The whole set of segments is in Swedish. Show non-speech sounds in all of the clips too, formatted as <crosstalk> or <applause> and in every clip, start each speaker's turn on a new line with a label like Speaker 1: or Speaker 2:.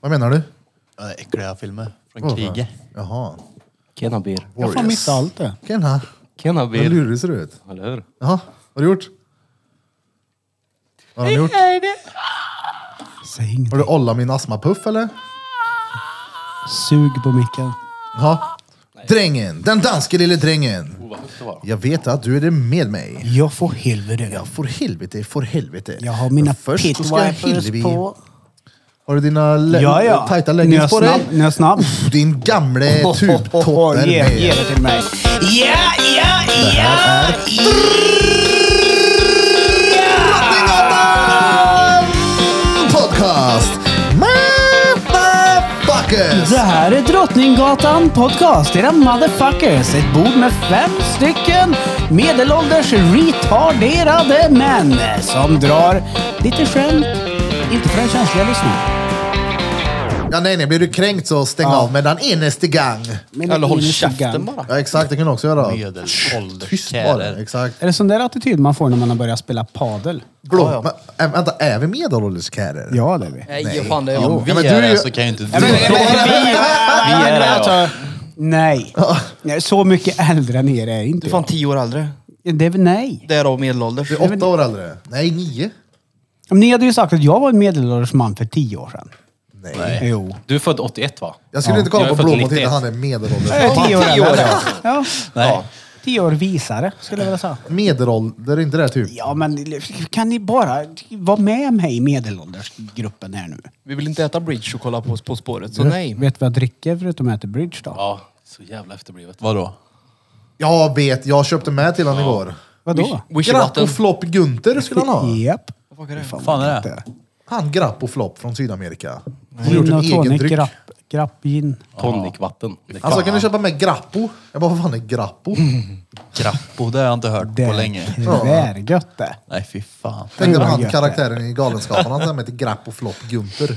Speaker 1: Vad menar du?
Speaker 2: Ja, Äckliga filmer från
Speaker 1: Varför?
Speaker 2: kriget.
Speaker 1: Jaha.
Speaker 3: Kenabir.
Speaker 4: Jag har fan missat allt det.
Speaker 1: Vilken här? Vad
Speaker 3: Kenabir.
Speaker 1: lurig ser du ut.
Speaker 3: Eller hur?
Speaker 1: Jaha, vad har du gjort? Vad har du gjort?
Speaker 4: Säg inget.
Speaker 1: Har du ollat min astmapuff eller?
Speaker 4: Sug på micken.
Speaker 1: Ja. Drängen, den danske lille
Speaker 2: Oh,
Speaker 1: drängen. Jag vet att du är det med mig.
Speaker 4: Jag får helvete.
Speaker 1: Jag får helvete, får helvete.
Speaker 4: Jag har mina
Speaker 1: Men Först så ska jag
Speaker 4: pitwipers
Speaker 1: Hillevi-
Speaker 4: på.
Speaker 1: Har du dina le-
Speaker 4: Ja, ja.
Speaker 1: tajta
Speaker 4: Nu är
Speaker 1: leggings
Speaker 4: jag
Speaker 1: på
Speaker 4: snabb.
Speaker 1: dig?
Speaker 4: Nu är jag <laughs> snabb.
Speaker 1: Din
Speaker 4: <laughs>
Speaker 1: gamle tubtotter
Speaker 4: Ge ge
Speaker 1: med.
Speaker 4: det till mig. typ Ja, ja, ja.
Speaker 1: Podcast! Motherfuckers!
Speaker 4: Det här är Drottninggatan Podcast, era motherfuckers. Ett bord med fem stycken medelålders retarderade män som drar lite skämt, inte för den känsliga lyssnaren.
Speaker 1: Ja, nej, nej, blir du kränkt så stäng av med den innerste gang.
Speaker 4: Men
Speaker 3: Eller håll
Speaker 4: in i
Speaker 3: käften
Speaker 4: skuggan.
Speaker 3: bara.
Speaker 1: Ja, exakt, det kan du också göra.
Speaker 2: Medelålders
Speaker 1: Tyst bara,
Speaker 2: kärer.
Speaker 1: exakt.
Speaker 4: Är det sån där attityd man får när man har börjat spela padel?
Speaker 1: Blå, men, äh, vänta, är vi medelålders kärer?
Speaker 4: Ja, det är vi.
Speaker 3: Nej, fan det är
Speaker 1: Jo.
Speaker 3: om vi
Speaker 1: Ja, men du
Speaker 3: är
Speaker 1: är
Speaker 3: det
Speaker 1: ju-
Speaker 3: så kan ju inte
Speaker 4: Nej, men-
Speaker 3: du.
Speaker 4: men- vi- alltså-
Speaker 3: Vi är det, ja.
Speaker 4: Nej. Nej, så mycket äldre än er är inte
Speaker 3: Du är fan
Speaker 4: jag.
Speaker 3: tio år äldre.
Speaker 4: Det är väl nej.
Speaker 3: Därav medelålders.
Speaker 1: Du är åtta år äldre. Nej, nio.
Speaker 4: Men Ni hade ju sagt att jag var en medelålders man för tio år sedan.
Speaker 1: Nej.
Speaker 4: Jo.
Speaker 5: Du är född 81 va?
Speaker 1: Jag skulle inte
Speaker 5: Jag
Speaker 1: kolla
Speaker 5: är
Speaker 1: på
Speaker 5: född
Speaker 1: Blom och
Speaker 5: 91.
Speaker 1: titta, han är medelålders.
Speaker 4: Jag är tio år
Speaker 3: tio år,
Speaker 4: äldre.
Speaker 3: ja.
Speaker 4: Ja.
Speaker 5: Nej.
Speaker 4: Tio år visare, skulle jag vilja säga.
Speaker 1: Medelålder, är inte det typ?
Speaker 4: Ja, men kan ni bara vara med mig i medelåldersgruppen här nu?
Speaker 3: Vi vill inte äta bridge och kolla på På spåret, så nej.
Speaker 4: Vet du vad jag dricker förutom att äta bridge då?
Speaker 5: Ja, så jävla efterblivet.
Speaker 2: Vadå?
Speaker 1: Jag vet, jag köpte med till honom igår.
Speaker 4: Vadå?
Speaker 1: Grapp
Speaker 3: Wishy-vatten.
Speaker 1: och flopp Gunther skulle han ha.
Speaker 4: Japp.
Speaker 2: fan är det?
Speaker 1: Han Grapp och flopp från Sydamerika. Han har gjort
Speaker 4: Gin
Speaker 1: en
Speaker 4: och
Speaker 1: egen
Speaker 4: tonic,
Speaker 1: dryck.
Speaker 4: grapp, grapp gin.
Speaker 5: Tonicvatten. Det
Speaker 1: Han sa, Alltså, kan du köpa med Grappo? Jag bara, vad fan är Grappo?
Speaker 2: Grappo, det har jag inte hört på länge.
Speaker 4: Det är gött det.
Speaker 2: Nej, fy fan.
Speaker 1: Tänk dig
Speaker 4: vad
Speaker 1: han
Speaker 4: gött
Speaker 1: karaktären i Galenskaparna som heter Grapp och flopp Gunther.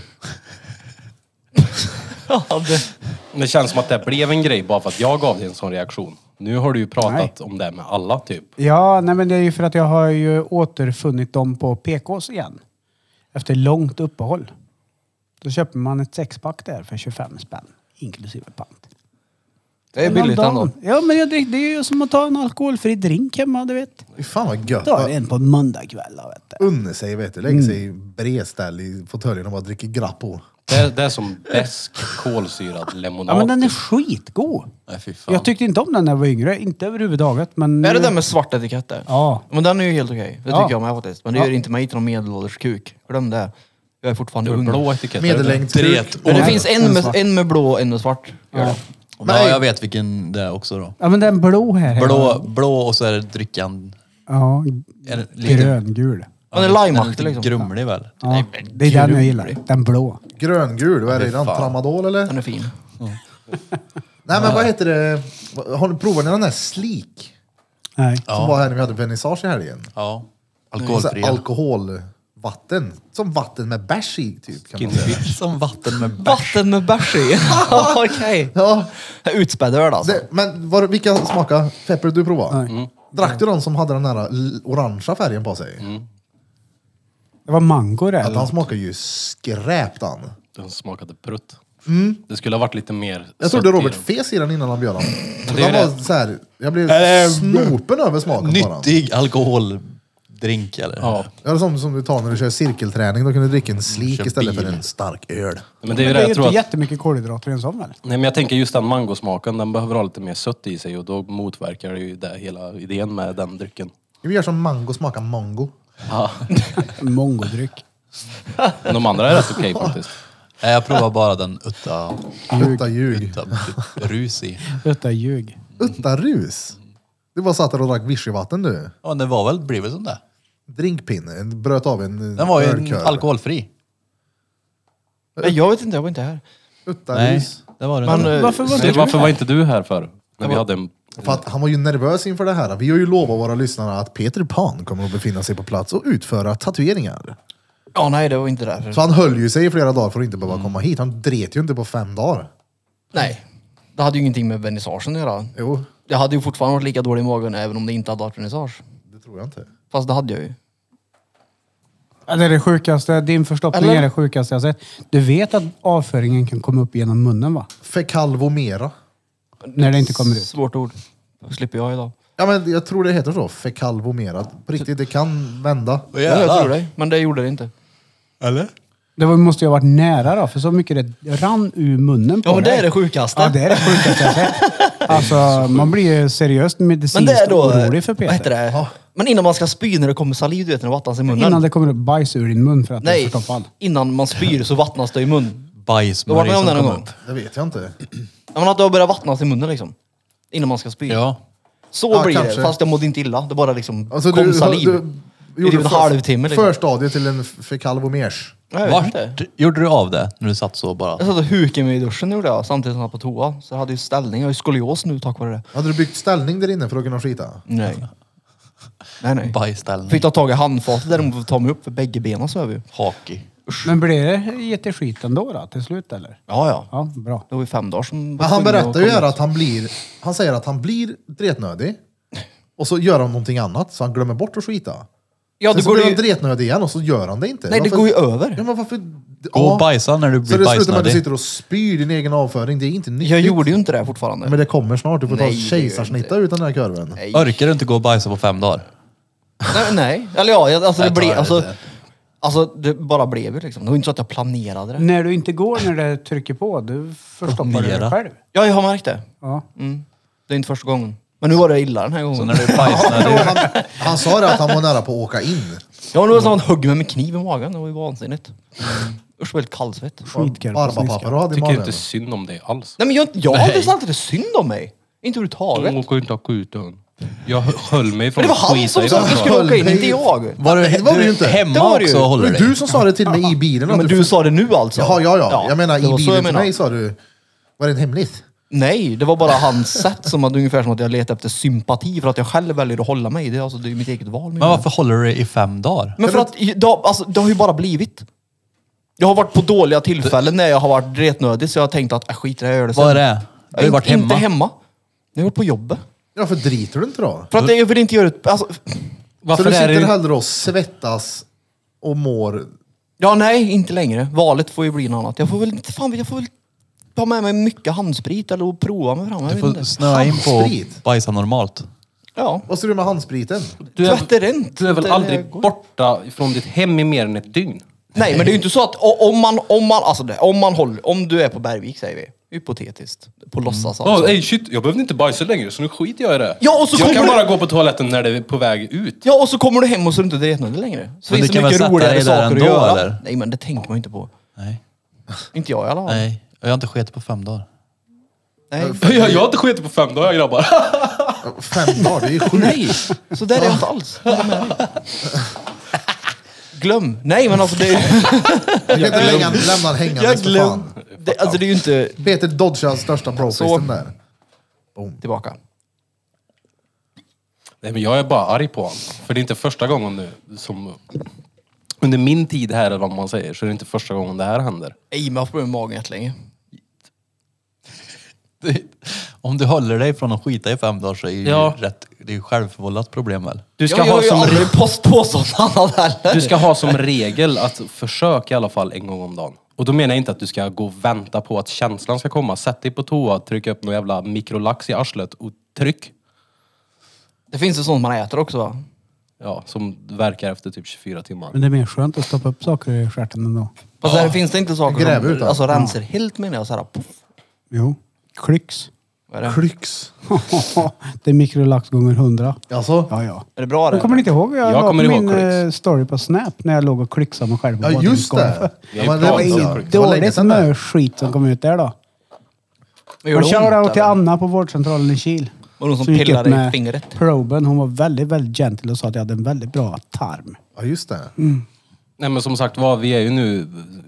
Speaker 5: Det känns som att det blev en grej bara för att jag gav dig en sån reaktion. Nu har du ju pratat om det med alla typ.
Speaker 4: Ja, nej men det är ju för att jag har ju återfunnit dem på PKs igen. Efter långt uppehåll. Då köper man ett sexpack där för 25 spänn. Inklusive pant.
Speaker 3: Det är billigt
Speaker 4: Om dagen.
Speaker 3: ändå.
Speaker 4: Ja, men jag drick, det är ju som att ta en alkoholfri drink hemma, du vet.
Speaker 1: Fy fan vad gött.
Speaker 4: Ta en på en måndagkväll, vet du.
Speaker 1: Unne sig, vet du. Lägger sig i bredställ i fåtöljen och bara dricker Grappo.
Speaker 5: Det är, det är som besk kolsyrad
Speaker 4: Ja,
Speaker 5: lemonad. typ.
Speaker 4: men den är skitgod.
Speaker 2: Nej, fy fan.
Speaker 4: Jag tyckte inte om den när jag var yngre. Inte överhuvudtaget, men...
Speaker 3: Är det den med svart etikett där?
Speaker 4: Ja.
Speaker 3: Men den är ju helt okej. Det
Speaker 4: Ja.
Speaker 3: tycker jag med faktiskt. Men det
Speaker 4: Ja.
Speaker 3: gör inte mig till någon medelålders kuk. Glöm det. Jag är fortfarande
Speaker 5: Du har
Speaker 3: ung.
Speaker 5: blå etikett.
Speaker 1: Medellängd.
Speaker 2: Dret.
Speaker 3: Men det
Speaker 4: Nej,
Speaker 3: finns
Speaker 4: den
Speaker 3: en med,
Speaker 4: svart.
Speaker 3: en med blå och en med svart. Gör det.
Speaker 2: Ja, jag vet vilken det är också då.
Speaker 4: Ja, men den blå här.
Speaker 2: Blå, blå och så är det dryckan...
Speaker 4: Ja,
Speaker 2: Är det lite-
Speaker 4: gröngul.
Speaker 3: Den är limeaktig
Speaker 2: lite
Speaker 3: liksom.
Speaker 2: grumlig väl?
Speaker 4: Ja, det är den jag gillar. Den blå.
Speaker 1: Gröngul, vad är det?
Speaker 2: Fy
Speaker 1: Den?
Speaker 2: fan.
Speaker 1: Tramadol eller?
Speaker 3: Den är fin.
Speaker 1: Nej men vad heter det? Har ni provat den där Sleek?
Speaker 4: Nej.
Speaker 1: Som var här när vi hade vernissage i helgen.
Speaker 2: Ja.
Speaker 1: Alkoholfria.
Speaker 2: Alkoholfria.
Speaker 1: Alkoholvatten. Som vatten med bärs i typ kan man säga.
Speaker 2: Som vatten med bärs.
Speaker 3: Vatten med bärs i. <laughs> Okej.
Speaker 1: Ja,
Speaker 3: Utspädd öl alltså.
Speaker 1: det, men var, vilka smakade? Pepper du provade?
Speaker 2: Mm.
Speaker 1: Drack du den som hade den där l- orangea färgen på sig?
Speaker 4: Det var mango det.
Speaker 1: Att
Speaker 4: eller?
Speaker 1: han smakar ju skräp den.
Speaker 5: Den smakade prutt. Det skulle ha varit lite mer
Speaker 1: Jag
Speaker 5: sött
Speaker 1: trodde
Speaker 5: i
Speaker 1: Robert
Speaker 5: den.
Speaker 1: fes i den innan han bjöd den.
Speaker 5: det är
Speaker 1: Den var
Speaker 5: det.
Speaker 1: så här, jag blev
Speaker 2: Äh,
Speaker 1: snopen över smaken på den.
Speaker 2: Nyttig alkoholdrink eller?
Speaker 5: Ja.
Speaker 1: Ja, det är som, som du tar när du kör cirkelträning. Då kan du dricka en slik
Speaker 2: Kör
Speaker 1: istället för
Speaker 2: Mm, bil.
Speaker 1: en stark öl.
Speaker 5: Men det är
Speaker 4: Men
Speaker 5: ju
Speaker 4: det
Speaker 5: det
Speaker 4: är
Speaker 5: jag
Speaker 4: inte
Speaker 5: tror att...
Speaker 4: jättemycket kolhydrater i en sån väl?
Speaker 5: Nej men jag tänker just den mangosmaken, den behöver ha lite mer sött i sig och då motverkar det ju det hela idén med den drycken.
Speaker 1: Vi gör som mango smakar mango.
Speaker 4: Mongodryck.
Speaker 5: Men de andra är rätt <laughs> okej faktiskt.
Speaker 2: Nej, jag provar bara den utta...
Speaker 1: Utta ljug.
Speaker 2: <laughs> utta rus i.
Speaker 4: Detta är ljug.
Speaker 1: Utta rus. Du bara satt där och drack vichyvatten du.
Speaker 2: Ja, det var väl, blev väl som det.
Speaker 1: Drinkpinne. En- Bröt av en
Speaker 2: Den var ju en
Speaker 1: ölkör.
Speaker 2: alkoholfri.
Speaker 3: Men jag vet inte, jag var inte här.
Speaker 1: Utta
Speaker 2: Nej,
Speaker 1: rus.
Speaker 2: det var den
Speaker 3: Men,
Speaker 2: inte.
Speaker 3: eh,
Speaker 4: Varför var
Speaker 5: Nej,
Speaker 4: inte
Speaker 5: varför
Speaker 4: du
Speaker 5: var
Speaker 4: med?
Speaker 5: inte du här för? När vi hade en...
Speaker 1: För att han var ju nervös inför det här. Vi har ju lovat våra lyssnare att Peter Pan kommer att befinna sig på plats och utföra tatueringar.
Speaker 3: Ja, nej, det var inte därför.
Speaker 1: Så han höll ju sig i flera dagar för att inte behöva komma hit. Han dret ju inte på fem dagar.
Speaker 3: Nej. Det hade ju ingenting med vernissagen att göra.
Speaker 1: Jo,
Speaker 3: Jag hade ju fortfarande varit lika dålig i magen även om det inte hade varit vernissage.
Speaker 1: det tror jag inte.
Speaker 3: Fast det hade jag ju.
Speaker 4: Ja, Det är det sjukaste. Din förstoppning
Speaker 1: Eller?
Speaker 4: är det sjukaste jag sett. Du vet att avföringen kan komma upp genom munnen va?
Speaker 1: Fekalvomera.
Speaker 4: När det inte kommer ut.
Speaker 3: Svårt ord. Då slipper jag idag.
Speaker 1: Ja, men jag tror det heter så. Fekalvomera. På riktigt, det kan vända.
Speaker 2: Vad
Speaker 3: Ja, jag tror
Speaker 2: jävlar.
Speaker 3: dig. Men det gjorde det inte.
Speaker 2: Eller?
Speaker 4: Det var- måste ju ha varit nära då, för så mycket det rann ur munnen på
Speaker 6: Ja, men det
Speaker 4: dig.
Speaker 6: är det sjukaste.
Speaker 4: Ja, det är det sjukaste jag sett.
Speaker 6: <laughs>
Speaker 4: Alltså, man blir ju seriöst
Speaker 6: men
Speaker 4: medicinskt
Speaker 6: det är då...
Speaker 4: orolig för
Speaker 6: Vad heter
Speaker 4: Peter.
Speaker 6: det? Men innan man ska spy när det kommer saliv, du vet, när det vattnas i munnen.
Speaker 4: Innan det kommer upp bajs ur din mun för att du är
Speaker 6: Nej,
Speaker 4: förstoppad.
Speaker 6: innan man spyr så vattnas det i munnen. Då var
Speaker 2: Bajsmörj
Speaker 6: det om
Speaker 2: som
Speaker 6: det någon
Speaker 2: kom
Speaker 6: gång.
Speaker 2: upp.
Speaker 1: Det vet jag inte.
Speaker 6: Ja, Men att det har börjat vattnas i munnen liksom. Innan man ska spy.
Speaker 2: Ja.
Speaker 6: Så
Speaker 1: Ja,
Speaker 6: blir
Speaker 1: kanske.
Speaker 6: det, fast jag mådde inte illa. Det bara liksom
Speaker 1: Alltså,
Speaker 6: kom
Speaker 1: du,
Speaker 6: saliv.
Speaker 1: du gjorde
Speaker 6: en
Speaker 1: för-
Speaker 6: halvtimme, liksom.
Speaker 1: Förstadiet till en fekalvomers.
Speaker 6: Ja, jag vet
Speaker 2: Vart
Speaker 6: inte.
Speaker 2: gjorde du av det? När du satt så bara?
Speaker 6: Jag satt och hukade mig i duschen gjorde jag, samtidigt som jag var på toa. Så jag hade ju ställning. Jag har ju skolios nu tack vare det.
Speaker 1: Hade du byggt ställning där inne för att kunna skita?
Speaker 6: Nej. Nej, nej.
Speaker 2: Bajsställning.
Speaker 6: Fick ta tag i handfatet däremot för att ta mig upp, för bägge benen så är vi ju.
Speaker 2: Haki.
Speaker 4: Men blir det jätteskit ändå då, till slut eller?
Speaker 6: Ja, ja.
Speaker 4: Ja, bra.
Speaker 6: Det var ju fem dagar som...
Speaker 1: Men han berättar ju här att han blir... Han säger att han blir dretnödig. Och så gör han någonting annat, så han glömmer bort att skita.
Speaker 6: Ja,
Speaker 1: Sen
Speaker 6: det
Speaker 1: så
Speaker 6: går
Speaker 1: blir
Speaker 6: ju...
Speaker 1: han dretnödig igen och så gör han det inte.
Speaker 6: Nej, det
Speaker 1: Varför-
Speaker 6: går ju över.
Speaker 1: Ja, men varför...
Speaker 2: Gå och bajsa när du
Speaker 1: Så
Speaker 2: blir
Speaker 1: det slutar med att du
Speaker 2: bajsnödig.
Speaker 1: sitter och spyr din egen avföring. Det är inte nyttigt.
Speaker 6: Jag gjorde ju inte det fortfarande.
Speaker 1: Men det kommer snart. Du får ta
Speaker 6: Nej, det gör jag
Speaker 1: kejsarsnitta utan den här kurven.
Speaker 6: Nej.
Speaker 2: Orkar du inte gå och bajsa på fem dagar?
Speaker 6: Nej, nej. Eller ja, jag- alltså det
Speaker 2: Jag tar
Speaker 6: blev...
Speaker 2: det
Speaker 6: Alltså,
Speaker 2: där.
Speaker 6: alltså det bara blev ju liksom. Det var inte så att jag planerade det.
Speaker 4: När du inte går när det trycker på, du förstoppar dig
Speaker 2: Promenera.
Speaker 4: själv.
Speaker 6: Ja, jag har märkt det.
Speaker 4: Ja.
Speaker 6: Mm. Det är inte första gången. Men nu var det illa den här
Speaker 2: Så
Speaker 6: gången.
Speaker 2: när du är bajsnödig?
Speaker 1: Han, han sa det att han var nära på att åka
Speaker 6: <laughs>
Speaker 1: in.
Speaker 6: Ja, nu var det som att han högg mig med kniv i magen. Det var ju vansinnigt. Usch, vad helt kallsvett.
Speaker 4: Skitkorv på sniskan.
Speaker 1: Barbapappa du hade i
Speaker 5: Tycker
Speaker 1: magen.
Speaker 5: inte synd om dig alls.
Speaker 6: Nej, men jag, jag har aldrig sagt att det är synd om mig. Inte överhuvudtaget.
Speaker 5: Hon
Speaker 6: Men
Speaker 5: åker ju inte att ut hon. Jag höll mig från
Speaker 6: det var han
Speaker 5: Mm. skita
Speaker 6: som
Speaker 5: i
Speaker 6: sa att vi
Speaker 5: den.
Speaker 6: skulle åka in, inte jag.
Speaker 2: Var du,
Speaker 1: Det var
Speaker 2: du
Speaker 1: du ju inte.
Speaker 6: Det
Speaker 2: hemma
Speaker 6: var du
Speaker 2: också
Speaker 6: ju.
Speaker 2: och håller
Speaker 1: Det var
Speaker 2: dig?
Speaker 1: du som sa det till mig i bilen.
Speaker 6: Ja,
Speaker 1: att
Speaker 6: men du sa det nu alltså?
Speaker 1: Jaha, ja, ja. Jag menar
Speaker 6: det var
Speaker 1: i
Speaker 6: så jag
Speaker 1: bilen till
Speaker 6: menade.
Speaker 1: mig sa du... Var det en hemlis?
Speaker 6: Nej, det var bara hans sätt som att ungefär som att jag letar efter sympati för att jag själv väljer att hålla mig. Det är, alltså, det är ju mitt eget val.
Speaker 2: Men varför håller du dig i fem dagar?
Speaker 6: Men för att det har, alltså, det har ju bara blivit. Jag har varit på dåliga tillfällen när jag har varit retnödig så jag har tänkt att äh, skit i det, jag gör det sen.
Speaker 2: Vad är det? Du har ju
Speaker 6: Inte-
Speaker 2: varit hemma.
Speaker 6: Inte hemma. Jag har varit på jobbet.
Speaker 1: Ja, för driter du inte då?
Speaker 6: För att jag vill inte göra ett... Alltså,
Speaker 1: Så
Speaker 5: Varför
Speaker 1: du
Speaker 5: är
Speaker 1: sitter
Speaker 5: det...
Speaker 1: hellre och svettas och mår...
Speaker 6: ja, nej, inte längre. Valet får ju bli något annat. Jag får väl inte... Fan, jag får väl ta med mig mycket handsprit eller och prova mig fram. Jag
Speaker 2: Du
Speaker 6: vet
Speaker 2: får
Speaker 6: inte.
Speaker 2: snöa in på
Speaker 1: Handsprit.
Speaker 2: att bajsa normalt.
Speaker 6: Ja.
Speaker 1: Vad ser du med handspriten?
Speaker 5: Du är,
Speaker 6: Tvätta rent.
Speaker 5: du är väl
Speaker 6: Det
Speaker 5: aldrig
Speaker 6: går.
Speaker 5: borta från ditt hem i mer än ett dygn?
Speaker 6: Nej, men det är ju inte så att o- om man, om man, alltså det, om man håller, om du är på Bergvik säger vi, hypotetiskt, på låtsas
Speaker 5: Mm. Ja,
Speaker 6: alltså.
Speaker 5: ey, shit, jag behövde inte bajsa längre så nu skiter jag i det.
Speaker 6: Ja, och så
Speaker 5: jag kan
Speaker 6: kommer
Speaker 5: bara gå på toaletten när det är på väg ut. <laughs>
Speaker 6: Ja, och så kommer du hem och så är du inte dretnödig längre. Så
Speaker 2: Men
Speaker 6: finns det
Speaker 2: du kan väl
Speaker 6: mycket
Speaker 2: sätta
Speaker 6: roligare
Speaker 2: dig där
Speaker 6: saker att
Speaker 2: ändå,
Speaker 6: göra.
Speaker 2: eller?
Speaker 6: Nej, men det tänker man ju inte på.
Speaker 2: Nej.
Speaker 6: Inte jag i alla fall. Nej.
Speaker 2: Nej. Jag har inte skitit på fem dagar.
Speaker 6: Nej.
Speaker 5: Jag, jag har inte skitit på fem dagar grabbar.
Speaker 1: Fem dagar, det är ju sjukt.
Speaker 6: Så där är jag inte alls. Vad menar du? Glöm. Nej, men alltså det är
Speaker 1: Jag kan inte lämna, lämna den hängandes för fan.
Speaker 6: Det, alltså det är ju inte
Speaker 1: Peter dodgar största brofisten där.
Speaker 6: tillbaka.
Speaker 5: Nej men jag är bara arg på honom. För det är inte första gången nu som... Under min tid här eller vad man säger så är det inte första gången det här händer.
Speaker 6: Nej, men jag har haft problem med magen jättelänge.
Speaker 2: Det- Om du håller dig från att skita i fem dagar så är det
Speaker 5: Ja.
Speaker 2: ju rätt, det är ju självförvållat problem väl?
Speaker 5: Du
Speaker 6: Jag,
Speaker 5: ska,
Speaker 6: jag
Speaker 5: ha
Speaker 6: har ju
Speaker 5: som re-
Speaker 6: aldrig post på sånt annat heller.
Speaker 5: du ska ha som regel att försöka i alla fall en gång om dagen. Och då menar jag inte att du ska gå och vänta på att känslan ska komma. Sätt dig på toa, tryck upp någon jävla mikrolax i arslet och tryck.
Speaker 6: Det finns ju sånt man äter också va?
Speaker 5: Ja, som verkar efter typ 24 timmar.
Speaker 4: Men det är mer skönt att stoppa upp saker i stjärten ändå.
Speaker 6: Fast där finns det inte saker
Speaker 1: Gräv ut
Speaker 6: som
Speaker 1: allt.
Speaker 6: alltså, renser helt menar jag. Så här, poff.
Speaker 4: Jo. Klyx.
Speaker 6: Vad är, det?
Speaker 1: Klyx.
Speaker 4: <laughs> det är mikrolax gånger hundra.
Speaker 1: Alltså?
Speaker 4: Ja, ja.
Speaker 6: är det bra
Speaker 4: Jag
Speaker 6: det?
Speaker 4: kommer ni inte ihåg jag,
Speaker 5: Jag
Speaker 4: la
Speaker 5: kommer
Speaker 4: på
Speaker 5: ihåg
Speaker 4: min
Speaker 5: Klyx.
Speaker 4: eh, story på Snap när jag låg och klyxade mig själv. på
Speaker 1: Ja, just det.
Speaker 4: badrumsgolvet.
Speaker 1: Ja, men det
Speaker 5: Det
Speaker 1: var
Speaker 5: var
Speaker 1: inget
Speaker 4: Det var länge sedan med skit som kom ut där då.
Speaker 6: Men
Speaker 4: Och shoutout
Speaker 6: eller?
Speaker 4: till Anna på vårdcentralen i Kil.
Speaker 6: Var det någon som
Speaker 4: gick
Speaker 6: pillade
Speaker 4: upp
Speaker 6: i
Speaker 4: med
Speaker 6: fingret?
Speaker 4: Proben. Hon var väldigt, väldigt gentle och sa att jag hade en väldigt bra tarm.
Speaker 1: Ja, just det.
Speaker 4: Mm.
Speaker 5: Nej men som sagt var, vi är ju nu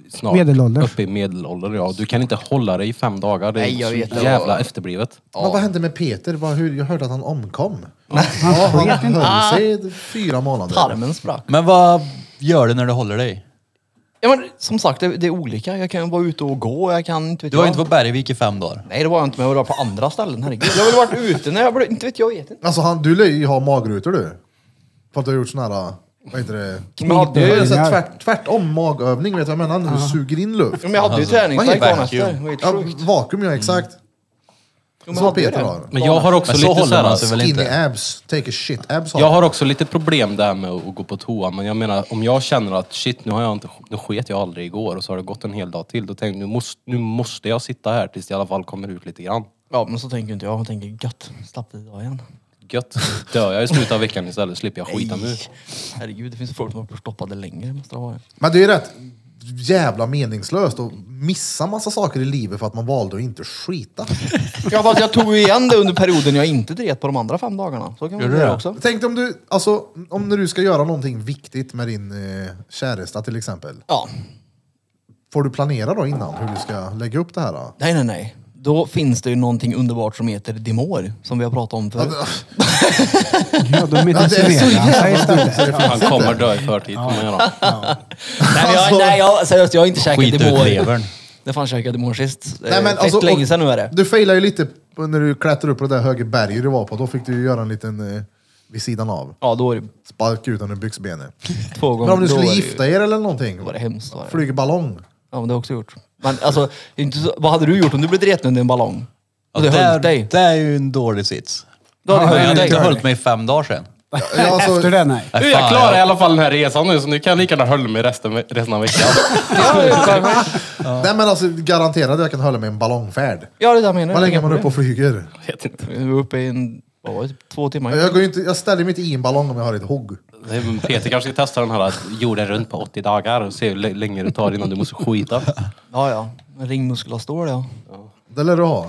Speaker 5: snart
Speaker 4: Medelålders.
Speaker 5: uppe i medelåldern. Ja. Du kan inte hålla dig i fem dagar. Det är
Speaker 6: Nej, jag
Speaker 5: så
Speaker 6: vet det.
Speaker 5: jävla efterblivet.
Speaker 1: Men vad hände med Peter? Vad- hur- Jag hörde att han
Speaker 6: <laughs>
Speaker 1: omkom. Ja, han
Speaker 6: Ah.
Speaker 1: höll sig i fyra månader.
Speaker 6: Tarmen sprack.
Speaker 2: Men vad gör du när du håller dig?
Speaker 6: Ja, men, som sagt, det, det är olika. Jag kan vara ute och gå. Jag kan inte vet
Speaker 2: Du var ju
Speaker 6: jag.
Speaker 2: inte på Bergvik i fem dagar.
Speaker 6: Nej, det var jag inte. Men jag var på andra ställen. Herregud. Jag har väl varit ute när jag blev... Inte vet jag. vet inte.
Speaker 1: Alltså, han, du lär ju ha magrutor du. För att du har gjort såna här... Vad heter det?
Speaker 6: Men jag hade
Speaker 1: Det är
Speaker 6: ju,
Speaker 1: ju så här
Speaker 4: Övningar.
Speaker 1: tvärt, tvärtom magövning, vet du vad jag menar? Du suger in luft.
Speaker 6: men jag hade ju
Speaker 1: Vad
Speaker 6: träningsvärk
Speaker 1: heter
Speaker 6: dagen
Speaker 2: det?
Speaker 6: efter. Mm. Det var helt
Speaker 1: Ja,
Speaker 6: sjukt.
Speaker 1: vakuum ja, exakt.
Speaker 6: Jo, men
Speaker 1: Så vad
Speaker 6: hade ju
Speaker 1: Peter
Speaker 6: det. Alltså,
Speaker 1: har.
Speaker 5: Men jag har också
Speaker 2: Men så
Speaker 5: lite
Speaker 2: håller
Speaker 5: så här,
Speaker 2: man sig väl
Speaker 1: Skinny
Speaker 2: inte?
Speaker 1: abs, take a shit. Abs har
Speaker 5: Jag har också lite problem där med att gå på toa, men jag menar om jag känner att shit, nu har jag inte, nu sket jag aldrig igår och så har det gått en hel dag till. Då tänker jag, nu måste, nu måste jag sitta här tills det i alla fall kommer ut lite grann.
Speaker 6: Ja, men så tänker inte jag. Jag tänker gött, slapp det idag igen.
Speaker 5: Gött. Dör jag i slutet av veckan istället slipper jag skita nu.
Speaker 6: Herregud, det finns folk som har varit stoppade längre. Måste det vara.
Speaker 1: Men det är ju rätt jävla meningslöst att missa massa saker i livet för att man valde att inte skita.
Speaker 6: Ja, fast jag tog ju igen det under perioden jag inte dret på de andra fem dagarna. Så kan man
Speaker 2: Gjorde
Speaker 6: göra
Speaker 2: du?
Speaker 6: också.
Speaker 1: Tänk dig om du, alltså, om när du ska göra någonting viktigt med din eh, käresta till exempel.
Speaker 6: Ja.
Speaker 1: Får du planera då innan hur du ska lägga upp det här? Då?
Speaker 6: Nej, nej, nej. Då finns det ju någonting underbart som heter Dimor, som vi har pratat
Speaker 1: <laughs>
Speaker 6: om förut.
Speaker 4: Ja, då
Speaker 1: Ja, det är så
Speaker 4: medicinerar han sig
Speaker 1: jävla dumt
Speaker 4: istället.
Speaker 1: så det
Speaker 5: Han
Speaker 1: finns
Speaker 5: kommer
Speaker 1: inte.
Speaker 5: dö i förtid. kommer jag göra.
Speaker 6: nej, men
Speaker 1: Alltså-
Speaker 6: jag, nej jag, seriöst, jag har inte käkat
Speaker 2: Skit ut
Speaker 6: Dimor.
Speaker 2: levern.
Speaker 6: När fan käkade jag Dimor sist?
Speaker 1: Nej, men
Speaker 6: Fett
Speaker 1: alltså, och-
Speaker 6: länge sedan nu är det.
Speaker 1: Du failar ju lite på- när du klättrar upp på det där höga berget du var på. Då fick du ju göra en liten eh, vid sidan av.
Speaker 6: Ja, då är det
Speaker 1: Spark ut under byxbenet.
Speaker 6: två gånger.
Speaker 1: Men om du
Speaker 6: då
Speaker 1: skulle
Speaker 6: är det ju-
Speaker 1: gifta er eller någonting?
Speaker 6: Var det hemskt? Var det.
Speaker 1: Flyger
Speaker 6: <laughs>
Speaker 1: ballong?
Speaker 6: Ja, men det har jag också gjort. Men alltså, det är inte så, vad hade du gjort om du blev dreten under en ballong? Och det
Speaker 2: är,
Speaker 6: höll dig?
Speaker 2: det är ju en dålig sits.
Speaker 6: Då hade
Speaker 4: Ja,
Speaker 6: jag
Speaker 2: Jag
Speaker 6: höll
Speaker 2: hade
Speaker 6: dig.
Speaker 2: inte hållit mig i fem dagar sedan.
Speaker 1: Ja, alltså-
Speaker 4: Efter det, nej.
Speaker 5: Nu är Äh, jag klarar i alla fall den här resan nu, så nu kan jag lika gärna hålla mig resten, resten av veckan.
Speaker 1: Nej men alltså garanterat jag kan hålla med en ballongfärd.
Speaker 6: Ja, det är det jag menar.
Speaker 1: Vad länge är man uppe och flyger?
Speaker 5: Jag vet inte.
Speaker 6: Vi var uppe i en, vad var det, typ två timmar.
Speaker 1: Jag, går ju inte, jag ställer mig inte i en ballong om jag har ett hugg.
Speaker 5: Det är- Peter kanske ska testa den här att jorden runt på 80 dagar och se hur l- länge det tar innan du måste skita.
Speaker 6: Ja, ja. En ringmuskel har stål, ja.
Speaker 1: Det lär du ha.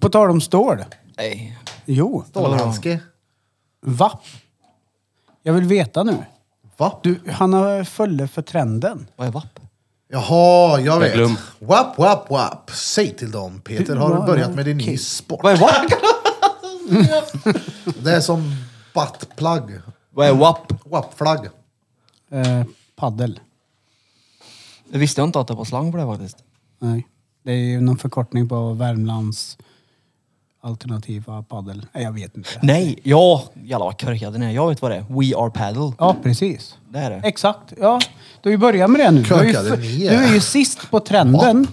Speaker 4: På tal om stål.
Speaker 6: Nej.
Speaker 4: Jo.
Speaker 1: Stålhandske.
Speaker 4: Va? Jag vill veta nu.
Speaker 1: Va?
Speaker 4: Du, han har följt för trenden.
Speaker 6: Vad är vapp?
Speaker 1: Jaha, jag vet.
Speaker 5: glöm.
Speaker 1: Wap, wap, wap. Säg till dem Peter, har du
Speaker 4: Vad-
Speaker 1: börjat med din ny sport?
Speaker 6: Vad är vapp?
Speaker 1: <laughs> Det är som buttplug.
Speaker 6: vad är vapp?
Speaker 1: Wap-flagg.
Speaker 4: Eh, paddel.
Speaker 6: Det visste jag inte att det var slang för det faktiskt.
Speaker 4: Nej. Det är ju någon förkortning på Värmlands alternativa paddel. Nej, jag vet inte.
Speaker 6: Nej, ja. Jävlar vad korkad den är. Jag vet vad det är. We are paddle.
Speaker 4: Ja, precis.
Speaker 6: Det är det.
Speaker 4: Exakt. Ja, du har ju börjat med det nu. Du är ju,
Speaker 1: Körkade
Speaker 4: f-
Speaker 1: ni
Speaker 4: du
Speaker 1: er?
Speaker 4: är ju sist på trenden.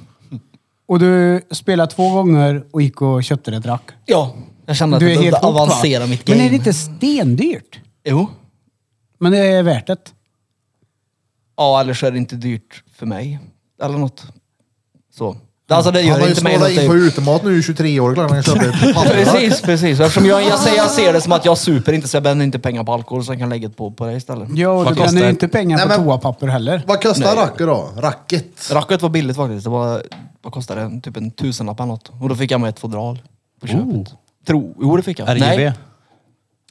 Speaker 4: Och du spelade två gånger och gick och köpte det drack.
Speaker 6: Ja. Jag kände att
Speaker 4: Du är
Speaker 6: jag
Speaker 4: helt
Speaker 6: behövde
Speaker 4: hooked, va?
Speaker 6: avancera mitt game.
Speaker 4: Men är det inte stendyrt?
Speaker 6: Jo.
Speaker 4: Men det är värt det.
Speaker 6: Ja, eller så är det inte dyrt för mig. Eller något. Så. Alltså det gör
Speaker 1: Han har ju
Speaker 6: inte mig något.
Speaker 1: snålat in på utemat nu i 23 år. Klart han kan köpa ett paddel.
Speaker 6: Precis, precis. Och Eftersom jag, jag, ser, jag ser det som att jag super inte så jag bränner inte pengar på alkohol så jag kan lägga det på, på det istället.
Speaker 4: Ja, och
Speaker 5: Vad
Speaker 4: du bränner
Speaker 5: kostar
Speaker 4: ju
Speaker 5: det?
Speaker 4: inte pengar
Speaker 1: Nej,
Speaker 4: på
Speaker 1: men-
Speaker 4: toapapper heller.
Speaker 1: Vad kostar racket då? Racket.
Speaker 6: Racket var billigt faktiskt. Det var, vad kostade det? Typ en tusenlapp eller något. Och då fick jag med ett fodral på köpet. Tro, jo det fick jag.
Speaker 2: RGB.
Speaker 6: Nej.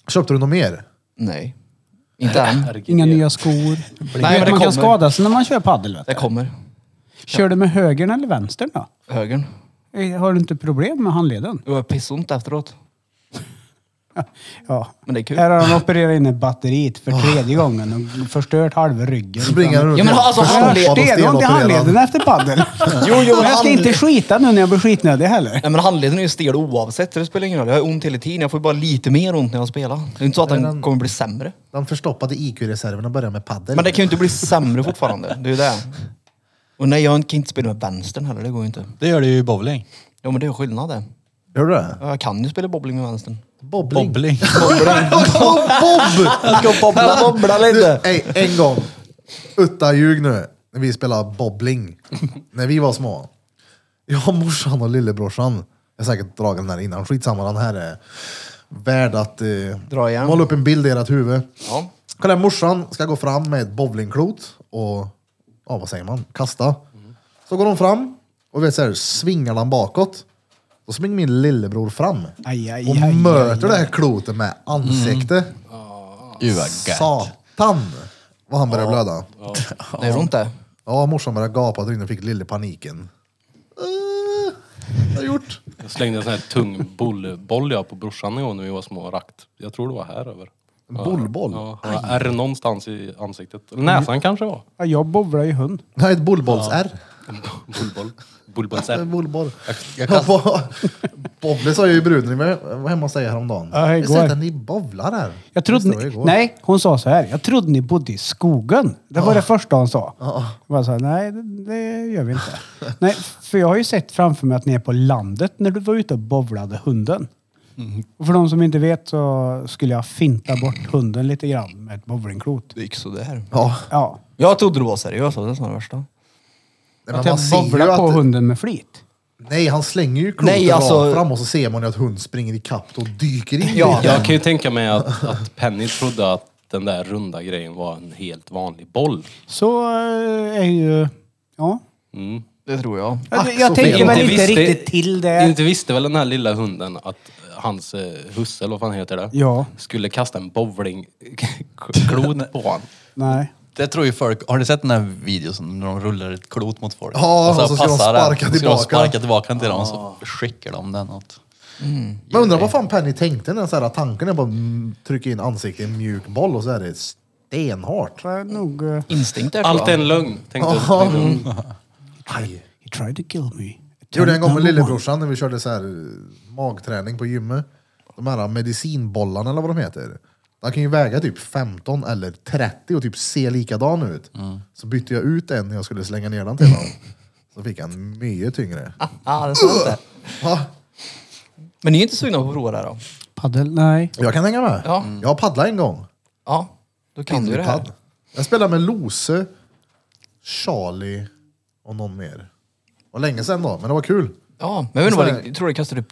Speaker 1: Köpte du något mer?
Speaker 6: Nej. Inte än.
Speaker 4: Inga nya skor. Nej,
Speaker 6: men
Speaker 4: men
Speaker 6: det
Speaker 4: man
Speaker 6: kommer.
Speaker 4: kan skada sig när man kör paddel. Vet
Speaker 6: Det
Speaker 4: du.
Speaker 6: kommer.
Speaker 4: Kör du med högern eller vänstern då?
Speaker 6: Högern.
Speaker 4: Eh, Har du inte problem med handleden?
Speaker 6: Det var pissont efteråt.
Speaker 4: Ja.
Speaker 6: Men det är kul.
Speaker 4: Här har han opererat in i batteriet för tredje gången och förstört halva ryggen.
Speaker 1: Springer han runt
Speaker 6: Ja, men
Speaker 1: helt
Speaker 6: alltså,
Speaker 1: förstoppad och
Speaker 6: handled-
Speaker 4: Det är inte
Speaker 1: stelopererad.
Speaker 4: handleden efter paddeln.
Speaker 6: Jo, jo,
Speaker 4: Men jag ska
Speaker 6: hand-
Speaker 4: inte skita nu när jag blir skitnödig heller.
Speaker 6: Nej men handleden är ju stel oavsett så det spelar ingen roll. Jag har ont hela tiden. Jag får bara lite mer ont när jag spelar. Det är inte så att den kommer bli sämre.
Speaker 1: De förstoppade IQ-reserverna börjar med paddel.
Speaker 6: Men det kan ju inte bli sämre fortfarande. Det är ju det. Och nej, jag kan inte spela med vänstern heller. Det går ju inte.
Speaker 2: Det gör det ju i bowling.
Speaker 6: Ja men det är ju skillnad det.
Speaker 1: Gör du det?
Speaker 6: Ja, Jag kan ju spela bowling med vänstern.
Speaker 1: Bobbling.
Speaker 2: Bowling.
Speaker 1: Bob!
Speaker 6: Jag ska <laughs> bobbla, bobbla
Speaker 1: Du, ey, en gång. Utta ljug nu. När vi spelade bobbling. När vi var små. Jag, morsan och lillebrorsan. Jag har säkert dragit den här innan. Skitsamma, den här är värd att eh,
Speaker 6: Dra igen.
Speaker 1: måla upp en bild i ert huvud.
Speaker 6: Ja.
Speaker 1: Kolla, morsan ska gå fram med ett bowlingklot och, ja vad säger man, kasta. Så går hon fram och vet så här, svingar den bakåt. Då springer min lillebror fram
Speaker 4: Aj, aj,
Speaker 1: och
Speaker 4: aj, aj, Mm.
Speaker 1: möter det här klotet med ansikte.
Speaker 2: Gud vad gött.
Speaker 1: Satan! Vad han började blöda.
Speaker 6: Det är ont det.
Speaker 1: Ja, morsan började gapa där inne och fick lille paniken. Eh, vad har jag gjort?
Speaker 5: Jag slängde en sån här tung bollboll jag på brorsan en gång när vi var små och rakt. Jag tror det var här över.
Speaker 1: En bollboll?
Speaker 5: Ja, han har ärr någonstans i ansiktet. Näsan kanske var.
Speaker 4: Ja, Jag bowlar ju hund.
Speaker 1: Nej, ett bullbolls-R.
Speaker 5: Bullboll.
Speaker 1: Eh,
Speaker 5: Bullbollsär.
Speaker 1: Bullboll.
Speaker 5: jag kastar-
Speaker 1: Bobble sa ju bruden jag var hemma hos dig häromdagen.
Speaker 4: Ja,
Speaker 1: jag
Speaker 4: igår.
Speaker 1: har sett att ni bovlar här.
Speaker 4: Jag trodde
Speaker 1: Visst, det var
Speaker 4: ni,
Speaker 1: igår.
Speaker 4: nej, hon sa så här. Jag trodde ni bodde i skogen. Det var
Speaker 1: Ah.
Speaker 4: det första hon sa.
Speaker 1: Ja.
Speaker 4: Jag bara så här, nej, det, det gör vi inte. nej, för jag har ju sett framför mig att ni är på landet när du var ute och bovlade hunden.
Speaker 1: Mhm.
Speaker 4: Och för de som inte vet så skulle jag finta bort hunden lite grann med ett bowlingklot.
Speaker 6: Det gick sådär.
Speaker 1: Ja,
Speaker 4: Ja,
Speaker 6: Jag trodde du var seriös, det var nästan det värsta.
Speaker 1: men
Speaker 4: att
Speaker 1: man
Speaker 4: jag
Speaker 1: ser ju
Speaker 4: bovlar på
Speaker 1: att...
Speaker 4: hunden med flit.
Speaker 1: Nej, han slänger ju klotet
Speaker 6: Nej, alltså-
Speaker 1: rakt fram och så ser man ju att hund springer ikapp och dyker in
Speaker 6: Ja.
Speaker 1: i den.
Speaker 5: Jag kan ju tänka mig att, att Penny trodde att den där runda grejen var en helt vanlig boll.
Speaker 4: Så eh, är ju... Ja.
Speaker 5: Mm.
Speaker 6: Det tror jag.
Speaker 4: Jag,
Speaker 1: Ack,
Speaker 4: jag
Speaker 1: Ah, så
Speaker 4: tänker
Speaker 1: fel.
Speaker 4: väl
Speaker 5: Inte
Speaker 4: inte
Speaker 5: visste-
Speaker 4: riktigt till det.
Speaker 5: Inte visste väl den här lilla hunden att eh, hans eh, husse, eller vad fan heter det,
Speaker 4: Ja.
Speaker 5: skulle kasta en bowlingklot på honom.
Speaker 4: Nej.
Speaker 2: Det tror ju folk. Har du sett den här videon när de rullar ett klot mot folk?
Speaker 1: Ja, och så ska de
Speaker 2: passar den.
Speaker 1: sparka
Speaker 2: Så ska de
Speaker 1: tillbaka.
Speaker 2: sparka tillbaka den till dem och så skickar de den åt...
Speaker 1: Men undrar vad fan Penny tänkte när så här, tanken är bara mm, trycka in ansiktet i en mjuk boll och så är det stenhårt.
Speaker 4: Det är nog... eh,
Speaker 6: Instinkt är
Speaker 5: Allt är en lögn, tänkte
Speaker 1: Ja.
Speaker 5: tänkte hon.
Speaker 1: Aj.
Speaker 4: He tried to kill me.
Speaker 1: Gjorde en gång med
Speaker 4: Number one.
Speaker 1: lillebrorsan när vi körde så här eh, magträning på gymmet. De här medicinbollarna eller vad de heter. De kan ju väga typ 15 eller 30 och typ se likadan ut. Så bytte jag ut en när jag skulle slänga ner den till honom. Så fick han mycket tyngre.
Speaker 6: Ja, det är sant det.
Speaker 1: Va?
Speaker 6: Men ni är inte sugna på att prova det här då?
Speaker 4: Paddel? Nej.
Speaker 1: Jag kan hänga med.
Speaker 6: Ja.
Speaker 1: Jag paddlade en gång.
Speaker 6: Ja, då kan du det här.
Speaker 1: Padd. Jag spelade med Lose, Charlie och någon mer. Och länge sedan då, men det var kul.
Speaker 6: Ja, men jag, vet inte
Speaker 1: Så
Speaker 6: vad det, jag tror det kostar typ,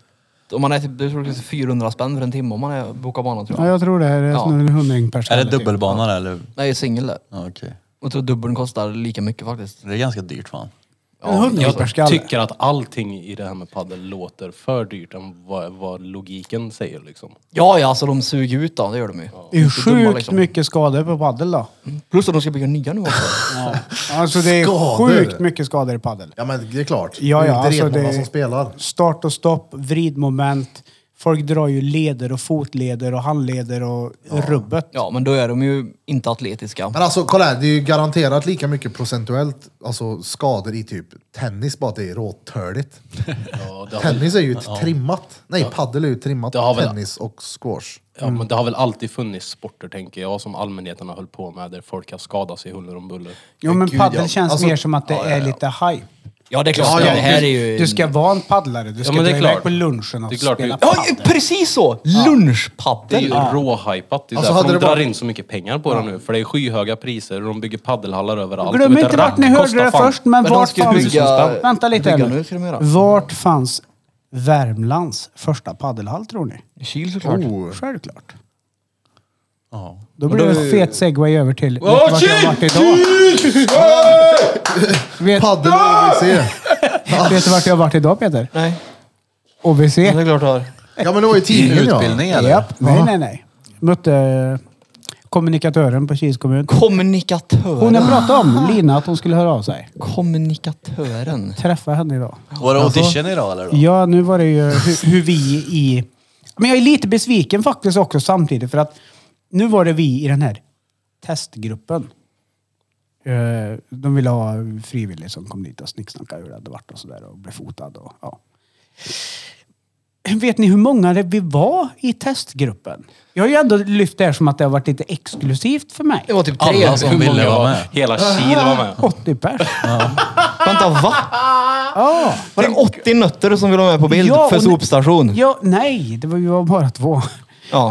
Speaker 6: om man är typ, jag tror det kostar 400 spänn för en timme om man är, bokar banan tror
Speaker 4: Ja,
Speaker 6: jag.
Speaker 4: jag tror det här är
Speaker 6: Ja.
Speaker 4: snarare en hundring per
Speaker 2: Är det
Speaker 4: ställe, typ.
Speaker 2: dubbelbana där, eller?
Speaker 6: Nej, jag är singel där.
Speaker 2: Ja, Okej.
Speaker 6: Jag tror dubbeln kostar lika mycket faktiskt.
Speaker 2: Det är ganska dyrt fan.
Speaker 4: En hundring per
Speaker 5: Jag
Speaker 4: skalle.
Speaker 5: tycker att allting i det här med paddel låter för dyrt än vad, vad logiken säger liksom.
Speaker 6: Ja, ja, alltså de suger ut då, det gör de ju.
Speaker 4: Det är ju
Speaker 6: Inte dumma,
Speaker 4: sjukt
Speaker 6: liksom.
Speaker 4: mycket skador på paddel då.
Speaker 6: Plus att de ska bygga nya nu också.
Speaker 4: Alltså det är
Speaker 1: Skador?
Speaker 4: sjukt mycket skador i paddel.
Speaker 1: Ja men det är klart.
Speaker 4: Ja, ja,
Speaker 1: det är
Speaker 4: alltså
Speaker 1: retmånga
Speaker 4: det-
Speaker 1: som spelar.
Speaker 4: Start och stopp, vridmoment. Folk drar ju leder och fotleder och handleder och rubbet.
Speaker 6: Ja, men då är de ju inte atletiska.
Speaker 1: Men alltså kolla här, det är ju garanterat lika mycket procentuellt alltså, skador i typ tennis, bara att det är råtörligt.
Speaker 5: Ja, det, har väl,
Speaker 1: Tennis är ju ett trimmat. Nej, paddel är ju trimmat.
Speaker 5: Det har väl-
Speaker 1: Tennis och squash.
Speaker 5: ja, men det har väl alltid funnits sporter, tänker jag, som allmänheten har hållit på med, där folk har skadat sig huller om buller.
Speaker 4: Jo men
Speaker 6: Gud,
Speaker 4: paddel
Speaker 6: ja.
Speaker 4: känns
Speaker 1: Alltså-
Speaker 4: mer som att det är lite hype.
Speaker 6: Ja, det är klart.
Speaker 1: Ja, ja,
Speaker 6: det här är ju...
Speaker 4: Du ska vara en paddlare. Du ska
Speaker 5: men det
Speaker 4: dra
Speaker 5: är
Speaker 4: iväg
Speaker 5: klart.
Speaker 4: på lunchen
Speaker 5: Det
Speaker 4: och
Speaker 5: är klart.
Speaker 4: spela
Speaker 6: Ja,
Speaker 4: paddel.
Speaker 6: precis så!
Speaker 5: Det är ju
Speaker 6: Lunchpaddel.
Speaker 5: råhypat. Det är
Speaker 1: Alltså, hade
Speaker 5: därför
Speaker 1: det
Speaker 5: de drar
Speaker 1: varit-
Speaker 5: in så mycket pengar på det nu. För det är skyhöga priser och de bygger paddelhallar överallt.
Speaker 4: Glöm
Speaker 5: Och ett
Speaker 4: inte vart
Speaker 5: rack
Speaker 4: ni hörde
Speaker 5: kostar
Speaker 4: det
Speaker 5: fan-
Speaker 4: först, men,
Speaker 6: Men de
Speaker 4: vart
Speaker 6: ska ju
Speaker 4: fanns...
Speaker 6: bygga-
Speaker 4: Vänta lite här
Speaker 6: bygga
Speaker 4: nu.
Speaker 6: nu ska de göra.
Speaker 4: Vart fanns Värmlands första paddelhall tror ni?
Speaker 6: Kyl såklart.
Speaker 1: Oh.
Speaker 4: Självklart.
Speaker 2: Ja.
Speaker 4: Då blir det en fet segway över till... Vet du
Speaker 5: Åh,
Speaker 4: vart jag har varit idag? Vet,
Speaker 1: Paddel och OVC.
Speaker 4: vet du vart jag har varit idag Peter?
Speaker 6: Nej,
Speaker 4: OVC?
Speaker 6: men det är klart du har.
Speaker 1: Ja men det var ju
Speaker 2: I
Speaker 1: tidningen ja.
Speaker 2: utbildning eller?
Speaker 4: Japp. Nej, nej, nej. Mötte eh, kommunikatören på Kils kommun. Hon
Speaker 6: Kommunikatören.
Speaker 4: jag pratade om, Lina, att hon skulle höra av sig.
Speaker 6: Kommunikatören.
Speaker 4: Träffa henne idag.
Speaker 2: Var det audition idag eller? Då?
Speaker 4: Ja, nu var det ju hur, hur vi i... Men jag är lite besviken faktiskt också samtidigt för att nu var det vi i den här testgruppen. Eh, De ville ha frivillig som kom dit och snicksnackade hur det hade varit och sådär och blev fotad och ja. Vet ni hur många det vi var i testgruppen? Jag har ju ändå lyft det här som att det har varit lite exklusivt för mig.
Speaker 6: Det var typ tre.
Speaker 2: Alla som
Speaker 5: Hur många
Speaker 2: ville vara
Speaker 5: var-
Speaker 2: med.
Speaker 5: <laughs> Hela Kil var med.
Speaker 4: 80 pers.
Speaker 6: Vänta, va?
Speaker 4: Ja.
Speaker 6: Var det 80 nötter som ville vara med på bild
Speaker 4: Ja,
Speaker 6: för
Speaker 4: och nu-
Speaker 6: sopstation?
Speaker 4: ja, nej, det var ju bara två.
Speaker 6: Ja.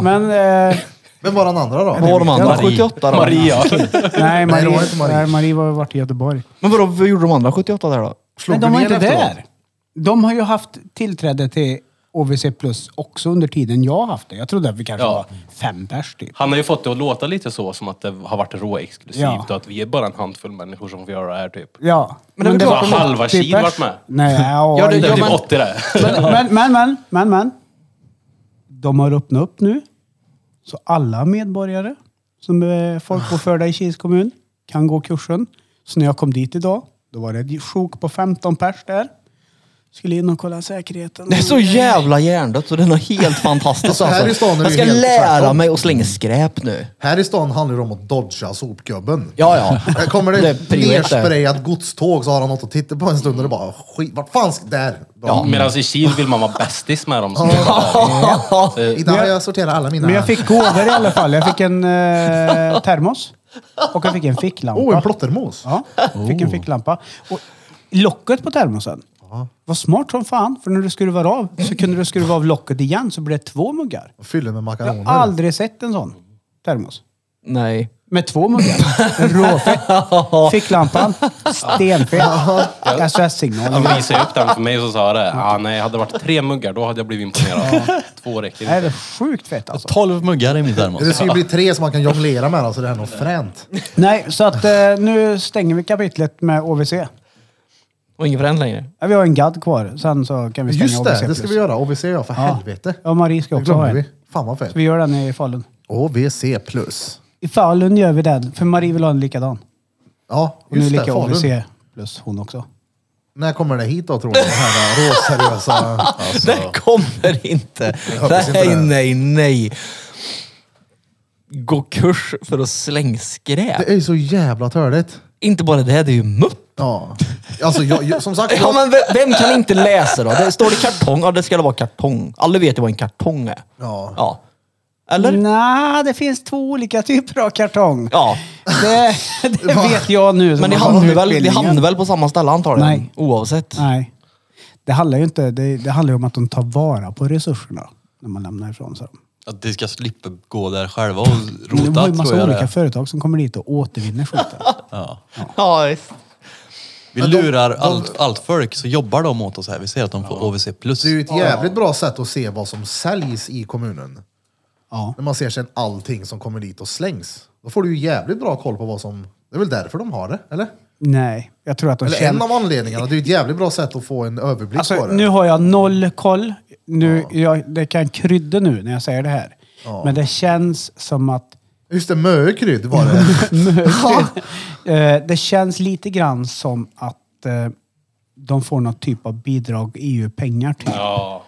Speaker 4: <laughs> Men... Eh,
Speaker 1: Men var den andra då?
Speaker 6: Vad var de andra?
Speaker 2: Marie.
Speaker 6: 78 då?
Speaker 5: Maria.
Speaker 4: Nej,
Speaker 1: Nej, det
Speaker 4: Marie, nej,
Speaker 1: var
Speaker 4: Marie.
Speaker 1: inte Marie.
Speaker 4: var varit i Göteborg.
Speaker 6: Men vadå, vad gjorde de andra 78 där då?
Speaker 1: Slog
Speaker 4: Men de
Speaker 1: du
Speaker 4: var
Speaker 1: ner
Speaker 4: inte
Speaker 1: efteråt?
Speaker 4: där. De har ju haft tillträde till OVC Plus också under tiden jag har haft det. Jag trodde att vi kanske
Speaker 5: Ja.
Speaker 4: var fem pers typ.
Speaker 5: Han har ju fått det att låta lite så, som att det har varit råexklusivt
Speaker 4: Ja.
Speaker 5: och att vi är bara en handfull människor som får göra det här typ.
Speaker 4: Ja.
Speaker 6: Men det är väl klart
Speaker 4: var
Speaker 5: halva
Speaker 4: 80
Speaker 5: Kil
Speaker 4: pers.
Speaker 5: varit med.
Speaker 4: Nej, ja,
Speaker 6: Ja,
Speaker 4: ja,
Speaker 5: Det
Speaker 6: det-
Speaker 5: är
Speaker 6: ja,
Speaker 5: typ
Speaker 6: men-
Speaker 5: 80 det.
Speaker 4: men, men, men, men, men, men. De har öppnat upp nu. Så alla medborgare som eh, är folkbokförda i Kils kommun kan gå kursen. Så när jag kom dit idag, då var det ett sjok på 15 pers där. Skulle in och kolla säkerheten.
Speaker 6: Det är så jävla hjärndött så den är helt
Speaker 1: <laughs>
Speaker 6: fantastisk
Speaker 1: Här i
Speaker 6: alltså.
Speaker 1: stan är
Speaker 6: Jag
Speaker 1: vi
Speaker 6: ska
Speaker 1: helt
Speaker 6: lära
Speaker 1: tvärtom.
Speaker 6: mig att slänga skräp nu.
Speaker 1: Här i stan handlar det om att dodga sopgubben.
Speaker 6: Ja, ja.
Speaker 1: Här Kommer
Speaker 6: Det
Speaker 1: det
Speaker 6: är
Speaker 1: ett
Speaker 6: prio ett där.
Speaker 1: nersprejat godståg så har han något att titta på en stund och det bara skit. Vart fan ska... Där! Ja.
Speaker 4: Mm.
Speaker 5: Medan i Kil vill man vara bästis med dem. som-
Speaker 1: Idag har jag sorterat alla mina...
Speaker 4: Men jag fick gåvor i alla fall. Jag fick en eh, termos och jag fick en ficklampa.
Speaker 1: Oh, en plottermos!
Speaker 4: Ja, fick en ficklampa. Och locket på termosen var smart som fan. För när du skruvar av så kunde du skruva av locket igen så blev det två muggar.
Speaker 1: Fyller med
Speaker 4: Jag har
Speaker 1: makaroner.
Speaker 4: aldrig sett en sån termos.
Speaker 6: Nej.
Speaker 4: Med två
Speaker 1: <laughs>
Speaker 4: muggar. Råfett. Ficklampan. Stenfet. SOS-signal.
Speaker 5: De visade upp den för mig och så sa jag det. Ah, nej, hade det varit tre muggar då hade jag blivit imponerad. Två räcker
Speaker 4: Det här
Speaker 5: inte.
Speaker 4: är sjukt fett alltså.
Speaker 2: 12 muggar i min termos.
Speaker 1: Det ska ju bli tre som man kan jonglera med, alltså det här är nog fränt.
Speaker 4: Nej, så att eh, nu stänger vi kapitlet med OVC.
Speaker 6: Och ingen förändring längre.
Speaker 4: Ja, Vi har en gadd kvar. Sen så kan vi stänga
Speaker 1: Just det,
Speaker 4: OVC+.
Speaker 1: det ska vi göra. OVC ja, för helvete.
Speaker 4: Ja, Marie ska
Speaker 1: Det
Speaker 4: också ha
Speaker 1: glömde
Speaker 4: en.
Speaker 1: vi. Fan vad fett.
Speaker 4: Så vi gör den i Falun.
Speaker 1: OVC plus.
Speaker 4: I Falun gör vi den, för Marie vill ha en likadan.
Speaker 1: Ja,
Speaker 4: Och nu
Speaker 1: just det.
Speaker 4: lika
Speaker 1: Falun.
Speaker 4: OVC plus hon också.
Speaker 1: När kommer det hit då tror du? Den här äh, råseriösa...
Speaker 4: <laughs>
Speaker 1: Alltså,
Speaker 6: Det kommer <laughs> inte.
Speaker 1: hoppas inte
Speaker 6: Nej,
Speaker 1: det.
Speaker 6: nej, nej. Gå kurs för att slänga skräp.
Speaker 1: det är ju så jävla törligt.
Speaker 6: Inte bara det, det är ju mupp.
Speaker 1: Ja. Alltså, jag, jag, som sagt,
Speaker 6: Ja,
Speaker 1: jag,
Speaker 6: men ve- vem kan inte läsa då? Det står det kartong? Ja, det ska vara kartong. Alla vet ju vad en kartong är.
Speaker 1: Ja.
Speaker 6: ja. Eller?
Speaker 4: Nej, det finns två olika typer av kartong.
Speaker 6: Ja.
Speaker 4: Det,
Speaker 1: <laughs>
Speaker 4: det vet jag nu. som
Speaker 6: Men det
Speaker 4: har
Speaker 6: hamnar,
Speaker 4: gått
Speaker 6: väl, det
Speaker 4: utbildningen.
Speaker 6: hamnar väl på samma ställe antagligen?
Speaker 4: Nej.
Speaker 6: Oavsett.
Speaker 4: Nej. Det handlar ju inte, det, det handlar ju om att de tar vara på resurserna när man lämnar ifrån sig dem.
Speaker 2: Att de ska slippa gå där själva och
Speaker 4: Men Det
Speaker 2: rota
Speaker 4: var ju
Speaker 2: tror
Speaker 4: massa
Speaker 2: jag
Speaker 4: olika
Speaker 2: det är.
Speaker 4: företag som kommer dit och återvinner skiten.
Speaker 2: ja.
Speaker 6: Ja, visst.
Speaker 2: Vi lurar allt, allt folk så jobbar de åt oss här. Vi ser att de får OVC plus.
Speaker 1: det är ju ett jävligt bra sätt att se vad som säljs i kommunen.
Speaker 4: Ja.
Speaker 1: När man ser sen allting som kommer dit och slängs. Då får du ju jävligt bra koll på vad som... Det är väl därför de har det, eller?
Speaker 4: Nej, jag tror att de
Speaker 1: Eller en
Speaker 4: känner...
Speaker 1: av anledningarna. Det är ju ett jävligt bra sätt att få en överblick
Speaker 4: Alltså,
Speaker 1: på det.
Speaker 4: nu har jag noll koll. Nu, jag, det kan krydda nu när jag säger det här. Men det känns som att
Speaker 1: Just det, mökrydd var
Speaker 4: <laughs>
Speaker 1: det.
Speaker 4: Eh, det känns lite grann som att eh, de får någon typ av bidrag, EU-pengar typ.
Speaker 5: Ja.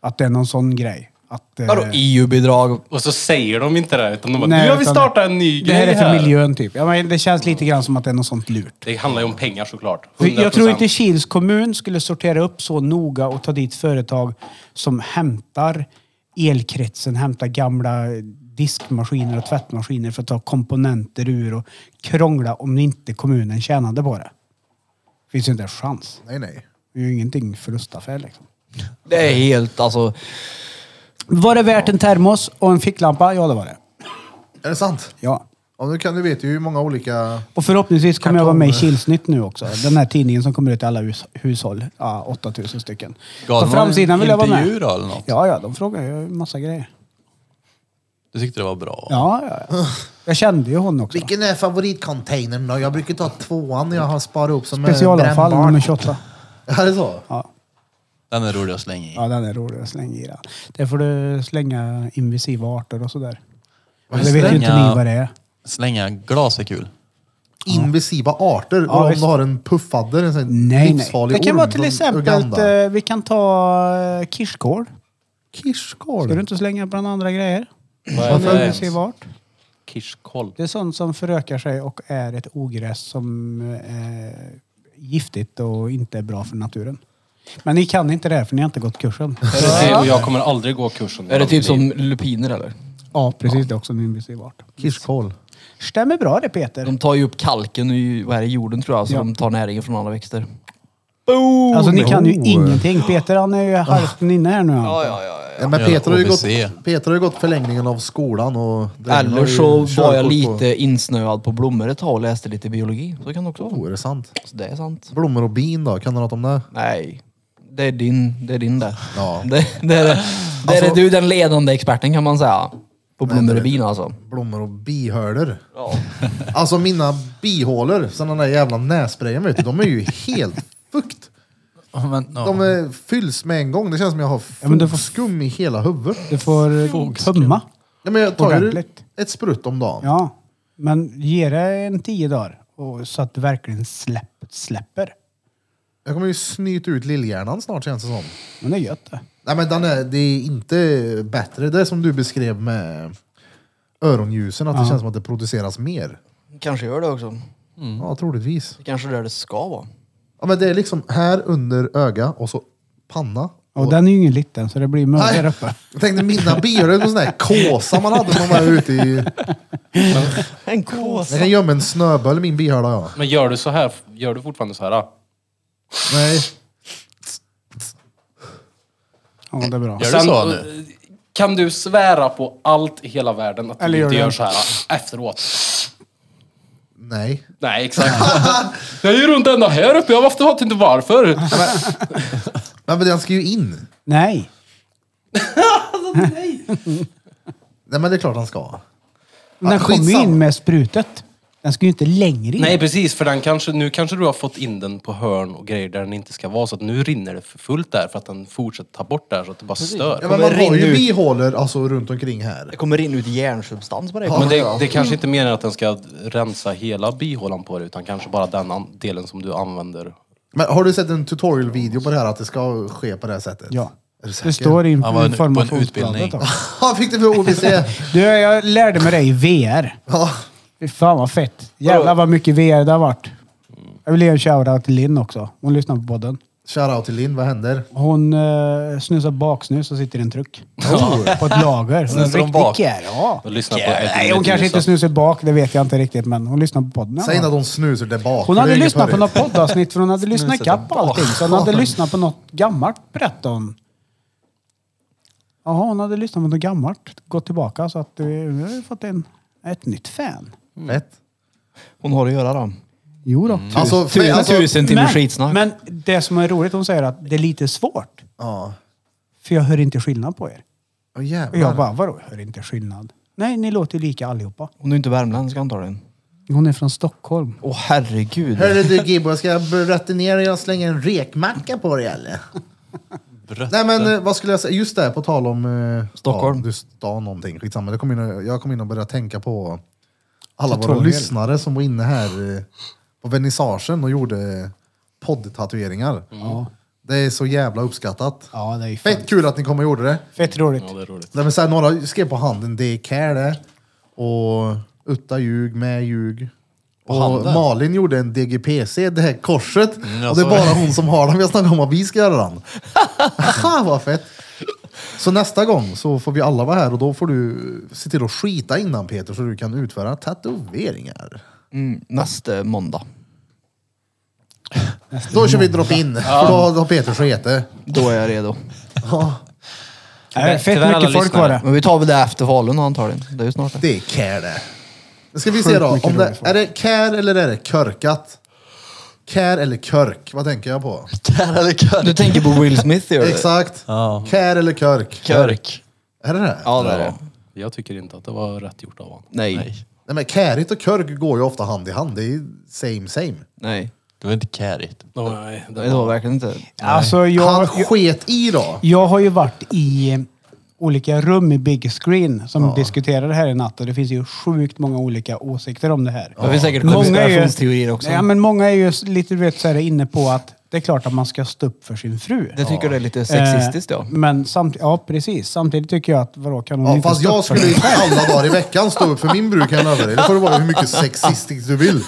Speaker 4: Att det är någon sån grej. Att, eh,
Speaker 6: Vadå
Speaker 2: E
Speaker 6: EU-bidrag?
Speaker 5: Och så säger de inte det utan de bara,
Speaker 4: nej,
Speaker 5: nu har vi
Speaker 4: utan
Speaker 5: startat en ny
Speaker 4: Det här
Speaker 5: grej
Speaker 4: är för
Speaker 5: här.
Speaker 4: miljön typ. Ja, men det känns lite grann som att det är något sånt lurt.
Speaker 5: Det handlar ju om pengar såklart.
Speaker 4: För
Speaker 5: 100%.
Speaker 4: Jag tror inte Kils kommun skulle sortera upp så noga och ta dit företag som hämtar elkretsen, hämtar gamla diskmaskiner och tvättmaskiner för att ta komponenter ur och krångla om inte kommunen tjänade på det. Finns ju inte en chans.
Speaker 1: nej, nej.
Speaker 4: Det är ju ingenting förlustaffär liksom.
Speaker 6: Det är helt alltså...
Speaker 4: Var det värt en termos och en ficklampa? Ja, det var det.
Speaker 1: Är det sant?
Speaker 4: Ja.
Speaker 1: Ja, nu kan du vet ju hur många olika...
Speaker 4: Och förhoppningsvis kommer jag vara med i Kilsnytt nu också. Den här tidningen som kommer ut till alla hus hushåll. Ja, 8000 stycken.
Speaker 2: Gav
Speaker 4: På
Speaker 2: de
Speaker 4: framsidan
Speaker 2: någon
Speaker 4: vill jag vara
Speaker 2: intervju
Speaker 4: med.
Speaker 2: då eller något?
Speaker 4: Ja, ja, de frågar ju en massa grejer.
Speaker 2: Du tyckte det var bra?
Speaker 4: Ja, ja, ja. Jag kände ju hon också.
Speaker 1: Vilken är favoritcontainern då? Jag brukar ta tvåan jag har sparat upp som
Speaker 4: Specialavfall nummer 28.
Speaker 1: Ja, det är så?
Speaker 4: Ja,
Speaker 2: Den är rolig att slänga i.
Speaker 4: ja den är rolig att slänga i den. Där får du slänga invasiva arter och sådär. Men det
Speaker 2: Slänga-
Speaker 4: vet ju inte ni vad det är.
Speaker 2: Slänga glas är kul.
Speaker 1: Invasiva arter.
Speaker 4: Ja,
Speaker 1: och om
Speaker 4: visst.
Speaker 1: du har en puffadder, en sån
Speaker 4: Nej, nej.
Speaker 1: livsfarlig
Speaker 4: Det kan
Speaker 1: orm
Speaker 4: vara till
Speaker 1: från
Speaker 4: exempel, att,
Speaker 1: Uganda.
Speaker 4: eh, vi kan ta eh, kirskål. Ska du
Speaker 1: Kirskål?
Speaker 4: inte slänga bland andra grejer?
Speaker 5: Vad är
Speaker 4: Varför
Speaker 5: det?
Speaker 4: är det vart?
Speaker 5: Kirskoll.
Speaker 4: Det är sånt som förökar sig och är ett ogräs som är giftigt och inte är bra för naturen. Men ni kan inte det här för ni har inte gått kursen.
Speaker 5: Är det det? Och jag kommer aldrig gå kursen.
Speaker 6: Är det typ som lupiner eller?
Speaker 4: <laughs> Ja, precis. Det är också en invasiv art.
Speaker 1: Kirskål.
Speaker 4: Stämmer bra det Peter.
Speaker 6: De tar ju upp kalken ur vad är det, jorden tror jag, så
Speaker 4: Ja.
Speaker 6: de tar näringen från andra växter.
Speaker 4: Alltså ni kan ju
Speaker 1: Oh.
Speaker 4: ingenting. Peter han är ju halvt inne här nu. Ja,
Speaker 1: Ja, men
Speaker 2: Ja,
Speaker 1: Peter har, ju gått,
Speaker 2: OVC.
Speaker 1: Peter har ju gått förlängningen av skolan och...
Speaker 6: Eller så var jag
Speaker 1: Körkort
Speaker 6: lite insnöad på blommor ett tag och läste lite biologi. Så kan det också
Speaker 1: På. Oh,
Speaker 6: vara.
Speaker 1: är det sant?
Speaker 6: Så det är sant.
Speaker 1: Blommor och bin då? Kan du något om det?
Speaker 6: Nej, det är din det. Är din det.
Speaker 1: Ja.
Speaker 6: <laughs> Det, det är, det, det är
Speaker 1: Alltså-
Speaker 6: du den ledande experten kan man säga. På blommor och bin alltså.
Speaker 1: Blommor och bihörder. <laughs> Alltså mina bihålor, sen den där jävla nässprayen vet du, de är ju helt
Speaker 6: <laughs>
Speaker 1: fukt.
Speaker 2: Men, ja.
Speaker 1: De är, fylls med en gång. Det känns som jag har
Speaker 4: Ja, men du får-
Speaker 1: skum i hela huvudet.
Speaker 4: Du får tömma.
Speaker 1: Ja, men jag tar ju
Speaker 4: Ordentligt.
Speaker 1: ett sprutt om dagen.
Speaker 4: Ja, men ge det en tio dagar och, så att det verkligen släpp, släpper.
Speaker 1: Jag kommer ju snyta ut lillhjärnan snart känns det som.
Speaker 4: Men det är gött det.
Speaker 1: Nej men den är, det är inte bättre. Det är som du beskrev med öronljusen, att det känns som att det produceras mer.
Speaker 6: Kanske gör det också.
Speaker 4: Mm.
Speaker 1: Ja, troligtvis.
Speaker 6: Det kanske är där det ska vara.
Speaker 1: Ja, men det är liksom här under öga och så panna.
Speaker 4: Och den är ju ingen liten så det blir mörkt
Speaker 1: Nej,
Speaker 4: där uppe.
Speaker 1: Jag tänkte mina bilar, det är en sån där kåsa man hade när man var ute i...
Speaker 6: En kås.
Speaker 1: Jag kan gömma en snöboll i min bihåla jag.
Speaker 5: Men gör du så här, gör du fortfarande så här? ah?
Speaker 1: Nej.
Speaker 4: Ja, det är bra.
Speaker 2: Gör du så nu?
Speaker 5: eh, Kan du svära på allt i hela världen att
Speaker 4: Eller
Speaker 5: du
Speaker 4: gör
Speaker 5: inte
Speaker 4: du
Speaker 5: gör
Speaker 4: en-
Speaker 5: så här ah, efteråt?
Speaker 1: Nej.
Speaker 5: Nej, exakt. <laughs> jag är ju runt ända här uppe. Jag vet inte varför.
Speaker 1: Nej, men den ska ju in.
Speaker 4: Nej.
Speaker 1: Nej, men det är klart han ska.
Speaker 4: Men den
Speaker 1: Ja,
Speaker 4: kommer ju
Speaker 1: skitsamma.
Speaker 4: in med sprutet. Den ska ju inte längre
Speaker 5: <laughs>
Speaker 4: in.
Speaker 5: Nej, precis. För den kanske, nu kanske du har fått in den på hörn och grejer där den inte ska vara. Så att nu rinner det för fullt där för att den fortsätter ta bort där så att det bara stör.
Speaker 1: Ja, men man har ju bihålor alltså, runt omkring här.
Speaker 6: Det kommer in ut järnsubstans på dig.
Speaker 5: Men det,
Speaker 1: ja.
Speaker 5: det är kanske inte meningen att den ska rensa hela bihålan på dig utan kanske bara den an- delen som du använder.
Speaker 1: Men har du sett en tutorial-video på det här, att det ska ske på det här sättet?
Speaker 4: Ja.
Speaker 1: Är du säker?
Speaker 4: Det står i
Speaker 2: Han var en- på en
Speaker 4: informationsbladet
Speaker 2: utbildning.
Speaker 4: också.
Speaker 1: <laughs> Ja, fick det för
Speaker 4: <laughs>
Speaker 1: OVC.
Speaker 4: Du, jag lärde mig det i VR.
Speaker 1: Ja.
Speaker 4: Fy fan vad fett. Jävlar vad mycket VR det har varit. Jag vill ge en shoutout till Linn också. Hon lyssnar på podden.
Speaker 1: Shoutout till Linn, vad händer?
Speaker 4: Hon eh, snusar baksnus och sitter i en truck. <laughs> På ett lager. Hon är
Speaker 2: Snusar hon
Speaker 4: riktig
Speaker 2: bak?
Speaker 4: kär, ja.
Speaker 5: Och lyssnar på
Speaker 4: Kär.
Speaker 5: Edwin
Speaker 4: Nej, hon
Speaker 5: Edwin
Speaker 4: kanske inte
Speaker 5: Edwin.
Speaker 4: snusar bak, det vet jag inte riktigt. Men hon lyssnar på podden.
Speaker 1: Säg inte
Speaker 4: ja.
Speaker 1: att hon snusar där bak.
Speaker 4: Hon
Speaker 1: för det
Speaker 4: hade
Speaker 1: är inget
Speaker 4: lyssnat på
Speaker 1: förut.
Speaker 4: något poddavsnitt för hon hade lyssnat ikapp på allting. Så hon hade lyssnat på något gammalt berättade hon. Jaha, hon hade lyssnat på något gammalt. Gått tillbaka så att eh, vi har ju fått en, ett nytt fan.
Speaker 1: Fett.
Speaker 6: Hon har att göra då.
Speaker 4: Jo då.
Speaker 1: Alltså, för,
Speaker 6: Tusen,
Speaker 1: alltså,
Speaker 6: tusen timmar skitsnack.
Speaker 4: men det som är roligt, hon säger att det är lite svårt.
Speaker 1: Ja.
Speaker 4: För jag hör inte skillnad på er.
Speaker 1: Åh,
Speaker 4: Och jag
Speaker 1: jävlar.
Speaker 4: bara, vadå jag hör inte skillnad? Nej, ni låter ju lika allihopa.
Speaker 6: Hon är inte värmländsk antagligen.
Speaker 4: Hon är från Stockholm.
Speaker 6: Åh herregud.
Speaker 1: Hörru du Gibbo, ska jag brötta ner och jag slänger en rekmacka på dig eller?
Speaker 2: Bröt.
Speaker 1: Nej men eh, vad skulle jag säga, just det på tal om... eh,
Speaker 6: Stockholm.
Speaker 1: Ja, du stal någonting, skitsamma. Jag kom, in och, jag kom in och började tänka på alla våra
Speaker 4: Tutorial.
Speaker 1: lyssnare som var inne här eh, på vernissagen och gjorde poddtatueringar. Det är så jävla uppskattat.
Speaker 4: Mm. Ja, det är ju fett,
Speaker 1: Fett kul att ni kom och gjorde det.
Speaker 4: fett roligt.
Speaker 5: Ja, det är roligt.
Speaker 1: Nej, men så här, några skrev på handen, det är care det. Och Utta ljug, med ljug. Och
Speaker 2: handen?
Speaker 1: Malin gjorde en DGPC, det här korset.
Speaker 2: jag
Speaker 1: och det är
Speaker 2: såg
Speaker 1: bara hon som har den. Vi har snackat om att vi ska göra den. Haha, vad fett. Så nästa gång så får vi alla vara här och då får du se till att skita innan Peter så du kan utföra tatueringar.
Speaker 6: Mm, nästa måndag.
Speaker 1: Då kör vi drop-in, för då har Peter skete.
Speaker 6: Då är jag redo.
Speaker 1: Ja,
Speaker 4: Nej, Äh, fett
Speaker 5: Tyvärr alla
Speaker 4: mycket folk var det.
Speaker 6: Men vi tar väl det efter Falun antagligen. Det är ju snart det.
Speaker 1: det är care det. Nu ska vi se då,
Speaker 4: Sjukt mycket
Speaker 1: om det,
Speaker 4: roligt folk.
Speaker 1: är det care eller är det körkat? Care eller körk, vad tänker jag på?
Speaker 2: Där eller kör.
Speaker 6: Du tänker på Will Smith gör du?
Speaker 1: Exakt.
Speaker 2: Ja.
Speaker 1: Kär eller körk?
Speaker 2: Körk.
Speaker 1: Är det det?
Speaker 6: Ja det är det.
Speaker 5: Jag tycker inte att det var rätt gjort av honom.
Speaker 6: Nej.
Speaker 1: Nej, men kärigt och körk går ju ofta hand i hand. Det är ju same same.
Speaker 6: Nej.
Speaker 2: Det var inte kärigt.
Speaker 5: Nej,
Speaker 6: Det var verkligen inte.
Speaker 4: Alltså,
Speaker 1: Han
Speaker 4: jag,
Speaker 1: sket i då.
Speaker 4: Jag har ju varit i olika rum i Big Screen som diskuterar det här i natt och det finns ju sjukt många olika åsikter om det här.
Speaker 6: Det finns säkert
Speaker 4: är ju-
Speaker 6: konspirationsteorier också.
Speaker 4: Ja, men många är ju s- lite du vet, så här, inne på att det är klart att man ska stå upp för sin fru.
Speaker 6: Det tycker det är lite sexistiskt
Speaker 4: Eh,
Speaker 6: ja.
Speaker 4: Men samtidigt, ja precis. Samtidigt tycker jag att vadå, kan hon
Speaker 1: Ja,
Speaker 4: inte
Speaker 1: fast
Speaker 4: stå
Speaker 1: jag
Speaker 4: upp för
Speaker 1: skulle ju
Speaker 4: det?
Speaker 1: alla dagar i veckan stå upp för min bruk, kan jag lova dig. Det får det vara hur mycket sexistiskt du vill.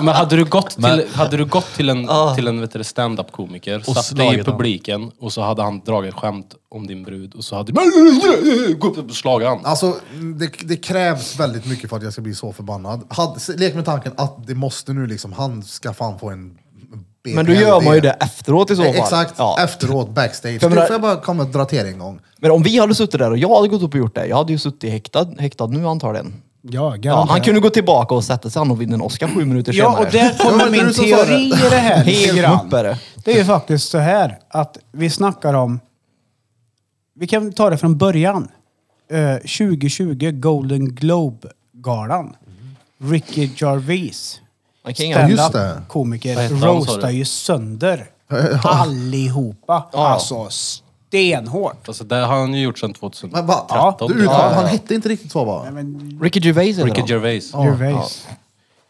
Speaker 5: Men hade du gått till,
Speaker 2: Men- Ah.
Speaker 5: hade du gått till en, till en vet du, stand-up-komiker,
Speaker 2: Och
Speaker 5: satt dig i
Speaker 2: slagit han.
Speaker 5: publiken och så hade han dragit skämt om din brud och så hade Gå upp och slagit han.
Speaker 1: Alltså, det, det krävs väldigt mycket för att jag ska bli så förbannad. Had, lek med tanken att det måste nu liksom, han ska fan få en BPLD.
Speaker 6: Men då gör man ju det efteråt i så fall.
Speaker 1: Exakt,
Speaker 6: Ja.
Speaker 1: efteråt, backstage.
Speaker 6: För jag
Speaker 1: Du
Speaker 6: menar-
Speaker 1: får jag bara komma och dra till dig en gång.
Speaker 6: Men om vi hade suttit där och jag hade gått upp och gjort det. Jag hade ju suttit häktad, häktad nu antagligen.
Speaker 4: Ja,
Speaker 6: Ja, han
Speaker 4: garanterat.
Speaker 6: kunde gå tillbaka och sätta sig han och vinna en Oscar sju minuter
Speaker 4: Ja,
Speaker 6: senare.
Speaker 4: och där
Speaker 1: Det
Speaker 4: kommer
Speaker 1: var
Speaker 4: min
Speaker 1: du som sa det.
Speaker 4: teori i det här lite
Speaker 6: <laughs> Helt
Speaker 4: grann.
Speaker 6: upp är det.
Speaker 4: Det är ju faktiskt så här att vi snackar om... Vi kan ta det från början. Eh, 2020 Golden Globe-galan. Ricky Jarvis.
Speaker 6: Han kan
Speaker 1: Ja,
Speaker 6: inga...
Speaker 1: just det.
Speaker 5: Vad
Speaker 4: Komiker
Speaker 5: hette han, sa du?
Speaker 4: roastar ju sönder
Speaker 1: <laughs>
Speaker 4: allihopa. Alltså stenhårt.
Speaker 5: Alltså, det har han ju gjort sedan 2013.
Speaker 1: Men va?
Speaker 4: Ja,
Speaker 1: du uttalar,
Speaker 6: ja, ja.
Speaker 1: Han hette inte riktigt så bara.
Speaker 6: Ricky Gervais heter
Speaker 5: Ricky
Speaker 6: han.
Speaker 5: Gervais.
Speaker 4: Gervais.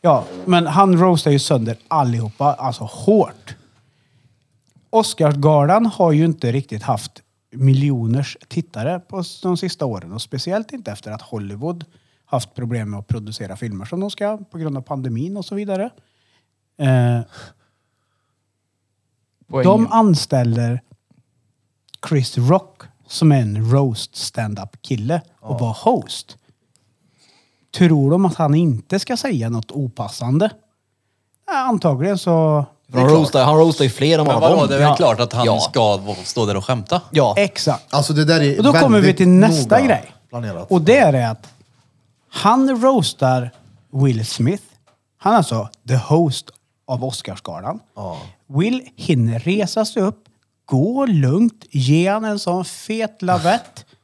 Speaker 4: Ja, men han roastar ju sönder allihopa, alltså hårt. Oscarsgalan har ju inte riktigt haft miljoners tittare på s- de sista åren och speciellt inte efter att Hollywood haft problem med att producera filmer som de ska på grund av pandemin och så vidare. Eh,
Speaker 6: Poäng.
Speaker 4: de anställer Chris Rock som är en roast stand-up kille och var host. Tror de att han inte ska säga något opassande? Ja, antagligen så...
Speaker 6: han, roastar, han roastar ju fler än
Speaker 2: Men
Speaker 6: vad
Speaker 2: vadå,
Speaker 6: de.
Speaker 2: det är väl
Speaker 4: Ja.
Speaker 2: klart att han
Speaker 6: Ja.
Speaker 2: ska vara- stå där och skämta?
Speaker 6: Ja.
Speaker 4: Exakt.
Speaker 1: Alltså det där är
Speaker 4: Och då kommer vi
Speaker 1: väldigt
Speaker 4: till nästa
Speaker 1: noga
Speaker 4: grej.
Speaker 1: Planerat.
Speaker 4: Och det är att han roastar Will Smith. Han är alltså the host av Oscarsgalan.
Speaker 1: Ja.
Speaker 4: Will hinner resa sig upp, gå lugnt, ge han en sån fet lavett. <laughs>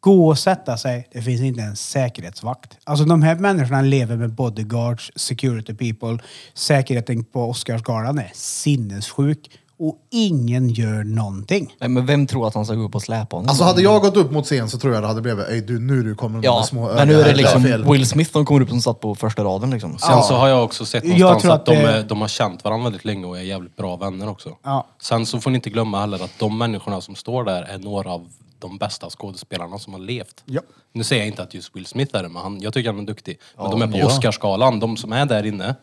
Speaker 4: Gå och sätta sig. Det finns inte en säkerhetsvakt. Alltså de här människorna lever med bodyguards, security people. Säkerheten på Oscarsgalan är sinnessjuk och ingen gör någonting.
Speaker 6: Nej, men vem tror att han ska gå upp och släpa honom?
Speaker 1: Alltså hade jag gått upp mot scen så tror jag det hade blivit, ej du nu du kommer de där
Speaker 6: ja.
Speaker 1: små
Speaker 6: men nu
Speaker 1: ögonen
Speaker 6: är det
Speaker 1: här,
Speaker 6: liksom
Speaker 1: fel."
Speaker 6: Will Smith som kommer upp som satt på första raden liksom.
Speaker 5: Sen så har jag också sett
Speaker 4: Jag
Speaker 5: någonstans
Speaker 4: tror
Speaker 5: att,
Speaker 4: att
Speaker 5: de,
Speaker 4: det-
Speaker 5: är, de har känt varandra väldigt länge och är jävligt bra vänner också.
Speaker 4: Ja.
Speaker 5: Sen så får ni inte glömma heller att de människorna som står där är några av de bästa skådespelarna som har levt.
Speaker 4: Ja.
Speaker 5: Nu säger jag inte att just Will Smith är det, men han, jag tycker han är duktig. Men de är på Oscarsgalan, de som är där inne,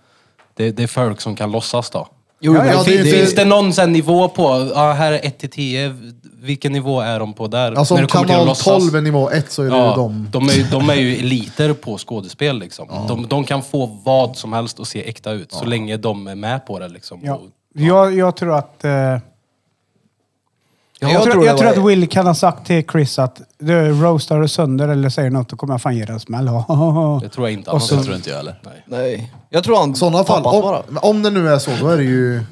Speaker 5: det, det är folk som kan låtsas då.
Speaker 6: Jo,
Speaker 1: Ja,
Speaker 6: men
Speaker 1: ja,
Speaker 6: fin-
Speaker 1: det-
Speaker 5: Finns det någon sen nivå på, ja, här är 1 till 10, vilken nivå är de på där?
Speaker 1: Alltså
Speaker 5: När
Speaker 1: om
Speaker 5: det kommer till att
Speaker 1: kanal
Speaker 5: låtsas.
Speaker 1: 12 är nivå 1 så är det ju
Speaker 5: Ja,
Speaker 1: de.
Speaker 5: de, är, ju- de är ju eliter på skådespel liksom. De, de kan få vad som helst att se äkta ut, så länge de är med på det liksom.
Speaker 4: Ja.
Speaker 5: Och,
Speaker 4: Jag, jag tror att... eh,
Speaker 6: Jag
Speaker 4: Jag, tror,
Speaker 6: tror det
Speaker 4: jag tror
Speaker 6: var-
Speaker 4: att Will kan ha sagt till Chris att du roastar du sönder eller säger något då kommer jag fan ge dig en smäll. <laughs>
Speaker 5: det tror jag inte.
Speaker 4: Och
Speaker 5: han
Speaker 4: så-
Speaker 5: har sett.
Speaker 2: Det tror inte jag heller.
Speaker 5: Nej.
Speaker 6: Nej. Jag tror han
Speaker 1: I sådana fall,
Speaker 6: tappat bara.
Speaker 1: om, men om det nu är så, då är det ju...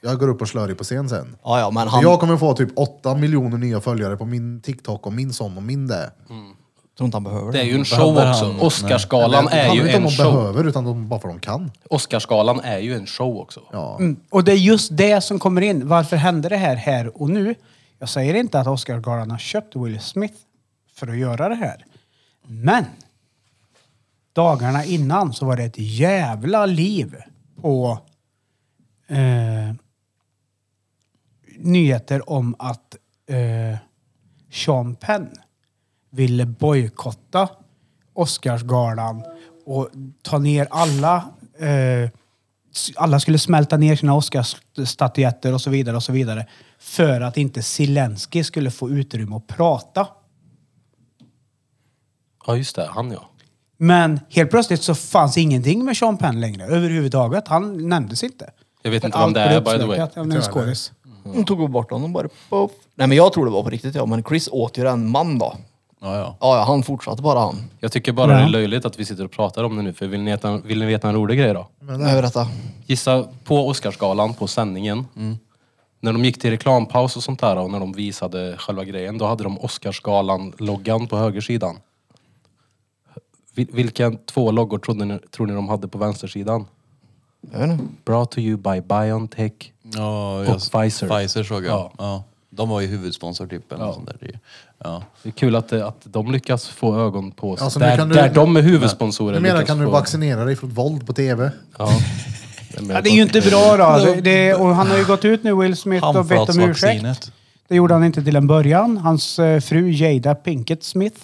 Speaker 1: Jag går upp och slår dig på scen sen.
Speaker 6: Ja, ja, men han
Speaker 1: Jag kommer få typ 8 miljoner nya följare på min TikTok och min sån och min det.
Speaker 6: tror inte han behöver
Speaker 5: Det
Speaker 6: det.
Speaker 5: är ju en show
Speaker 2: Behöver
Speaker 5: också.
Speaker 2: han-
Speaker 5: Oscarsgalan
Speaker 1: det
Speaker 5: är
Speaker 1: handlar inte
Speaker 5: ju
Speaker 1: om
Speaker 5: en
Speaker 1: de
Speaker 5: show.
Speaker 1: behöver utan de, bara för de kan.
Speaker 5: Oscarsgalan är ju en show också.
Speaker 1: Ja.
Speaker 4: Mm. Och det är just det som kommer in. Varför hände det här här och nu? Jag säger inte att Oscarsgalan har köpt Will Smith för att göra det här. Men dagarna innan så var det ett jävla liv på eh, nyheter om att eh, Sean Penn ville bojkotta Oscarsgalan och ta ner alla. Eh, s- alla skulle smälta ner sina Oscarsstatyetter och så vidare och så vidare för att inte Zelensky skulle få utrymme att prata.
Speaker 5: Ja, just det. Han ja.
Speaker 4: Men helt plötsligt så fanns ingenting med Sean Penn längre överhuvudtaget. Han nämndes inte.
Speaker 5: Jag vet
Speaker 4: För
Speaker 5: inte vem
Speaker 4: allt
Speaker 5: det är,
Speaker 4: blev
Speaker 5: by the way.
Speaker 4: uppsnackat. Ja, men en skådis.
Speaker 6: De tog bort honom bara. Poff. Nej men jag tror det var på riktigt ja. Men Chris åt ju den man då.
Speaker 2: Ja, ja.
Speaker 6: Ja, ja, han fortsatte bara han.
Speaker 5: Jag tycker bara
Speaker 4: Ja.
Speaker 5: det är löjligt att vi sitter och pratar om det nu, för vill ni, veta, vill ni veta en rolig grej då?
Speaker 6: Men berätta.
Speaker 5: Gissa på Oscarsgalan, på sändningen. När de gick till reklampaus och sånt där och när de visade själva grejen, då hade de Oscarsgalan-loggan på högersidan. Vil- vilka två loggor trodde ni, tror ni de hade på vänstersidan?
Speaker 6: Jag vet inte.
Speaker 5: Brought to you by Biontech.
Speaker 2: Ja,
Speaker 5: Och Pfizer.
Speaker 2: Pfizer såg jag.
Speaker 5: Ja.
Speaker 2: Ja. De var ju huvudsponsor typ. Eller något sånt där. Ja.
Speaker 5: Det är kul att, det- att de lyckas få ögon på sig.
Speaker 1: Alltså, nu
Speaker 5: där,
Speaker 1: kan du-
Speaker 5: där de är huvudsponsorer.
Speaker 1: Du menar
Speaker 5: lyckas
Speaker 1: kan du
Speaker 5: få-
Speaker 1: vaccinera dig från våld på TV?
Speaker 5: Ja. Jag menar
Speaker 4: Ja, det är ju inte bra då. Det, det, och han har ju gått ut nu, Will Smith, och bett
Speaker 2: alltså
Speaker 4: om ursäkt.
Speaker 2: Handflatsvaccinet.
Speaker 4: Det gjorde han inte till en början. Hans eh, fru Jada Pinkett Smith,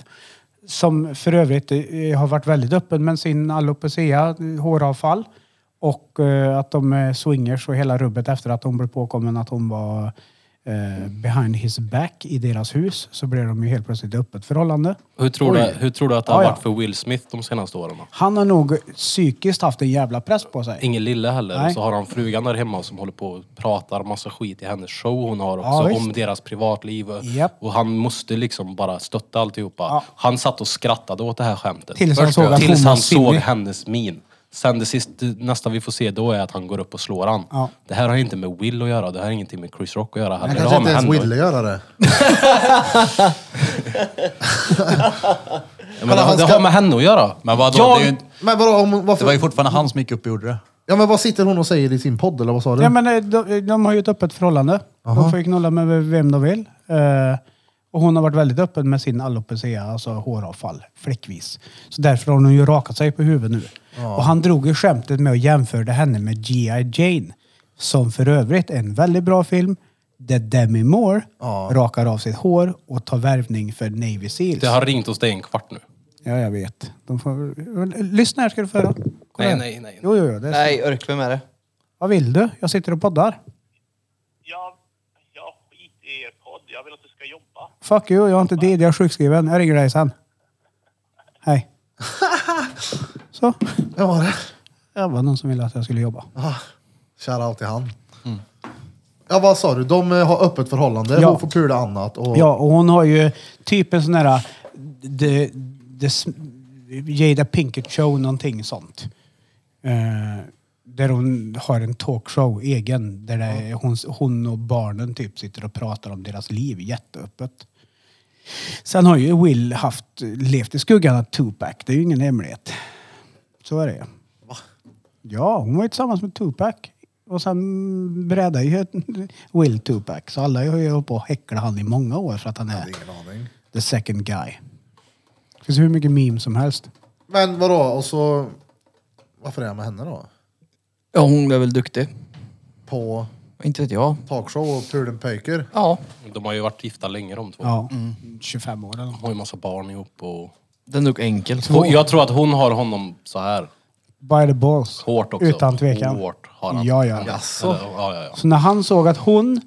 Speaker 4: som för övrigt eh, har varit väldigt öppen med sin alopecia, eh, håravfall, och eh, att de är swingers och hela rubbet efter att hon blev påkommen att hon var eh, behind his back i deras hus, så blev de ju helt plötsligt ett öppet förhållande.
Speaker 5: Hur tror, du, hur tror du att det har
Speaker 4: Ja, ja.
Speaker 5: varit för Will Smith de senaste åren? då?
Speaker 4: Han har nog psykiskt haft en jävla press på sig.
Speaker 5: Ingen lille heller.
Speaker 4: Nej.
Speaker 5: Och så har han frugan där hemma som håller på och pratar massa skit i hennes show hon har
Speaker 4: Ja,
Speaker 5: också
Speaker 4: visst.
Speaker 5: om deras privatliv. Och,
Speaker 4: Japp.
Speaker 5: och han måste liksom bara stötta alltihopa.
Speaker 4: Ja.
Speaker 5: Han satt och skrattade åt det här skämtet.
Speaker 4: Tills han såg att
Speaker 5: tills
Speaker 4: hon var
Speaker 5: han såg
Speaker 4: silvrig.
Speaker 5: hennes min. Sen det sist, nästa vi får se då är att han går upp och slår han.
Speaker 4: Ja.
Speaker 5: Det här har inte med Will att göra. Det här har ingenting med Chris Rock att göra heller.
Speaker 1: Jag
Speaker 5: Det har
Speaker 1: kanske inte ens
Speaker 5: med henne att-
Speaker 1: ville göra det.
Speaker 5: Ja, men det,
Speaker 1: han
Speaker 5: det
Speaker 1: ska-
Speaker 5: har med henne att göra.
Speaker 2: Men vadå,
Speaker 5: Jag-
Speaker 2: det, är ju, inte-
Speaker 1: Men vadå, om,
Speaker 2: det
Speaker 1: varför,
Speaker 2: var ju fortfarande han som gick upp och gjorde det.
Speaker 1: ja, men vad sitter hon och säger i sin podd eller vad sa du?
Speaker 4: Ja, men eh, de, de har ju ett öppet förhållande. De får ju knulla med vem de vill. Eh, och hon har varit väldigt öppen med sin alopecia, alltså håravfall, fläckvis. Så därför har hon ju rakat sig på huvudet nu. Och han drog ju skämtet med och jämförde henne med G.I. Jane. Som för övrigt är en väldigt bra film. Där Demi Moore
Speaker 1: Ja.
Speaker 4: rakar av sitt hår och tar värvning för Navy Seals.
Speaker 5: Det har ringt hos dig en kvart nu.
Speaker 4: Ja, jag vet. De får... Lyssna här ska du få höra. Kolla
Speaker 5: Nej,
Speaker 4: här.
Speaker 5: nej, nej.
Speaker 4: Jo, jo, jo. Det är...
Speaker 6: Nej, Örk, vem är det?
Speaker 4: Vad vill du? Jag sitter och poddar.
Speaker 7: Jag, jag skiter i er podd. Jag vill att du ska jobba.
Speaker 4: Fuck you, jag har inte tid. Jag är sjukskriven. Jag ringer dig sen.
Speaker 7: <laughs>
Speaker 4: Hej. Så.
Speaker 1: Vem var det?
Speaker 4: Det var någon som ville att jag skulle jobba.
Speaker 1: Ah, Shoutout till han. Ja, vad sa du? De eh, har öppet förhållande.
Speaker 4: Ja.
Speaker 1: Hon får pula annat. Och...
Speaker 4: Ja, och hon har ju typ en sån här... The, the, Sm- Jada Pinkett Show, någonting sånt. Eh, där hon har en talkshow, egen, där det är hon, hon och barnen typ sitter och pratar om deras liv jätteöppet. Sen har ju Will haft, levt i skuggan av Tupac, det är ju ingen hemlighet. Så är det ju. Ja, hon var ju tillsammans med Tupac. Och sen brädade ju Will Tupac. Så alla har ju hållit på och häcklat han i många år för att han är
Speaker 1: Ingen aning.
Speaker 4: the second guy. Det finns hur mycket memes som helst.
Speaker 1: Men vadå? Och så... Varför är jag med henne då?
Speaker 6: Ja, hon är väl duktig.
Speaker 1: På
Speaker 6: Inte vet jag.
Speaker 1: talkshow och pulen pöjker?
Speaker 6: Ja,
Speaker 5: De har ju varit gifta länge de två.
Speaker 4: Ja, 25 Mm, år eller något.
Speaker 5: De har ju massa barn ihop och...
Speaker 6: den är nog enkel.
Speaker 5: Hon, jag tror att hon har honom så här
Speaker 4: By the balls.
Speaker 5: hårt också.
Speaker 4: Utan tvekan.
Speaker 5: Hårt har han.
Speaker 4: Ja, ja.
Speaker 1: Jaså?
Speaker 5: Eller, ja, ja, ja.
Speaker 4: Så när han såg att hon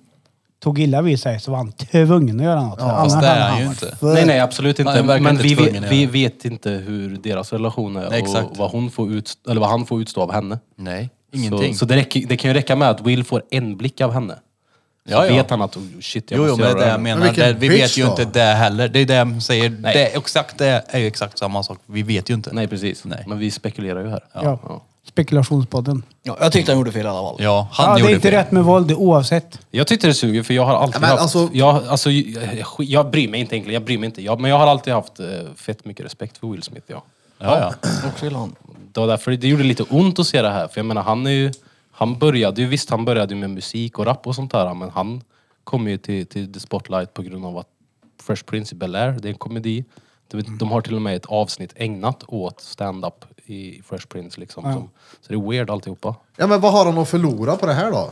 Speaker 4: tog illa vid sig så var han tvungen att göra något. Ja,
Speaker 2: Fast det är han ju inte.
Speaker 5: Nej, nej absolut inte.
Speaker 2: Nej, verkar
Speaker 5: men
Speaker 2: inte
Speaker 5: vi,
Speaker 2: tvungen
Speaker 5: vet,
Speaker 2: i
Speaker 5: vi
Speaker 2: det.
Speaker 5: vet inte hur deras relation är
Speaker 2: Nej,
Speaker 5: och
Speaker 2: exakt.
Speaker 5: vad, hon får ut, eller vad han får utstå av henne.
Speaker 2: Nej, ingenting.
Speaker 5: Så, så det, räcker, det kan ju räcka med att Will får en blick av henne. Så
Speaker 2: Ja, ja.
Speaker 5: vet han att oh, shit, jag
Speaker 2: Jo, jo,
Speaker 5: måste
Speaker 2: men det är
Speaker 5: göra
Speaker 2: det jag
Speaker 5: här.
Speaker 2: menar.
Speaker 1: Men vilken
Speaker 2: det, vi
Speaker 1: bitch
Speaker 2: vet ju
Speaker 1: då?
Speaker 2: inte det heller. Det är det jag säger.
Speaker 5: Nej.
Speaker 2: Det, exakt det är ju exakt samma sak. Vi vet ju inte.
Speaker 5: Nej, precis.
Speaker 2: Nej.
Speaker 5: Men vi spekulerar ju här.
Speaker 4: Ja. Spekulationspodden.
Speaker 6: Ja, jag tyckte han gjorde fel i alla fall.
Speaker 2: Ja, han
Speaker 4: Ja, det
Speaker 2: gjorde
Speaker 4: är inte
Speaker 2: fel.
Speaker 4: rätt med våld oavsett.
Speaker 5: Jag tyckte det suger för jag har alltid
Speaker 1: Ja, men
Speaker 5: haft...
Speaker 1: alltså-
Speaker 5: jag, alltså, jag, jag- jag bryr mig inte egentligen, jag bryr mig inte. Jag, men jag har alltid haft eh, fett mycket respekt för Will Smith. Ja.
Speaker 2: Ja, ja.
Speaker 6: Också gillar han.
Speaker 5: Det var därför det gjorde lite ont att se det här. För jag menar, han är ju... Han började ju, visst han började ju med musik och rap och sånt där, men han kom ju till, till the spotlight på grund av att Fresh Prince i Bel-Air, det är en komedi. De, de har till och med ett avsnitt ägnat åt stand-up i Fresh Prince liksom. Som, så det är weird alltihopa.
Speaker 1: Ja, men vad har han att förlora på det här då?
Speaker 4: Alltså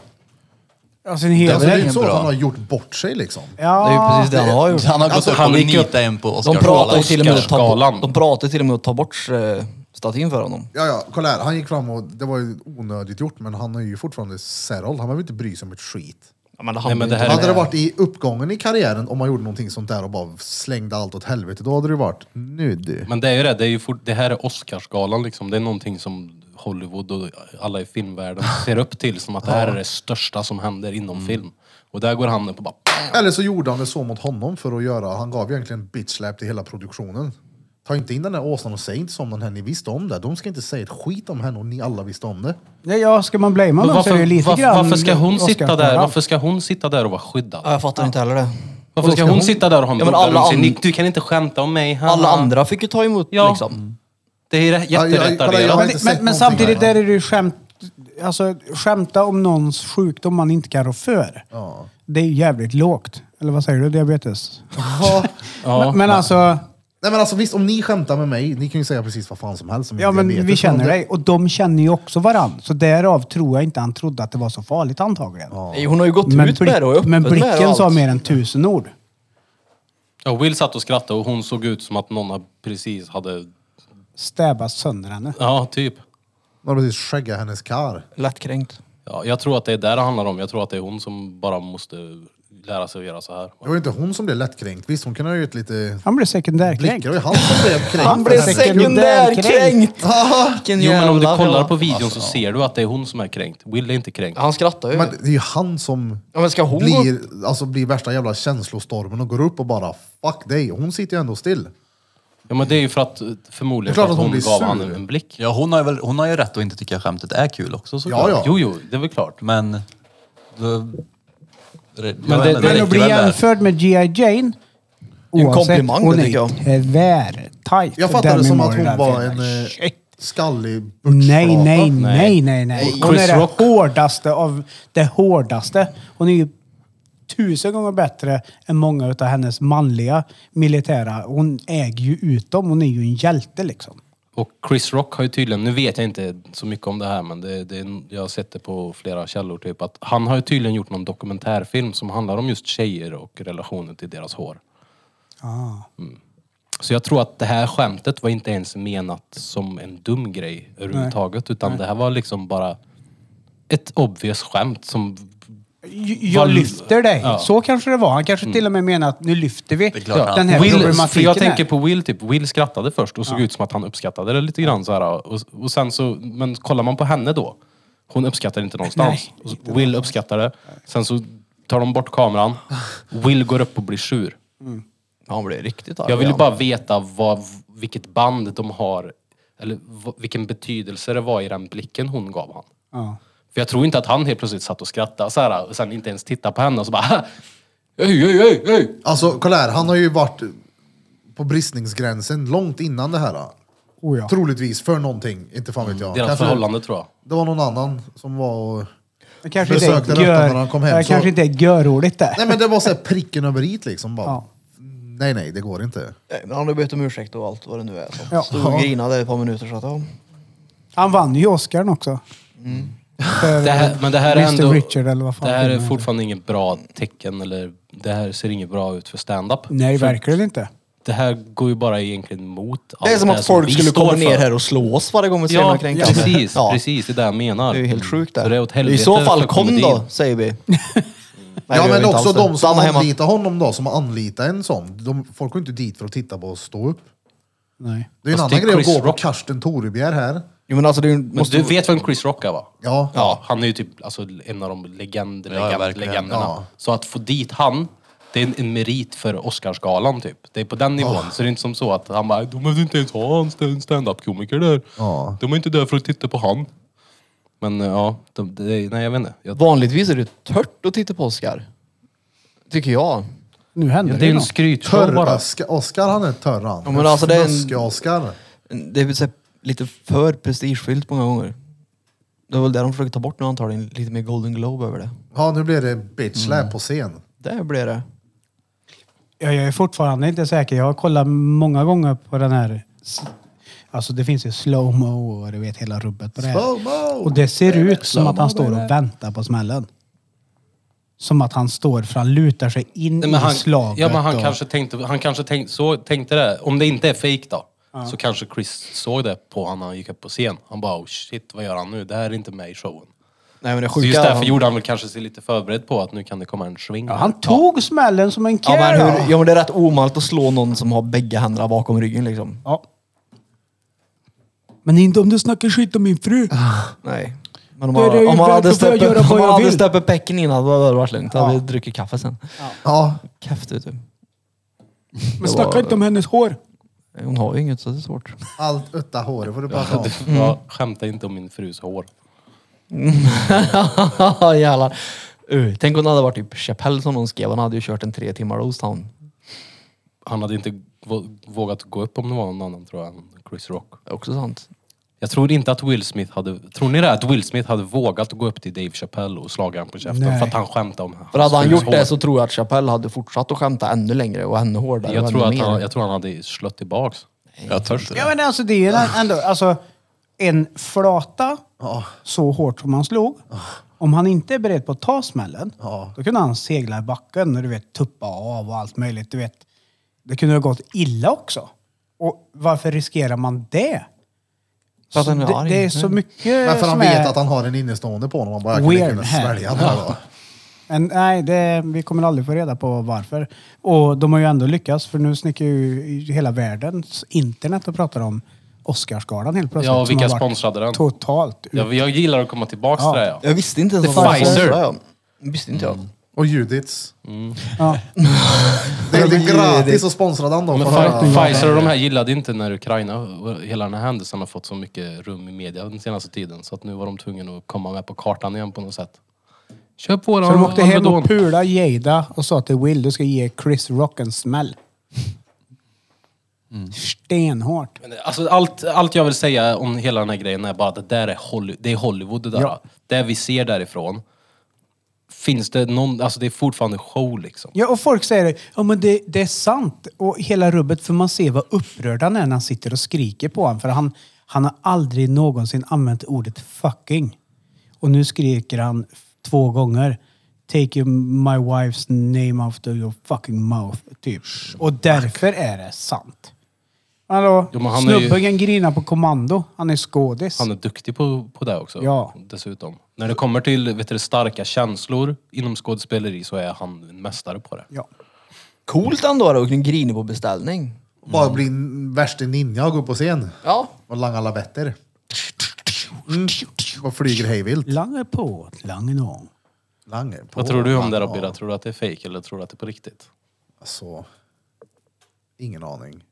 Speaker 4: en
Speaker 1: Alltså,
Speaker 4: hel
Speaker 1: det är
Speaker 2: ingen
Speaker 1: inte så att
Speaker 2: bra.
Speaker 1: han har gjort bort sig liksom.
Speaker 6: Det är
Speaker 4: Ja,
Speaker 6: ju precis det han har gjort.
Speaker 2: Han har gått
Speaker 5: Alltså,
Speaker 2: upp
Speaker 5: han
Speaker 2: och
Speaker 5: gick ju-
Speaker 2: nitat en på
Speaker 6: De pratar ju
Speaker 2: Oscarsgalan.
Speaker 6: till och med om att ta
Speaker 5: Oscarsgalan.
Speaker 6: bort, de pratar till och med om att ta bort eh, statyn för honom.
Speaker 1: Ja, ja, kolla här. Han gick fram och det var ju onödigt gjort, men han är ju fortfarande settled. Han behöver inte bry sig om ett skit.
Speaker 6: Ja, men det
Speaker 5: Nej, men det här-
Speaker 1: Hade det varit i uppgången i karriären om man gjorde någonting sånt där och bara slängde allt åt helvete, då hade det ju varit nu du.
Speaker 5: Men det är ju det, det, är ju fort, det här är Oscarsgalan liksom. Det är någonting som Hollywood och alla i filmvärlden ser upp till som att det här är det största som händer inom film. Och där går han upp och bara...
Speaker 1: Eller så gjorde han det så mot honom för att göra, han gav egentligen bitchslap till hela produktionen. Ta inte in den där åsnan och säg inte som den här, ni visste om det. De ska inte säga ett skit om henne och ni alla visste om det.
Speaker 4: ja, ja, ska man blamea någon så är det ju lite
Speaker 5: varför,
Speaker 4: grann
Speaker 5: varför ska hon sitta där?
Speaker 4: Oscarsgalan.
Speaker 5: Varför ska hon sitta där och vara
Speaker 6: Ja,
Speaker 5: skyddad?
Speaker 6: jag fattar inte heller det.
Speaker 5: Varför ska
Speaker 6: hon-
Speaker 5: hon sitta där och ha en
Speaker 6: Ja, men
Speaker 5: bubbla
Speaker 6: alla
Speaker 5: runt sig?
Speaker 6: an-
Speaker 5: Ni- Du kan inte skämta om mig. haha.
Speaker 6: Alla andra fick ju ta emot
Speaker 5: Ja.
Speaker 6: liksom.
Speaker 5: Det är
Speaker 1: Ja, ja, kolla, jag-
Speaker 5: jätteretarderat.
Speaker 1: har
Speaker 4: Men,
Speaker 1: inte sett
Speaker 4: men, men
Speaker 1: någonting
Speaker 4: samtidigt
Speaker 1: här,
Speaker 4: är det ju skämt, alltså, skämta om någons sjukdom man inte kan rå för.
Speaker 1: Ja.
Speaker 4: Det är ju jävligt lågt. Eller vad säger du? Diabetes?
Speaker 5: Ja.
Speaker 4: men, men alltså,
Speaker 1: Nej men alltså visst, om ni skämtar med mig, ni kan ju säga precis vad fan som helst om
Speaker 4: ja,
Speaker 1: min
Speaker 4: men
Speaker 1: diabetes,
Speaker 4: vi
Speaker 1: om
Speaker 4: känner
Speaker 1: det-
Speaker 4: dig. Och de känner ju också varann. Så därav tror jag inte han trodde att det var så farligt antagligen.
Speaker 6: Nej, hon har ju gått
Speaker 4: Men,
Speaker 6: ut med det och är
Speaker 4: blick,
Speaker 6: öppen
Speaker 4: men
Speaker 6: med det och
Speaker 4: blicken
Speaker 6: allt.
Speaker 4: sa mer än tusen ord.
Speaker 5: Ja, Will satt och skrattade och hon såg ut som att någon hade precis hade...
Speaker 4: Stäbas sönder henne.
Speaker 5: Ja, typ.
Speaker 1: De har precis skäggat hennes kar.
Speaker 6: Lättkränkt.
Speaker 5: Ja, jag tror att det är där det handlar om. Jag tror att det är hon som bara måste lära sig att göra så här.
Speaker 1: Det var ju inte hon som blev lättkränkt. Visst, hon kunde ha gjort lite
Speaker 4: Han blev sekundärkränkt.
Speaker 1: blickar. Det var ju han som blev kränkt.
Speaker 6: Han blev
Speaker 4: Sekundärkränkt.
Speaker 6: sekundärkränkt! <laughs> Vilken
Speaker 5: Jo men om du
Speaker 6: jävla-
Speaker 5: kollar på videon så ser du att det är hon som är kränkt. Will är inte kränkt.
Speaker 6: Han skrattar ju.
Speaker 1: Men det är ju han som
Speaker 6: ja, men ska hon gå...
Speaker 1: blir, alltså, blir värsta jävla känslostormen och går upp och bara fuck dig. Hon sitter ju ändå still.
Speaker 5: Ja men det är ju för att eh,
Speaker 1: Det är
Speaker 5: förmodligen
Speaker 1: klart
Speaker 5: för
Speaker 1: att
Speaker 5: att
Speaker 1: hon
Speaker 5: hon,
Speaker 1: blir
Speaker 5: gav
Speaker 1: sur.
Speaker 5: honom en blick.
Speaker 2: Ja, hon har, väl, hon har ju rätt att inte tycka skämtet är kul också
Speaker 1: Ja,
Speaker 2: såklart.
Speaker 1: ja.
Speaker 5: Jo jo, det är väl klart.
Speaker 2: Men... Då,
Speaker 5: det-
Speaker 2: men det,
Speaker 5: men
Speaker 2: räcker
Speaker 4: Men att bli
Speaker 2: väl där.
Speaker 4: jämförd med G.I. Jane.
Speaker 6: en
Speaker 4: Oavsett,
Speaker 6: komplimang, det
Speaker 4: hon är
Speaker 6: tycker jag.
Speaker 4: tvärtajt.
Speaker 1: Jag fattar det
Speaker 4: Demi
Speaker 1: som att
Speaker 4: Moore
Speaker 1: hon
Speaker 4: där
Speaker 1: var
Speaker 4: filmen.
Speaker 1: en eh,
Speaker 4: Shit.
Speaker 1: skallig
Speaker 4: Nej,
Speaker 1: butchflata.
Speaker 4: nej, nej, nej, nej. Hon
Speaker 5: Chris
Speaker 4: är det
Speaker 5: Rock.
Speaker 4: hårdaste av det hårdaste. Hon är ju tusen gånger bättre än många av hennes manliga militära. Hon äger ju ut dem. Hon är ju en hjälte liksom.
Speaker 5: Och Chris Rock har ju tydligen, nu vet jag inte så mycket om det här men det, det, jag har sett det på flera källor typ att han har ju tydligen gjort någon dokumentärfilm som handlar om just tjejer och relationen till deras hår. Mm.
Speaker 4: Ah.
Speaker 5: Så jag tror att det här skämtet var inte ens menat som en dum grej överhuvudtaget utan det här var liksom bara ett obvious skämt som...
Speaker 4: J- Jag
Speaker 5: Vad-
Speaker 4: lyfter dig.
Speaker 5: Ja. Mm.
Speaker 4: Så kanske det var. Han kanske till och med menar att nu lyfter vi
Speaker 2: är klart att-
Speaker 4: den här
Speaker 5: Will,
Speaker 4: problematiken.
Speaker 5: för jag
Speaker 4: här.
Speaker 5: tänker på Will, typ. Will skrattade först och såg ut som att han uppskattade det lite grann. Så här, och, och sen så, men kollar man på henne då, hon uppskattar det inte någonstans.
Speaker 4: Nej,
Speaker 5: Och så- Will uppskattar det. Sen så tar de bort kameran. Will går upp och blir sur.
Speaker 6: Ja, han blev riktigt arg.
Speaker 5: Jag vill ju
Speaker 6: igen.
Speaker 5: bara veta vad, vilket band de har, eller v- vilken betydelse det var i den blicken hon gav han.
Speaker 4: Ja.
Speaker 5: För jag tror inte att han helt plötsligt satt och skrattade så här, och sen inte ens tittade på henne och så bara <laughs> Hej, hej, hej, hej!
Speaker 1: Alltså kolla här, han har ju varit på bristningsgränsen långt innan det här.
Speaker 4: Oh, ja.
Speaker 1: Troligtvis för någonting, inte fan vet jag.
Speaker 5: Deras
Speaker 1: Kanske-
Speaker 5: förhållande tror jag.
Speaker 1: Det var någon annan som var och...
Speaker 4: Det kanske inte
Speaker 1: Besökte
Speaker 4: är
Speaker 1: den
Speaker 4: gör,
Speaker 1: när han kom hem,
Speaker 4: det
Speaker 1: så-
Speaker 4: kanske inte är görordigt det.
Speaker 1: Nej men det var så här pricken över i liksom bara.
Speaker 4: Ja.
Speaker 1: Nej nej, det går inte.
Speaker 6: Nej, men han har bett om ursäkt och allt vad det nu är. Så.
Speaker 4: Ja.
Speaker 6: Stod och grinade i ett par minuter så att ja.
Speaker 4: Han vann ju Oscarn också. För
Speaker 5: Mm. Det här, men det här är
Speaker 4: Mr
Speaker 5: ändå...
Speaker 4: Richard eller vad fan
Speaker 5: det här är
Speaker 4: filmen heter.
Speaker 5: fortfarande inget bra tecken eller det här ser inget bra ut för stand-up.
Speaker 4: Nej,
Speaker 5: För
Speaker 4: verkligen inte.
Speaker 5: Det här går ju bara egentligen mot allt
Speaker 6: Det är som att folk
Speaker 5: vi
Speaker 6: skulle
Speaker 5: står
Speaker 6: komma
Speaker 5: för.
Speaker 6: ner här och slå oss varje gång vi ser
Speaker 5: Ja,
Speaker 6: något kränkande.
Speaker 5: precis.
Speaker 6: Ja.
Speaker 5: Precis, det är det jag menar.
Speaker 6: Det är ju helt sjukt
Speaker 5: Mm. Så
Speaker 6: där.
Speaker 5: det är åt helvete
Speaker 6: I så fall
Speaker 5: för
Speaker 6: kom
Speaker 5: komedin.
Speaker 6: då,
Speaker 5: <laughs>
Speaker 6: säger vi. Nej,
Speaker 1: ja
Speaker 6: det gör
Speaker 1: men
Speaker 6: vi inte
Speaker 1: också
Speaker 6: alls.
Speaker 1: de som
Speaker 6: Stanna hemma.
Speaker 1: anlitar honom då, som har anlitat en sån. De, folk går inte dit för att titta på och stå upp.
Speaker 4: Nej.
Speaker 1: Det är ju en
Speaker 5: Fast
Speaker 1: annan
Speaker 5: det är
Speaker 1: grej att
Speaker 5: Chris
Speaker 1: gå på
Speaker 5: Rock.
Speaker 1: Karsten Torebjer här.
Speaker 6: Jo, men alltså, det är ju-
Speaker 5: Men
Speaker 6: måste
Speaker 5: du vet vem Chris Rock är va?
Speaker 1: Ja.
Speaker 5: Ja, han är ju typ alltså, en av de legend,
Speaker 2: Ja,
Speaker 5: legend,
Speaker 2: verkligen.
Speaker 5: legenderna.
Speaker 1: Ja.
Speaker 5: Så att få dit han, det är en, en merit för Oscarsgalan typ. Det är på den nivån. Så det är inte som så att han bara, de behöver inte ens ha en st- en standup-komiker där.
Speaker 1: Ja.
Speaker 5: De är inte där för att titta på han. Men eh, ja, de, det, nej jag vet inte. Jag,
Speaker 6: Vanligtvis är det tört att titta på Oscar. Tycker jag.
Speaker 4: Nu
Speaker 5: Ja,
Speaker 4: händer
Speaker 5: det är ju en
Speaker 4: något.
Speaker 5: skrytshow bara.
Speaker 1: Törr-Oskar, Oskar han är törr han.
Speaker 6: Ja, men alltså, det är en-
Speaker 1: Snuske-Oskar.
Speaker 6: Det är väl så här lite för prestigefyllt många gånger. Det var väl det de försökte ta bort nu antagligen. Lite mer Golden Globe över det.
Speaker 1: Ja nu blir det bitch
Speaker 6: Mm.
Speaker 1: slap på scen.
Speaker 6: Där blev det.
Speaker 4: Ja, jag är fortfarande inte säker. Jag har kollat många gånger på den här... s- Alltså det finns ju slowmo och du vet hela rubbet på det här.
Speaker 1: Slow-mo!
Speaker 4: Och det ser ut som att han står och väntar på smällen. Som att han står för han lutar sig in
Speaker 5: Nej, men han,
Speaker 4: i slaget.
Speaker 5: ja, men han
Speaker 4: och,
Speaker 5: kanske tänkte, han kanske tänk, så tänkte det. Om det inte är fake då, så kanske Chris såg det på honom när han gick upp på scen. Han bara, oh shit, vad gör han nu? Det här är inte med i showen.
Speaker 6: Nej men det
Speaker 5: Så
Speaker 6: sjuka
Speaker 5: just därför
Speaker 6: han-
Speaker 5: gjorde han väl kanske sig lite förberedd på att nu kan det komma en sving.
Speaker 4: ja, han tog smällen som en
Speaker 6: Ja
Speaker 4: kär.
Speaker 6: men, hur, ja men det är rätt omalt att slå någon som har bägge händerna bakom ryggen liksom.
Speaker 4: Ja. Men inte om du snackar skit om min fru.
Speaker 6: Ah, Nej. Men om
Speaker 4: Då är
Speaker 6: man,
Speaker 4: det ju
Speaker 6: om man
Speaker 4: värt
Speaker 6: hade
Speaker 4: att börja göra
Speaker 6: stöppet- om
Speaker 4: vad
Speaker 6: man
Speaker 4: jag
Speaker 6: hade
Speaker 4: vill.
Speaker 6: stöppet pecken innan då hade det varit lugnt. Då hade vi druckit kaffe sen.
Speaker 1: Ja,
Speaker 6: Kaffe vet du.
Speaker 4: Men
Speaker 6: snacka var- inte
Speaker 4: om hennes hår.
Speaker 6: Hon har ju inget så det är <laughs> svårt.
Speaker 1: allt utta håret får du
Speaker 5: Alltså,
Speaker 1: prata om.
Speaker 6: Mm.
Speaker 5: Ja, skämta inte om min frus hår.
Speaker 6: Jävlar. Uh, tänk om det hade varit typ Chappelle som någon skrev. Han hade ju kört en tre timmar roast han.
Speaker 5: Han hade inte vå- vågat gå upp om det var någon annan tror jag, än Chris Rock.
Speaker 6: Det är också sant.
Speaker 5: Jag tror inte att Will Smith hade... Tror ni det? Att Will Smith hade vågat gå upp till Dave Chappelle och slagit honom på käften
Speaker 4: Nej.
Speaker 5: för att han skämtade om
Speaker 6: För hade han
Speaker 5: frus
Speaker 6: gjort
Speaker 5: hår.
Speaker 6: det så tror jag att Chappelle hade fortsatt att skämta ännu längre och ännu hårdare. och
Speaker 5: Jag
Speaker 6: ännu
Speaker 5: tror, att
Speaker 6: mer.
Speaker 5: han, jag tror han hade slött tillbaks.
Speaker 2: Jag törs inte.
Speaker 4: Ja men alltså det är ju ändå, alltså en flata
Speaker 6: Ah.
Speaker 4: så hårt som han slog. Om han inte är beredd på att ta smällen,
Speaker 6: Ah.
Speaker 4: då kunde han segla i backen och du vet tuppa av och allt möjligt. Du vet, det kunde ha gått illa också. Och varför riskerar man det?
Speaker 6: För att
Speaker 4: Så
Speaker 6: han är
Speaker 4: det,
Speaker 6: arg.
Speaker 4: det är så
Speaker 6: Mm.
Speaker 4: mycket
Speaker 1: Men för han
Speaker 4: som
Speaker 1: vet
Speaker 4: är-
Speaker 1: att han har en innestående på honom. Han bara, jag kan lika
Speaker 4: Weird
Speaker 1: gärna
Speaker 4: hand.
Speaker 1: svälja den här
Speaker 5: <laughs>
Speaker 1: då.
Speaker 4: Men nej, det, vi kommer aldrig få reda på varför. Och de har ju ändå lyckats för nu snickar ju hela världens internet och pratar om Oscarsgalan helt plötsligt.
Speaker 5: Ja, och
Speaker 4: som
Speaker 5: vilka
Speaker 4: har varit
Speaker 5: sponsrade den?
Speaker 4: Totalt. ut.
Speaker 5: Jag, jag gillar att komma tillbaks
Speaker 4: Ja.
Speaker 5: till det. Ja.
Speaker 6: Jag visste inte ens
Speaker 5: The
Speaker 6: att han var
Speaker 5: Pfizer.
Speaker 6: sponsrad, ja. Det Mm. visste inte
Speaker 5: Mm.
Speaker 6: jag.
Speaker 1: Och Judits.
Speaker 6: Mm.
Speaker 4: Ja.
Speaker 1: <laughs> Det är
Speaker 6: Judits.
Speaker 1: lite gratis och sponsrad han då.
Speaker 5: Men
Speaker 1: för
Speaker 5: Fi-
Speaker 1: att höra.
Speaker 5: Pfizer och de här gillade inte när Ukraina och hela den här händelsen har fått så mycket rum i media den senaste tiden. Så att nu var de tvungna att komma med på kartan igen på något sätt. Köp våran
Speaker 4: Så de åkte hem
Speaker 5: Alvedon.
Speaker 4: och pula Jada och sa till Will, du ska ge Chris Rock en smäll.
Speaker 5: Mm.
Speaker 4: Stenhårt.
Speaker 5: Men, Alltså, allt, allt jag vill säga om hela den här grejen är bara att det där är, Holly, det är Hollywood det där.
Speaker 4: Ja.
Speaker 5: Det vi ser därifrån finns det någon, alltså det är fortfarande show liksom.
Speaker 4: Ja, och folk säger ja, men det, det är sant. Och hela rubbet, för man ser vad upprörd han är när han sitter och skriker på honom. För han, han har aldrig någonsin använt ordet fucking. Och nu skriker han f- två gånger. Take your- my wife's name out of your fucking mouth. Typ. Och därför är det sant. Hallå?
Speaker 5: Jo, men han är ju-
Speaker 4: Snubben grinar på kommando. Han är skådis.
Speaker 5: Han är duktig på, på det också.
Speaker 4: Ja.
Speaker 5: Dessutom. När det kommer till vet du, starka känslor inom skådespeleri så är han en mästare på det.
Speaker 4: Ja.
Speaker 6: Coolt ändå då, att kunna grina på beställning.
Speaker 1: Bara bli n- värsta ninja och gå upp på scen
Speaker 6: Ja.
Speaker 1: och langa lavetter. Mm. Och flyger hejvilt.
Speaker 4: Lange på, lange om.
Speaker 1: Lange på.
Speaker 5: Vad tror du om det
Speaker 1: langa
Speaker 5: då Birra?
Speaker 1: av.
Speaker 5: Tror du att det är fake eller tror du att det är på riktigt?
Speaker 1: Alltså, ingen aning.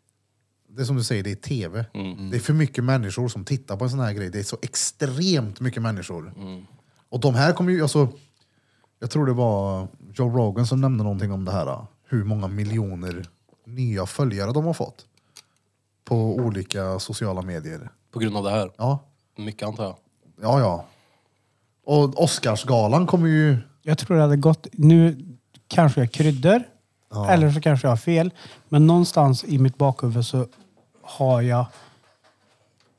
Speaker 1: Det är som du säger, det är tv.
Speaker 5: Mm.
Speaker 1: Mm. Det är för mycket människor som tittar på en sån här grej. Det är så extremt mycket människor.
Speaker 5: Mm.
Speaker 1: Och de här kommer ju, alltså, jag tror det var Joe Rogan som nämnde någonting om det här. då. Hur många miljoner nya följare de har fått. På olika sociala medier.
Speaker 5: På grund av det här?
Speaker 1: Ja,
Speaker 5: Mycket antar jag.
Speaker 1: ja. ja. Och Oscarsgalan kommer ju...
Speaker 4: Jag tror det hade gått... Nu kanske jag kryddar. Eller så kanske jag har fel. Men någonstans i mitt bakhuvud så har jag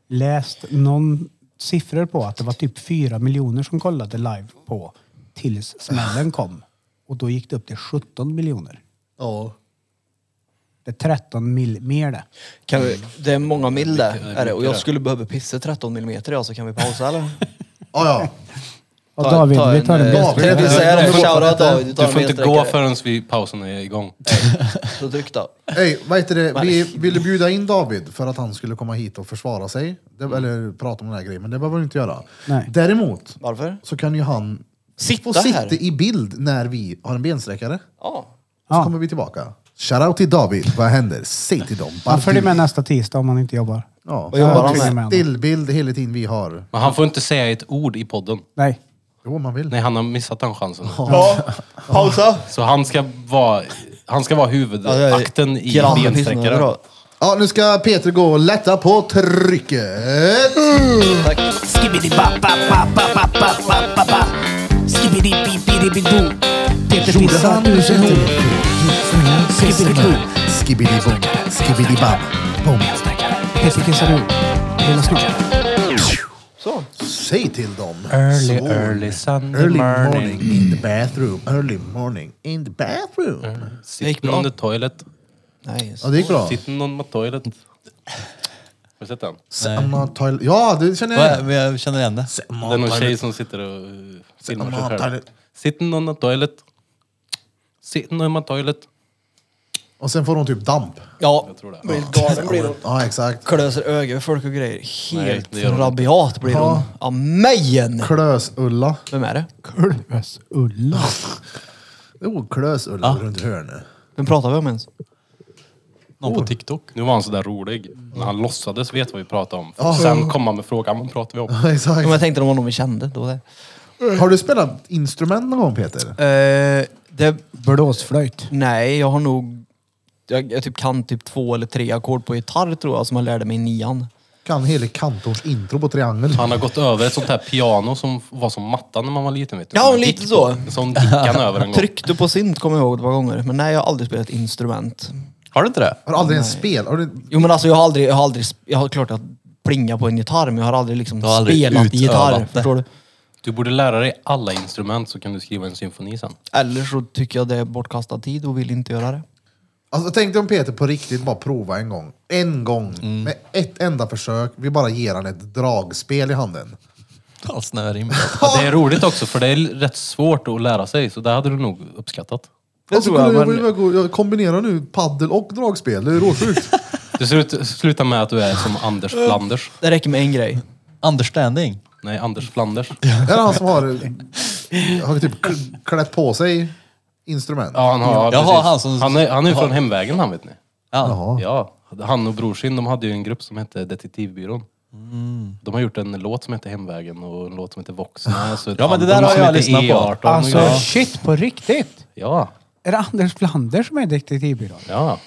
Speaker 4: läst någon siffror på att det var typ fyra miljoner som kollade live på tills smällen kom. Och då gick det upp till 17 miljoner.
Speaker 1: Ja.
Speaker 4: Det är 13 mil mer det.
Speaker 6: Kan vi, det är många mil det, är det. Och jag
Speaker 5: det.
Speaker 6: skulle behöva pissa 13 millimeter ja, så kan vi pausa eller?
Speaker 1: Ja, ja.
Speaker 4: Och
Speaker 6: Ta-
Speaker 4: David,
Speaker 6: ta
Speaker 4: vi
Speaker 6: en,
Speaker 4: tar en
Speaker 6: eh,
Speaker 4: bild.
Speaker 1: David,
Speaker 6: Jag vill säga det, shoutout David.
Speaker 5: Du får inte gå förrän vi pausen är igång.
Speaker 6: Så tryck då.
Speaker 1: Hej, vad heter det? Vi ville bjuda in David för att han skulle komma hit och försvara sig. Det, eller prata om den här grejen, men det behöver han inte göra.
Speaker 4: Nej.
Speaker 1: Däremot
Speaker 6: Varför?
Speaker 1: så kan ju han
Speaker 6: Sitta
Speaker 1: få
Speaker 6: här.
Speaker 1: sitta i bild när vi har en bensträckare.
Speaker 6: Ja.
Speaker 1: Så
Speaker 4: Ja.
Speaker 1: kommer vi tillbaka. Shoutout till David, vad händer? Säg till dem.
Speaker 4: Han följer
Speaker 1: Bardu.
Speaker 4: med nästa tisdag om han inte jobbar.
Speaker 1: Ja.
Speaker 6: Vad jobbar
Speaker 1: Ja,
Speaker 4: han med?
Speaker 1: Stillbild hela tiden vi har.
Speaker 5: Men han får inte säga ett ord i podden.
Speaker 4: Nej.
Speaker 1: Jo, om man vill.
Speaker 5: Nej, han har missat den chansen.
Speaker 6: Ja. Pausa.
Speaker 5: Så han ska vara, han ska vara huvudakten i bensträckaren.
Speaker 1: Ja, nu ska Peter gå och lätta på trycket.
Speaker 4: Peter pissar ur sin hund. Skibbidi-boo.
Speaker 1: Skibidi-bom, skibidi-bam, bom.
Speaker 4: Peter kissar nu. Lilla snopp.
Speaker 1: Säg till dem.
Speaker 5: Early,
Speaker 1: Så.
Speaker 5: early Sunday
Speaker 1: Early morning.
Speaker 5: morning.
Speaker 1: in the bathroom. Early morning in the bathroom.
Speaker 5: Sitt någon the toilet.
Speaker 1: Ja, det gick bra.
Speaker 5: Mm. Sitt någon med toilet. Har du sett den?
Speaker 1: Samma toilet. Ja, det känner jag igen.
Speaker 2: Vad- Jag känner igen det.
Speaker 1: Samma
Speaker 5: Det är någon
Speaker 1: toilet.
Speaker 5: tjej som sitter och eh, filmar
Speaker 1: Sitter
Speaker 5: sig
Speaker 1: man
Speaker 5: själv.
Speaker 1: toilet.
Speaker 5: Sitter någon med toilet. Sitter någon med toilet.
Speaker 1: Och sen får hon typ damp.
Speaker 6: Ja.
Speaker 5: tror det.
Speaker 6: Blir galen blir hon.
Speaker 1: Ja, exakt.
Speaker 6: Klöser ögon folk och grejer.
Speaker 5: Nej,
Speaker 6: Helt
Speaker 5: det gör hon inte.
Speaker 6: rabiat blir hon. Amen!
Speaker 1: Klös-Ulla.
Speaker 6: Vem är det?
Speaker 4: Ulla.
Speaker 1: Jo, Klös-Ulla Oh, runt hörnet. <laughs>
Speaker 6: Vem pratar vi om ens?
Speaker 2: Någon på TikTok.
Speaker 5: Nu var han sådär rolig. När han låtsades veta vad vi pratade om.
Speaker 1: Ja.
Speaker 5: Sen kom han med frågan, vad pratar vi om?
Speaker 1: Ja,
Speaker 6: Om jag
Speaker 1: exakt.
Speaker 6: tänkte det var någon vi kände. Då var det.
Speaker 1: Har du spelat instrument någon gång Peter?
Speaker 6: Eh, det
Speaker 4: Blåsflöjt.
Speaker 6: nej, jag har nog... Jag, jag typ kan typ två eller tre ackord på gitarr tror jag som jag lärde mig i nian.
Speaker 1: Kan hela kantors intro på triangel.
Speaker 5: Han har gått över ett sånt här piano som var som mattan när man var liten. Vet du.
Speaker 6: Ja,
Speaker 5: Som
Speaker 6: lite
Speaker 5: gick
Speaker 6: så.
Speaker 5: på- Som gick han över en gång.
Speaker 6: Tryckte på synt kommer jag ihåg ett par gånger. Men nej, jag har aldrig spelat instrument.
Speaker 2: Har du inte det?
Speaker 1: Har du aldrig ens spel? Har du...
Speaker 6: Jo men alltså jag har aldrig... Jag har, aldrig, sp- jag har klart att plinga på en gitarr men jag har aldrig liksom
Speaker 2: har aldrig
Speaker 6: spelat
Speaker 2: utövat
Speaker 6: gitarr.
Speaker 2: det.
Speaker 6: Förstår du?
Speaker 5: Du borde lära dig alla instrument så kan du skriva en symfoni sen.
Speaker 6: Eller så tycker jag det är bortkastad tid och vill inte göra det.
Speaker 1: Alltså, tänk dig om Peter på riktigt bara prova en gång. En gång. Med ett enda försök. Vi bara ger han ett dragspel i handen.
Speaker 2: Han snöar in.
Speaker 5: Ja, det är roligt också för det är rätt svårt att lära sig så det hade du nog uppskattat.
Speaker 6: Det
Speaker 1: Alltså,
Speaker 6: tror jag,
Speaker 1: kolla, jag,
Speaker 6: men-
Speaker 1: jag, jag, kombinerar nu paddel och dragspel. Det är råsjukt.
Speaker 5: Du ser ut- slutar med att du är som Anders Flanders.
Speaker 6: Det räcker med en grej.
Speaker 2: Understanding.
Speaker 5: Nej, Anders Flanders.
Speaker 1: är det han som har, har typ kl- klätt på sig instrument?
Speaker 5: Ja, han har,
Speaker 2: Jaha,
Speaker 5: precis.
Speaker 2: han som-
Speaker 5: han är, han är ju från Hemvägen han vet ni.
Speaker 2: Ja.
Speaker 1: Jaha.
Speaker 5: Ja, han och brorsin de hade ju en grupp som hette Detektivbyrån.
Speaker 2: Mm.
Speaker 5: De har gjort en låt som heter Hemvägen och en låt som heter Voxna. Alltså ett
Speaker 2: Ja, men det
Speaker 5: album
Speaker 2: där har
Speaker 5: som
Speaker 2: jag
Speaker 5: heter
Speaker 2: lyssnat på.
Speaker 5: E18 och
Speaker 4: Alltså
Speaker 5: grejer.
Speaker 4: shit, på riktigt.
Speaker 5: Ja,
Speaker 4: Är det Anders Flander som är detektivbyrån?
Speaker 5: ja.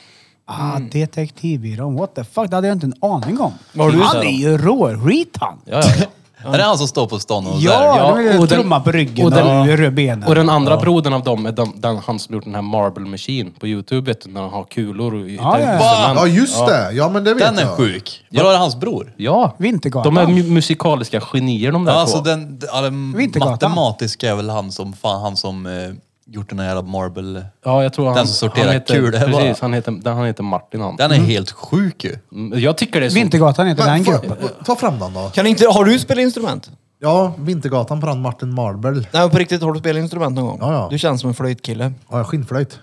Speaker 4: Ah, detektivbyrån. What the fuck? Det hade jag inte en aning om.
Speaker 5: Vad har du
Speaker 4: han
Speaker 5: där
Speaker 4: är
Speaker 5: då?
Speaker 4: ju rå-reet han.
Speaker 5: ja, ja, ja.
Speaker 2: Är det han som står på stan och där?
Speaker 4: Ja,
Speaker 5: Ja,
Speaker 4: de är
Speaker 5: och den-
Speaker 4: trumma på ryggen och,
Speaker 5: och den-
Speaker 4: röd benen.
Speaker 2: <laughs>
Speaker 5: Och den andra brodern av dem är den, den, han som gjort den här Marble Machine på Youtube, vet du, när han har kulor och hittar
Speaker 4: ja.
Speaker 2: Va?
Speaker 5: instrument.
Speaker 1: Ja just det, ja men det vet
Speaker 2: Den är
Speaker 1: jag.
Speaker 2: sjuk. Vadå, är det hans bror?
Speaker 5: Ja,
Speaker 4: Vintergatan.
Speaker 5: de är mu- musikaliska genier de där
Speaker 2: Ja,
Speaker 5: två.
Speaker 2: alltså den, alltså,
Speaker 4: Vintergatan.
Speaker 2: matematiska är väl han som, fan, han som eh, gjort den här jävla marble...
Speaker 5: Ja, jag tror han,
Speaker 2: Den som sorterar
Speaker 5: han heter,
Speaker 2: kulor, va?
Speaker 5: Precis, han heter, den, han heter Martin han.
Speaker 2: Den är helt sjuk ju.
Speaker 5: Mm, Jag tycker det är så...
Speaker 4: Vintergatan heter den
Speaker 1: Men, fa-
Speaker 4: gruppen.
Speaker 1: ta fram den då.
Speaker 6: Kan inte, har du spelat instrument?
Speaker 1: Ja, Vintergatan på den Martin Marble.
Speaker 6: Nej, men på riktigt, har du spelat instrument någon gång?
Speaker 1: Ja, ja.
Speaker 6: Du känns som en flöjtkille.
Speaker 1: Ja, skinnflöjt.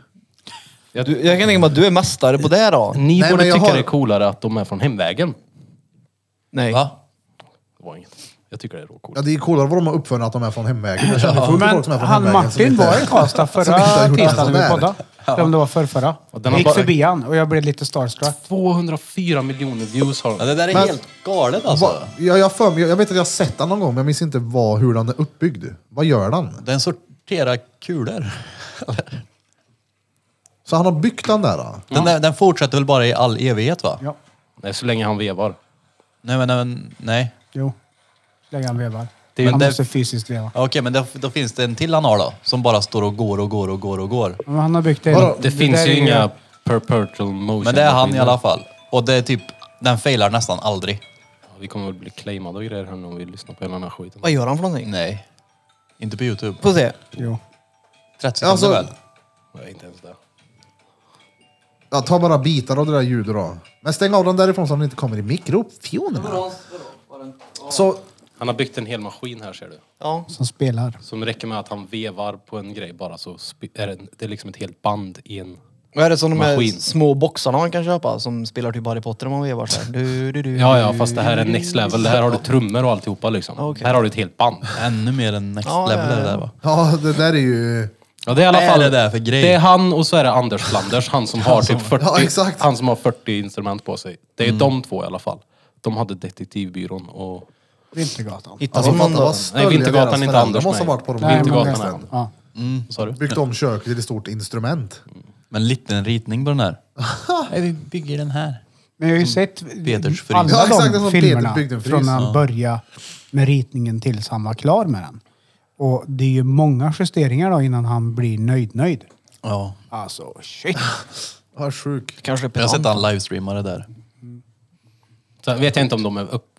Speaker 6: Du, jag kan tänka mig att du är mästare på det då.
Speaker 2: Mm.
Speaker 5: Ni
Speaker 1: Nej, men
Speaker 5: borde
Speaker 1: jag
Speaker 5: tycka
Speaker 1: har-
Speaker 5: det är coolare att de är från hemvägen.
Speaker 6: Nej.
Speaker 2: Va?
Speaker 5: Det var inget. Jag tycker det är råcoolt.
Speaker 1: Ja, det är coolare vad de har uppfunnit att de är från hemvägen. Jag känner fullt folk som är
Speaker 4: Men
Speaker 1: från
Speaker 4: han
Speaker 1: hemvägen. som
Speaker 4: Martin
Speaker 1: inte-
Speaker 4: var
Speaker 1: <laughs>
Speaker 4: i Karlstad
Speaker 1: som inte har
Speaker 4: förra
Speaker 1: gjort en
Speaker 4: tisdagen
Speaker 1: sån
Speaker 4: när vi
Speaker 1: där.
Speaker 4: poddade. Eller om det var förrförra.
Speaker 5: den
Speaker 4: Jag
Speaker 5: har
Speaker 4: gick
Speaker 5: bara-
Speaker 4: förbi han och jag blev lite starstruck.
Speaker 5: 204 miljoner views har
Speaker 2: Ja,
Speaker 5: de.
Speaker 2: det där är
Speaker 1: Men-
Speaker 2: helt galet alltså.
Speaker 1: Va- Jag, jag, för mig, jag, jag vet att jag har sett den någon gång, men jag minns inte vad, hur den är uppbyggd. Vad gör den?
Speaker 2: Den sorterar kulor.
Speaker 1: Så han har byggt den där? Då.
Speaker 2: Den, där, den fortsätter väl bara i all evighet va?
Speaker 4: Ja,
Speaker 5: Nej, så länge han vevar.
Speaker 2: Nej, men, nej, men nej.
Speaker 4: jo. Så länge han vevar.
Speaker 2: är ju-
Speaker 4: han
Speaker 2: det-
Speaker 4: måste fysiskt veva.
Speaker 2: Ja, Okej, men då, då finns det en till han har då. Som bara står och går och går och går och går.
Speaker 4: Men han har byggt en...
Speaker 1: Vadå?
Speaker 5: Det, finns
Speaker 4: där
Speaker 5: ju
Speaker 4: är
Speaker 5: inga perpetual motion.
Speaker 2: Men det är han i alla fall. Och det är typ, den failar nästan aldrig.
Speaker 5: Vi kommer väl bli claimade och grejer här nu om vi lyssnar på hela den här skiten.
Speaker 6: Vad gör han för någonting?
Speaker 2: Nej. Inte på Youtube.
Speaker 6: Får se.
Speaker 4: Jo.
Speaker 2: 30 sekunder
Speaker 1: Alltså-
Speaker 2: väl?
Speaker 5: Nej, inte ens det.
Speaker 1: Ja, ta bara bitar av det där ljudet då. Men stäng av den därifrån så den inte kommer i mikrofonerna. Så,
Speaker 5: Han har byggt en hel maskin här ser du.
Speaker 6: Ja.
Speaker 4: Som spelar.
Speaker 5: Som räcker med att han vevar på en grej bara så sp- är det, det är liksom ett helt band i en...
Speaker 6: Vad är det som de här
Speaker 5: Maskin.
Speaker 6: små boxarna man kan köpa som spelar typ Harry Potter om man vevar så här? Du, du, du.
Speaker 5: Ja, ja, fast det här är next level. Det här har du trummor och alltihopa liksom.
Speaker 6: Okej.
Speaker 5: Här har du ett helt band.
Speaker 2: Ännu mer än next
Speaker 6: Ja,
Speaker 2: level
Speaker 6: ja,
Speaker 2: är det
Speaker 6: ja.
Speaker 2: där va?
Speaker 1: ja det där är ju...
Speaker 5: Ja, det är i alla
Speaker 2: Vad är
Speaker 5: fall...
Speaker 2: det där för grej?
Speaker 5: Det är han och så är det Anders Flanders, han som har typ
Speaker 1: <laughs>
Speaker 5: 40...
Speaker 1: Ja, exakt. Mm.
Speaker 5: Han som har 40 instrument på sig. Det är de två i alla fall. De hade Detektivbyrån och...
Speaker 4: Vintergatan.
Speaker 6: Hittar
Speaker 1: Alltså
Speaker 6: de någon
Speaker 1: fatta
Speaker 6: då?
Speaker 1: vad stöldiga
Speaker 5: Vintergatan
Speaker 1: deras
Speaker 5: är inte
Speaker 1: föräldrar
Speaker 5: Anders,
Speaker 1: alltså, måste ha
Speaker 5: nej.
Speaker 1: varit på de
Speaker 5: Nej,
Speaker 1: här
Speaker 5: Vintergatan är
Speaker 1: festen.
Speaker 5: han.
Speaker 4: Ja.
Speaker 5: Sa du?
Speaker 1: Byggt om köket till ett stort instrument.
Speaker 2: Men liten ritning på den här. Nej, vi bygger den här.
Speaker 4: Men jag har ju sett
Speaker 2: Peters frys.
Speaker 4: alla
Speaker 1: Ja, exakt, det är
Speaker 4: de
Speaker 1: som
Speaker 4: filmerna
Speaker 1: Peter byggde en frys.
Speaker 4: från när han började med ritningen tills han var klar med den. Och det är ju många justeringar då innan han blir nöjd-nöjd.
Speaker 2: Ja.
Speaker 4: Alltså shit!
Speaker 1: Ja, sjuk.
Speaker 6: Kanske
Speaker 2: Jag har sett
Speaker 6: pedant.
Speaker 2: han livestreama det där.
Speaker 5: Sen vet jag inte om de är upp,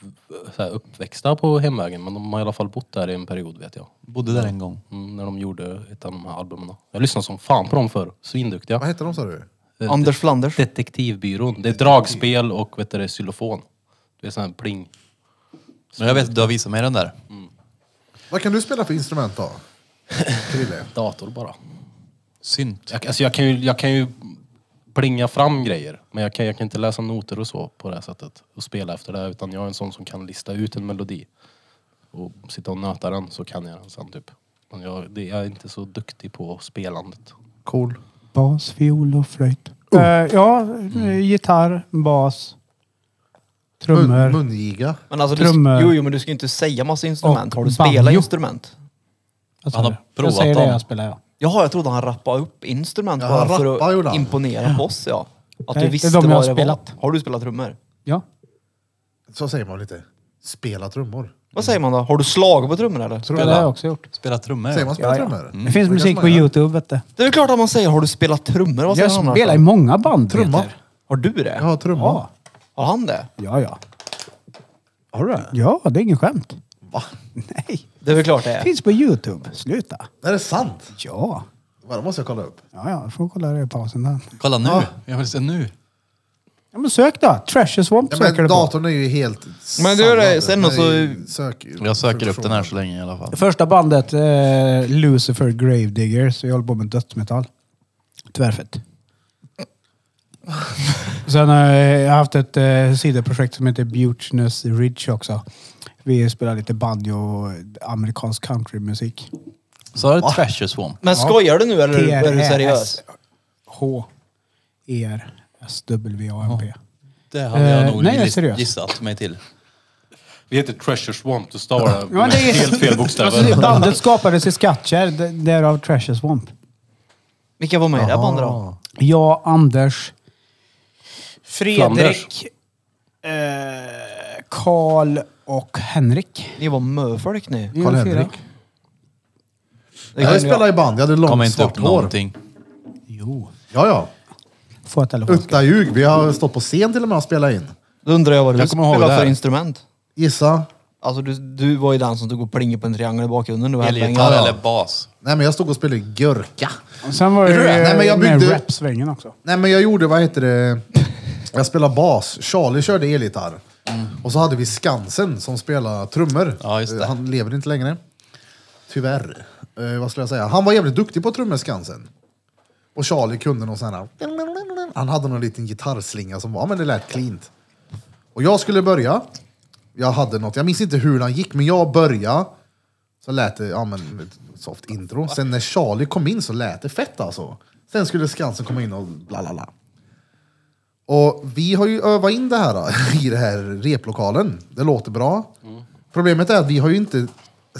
Speaker 5: så här, uppväxta på hemvägen, men de har i alla fall bott där i en period vet jag.
Speaker 2: Bodde där en gång.
Speaker 5: Mm, när de gjorde ett av de här albumen. Jag lyssnade som fan på dem förr.
Speaker 1: Vad
Speaker 5: Svinduktiga.
Speaker 1: heter de sa du?
Speaker 6: Anders Flanders.
Speaker 5: Detektivbyrån. Det är dragspel och vet du, det är xylofon. Det är sån här pling.
Speaker 2: Men jag vet att du har visat mig den där.
Speaker 1: Vad kan du spela för instrument
Speaker 5: <laughs>
Speaker 1: då? Krille?
Speaker 5: Dator bara.
Speaker 2: Synt.
Speaker 5: Jag, alltså jag, kan ju, jag kan ju plinga fram grejer, men jag kan, jag kan inte läsa noter och så på det här sättet och spela efter det. Utan jag är en sån som kan lista ut en melodi och sitta och nöta den så kan jag den sen typ. Men jag, det, jag är inte så duktig på spelandet.
Speaker 1: Cool.
Speaker 4: Bas, fiol och flöjt.
Speaker 1: Oh.
Speaker 4: Eh, ja, eh, gitarr, bas, trummor.
Speaker 1: Mun, mungiga.
Speaker 6: Men alltså,
Speaker 4: Trummor.
Speaker 6: Du, jo, jo, men du ska ju inte säga massa instrument.
Speaker 4: Och
Speaker 6: Har du spelat
Speaker 4: banjo.
Speaker 6: instrument?
Speaker 4: Vad sa
Speaker 2: Han har
Speaker 4: du?
Speaker 2: provat
Speaker 4: jag säger det
Speaker 2: dem.
Speaker 4: jag spelar ja.
Speaker 6: Jaha, jag trodde han rappade upp instrument
Speaker 1: Ja,
Speaker 6: bara
Speaker 1: han rappar
Speaker 6: för
Speaker 1: gjorde han.
Speaker 6: att imponera på oss, ja.
Speaker 4: Nej,
Speaker 6: Att
Speaker 4: det
Speaker 6: du
Speaker 4: är
Speaker 6: visste
Speaker 4: de jag har
Speaker 6: vad det var.
Speaker 4: spelat.
Speaker 6: Har du spelat trummor?
Speaker 4: Ja.
Speaker 1: Så säger man lite. Spela trummor.
Speaker 6: Vad säger man då? Har du slagit på trummor eller?
Speaker 4: Det har jag också gjort.
Speaker 2: Spela trummor.
Speaker 1: Säger man spela
Speaker 4: Ja, ja.
Speaker 1: trummor?
Speaker 2: Mm.
Speaker 1: Mm.
Speaker 4: Det finns
Speaker 1: kanske
Speaker 4: musik
Speaker 1: man
Speaker 4: på
Speaker 1: gör.
Speaker 4: Youtube vet du.
Speaker 6: Det är väl klart att man säger, har du spelat trummor? Vad säger
Speaker 4: Jag
Speaker 6: han annars
Speaker 4: spelar i
Speaker 6: då?
Speaker 4: många band.
Speaker 1: Trumma.
Speaker 4: Peter.
Speaker 6: Har du det?
Speaker 1: Ja, trumma.
Speaker 4: Ja.
Speaker 6: Har han det?
Speaker 4: Ja, ja.
Speaker 1: Har du det?
Speaker 4: Ja, det är ingen skämt.
Speaker 1: Va?
Speaker 4: Nej.
Speaker 6: Det är väl klart det är.
Speaker 4: Finns på Youtube. Sluta.
Speaker 1: Är det sant?
Speaker 4: Ja.
Speaker 1: Va, Det måste jag kolla upp.
Speaker 4: Ja, ja. Får kolla det i pausen där.
Speaker 2: Kolla nu. Jag vill se nu.
Speaker 4: Ja, men sök då. Treasure Swamp
Speaker 1: Ja,
Speaker 4: söker
Speaker 1: men
Speaker 4: du på.
Speaker 1: datorn är ju helt
Speaker 6: Men det är det,
Speaker 1: sallad.
Speaker 6: sen
Speaker 1: Den
Speaker 6: och så-
Speaker 1: är ju Sök,
Speaker 2: Jag söker upp den här så länge i alla fall.
Speaker 4: Första bandet, eh, Lucifer Gravedigger, så jag håller på med dödsmetall. Tvärfett. Sen har jag haft ett eh, sidoprojekt som heter Butchness Ridge också. Vi spelar lite banjo och amerikansk countrymusik.
Speaker 2: Så har du Treasure Swamp.
Speaker 6: Men skojar du nu eller är du seriös?
Speaker 4: E T-R-E-S-H-E-R-S-W-A-M-P.
Speaker 2: Det hade jag
Speaker 4: Eh,
Speaker 2: nog
Speaker 4: nej, jag är
Speaker 2: giss-
Speaker 4: seriös.
Speaker 2: gissat mig till.
Speaker 5: Vi heter Treasure Swamp, du stavar det
Speaker 4: Ja, men
Speaker 5: med
Speaker 4: det är-
Speaker 5: helt fel
Speaker 4: Alltså,
Speaker 5: bokstäver.
Speaker 4: det- bandet skapades i Skattkärr, d- därav Treasure Swamp.
Speaker 6: Vilka var med i det här bandet då?
Speaker 4: Jag, Anders,
Speaker 5: Flanders.
Speaker 4: Fredrik, eh, Karl och Henrik.
Speaker 6: Ni var möfolk ni.
Speaker 4: Ni är
Speaker 1: Karl-Henrik.
Speaker 4: fyra.
Speaker 6: Det
Speaker 1: Jag
Speaker 6: kan
Speaker 1: spelade i band, jag hade
Speaker 2: Kommer
Speaker 1: långt
Speaker 2: inte upp
Speaker 1: svart hår.
Speaker 2: någonting.
Speaker 4: Jo.
Speaker 1: Ja, ja.
Speaker 4: Får jag telefon?
Speaker 1: Utta ljug. Vi har stått på scen till och med och spelat in.
Speaker 6: Då undrar jag vad du
Speaker 2: Jag kommer ihåg det
Speaker 6: spelade
Speaker 2: här.
Speaker 6: för instrument.
Speaker 1: Gissa.
Speaker 6: Alltså du, du var ju den som tog och plingade på en triangel i bakgrunden. Du var
Speaker 2: Elgitarr
Speaker 6: hellänge.
Speaker 2: eller bas.
Speaker 1: Nej, men jag stod och spelade gurka.
Speaker 4: Sen var det
Speaker 1: Vet du det? Nej, men jag byggde-
Speaker 4: med rapsvängen också.
Speaker 1: Nej, men jag gjorde, vad heter det? Jag spelade bas. Charlie körde elgitarr. Och så hade vi Skansen som spelade trummor.
Speaker 2: Ja, just det.
Speaker 1: Eh, Han lever inte längre. Tyvärr. Eh, vad skulle jag säga? Han var jävligt duktig på trummor, Skansen. Och Charlie kunde någon sån här... Han hade någon liten gitarrslinga som var, ja, men det lät cleant. Och jag skulle börja. Jag hade något, jag minns inte hur den gick, men jag började. Så lät det, ja men, ett soft intro. Sen när Charlie kom in så lät det fett alltså. Sen skulle Skansen komma in och bla bla bla. Och vi har ju övat in det här <laughs> i den här replokalen. Det låter bra. Problemet är att vi har ju inte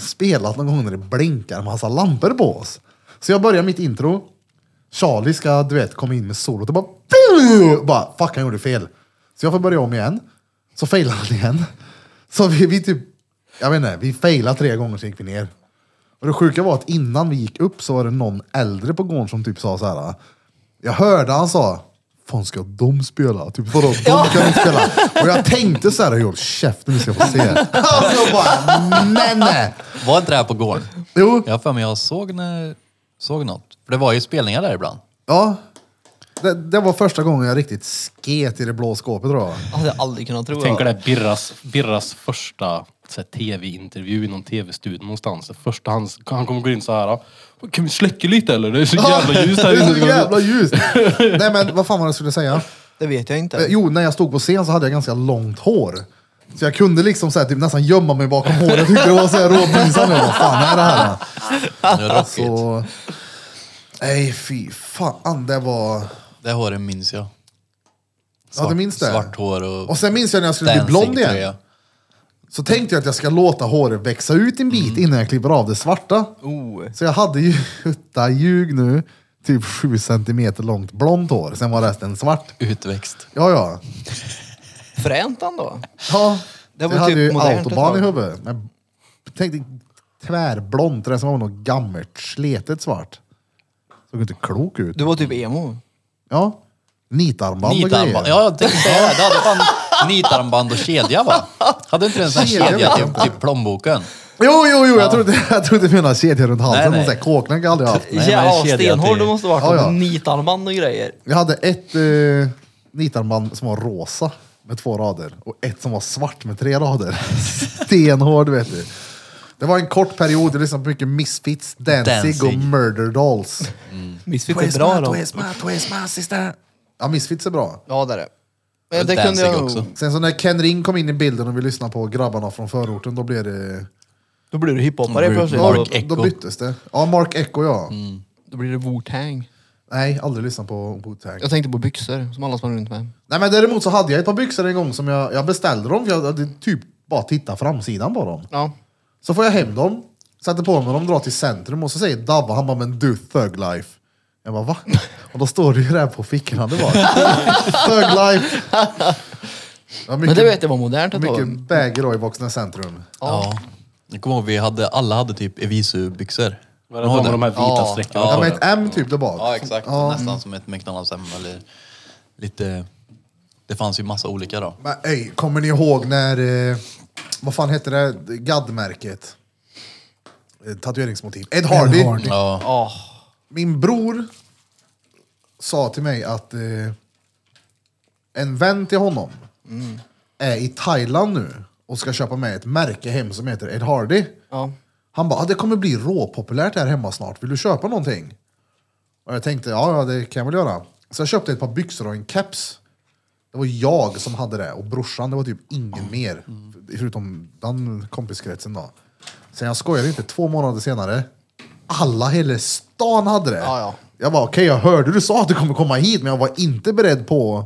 Speaker 1: spelat någon gång när det blinkar en massa lampor på oss. Så jag börjar mitt intro. Charlie ska, du vet, komma in med solot och bara... <laughs> bara fuck, han gjorde fel. Så jag får börja om igen. Så failar han igen. Så vi, vi typ... Jag vet inte, vi failade tre gånger så gick vi ner. Och det sjuka var att innan vi gick upp så var det någon äldre på gården som typ sa så här. Jag hörde han sa, fan ska de spela? Typ vadå, de kan inte spela. Och jag tänkte så här, håll käften vi ska få se. Alltså bara, nej nej.
Speaker 2: Var inte det här på gården?
Speaker 1: Jo,
Speaker 2: Jag har för mig jag såg, när, såg något. För det var ju spelningar där ibland.
Speaker 1: ja. Det, det var första gången jag riktigt sket i det blå skåpet tror jag.
Speaker 6: Hade jag aldrig kunnat tro.
Speaker 5: Tänker det är Birras, Birras första så här, tv-intervju i någon tv-studio någonstans. Det första han, han kommer gå in så här. Kan vi släcka lite eller? Det är så jävla ljust här
Speaker 1: Det är
Speaker 5: inne.
Speaker 1: så jävla ljust. Nej men vad fan var det jag skulle säga?
Speaker 6: Det vet jag inte.
Speaker 1: Eh, Jo, när jag stod på scen så hade jag ganska långt hår. Så jag kunde liksom så här, typ, nästan gömma mig bakom håret. Jag tyckte det var så här råpinsamt. Jag bara, fan är det här?
Speaker 2: Det är rockigt.
Speaker 1: <laughs> Så... Nej, fy fan. Det var...
Speaker 2: Det håret minns jag.
Speaker 1: Ja, du minns det?
Speaker 2: Svart hår och...
Speaker 1: Och sen minns jag när jag skulle bli blond igen.
Speaker 2: dancingtröja.
Speaker 1: Så tänkte jag att jag ska låta håret växa ut en
Speaker 2: Mm.
Speaker 1: bit innan jag klipper av det svarta.
Speaker 6: Oh.
Speaker 1: Så jag hade ju, <laughs> utta ljug nu, typ sju centimeter långt blont hår. Sen var resten svart.
Speaker 2: Utväxt.
Speaker 1: Ja, ja.
Speaker 6: Fränt ändå.
Speaker 1: Ja,
Speaker 6: Det var
Speaker 1: jag hade
Speaker 6: typ
Speaker 1: ju
Speaker 6: modernt
Speaker 1: autobahn
Speaker 6: ett
Speaker 1: i
Speaker 6: tag.
Speaker 1: huvudet. Men tänkte tvärblont, det som var något gammalt, sletet svart. Såg inte klok ut.
Speaker 6: Du var typ emo.
Speaker 1: Ja. Nitarmband och grejer.
Speaker 2: Nitarmband. Ja, jag tänkte säga det. Du hade fan nitarmband och
Speaker 1: <laughs>
Speaker 2: kedja va? Hade inte du en sån här
Speaker 1: Kedja
Speaker 2: kedja
Speaker 1: vet
Speaker 2: till,
Speaker 1: jag
Speaker 2: till plånboken?
Speaker 1: Jo, jo, jo, jag trodde, jag trodde du menade kedjor runt halsen.
Speaker 2: Nej,
Speaker 1: Nej,
Speaker 2: nej.
Speaker 1: nej. Kåknack har jag aldrig haft.
Speaker 2: Nej, men
Speaker 6: Jävlar vad
Speaker 2: kedja
Speaker 6: stenhård
Speaker 2: till-
Speaker 6: du måste ha varit.
Speaker 1: Ja,
Speaker 6: Ja,
Speaker 1: ja.
Speaker 6: Nitarmband och grejer.
Speaker 1: Jag hade ett eh, nitarmband som var rosa med två rader och ett som var svart med tre rader. <laughs> Stenhård vet du. Det var en kort period, jag lyssnade på mycket Misfits, Danzig och
Speaker 2: Danzig.
Speaker 1: Murder Dolls.
Speaker 6: Misfits är bra då.
Speaker 1: twist my, twist my sister. Ja, Misfits är bra.
Speaker 6: Ja det är det. Men
Speaker 2: Och
Speaker 6: det kunde
Speaker 2: Danzig
Speaker 6: jag
Speaker 2: också.
Speaker 6: också.
Speaker 1: Sen så när Ken Ring kom in i bilden och vi lyssnade på grabbarna från förorten, då blev det...
Speaker 6: Då blir du hiphopare
Speaker 2: Mm,
Speaker 6: plötsligt.
Speaker 2: Mark
Speaker 6: Då-
Speaker 1: då,
Speaker 2: Echo.
Speaker 1: då byttes det. Ja, Mark Echo ja.
Speaker 6: Mm. Då blir det Wu-Tang.
Speaker 1: Nej, aldrig lyssnat på Wu-Tang.
Speaker 6: Jag tänkte på byxor som alla sprang runt med.
Speaker 1: Nej men däremot så hade jag ett par byxor en gång som jag, jag beställde dem, för jag hade typ bara tittat framsidan på dem.
Speaker 6: Ja.
Speaker 1: Så får jag hem dem, sätter på mig dem, drar till centrum och så säger Dabba, han bara men du thug life. Jag bara va? Och då står det ju där på fickorna, det var <laughs> thug life. Det var
Speaker 6: Men
Speaker 1: mycket,
Speaker 6: det vet jag var modernt ett tag.
Speaker 1: mycket bäger i Voxna centrum.
Speaker 2: Ja. Jag kommer ihåg, vi hade, alla hade typ Evisu-byxor.
Speaker 5: Var det de med de här vita
Speaker 6: Ja,
Speaker 5: strecken?
Speaker 1: Ja,
Speaker 2: Ja,
Speaker 1: men ett M typ där bak.
Speaker 2: Ja, exakt.
Speaker 1: Ja.
Speaker 2: Nästan som ett McDonalds M eller lite... Det fanns ju massa olika då.
Speaker 1: Men ey, kommer ni ihåg när, eh, vad fan hette det, gaddmärket? Eh, Tatueringsmotiv. Ed Hardy.
Speaker 4: Hardy.
Speaker 2: Ja.
Speaker 1: Min bror sa till mig att eh, en vän till honom
Speaker 2: Mm.
Speaker 1: är i Thailand nu och ska köpa med ett märke hem som heter Ed Hardy.
Speaker 6: Ja.
Speaker 1: Han bara, ah, det kommer bli råpopulärt här hemma snart, vill du köpa någonting? Och jag tänkte, ja ja, det kan jag väl göra. Så jag köpte ett par byxor och en keps. Det var jag som hade det och brorsan, det var typ ingen mer. Förutom den kompiskretsen då. Sen jag skojade inte, två månader senare, alla hela stan hade det.
Speaker 6: Ja, ja.
Speaker 1: Jag bara, okej jag hörde du sa att du kommer komma hit, men jag var inte beredd på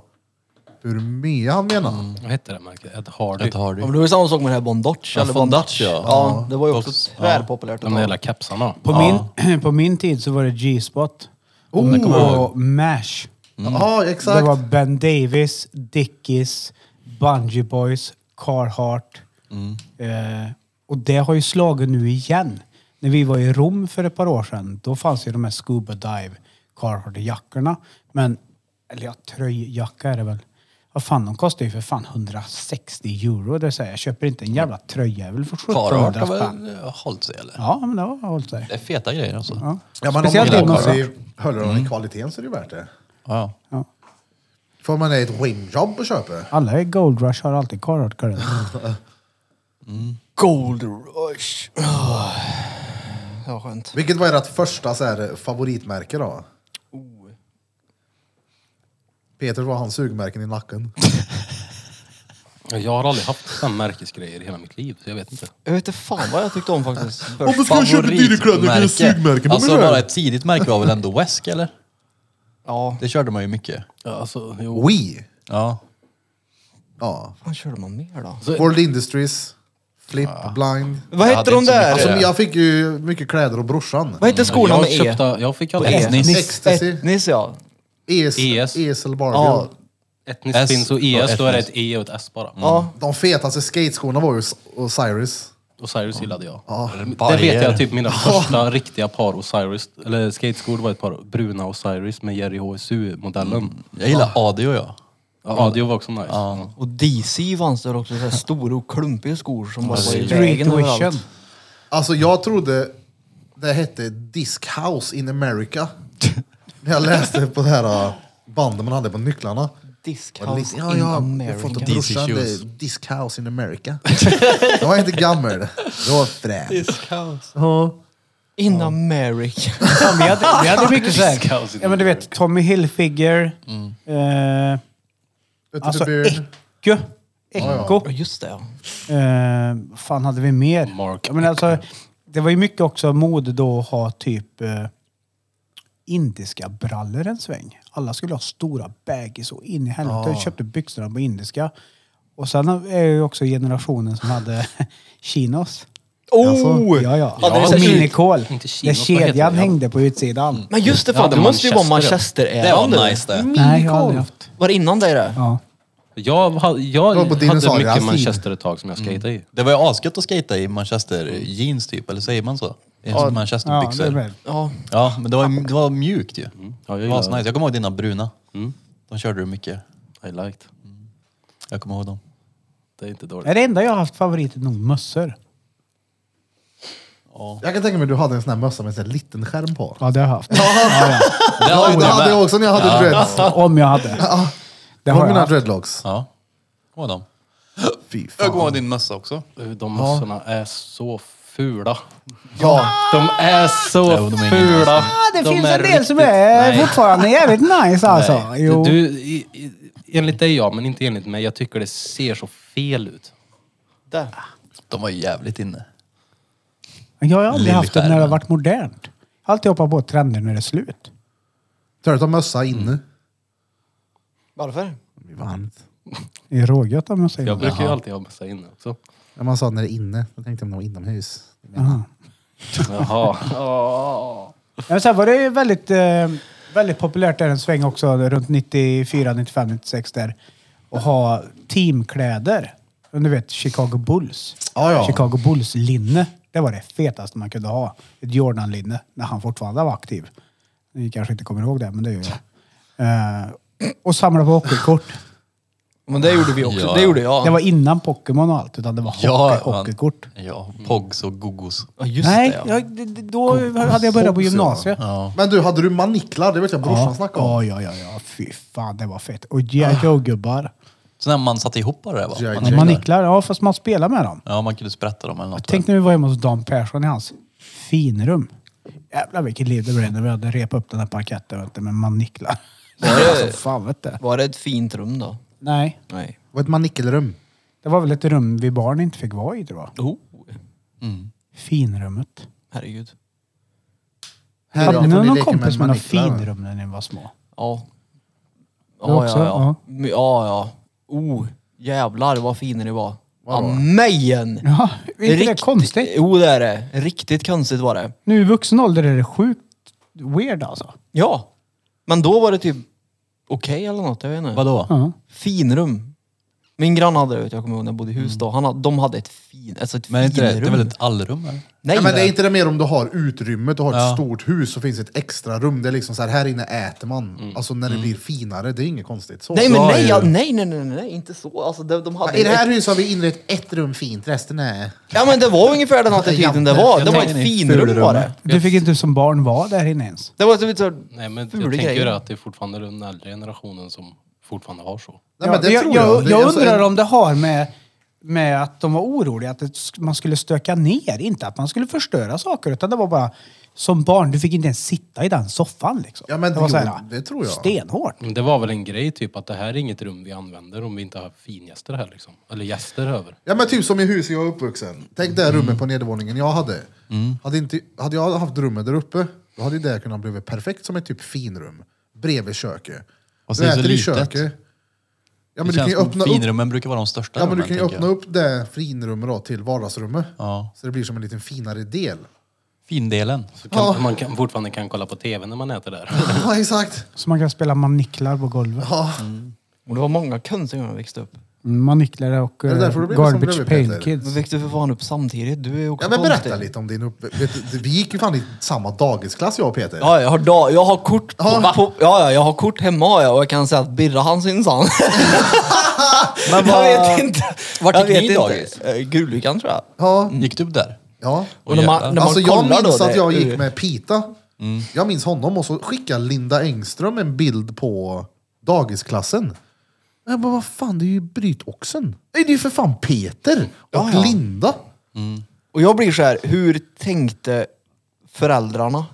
Speaker 1: hur mycket han menade.
Speaker 6: Mm,
Speaker 5: Vad hette det märket? Ed Hardy?
Speaker 2: Ett Hardy.
Speaker 6: Ja, men det var ju samma sak med det här Bon Dutch.
Speaker 2: Ja,
Speaker 6: eller
Speaker 2: Von
Speaker 6: Bon
Speaker 2: Dutch, ja.
Speaker 6: ja. Det var ju också
Speaker 2: Dutch, ja.
Speaker 6: tvärpopulärt ett
Speaker 5: De där jävla
Speaker 6: tag.
Speaker 5: kepsarna.
Speaker 4: På, min, <clears throat> på min tid så var det G-spot. Och MASH.
Speaker 6: mm.
Speaker 1: Ja,
Speaker 4: Det
Speaker 1: exakt.
Speaker 4: var Ben Davis, Dickies, Bungee Boys, Carhartt.
Speaker 2: Mm.
Speaker 4: Eh, och det har ju slagit nu igen. När vi var i Rom för ett par år sedan, då fanns ju de här scuba dive Carhartt-jackorna. Men, eller ja, tröjjacka är det väl. Vad fan, de kostar ju för fan 160 euro. Det säger jag. jag köper inte en jävla tröjjävel för 1700
Speaker 2: Carhartt har
Speaker 4: spänn.
Speaker 2: väl eh, hållit sig eller?
Speaker 4: Ja, men det har hållit sig.
Speaker 2: Det är feta grejer alltså. Ja.
Speaker 4: Ja.
Speaker 1: Ja, men om
Speaker 4: Speciellt
Speaker 1: man
Speaker 4: inom-
Speaker 1: håller sig- håller dem i kvaliteten så är det ju värt det.
Speaker 2: Ja.
Speaker 4: Ja.
Speaker 1: Får man ett wingjob och köpa.
Speaker 4: Alla i Gold Rush har alltid Carhartt-kläder.
Speaker 6: Gold Rush. Ah. Det var skönt.
Speaker 1: Vilket var ert första så här, favoritmärke då? Peter var hans sugmärken i nacken.
Speaker 5: Jag har aldrig haft fem märkesgrejer i hela mitt liv, så jag vet inte.
Speaker 6: Jag vet inte fan vad jag tyckte om
Speaker 1: <laughs>
Speaker 6: faktiskt. Först.
Speaker 1: Varför ska jag köpa dyra kläder för ett sugmärke? De är
Speaker 2: Alltså
Speaker 1: röda.
Speaker 2: bara ett tidigt märke var väl ändå Wesk eller?
Speaker 6: Ja,
Speaker 2: Det körde man ju mycket.
Speaker 5: Ja, Alltså, jo.
Speaker 1: We!
Speaker 2: Ja.
Speaker 1: Ja.
Speaker 6: vad fan körde man mer då?
Speaker 1: World Industries, Flip, Blind.
Speaker 6: Vad hette
Speaker 2: Jag hade
Speaker 6: de
Speaker 2: inte
Speaker 6: där?
Speaker 2: så mycket-
Speaker 1: Alltså,
Speaker 2: det?
Speaker 1: jag fick ju mycket kläder av brorsan.
Speaker 6: Vad hette skorna med
Speaker 5: Jag,
Speaker 6: E?
Speaker 5: köpte, jag fick aldrig...
Speaker 2: Etnis.
Speaker 1: Ecstasy. E
Speaker 6: Etnis ja.
Speaker 1: ES,
Speaker 5: ES.
Speaker 1: ES eller Barbie.
Speaker 6: Ja.
Speaker 5: Etnis
Speaker 2: S
Speaker 5: finns och
Speaker 2: och
Speaker 5: ES, då är det
Speaker 2: etnis.
Speaker 5: ett E och ett S bara.
Speaker 6: ja.
Speaker 1: De fetaste skateskorna var ju S- Osiris.
Speaker 5: Osiris gillade jag. Det
Speaker 2: Barriär.
Speaker 5: vet jag, <laughs> typ mina första riktiga par Osiris, eller skateskor var ett par bruna Osiris med Jerry HSU-modellen.
Speaker 2: Jag gillar Adio jag.
Speaker 5: Mm. Ja, Adio var också nice. Ja.
Speaker 6: Och DC fanns det också, så här stora och klumpiga skor som bara var i
Speaker 4: Street
Speaker 6: vägen
Speaker 4: Vision.
Speaker 6: överallt.
Speaker 1: Alltså jag trodde det hette Disc House in America. När jag läste på det här äh, bandet man hade på nycklarna.
Speaker 6: Disc
Speaker 1: Och det
Speaker 6: House
Speaker 1: lite- Ja,
Speaker 6: in
Speaker 1: jag har fått av
Speaker 6: America.
Speaker 1: brorsan
Speaker 2: DC
Speaker 1: det
Speaker 2: shoes.
Speaker 1: är Disc House in America. jag var inte gammal. Det var fränt.
Speaker 6: In America. <laughs>
Speaker 4: Ja, vi, hade, vi hade
Speaker 5: <laughs>
Speaker 4: mycket så här. Ja, men du vet, Tommy Hilfiger.
Speaker 5: Mm.
Speaker 4: Eh,
Speaker 1: Vet du,
Speaker 4: alltså
Speaker 1: Beard?
Speaker 4: Ecco. Ecco.
Speaker 6: Ja just det ja.
Speaker 4: Eh, vad fan hade vi mer?
Speaker 5: Mark
Speaker 4: Ja, men alltså, det var ju mycket också mode då att ha typ eh, indiska brallor en sväng. Alla skulle ha stora baggies och in i helvete. Jag köpte byxorna på indiska. Och sen är jag ju också generationen som hade <laughs> chinos. Alltså,
Speaker 6: Oh!
Speaker 4: ja, ja.
Speaker 6: Ja, det är
Speaker 4: och
Speaker 6: så-
Speaker 4: minikål.
Speaker 5: Inte
Speaker 4: Där
Speaker 5: chinos, vad heter
Speaker 4: kedjan
Speaker 5: det? Mm.
Speaker 4: hängde på utsidan.
Speaker 6: Men just det
Speaker 5: Ja,
Speaker 6: fan,
Speaker 5: det
Speaker 6: det
Speaker 5: var
Speaker 6: måste ju vara
Speaker 5: Manchester,
Speaker 2: Det
Speaker 6: Manchester-äran.
Speaker 2: var nice det.
Speaker 4: Nej, jag har aldrig haft.
Speaker 6: Var det innan dig det?
Speaker 4: Ja.
Speaker 5: Jag, ha-
Speaker 1: var
Speaker 5: jag
Speaker 1: på
Speaker 5: hade
Speaker 1: dinosaurier,
Speaker 5: mycket
Speaker 1: alltså.
Speaker 5: Manchester ett tag som jag skejtade i.
Speaker 2: Det var ju asgött att skata i Manchester jeans typ, eller säger man så? I ja,
Speaker 4: Ja,
Speaker 2: Manchester
Speaker 4: det är väl.
Speaker 2: byxor.
Speaker 6: Ja.
Speaker 2: Ja, men det var, det var mjukt ju.
Speaker 5: Mm. Ja, jag
Speaker 2: det var
Speaker 5: gillar
Speaker 2: asnice.
Speaker 5: det. Mm.
Speaker 2: Jag kommer ihåg dina bruna. De körde du mycket.
Speaker 5: I liked.
Speaker 2: Jag kommer ihåg dem.
Speaker 5: Det är inte
Speaker 4: Det är
Speaker 5: dåligt.
Speaker 4: det enda jag har haft favorit är nog mössor.
Speaker 1: Jag kan tänka mig att du hade en sån här mössa med en sån här liten skärm på.
Speaker 4: Ja, det har jag haft. Ja,
Speaker 2: Det
Speaker 1: <laughs> Ja,
Speaker 2: har jag
Speaker 1: det hade
Speaker 2: med.
Speaker 1: jag också när jag hade dreads.
Speaker 4: ja. Om jag hade. Det
Speaker 1: Det
Speaker 4: har
Speaker 1: var
Speaker 4: jag
Speaker 1: mina
Speaker 4: haft.
Speaker 1: dreadlocks.
Speaker 2: Ja. Kommer ihåg dem.
Speaker 1: Fy
Speaker 2: Jag kommer ihåg
Speaker 1: fan.
Speaker 2: din mössa också.
Speaker 5: De mössorna är så fula.
Speaker 1: Ja,
Speaker 5: De är så
Speaker 2: de är ingen
Speaker 5: fula.
Speaker 4: Ja, Ah, det
Speaker 5: de
Speaker 4: finns
Speaker 5: är
Speaker 4: en del som
Speaker 5: riktigt-
Speaker 4: är
Speaker 5: Nej.
Speaker 4: fortfarande jävligt nice alltså.
Speaker 5: Nej.
Speaker 4: Jo.
Speaker 5: Du, i, i, enligt dig ja, men inte enligt mig. Jag tycker det ser så fel ut.
Speaker 6: Där.
Speaker 2: De var ju jävligt inne.
Speaker 4: Jag har aldrig haft det när det har
Speaker 2: Lillskärmen.
Speaker 4: varit modernt. Jag har alltid hoppat på trender när det är slut.
Speaker 1: tar du ta mössa inne?
Speaker 6: Varför?
Speaker 1: Det är varmt.
Speaker 4: Det är rågött om jag säger
Speaker 5: Jag
Speaker 4: det.
Speaker 5: brukar ju alltid ha mössa inne också.
Speaker 1: När man sa när det är inne, då tänkte jag om det var inomhus.
Speaker 4: Aha.
Speaker 5: <laughs> Jaha.
Speaker 4: Ja, men sen var det ju väldigt, eh, väldigt populärt där en sväng också, runt 94, 95, 96 där. Att ha teamkläder. Du vet Chicago Bulls.
Speaker 1: Ja, ja.
Speaker 4: Chicago Bulls-linne. Det var det fetaste man kunde ha. Ett Jordan-linne när han fortfarande var aktiv. Ni kanske inte kommer ihåg det, men det gör jag. Eh, och samla på hockeykort.
Speaker 6: Men det gjorde vi också.
Speaker 2: Ja.
Speaker 6: Det gjorde
Speaker 4: Det
Speaker 6: jag.
Speaker 4: var innan Pokémon och allt, utan det var hockey,
Speaker 2: man-
Speaker 4: hockeykort.
Speaker 2: Ja, Pogs och Gogos.
Speaker 6: Ja, just
Speaker 4: Nej,
Speaker 6: det ja.
Speaker 4: jag, d- d- då hade jag börjat på gymnasiet.
Speaker 2: Ja.
Speaker 1: Men du, hade du maniklar? Det vet jag brorsan snackade om. Ah.
Speaker 4: ja, ja, ja, ja. Fy fan, det var fett. Och jojo-gubbar.
Speaker 2: Så när man satte ihop bara det va?
Speaker 1: Ja,
Speaker 2: Man-
Speaker 1: ja.
Speaker 4: Maniklar, ja fast man spelar med dem.
Speaker 2: Ja, man kunde sprätta dem eller något.
Speaker 4: Tänk när vi var hemma hos Dan Persson i hans finrum. Jävlar vilket liv det blev när vi hade repat upp den här parketten vet du, med maniklar. Alltså, fan vet du.
Speaker 6: Var det ett fint rum då?
Speaker 4: Nej,
Speaker 6: Nej.
Speaker 1: Det var ett manikelrum.
Speaker 4: det var väl ett rum vi barn inte fick vara i tror jag.
Speaker 6: Oh.
Speaker 4: Finrummet.
Speaker 6: Herregud.
Speaker 1: Här
Speaker 4: hade
Speaker 1: jag,
Speaker 4: ni
Speaker 1: får
Speaker 4: någon
Speaker 1: leka
Speaker 4: kompis med något
Speaker 1: maniklar.
Speaker 4: finrum när ni var små?
Speaker 6: Ja.
Speaker 4: Du
Speaker 6: Ja,
Speaker 4: också?
Speaker 6: ja, ja.
Speaker 4: Ja.
Speaker 6: My- Ja, ja. Oh, jävlar vad fina ni var.
Speaker 1: Vadå?
Speaker 6: Amen!
Speaker 4: Ja, är inte det konstigt?
Speaker 6: Jo, det är det. Riktigt konstigt var det.
Speaker 4: Nu i vuxen ålder är det sjukt weird alltså.
Speaker 6: Ja. Men då var det typ okej eller något, jag vet inte.
Speaker 2: Vadå?
Speaker 4: Ja.
Speaker 6: Finrum. Min granne hade det, vet jag, jag kommer ihåg när jag bodde i hus då. Han hade, de hade ett fint, alltså ett
Speaker 2: Men är inte det, det är
Speaker 6: finrum.
Speaker 2: väl ett allrum? Eller?
Speaker 6: Nej,
Speaker 1: ja, men det är inte det mer om du har utrymmet, du har ett
Speaker 2: Ja.
Speaker 1: stort hus så finns ett extra rum. Det är liksom så här, här inne äter man.
Speaker 4: Mm.
Speaker 1: Alltså när det blir finare, det är inget konstigt. Så.
Speaker 6: nej,
Speaker 1: Så-
Speaker 6: men nej,
Speaker 2: ju-
Speaker 6: ja, nej, nej, nej, nej, nej, inte så. Alltså, de, de hade
Speaker 1: I det här huset har vi inrett ett rum fint, resten är...
Speaker 6: Ja men det var ungefär den attityden det var. Det var ett finrum var det.
Speaker 4: Du fick inte som barn vara där inne ens.
Speaker 6: Det var typ så här-
Speaker 5: Nej, men
Speaker 6: Fula
Speaker 5: jag tänker
Speaker 6: grejer.
Speaker 5: ju att det är fortfarande den äldre generationen som fortfarande har så.
Speaker 1: Nej,
Speaker 4: Ja,
Speaker 1: men det
Speaker 4: jag,
Speaker 1: tror
Speaker 4: jag,
Speaker 1: Det-
Speaker 4: jag
Speaker 1: alltså,
Speaker 4: undrar
Speaker 1: en-
Speaker 4: om det har med, med att de var oroliga att det, sk- man skulle stöka ner. Inte att man skulle förstöra saker, utan det var bara som barn, du fick inte ens sitta i den soffan. Liksom.
Speaker 1: Ja, men
Speaker 4: det var
Speaker 1: jo,
Speaker 4: så här,
Speaker 1: det tror jag.
Speaker 4: Stenhårt.
Speaker 5: Men Det var väl en grej typ att det här är inget rum vi använder om vi inte har fingäster här liksom. Eller gäster över.
Speaker 1: Ja men typ som i huset jag är uppvuxen. Tänk det här rummet på nedervåningen jag hade. Hade, inte, hade jag haft rummet där uppe, då hade ju det kunnat bli perfekt som ett typ finrum. Bredvid köket.
Speaker 2: Och så är det så
Speaker 1: i
Speaker 2: litet.
Speaker 1: Ja, men du kan
Speaker 2: det känns
Speaker 1: ju
Speaker 2: som
Speaker 1: öppna upp,
Speaker 2: finrummen brukar vara de största
Speaker 1: ja, men du
Speaker 2: rummen,
Speaker 1: kan ju
Speaker 2: tänker
Speaker 1: öppna
Speaker 2: jag.
Speaker 1: upp det finrummet då till vardagsrummet.
Speaker 2: Ja.
Speaker 1: Så det blir som en liten finare del.
Speaker 2: Findelen.
Speaker 5: Så kan, man kan, fortfarande kan kolla på TV när man äter
Speaker 4: <laughs>
Speaker 5: där.
Speaker 1: Ja exakt!
Speaker 4: Så man kan spela maniklar på golvet.
Speaker 1: Ja.
Speaker 6: Och det var många konstiga när jag växte upp.
Speaker 4: Mm, Maniklar och
Speaker 1: Är det
Speaker 4: eh,
Speaker 1: därför du blev som du
Speaker 4: Garbage
Speaker 1: blev,
Speaker 4: Pail
Speaker 1: Peter?
Speaker 4: Kids.
Speaker 6: Men växte för fan upp samtidigt. Du är också
Speaker 1: ja men berätta
Speaker 6: konstig.
Speaker 1: lite om din uppväxt. Vi gick ju fan i samma dagisklass jag och Peter.
Speaker 6: Ja, jag har, da, jag har kort på,
Speaker 1: Ja.
Speaker 6: på, ja, ja, jag har kort hemma har jag och jag kan säga att Birra han
Speaker 1: <laughs>
Speaker 6: syns han.
Speaker 2: Men
Speaker 6: jag
Speaker 2: vad-
Speaker 6: vet inte.
Speaker 2: vart
Speaker 6: Jag
Speaker 2: gick ni
Speaker 6: vet
Speaker 2: dagis?
Speaker 6: inte. Eh, Gullykan tror jag.
Speaker 1: Ja.
Speaker 2: Gick du upp där?
Speaker 1: ja.
Speaker 6: Och när man,
Speaker 2: jävlar.
Speaker 6: när man
Speaker 1: Alltså jag
Speaker 6: kollar
Speaker 1: minns
Speaker 6: då,
Speaker 1: att
Speaker 6: det- Mm.
Speaker 1: jag gick med Pita. Jag minns honom och så skickade Linda Engström en bild på dagisklassen. Jag bara, vad fan, det är ju Brytoxen. Nej, det är ju för fan Peter och Linda.
Speaker 6: Och jag blir så här, hur tänkte föräldrarna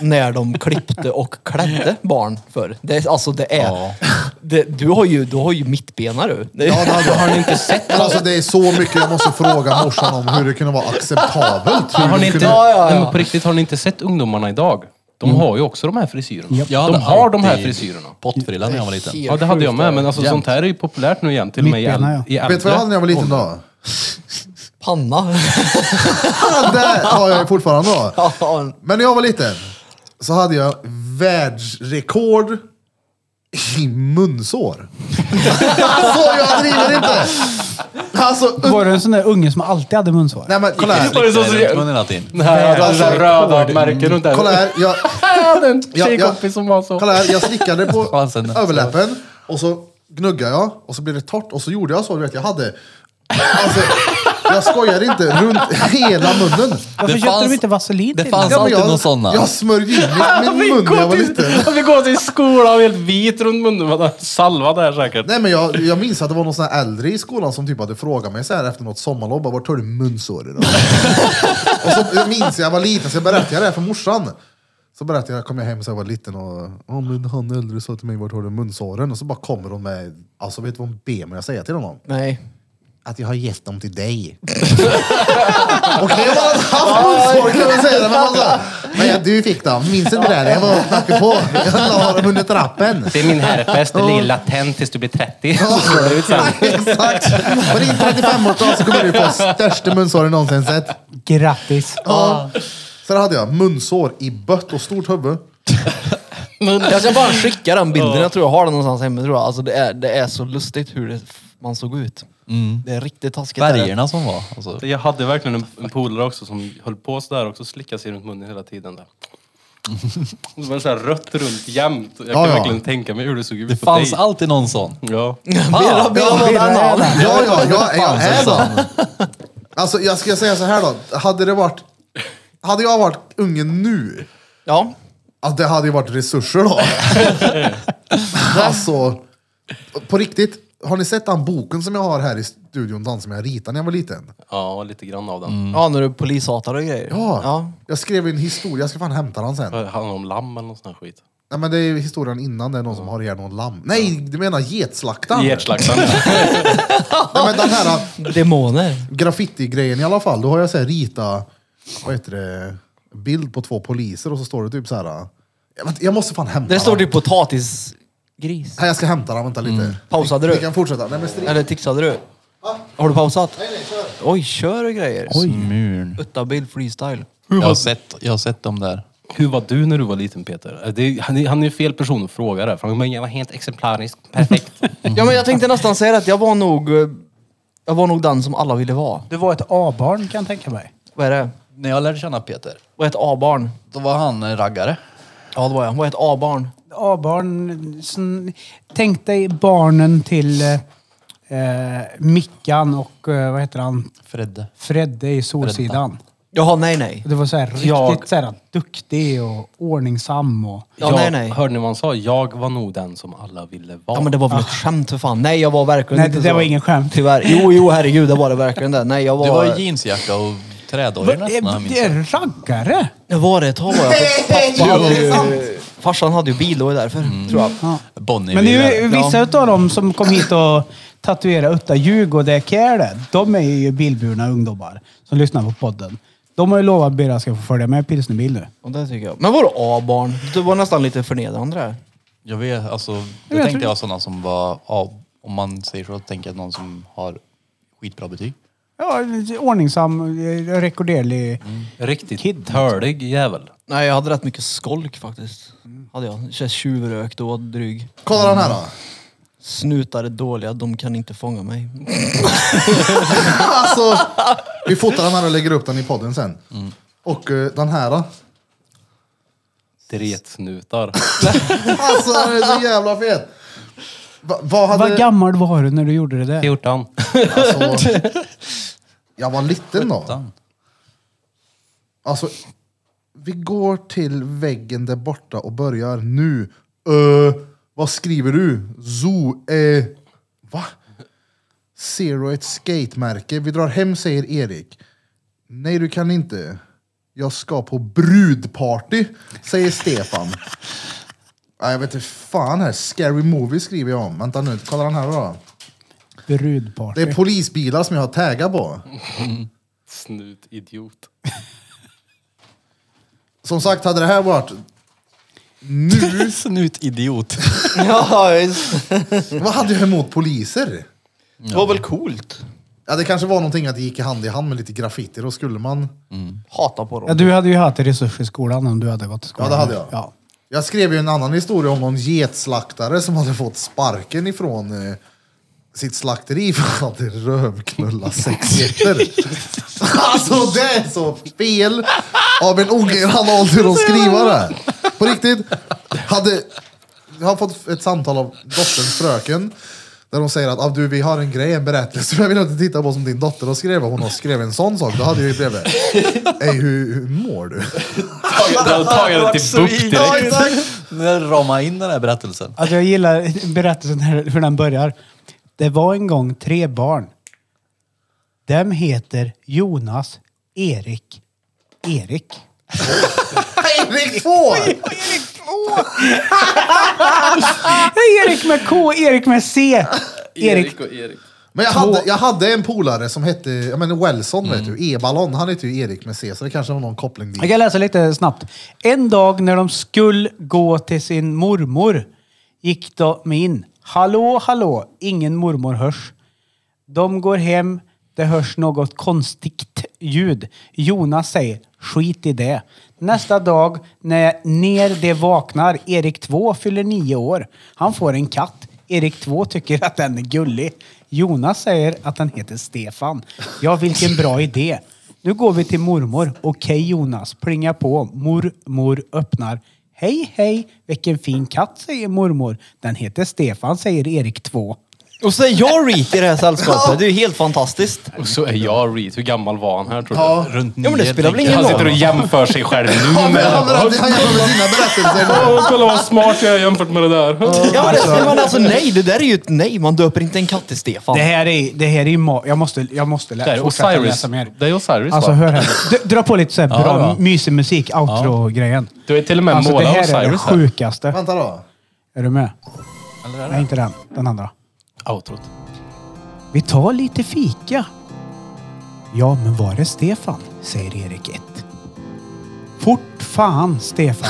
Speaker 6: när de klippte och klädde barn för? Det, är- alltså det är... Det, du har ju, du har ju mittbena du. Det,
Speaker 1: Ja, det hade
Speaker 6: har
Speaker 1: han.
Speaker 6: ni inte sett
Speaker 1: Men alltså det är så mycket jag måste fråga morsan om hur det kunde vara acceptabelt. Hur
Speaker 5: har
Speaker 1: de
Speaker 5: ni inte,
Speaker 1: kunde...
Speaker 5: Nej, men på riktigt, har ni inte sett ungdomarna idag? De
Speaker 1: Mm.
Speaker 5: har ju också de här frisyrerna.
Speaker 2: Jag hade
Speaker 5: de har de här
Speaker 2: alltid
Speaker 5: frisyrerna.
Speaker 2: Pottfrilla när jag var liten.
Speaker 5: Ja, det hade jag med, men alltså, sånt här är ju populärt nu igen. Till och med i, äl-
Speaker 4: Mittbena, ja.
Speaker 5: i äldre.
Speaker 1: Vet du vad jag hade när jag var liten då?
Speaker 6: Panna. <laughs>
Speaker 1: Det har jag ju fortfarande då.
Speaker 6: Ja,
Speaker 1: Men när jag var liten så hade jag världsrekord i munsår. så jag driver inte! Alltså,
Speaker 4: Var du en sån där unge som alltid hade munsår?
Speaker 1: nej men kolla här.
Speaker 5: Var <laughs> det så-
Speaker 2: Runt munnen hela tiden.
Speaker 5: Det här hade
Speaker 1: Alltså,
Speaker 5: alltså, röda märken runt den.
Speaker 1: Kolla här, jag,
Speaker 5: <laughs> Jag hade en
Speaker 1: Ja,
Speaker 5: tjejkompis
Speaker 1: ja.
Speaker 5: som var så.
Speaker 1: kolla här, jag slickade på
Speaker 2: Chansen.
Speaker 1: överläppen och så gnuggade jag och så blev det torrt och så gjorde jag så, du vet, jag hade... Alltså, jag skojar inte, runt hela munnen.
Speaker 4: Varför
Speaker 2: Det
Speaker 4: köpte
Speaker 2: fanns-
Speaker 4: de inte vaselin
Speaker 2: det
Speaker 4: till
Speaker 2: fanns-
Speaker 1: men
Speaker 4: den?
Speaker 2: Alltså, alltid
Speaker 1: jag,
Speaker 2: någon sån, va?
Speaker 1: jag smörjde in
Speaker 5: <laughs>
Speaker 1: min, min mun när jag var liten.
Speaker 5: Vi går till skolan och helt vit runt munnen. Man har salvat där säkert.
Speaker 1: Nej men jag, jag minns att det var någon sån här äldre i skolan som typ hade frågat mig så här efter något sommarlov, bara, vart tar du munsår idag? <laughs> och så minns jag, jag var liten, så jag berättade det här för morsan. Så berättade jag, kom jag hem så jag var liten och, ja men han äldre sa till mig, vart har du munsåren? Och så bara kommer hon med, alltså vet du vad hon ber mig att säga till honom?
Speaker 6: nej.
Speaker 1: Att jag har gett dem till dig. <laughs> Okej, jag har haft munsår kan man säga, men alltså. Men jag, du fick dem, minns inte det? här? Jag var och knackade på, jag la dem under trappen.
Speaker 5: Det är min herpes, den är latent tills du blir 30.
Speaker 1: Ja, Exakt! På din 35-årsdag så kommer du få största munsår du någonsin sett.
Speaker 4: Grattis!
Speaker 1: Ja. Sen hade jag munsår i bött och stort huvud.
Speaker 6: Jag ska bara skicka den bilden. Jag tror jag har den någonstans hemma tror jag. Alltså det är, det är så lustigt hur det, man såg ut. Det är riktigt taskigt. är det.
Speaker 2: Färgerna som var. Alltså.
Speaker 5: Jag hade verkligen en, en polare också som höll på sådär också, slickade sig runt munnen hela tiden. Där. Och så var det såhär rött runt jämt. Jag kan
Speaker 1: Ja, ja.
Speaker 5: verkligen tänka mig hur det såg ut
Speaker 2: Det
Speaker 5: på
Speaker 2: fanns
Speaker 5: dig.
Speaker 2: alltid någon sån.
Speaker 5: Ja.
Speaker 6: Birra, Birra var en annan.
Speaker 1: Ja, ja, jag, jag är sån. Alltså jag ska säga så här då. Hade det varit... Hade jag varit ungen nu,
Speaker 6: Ja.
Speaker 1: alltså det hade ju varit resurser då. Alltså, på riktigt. Har ni sett den boken som jag har här i studion, den som jag ritade när jag var liten?
Speaker 5: ja, lite grann av den.
Speaker 6: Ja, när du polishatar och grejer.
Speaker 1: Ja.
Speaker 6: ja.
Speaker 1: Jag skrev en historia, jag ska fan hämta den sen.
Speaker 5: Det handlar om lamm eller någon sån här skit.
Speaker 1: Nej men det är ju historien innan det är någon som har ihjäl någon lamm. Nej, du menar getslaktaren?
Speaker 6: <laughs>
Speaker 5: Gertslaktaren.
Speaker 1: Nej men den här äh,
Speaker 6: Demoner.
Speaker 1: graffiti-grejen i alla fall. Då har jag så här rita, vad heter det, bild på två poliser och så står det typ så här. Jag, vet- jag måste fan hämta
Speaker 6: Det står
Speaker 1: den.
Speaker 6: typ potatisgris.
Speaker 1: Nej, jag ska hämta den, vänta lite.
Speaker 6: Pausade
Speaker 1: Vi
Speaker 6: du?
Speaker 1: kan fortsätta. Nej men strid.
Speaker 6: Eller tixade du? Har du pausat? Nej, nej, kör. Oj, kör och grejer.
Speaker 2: Myrn.
Speaker 6: Uttabil freestyle.
Speaker 2: Jag har sett, jag har sett dem där.
Speaker 5: Hur var du när du var liten Peter? Eh, Det är, han, är, han är ju fel person att fråga det. För han bara, jag var helt exemplarisk, perfekt.
Speaker 6: Ja, men jag tänkte nästan säga att jag var nog... eh, Jag var nog den som alla ville vara.
Speaker 4: Du var ett A-barn kan jag tänka mig.
Speaker 6: Vad är det?
Speaker 2: När jag lärde känna Peter,
Speaker 6: Vad är ett A-barn?
Speaker 2: då var han en raggare.
Speaker 6: Ja, det var jag. Vad är ett A-barn?
Speaker 4: A-barn, sån- tänk dig barnen till eh, Mickan och eh, vad heter han?
Speaker 2: Fredde.
Speaker 4: Fredde i Solsidan.
Speaker 6: Jaha, nej, nej.
Speaker 4: Det var så här riktigt
Speaker 5: Jag-
Speaker 4: så här, duktig och ordningsam och...
Speaker 6: <laughs> Ja,
Speaker 5: jag,
Speaker 6: nej, nej.
Speaker 5: Hörde ni vad han sa? Jag var nog den som alla ville vara.
Speaker 6: Ja, men det var väl ett skämt för fan. Nej, jag var verkligen
Speaker 4: Ah. Nej,
Speaker 6: inte
Speaker 4: det- det
Speaker 6: så.
Speaker 4: var ingen skämt.
Speaker 6: Tyvärr. Jo, jo, herregud, det var det verkligen det. Nej, jag var...
Speaker 2: Du var i jeansjacka och trädojor
Speaker 4: Vad
Speaker 2: nästan.
Speaker 4: är
Speaker 2: jag minns
Speaker 4: det?
Speaker 2: det.
Speaker 4: Är raggare?
Speaker 6: Jag var det ett tag var jag. för Pappa hade ju... Farsan hade ju bil, det var ju därför, tror jag.
Speaker 2: Bonnie
Speaker 4: Men det är ju
Speaker 2: ville-
Speaker 4: vissa utav dem som kom hit och tatuerade Utta ljug och det Care De är ju bilburna ungdomar som lyssnar på podden. De har ju lovat att Birra ska få följa med pilsnerbil nu.
Speaker 6: Och det tycker jag. Men vadå A-barn? Det var nästan lite förnedrande där.
Speaker 2: Jag vet, alltså, då
Speaker 4: jag
Speaker 2: tänkte
Speaker 4: tror-
Speaker 2: jag sådana som var, ja, om man säger så, tänker jag någon som har skitbra betyg.
Speaker 4: Ja, ordningsam, eh, rekorderlig.
Speaker 5: Riktigt Kid. törlig jävel.
Speaker 6: Nej, jag hade rätt mycket skolk faktiskt. Hade jag. Känns tjuvrökt och var dryg.
Speaker 1: Kolla den här
Speaker 6: Mm.
Speaker 1: då.
Speaker 6: Snutar är dåliga, de kan inte fånga mig.
Speaker 1: Alltså, vi fotar den här och lägger upp den i podden sen.
Speaker 6: Mm.
Speaker 1: Och eh, den här då.
Speaker 6: <laughs>
Speaker 5: Dretsnutar.
Speaker 1: Alltså den är så jävla fet. Va, vad
Speaker 4: Vad
Speaker 1: hade...
Speaker 4: gammal var du när du gjorde det där?
Speaker 5: 14.
Speaker 1: Alltså, jag var liten då. Alltså, vi går till väggen där borta och börjar nu. Ö, vad skriver du? Zoo? eh, va? Zero ett skatemärke. Vi drar hem, säger Erik. Nej, du kan inte. Jag ska på brudparty, säger Stefan. Nej, jag vet inte fan här. Scary movie skriver jag om. Vänta nu, kolla den här då. Det
Speaker 4: Brudparty.
Speaker 1: är polisbilar som jag har taggat på.
Speaker 5: Snutidiot.
Speaker 1: Som sagt, hade det här varit...
Speaker 2: <laughs> Nu! <laughs> Snutidiot.
Speaker 6: ja, visst.
Speaker 1: Vad hade jag emot poliser?
Speaker 6: Det var väl coolt?
Speaker 1: Ja, det kanske var någonting att det gick hand i hand med lite graffiti. Då skulle man...
Speaker 6: Hata på dem.
Speaker 4: Ja, du hade ju haft resurser i skolan om du hade gått i
Speaker 1: Ja,
Speaker 4: skolan.
Speaker 1: det hade jag.
Speaker 4: Ja.
Speaker 1: Jag skrev ju en annan historia om någon getslaktare som hade fått sparken ifrån eh, sitt slakteri för att han hade rövknullat sex getter. alltså det är så fel av en ogeran ålder att skriva det. här. På riktigt. Hade, jag har fått ett samtal av dotterns fröken. Där hon säger att ah, du, vi har en grej, en berättelse som jag vill att du tittar på som din dotter har skrivit. Hon har skrivit en sån sak. Då hade jag ju bredvid. Ey, hur, hur mår du?
Speaker 5: Jag tagit till BUP direkt.
Speaker 2: <laughs> Nu ramar in den här berättelsen.
Speaker 4: Alltså, jag gillar <laughs> berättelsen här, hur den börjar. Det var en gång tre barn. Dem heter Jonas, Erik, Erik.
Speaker 1: Erik Två!
Speaker 4: Erik med K, Erik
Speaker 1: <laughs>
Speaker 4: med C. Erik.
Speaker 5: och Erik.
Speaker 1: Men jag hade, jag hade en polare som hette, jag menar Wellson vet du, E-ballon, han hette ju Erik med C, så det kanske var någon koppling
Speaker 4: Jag
Speaker 1: dit.
Speaker 4: kan läsa lite snabbt. En dag när de skulle gå till sin mormor gick de in. Hallå, hallå, ingen mormor hörs. De går hem, det hörs något konstigt ljud. Jonas säger, skit i det. Nästa dag, när, när de vaknar, Erik 2 fyller nio år. Han får en katt. Erik 2 tycker att den är gullig. Jonas säger att den heter Stefan. Ja, vilken bra idé. Nu går vi till mormor. Okej Jonas, plinga på. Mormor öppnar. Hej, hej, vilken fin katt, säger mormor. Den heter Stefan, säger Erik 2.
Speaker 6: Och så är jag rik i det här sällskapet. Det är ju helt fantastiskt.
Speaker 5: Och så är jag Reed. Hur gammal var han här tror du?
Speaker 2: Runt
Speaker 6: Ja, men det
Speaker 2: nio,
Speaker 6: spelar väl
Speaker 2: tänker
Speaker 6: ingen
Speaker 5: Han
Speaker 2: jag.
Speaker 5: sitter och jämför sig själv nu
Speaker 1: Han
Speaker 5: med...
Speaker 1: jämför med sina berättelser nu.
Speaker 5: Åh, kolla vad smart jag är jämfört med det där.
Speaker 6: Ja, men, det, men alltså nej, det där är ju ett nej. Man döper inte en katt till Stefan.
Speaker 4: Det här är, det här är ma- Jag måste, jag måste
Speaker 5: Det är
Speaker 4: lä- fortsätta
Speaker 5: Osiris.
Speaker 4: läsa mer.
Speaker 5: Det är Osiris
Speaker 4: Alltså
Speaker 5: va?
Speaker 4: hör här. D- Dra på lite så här bra,
Speaker 2: ja.
Speaker 4: mysig musik, outro-grejen.
Speaker 5: Du är till och med
Speaker 4: Alltså det
Speaker 5: målad
Speaker 4: här är det
Speaker 5: Osiris här.
Speaker 4: sjukaste.
Speaker 1: Vänta då.
Speaker 4: Är du med? Nej, inte den. Den andra.
Speaker 5: Outrot.
Speaker 4: Vi tar lite fika. Ja, men var är Stefan? Säger Erik 1. Fort
Speaker 5: <laughs>
Speaker 4: fan, Stefan.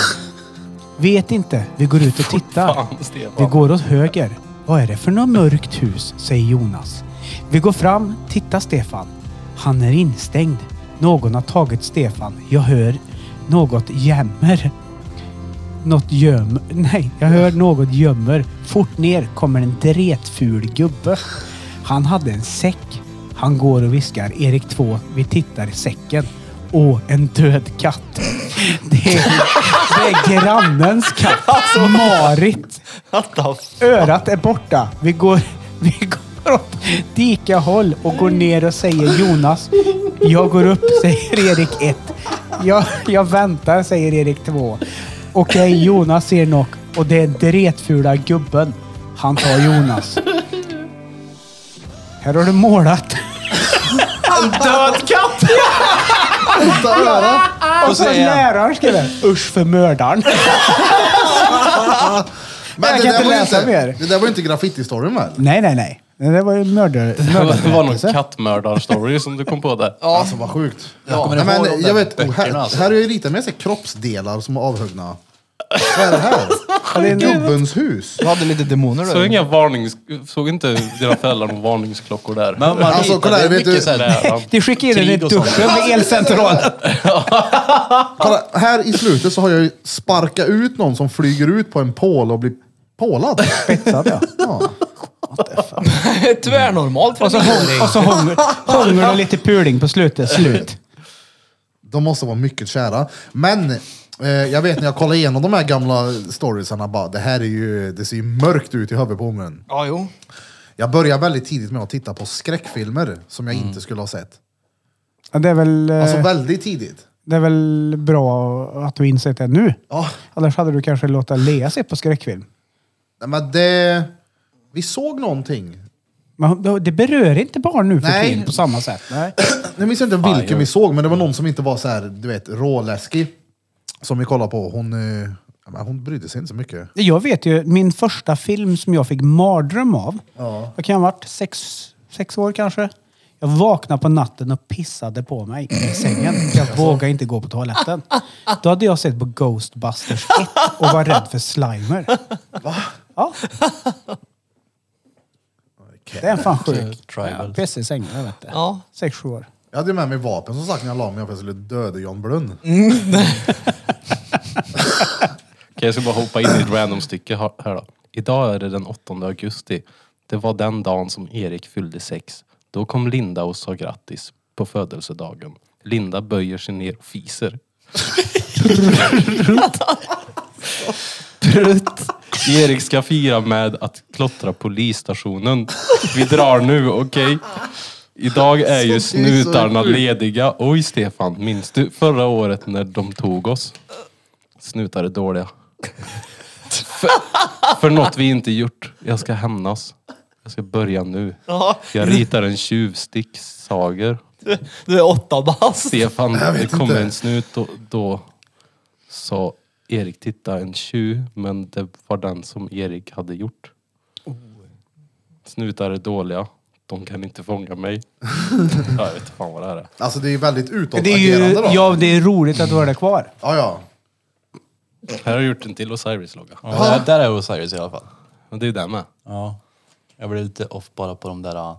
Speaker 4: Vet inte. Vi går ut och tittar.
Speaker 5: Fan,
Speaker 4: Vi
Speaker 5: Stefan.
Speaker 4: går åt höger. Vad är det för något mörkt hus? Säger Jonas. Vi går fram. Titta Stefan. Han är instängd. Någon har tagit Stefan. Jag hör något jämmer. Något gömmer. Nej, jag hör något gömmer. Fort ner kommer en dretful gubbe. Han hade en säck. Han går och viskar. Erik 2, vi tittar i säcken. Åh, en död katt. Det är, det är grannens katt. Marit.
Speaker 6: What the f-
Speaker 4: Örat är borta. Vi går, <laughs> vi går åt dikahåll och går ner och säger Jonas. Jag går upp, säger Erik 1. Jag, jag väntar, säger Erik 2. Okej, Jonas ser något och det är dretfula gubben. Han tar Jonas. Här har du målat. Ah. Och så läraren skriver usch för mördaren.
Speaker 1: Men
Speaker 4: Jag
Speaker 1: det
Speaker 4: kan
Speaker 1: där
Speaker 4: inte
Speaker 1: var ju
Speaker 4: läsa mer.
Speaker 1: Det där var ju inte graffiti-storyn väl?
Speaker 4: Nej, nej, nej. Det var ju mördare.
Speaker 5: Det var någon
Speaker 4: mördare-
Speaker 5: kattmördarstory som du kom på där.
Speaker 1: Alltså vad sjukt. Nej,
Speaker 2: kommer ihåg
Speaker 1: men,
Speaker 2: de där
Speaker 1: jag vet, oh, här,
Speaker 2: böckerna, alltså.
Speaker 1: här har jag ju ritat med sig kroppsdelar som är avhuggna. Vad är det här? Det är gubbens hus.
Speaker 6: Du hade lite demoner
Speaker 5: Såg,
Speaker 6: där.
Speaker 5: inga varnings... Såg inte dina föräldrar några varningsklockor där?
Speaker 2: Men man
Speaker 1: Alltså,
Speaker 2: alltså,
Speaker 1: kolla här,
Speaker 2: det är
Speaker 1: vet
Speaker 2: mycket
Speaker 1: du-
Speaker 2: så här,
Speaker 5: Läraren.
Speaker 4: Du skickar in den i
Speaker 2: Krig och sånt.
Speaker 4: duschen med elcentral.
Speaker 1: <laughs> Kolla, här i slutet så har jag ju sparkat ut någon som flyger ut på en pål och blir pålad. Spetsad ja.
Speaker 6: <laughs> Tvärnormalt för
Speaker 4: Och så,
Speaker 6: en
Speaker 4: hång, och så hång, hånger du lite puling på slutet. Slut.
Speaker 1: De måste vara mycket kära. Men eh, jag vet när jag kollar igenom de här gamla storiesarna bara, det här är ju, det ser ju mörkt ut i huvudet på mig.
Speaker 6: Ja, jo.
Speaker 1: Jag började väldigt tidigt med att titta på skräckfilmer som jag inte skulle ha sett.
Speaker 4: Ja, Det är, väl, eh,
Speaker 1: Alltså väldigt tidigt.
Speaker 4: det är väl bra att du insett det nu.
Speaker 1: Ja,
Speaker 4: Annars hade du kanske låtit Lea se på skräckfilm.
Speaker 1: nej, men det... Vi såg någonting.
Speaker 4: Men det- det berör inte barn nu för
Speaker 1: Nej.
Speaker 4: tiden på samma sätt. Nej.
Speaker 1: Jag minns inte vilken vi såg, men det var någon som inte var så här, du vet, råläskig. Som vi kollade på. Hon, eh, ja, men hon brydde sig inte så mycket.
Speaker 4: Jag vet ju, min första film som jag fick mardröm av.
Speaker 1: Ja.
Speaker 4: Jag kan ha varit sex, sex år kanske. Jag vaknade på natten och pissade på mig i sängen. Jag vågade inte gå på toaletten. Då hade jag sett på Ghostbusters 1 och var rädd för Slimer. Va? Ja. Det är fan sjukt.
Speaker 2: Tribal.
Speaker 4: Pissa i sängen, jag vet det.
Speaker 6: Ja.
Speaker 4: Sex, sju år.
Speaker 1: Jag hade ju med mig vapen som sagt när jag la mig för att jag skulle döda John Blund.
Speaker 5: Okej, jag ska bara hoppa in i ett random stycke ha- här då. Idag är det den 8 augusti. Det var den dagen som Erik fyllde sex. Då kom Linda och sa grattis på födelsedagen. Linda böjer sig ner och fiser.
Speaker 1: <laughs>
Speaker 5: Prutt! Erik ska fira med att klottra polisstationen. Vi drar nu, okej? Idag är ju
Speaker 1: Sånt är ju så
Speaker 5: snutarna
Speaker 1: sjukt.
Speaker 5: lediga. Oj Stefan, minns du förra året när de tog oss? Snutar är dåliga. För, för något vi inte gjort. Jag ska hämnas. Jag ska börja nu. Jag ritar en tjuvsticksager.
Speaker 6: Du är åtta bast.
Speaker 5: Stefan, det
Speaker 1: vet
Speaker 5: kommer
Speaker 1: inte.
Speaker 5: en snut då, då sa Erik titta en tjuv men det var den som Erik hade gjort. Snutar är dåliga. De kan inte
Speaker 1: <laughs>
Speaker 5: fånga mig. Ja, jag vet inte fan vad det här är.
Speaker 1: Alltså det är ju väldigt
Speaker 4: Det är ju,
Speaker 1: utåtagerande då.
Speaker 4: ja, det är roligt att du har det kvar.
Speaker 1: Ja, ja.
Speaker 5: Här har jag gjort en till Osiris-logga.
Speaker 2: Ja, där- där är Osiris i alla fall.
Speaker 5: Men det är ju den med.
Speaker 2: Ja. Jag blev lite off bara på de där uh,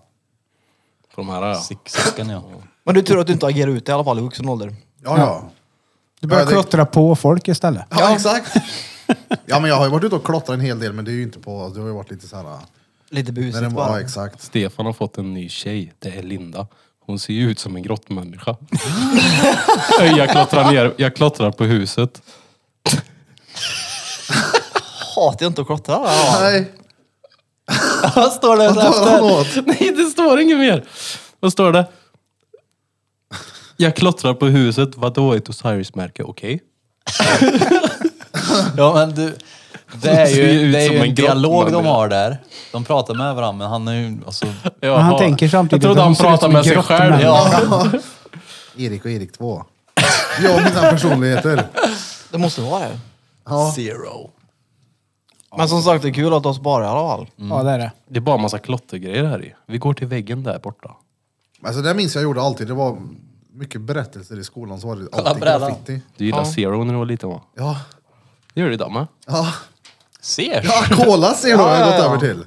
Speaker 5: På de här ja.
Speaker 2: sicksacken ja.
Speaker 6: Men du tur att du inte agerar ut i alla fall i vuxen ålder.
Speaker 1: Ja, ja.
Speaker 4: Du börjar
Speaker 1: Ja, det-
Speaker 4: klottra på folk istället.
Speaker 1: Ja, exakt. <laughs> Ja, men jag har ju varit ute och klottrat en hel del, men det är ju inte på... Du har ju varit lite så här... eh,
Speaker 6: Lite
Speaker 1: När det
Speaker 6: busigt
Speaker 1: var, ja,
Speaker 6: bara.
Speaker 1: exakt.
Speaker 5: Stefan har fått en ny tjej. Det är Linda. Hon ser ju ut som en <laughs> grottmänniska. jag klottrar ner. Jag klottrar på huset.
Speaker 6: Hatar jag inte att klottra. Ja.
Speaker 1: Nej,
Speaker 2: <laughs> Vad står det
Speaker 1: vad tar han åt?
Speaker 5: Nej, det står inget mer. Vad står det? Jag klottrar på huset. Vadå ett Osiris-märke? Okej.
Speaker 2: Ja men du, det är
Speaker 5: Ser ju
Speaker 2: ju,
Speaker 5: ut
Speaker 2: det är
Speaker 5: som
Speaker 2: ju
Speaker 5: en
Speaker 2: en dialog de
Speaker 5: grottmänniska.
Speaker 2: har där. De pratar med varandra men han är ju, alltså,
Speaker 5: Jaha.
Speaker 4: Men han tänker samtidigt
Speaker 5: Jag trodde
Speaker 4: att
Speaker 5: han
Speaker 4: hon ser ut som
Speaker 5: pratade
Speaker 4: en
Speaker 5: med sig själv.
Speaker 4: grottmänniska.
Speaker 1: <laughs>
Speaker 5: Ja.
Speaker 1: Erik och Erik 2. Jag och mina personligheter.
Speaker 6: Det måste vara det.
Speaker 1: Ja.
Speaker 2: zero.
Speaker 6: Men som sagt, det är kul att du sparar i alla fall.
Speaker 1: Mm.
Speaker 4: Ja, det är det.
Speaker 5: Det är bara massa klottergrejer här i. Vi går till väggen där borta.
Speaker 1: Alltså, det minns jag gjorde alltid. Det var mycket berättelser i skolan, så var det alltid
Speaker 2: brädan.
Speaker 1: graffiti.
Speaker 5: Du gillade Zero när du var liten va?
Speaker 1: Ja.
Speaker 5: Det gör du idag med.
Speaker 1: Ja.
Speaker 2: Ser!
Speaker 1: Ja, Cola Zero har jag
Speaker 6: Ja, ja,
Speaker 1: gått
Speaker 6: ja.
Speaker 1: över till.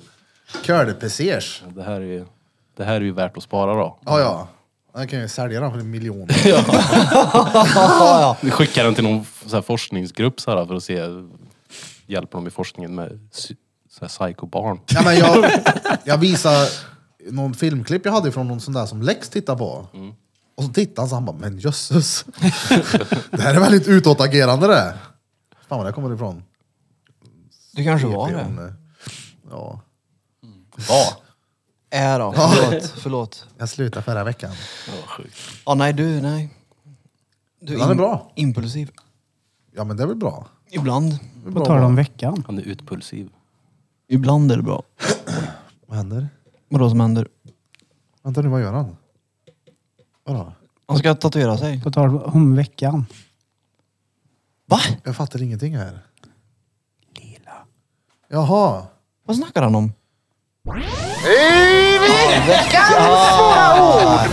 Speaker 1: Curly Pesers.
Speaker 5: Det här är ju, det här är ju värt att spara då.
Speaker 1: Ja, ja. Jag kan ju sälja den för en miljon.
Speaker 5: Vi skickar den till någon så här forskningsgrupp så här, för att se, hjälper de i forskningen med psy- så här psykobarn?
Speaker 1: Ja, men jag, jag visade någon filmklipp jag hade från någon sån där som Lex tittade på.
Speaker 6: Mm.
Speaker 1: Och så tittade han så han bara, men jösses. det här är väldigt utåtagerande det. Fan vad det kommer ifrån.
Speaker 6: Du kanske var
Speaker 1: EP,
Speaker 6: det.
Speaker 1: om, eh, Ja.
Speaker 5: Ja.
Speaker 6: Äh då, förlåt. förlåt.
Speaker 1: Jag slutade förra veckan.
Speaker 6: Ah, nej, du, nej. Du
Speaker 1: Han är bra.
Speaker 6: impulsiv.
Speaker 1: Ja men det är väl bra.
Speaker 6: Ibland.
Speaker 1: Det är
Speaker 4: På
Speaker 1: bra
Speaker 4: tal om
Speaker 1: bra.
Speaker 4: veckan.
Speaker 5: Han är utpulsiv.
Speaker 6: Ibland är det bra.
Speaker 1: Vad händer?
Speaker 6: Vadå som händer?
Speaker 1: Vänta nu, vad gör han? Vadå?
Speaker 6: Han ska tatuera sig.
Speaker 4: På tal om veckan.
Speaker 6: Va?
Speaker 1: Jag fattar ingenting här. Lila. Jaha.
Speaker 6: Vad snackar han om?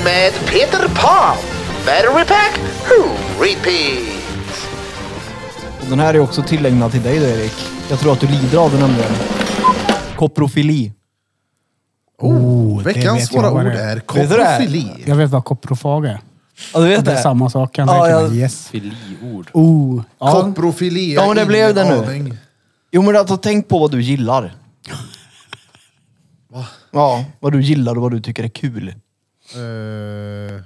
Speaker 8: med Peter Pan. Battery pack, who repeat.
Speaker 6: Den här är också tillägnad till dig då, Erik. Jag tror att du lider av det nämligen. Koprofili.
Speaker 1: Oh, veckans
Speaker 4: vet jag
Speaker 1: svåra
Speaker 4: vad
Speaker 1: ord
Speaker 4: det är.
Speaker 1: är
Speaker 6: du det är?
Speaker 1: koprofili.
Speaker 4: Jag vet vad koprofag är.
Speaker 6: Ja, du vet
Speaker 4: Det är
Speaker 6: det?
Speaker 4: samma sak kan
Speaker 6: Ja,
Speaker 4: jag tänka
Speaker 6: jag-
Speaker 4: mig. Yes.
Speaker 5: Filiord.
Speaker 4: Oh. Ja.
Speaker 1: Koprofili.
Speaker 6: Ja, men det
Speaker 1: ingen
Speaker 6: blev det nu.
Speaker 1: aning.
Speaker 6: Jo, men alltså tänk på vad du gillar.
Speaker 1: Va?
Speaker 6: Ja, vad du gillar och vad du tycker är kul.
Speaker 1: Eh,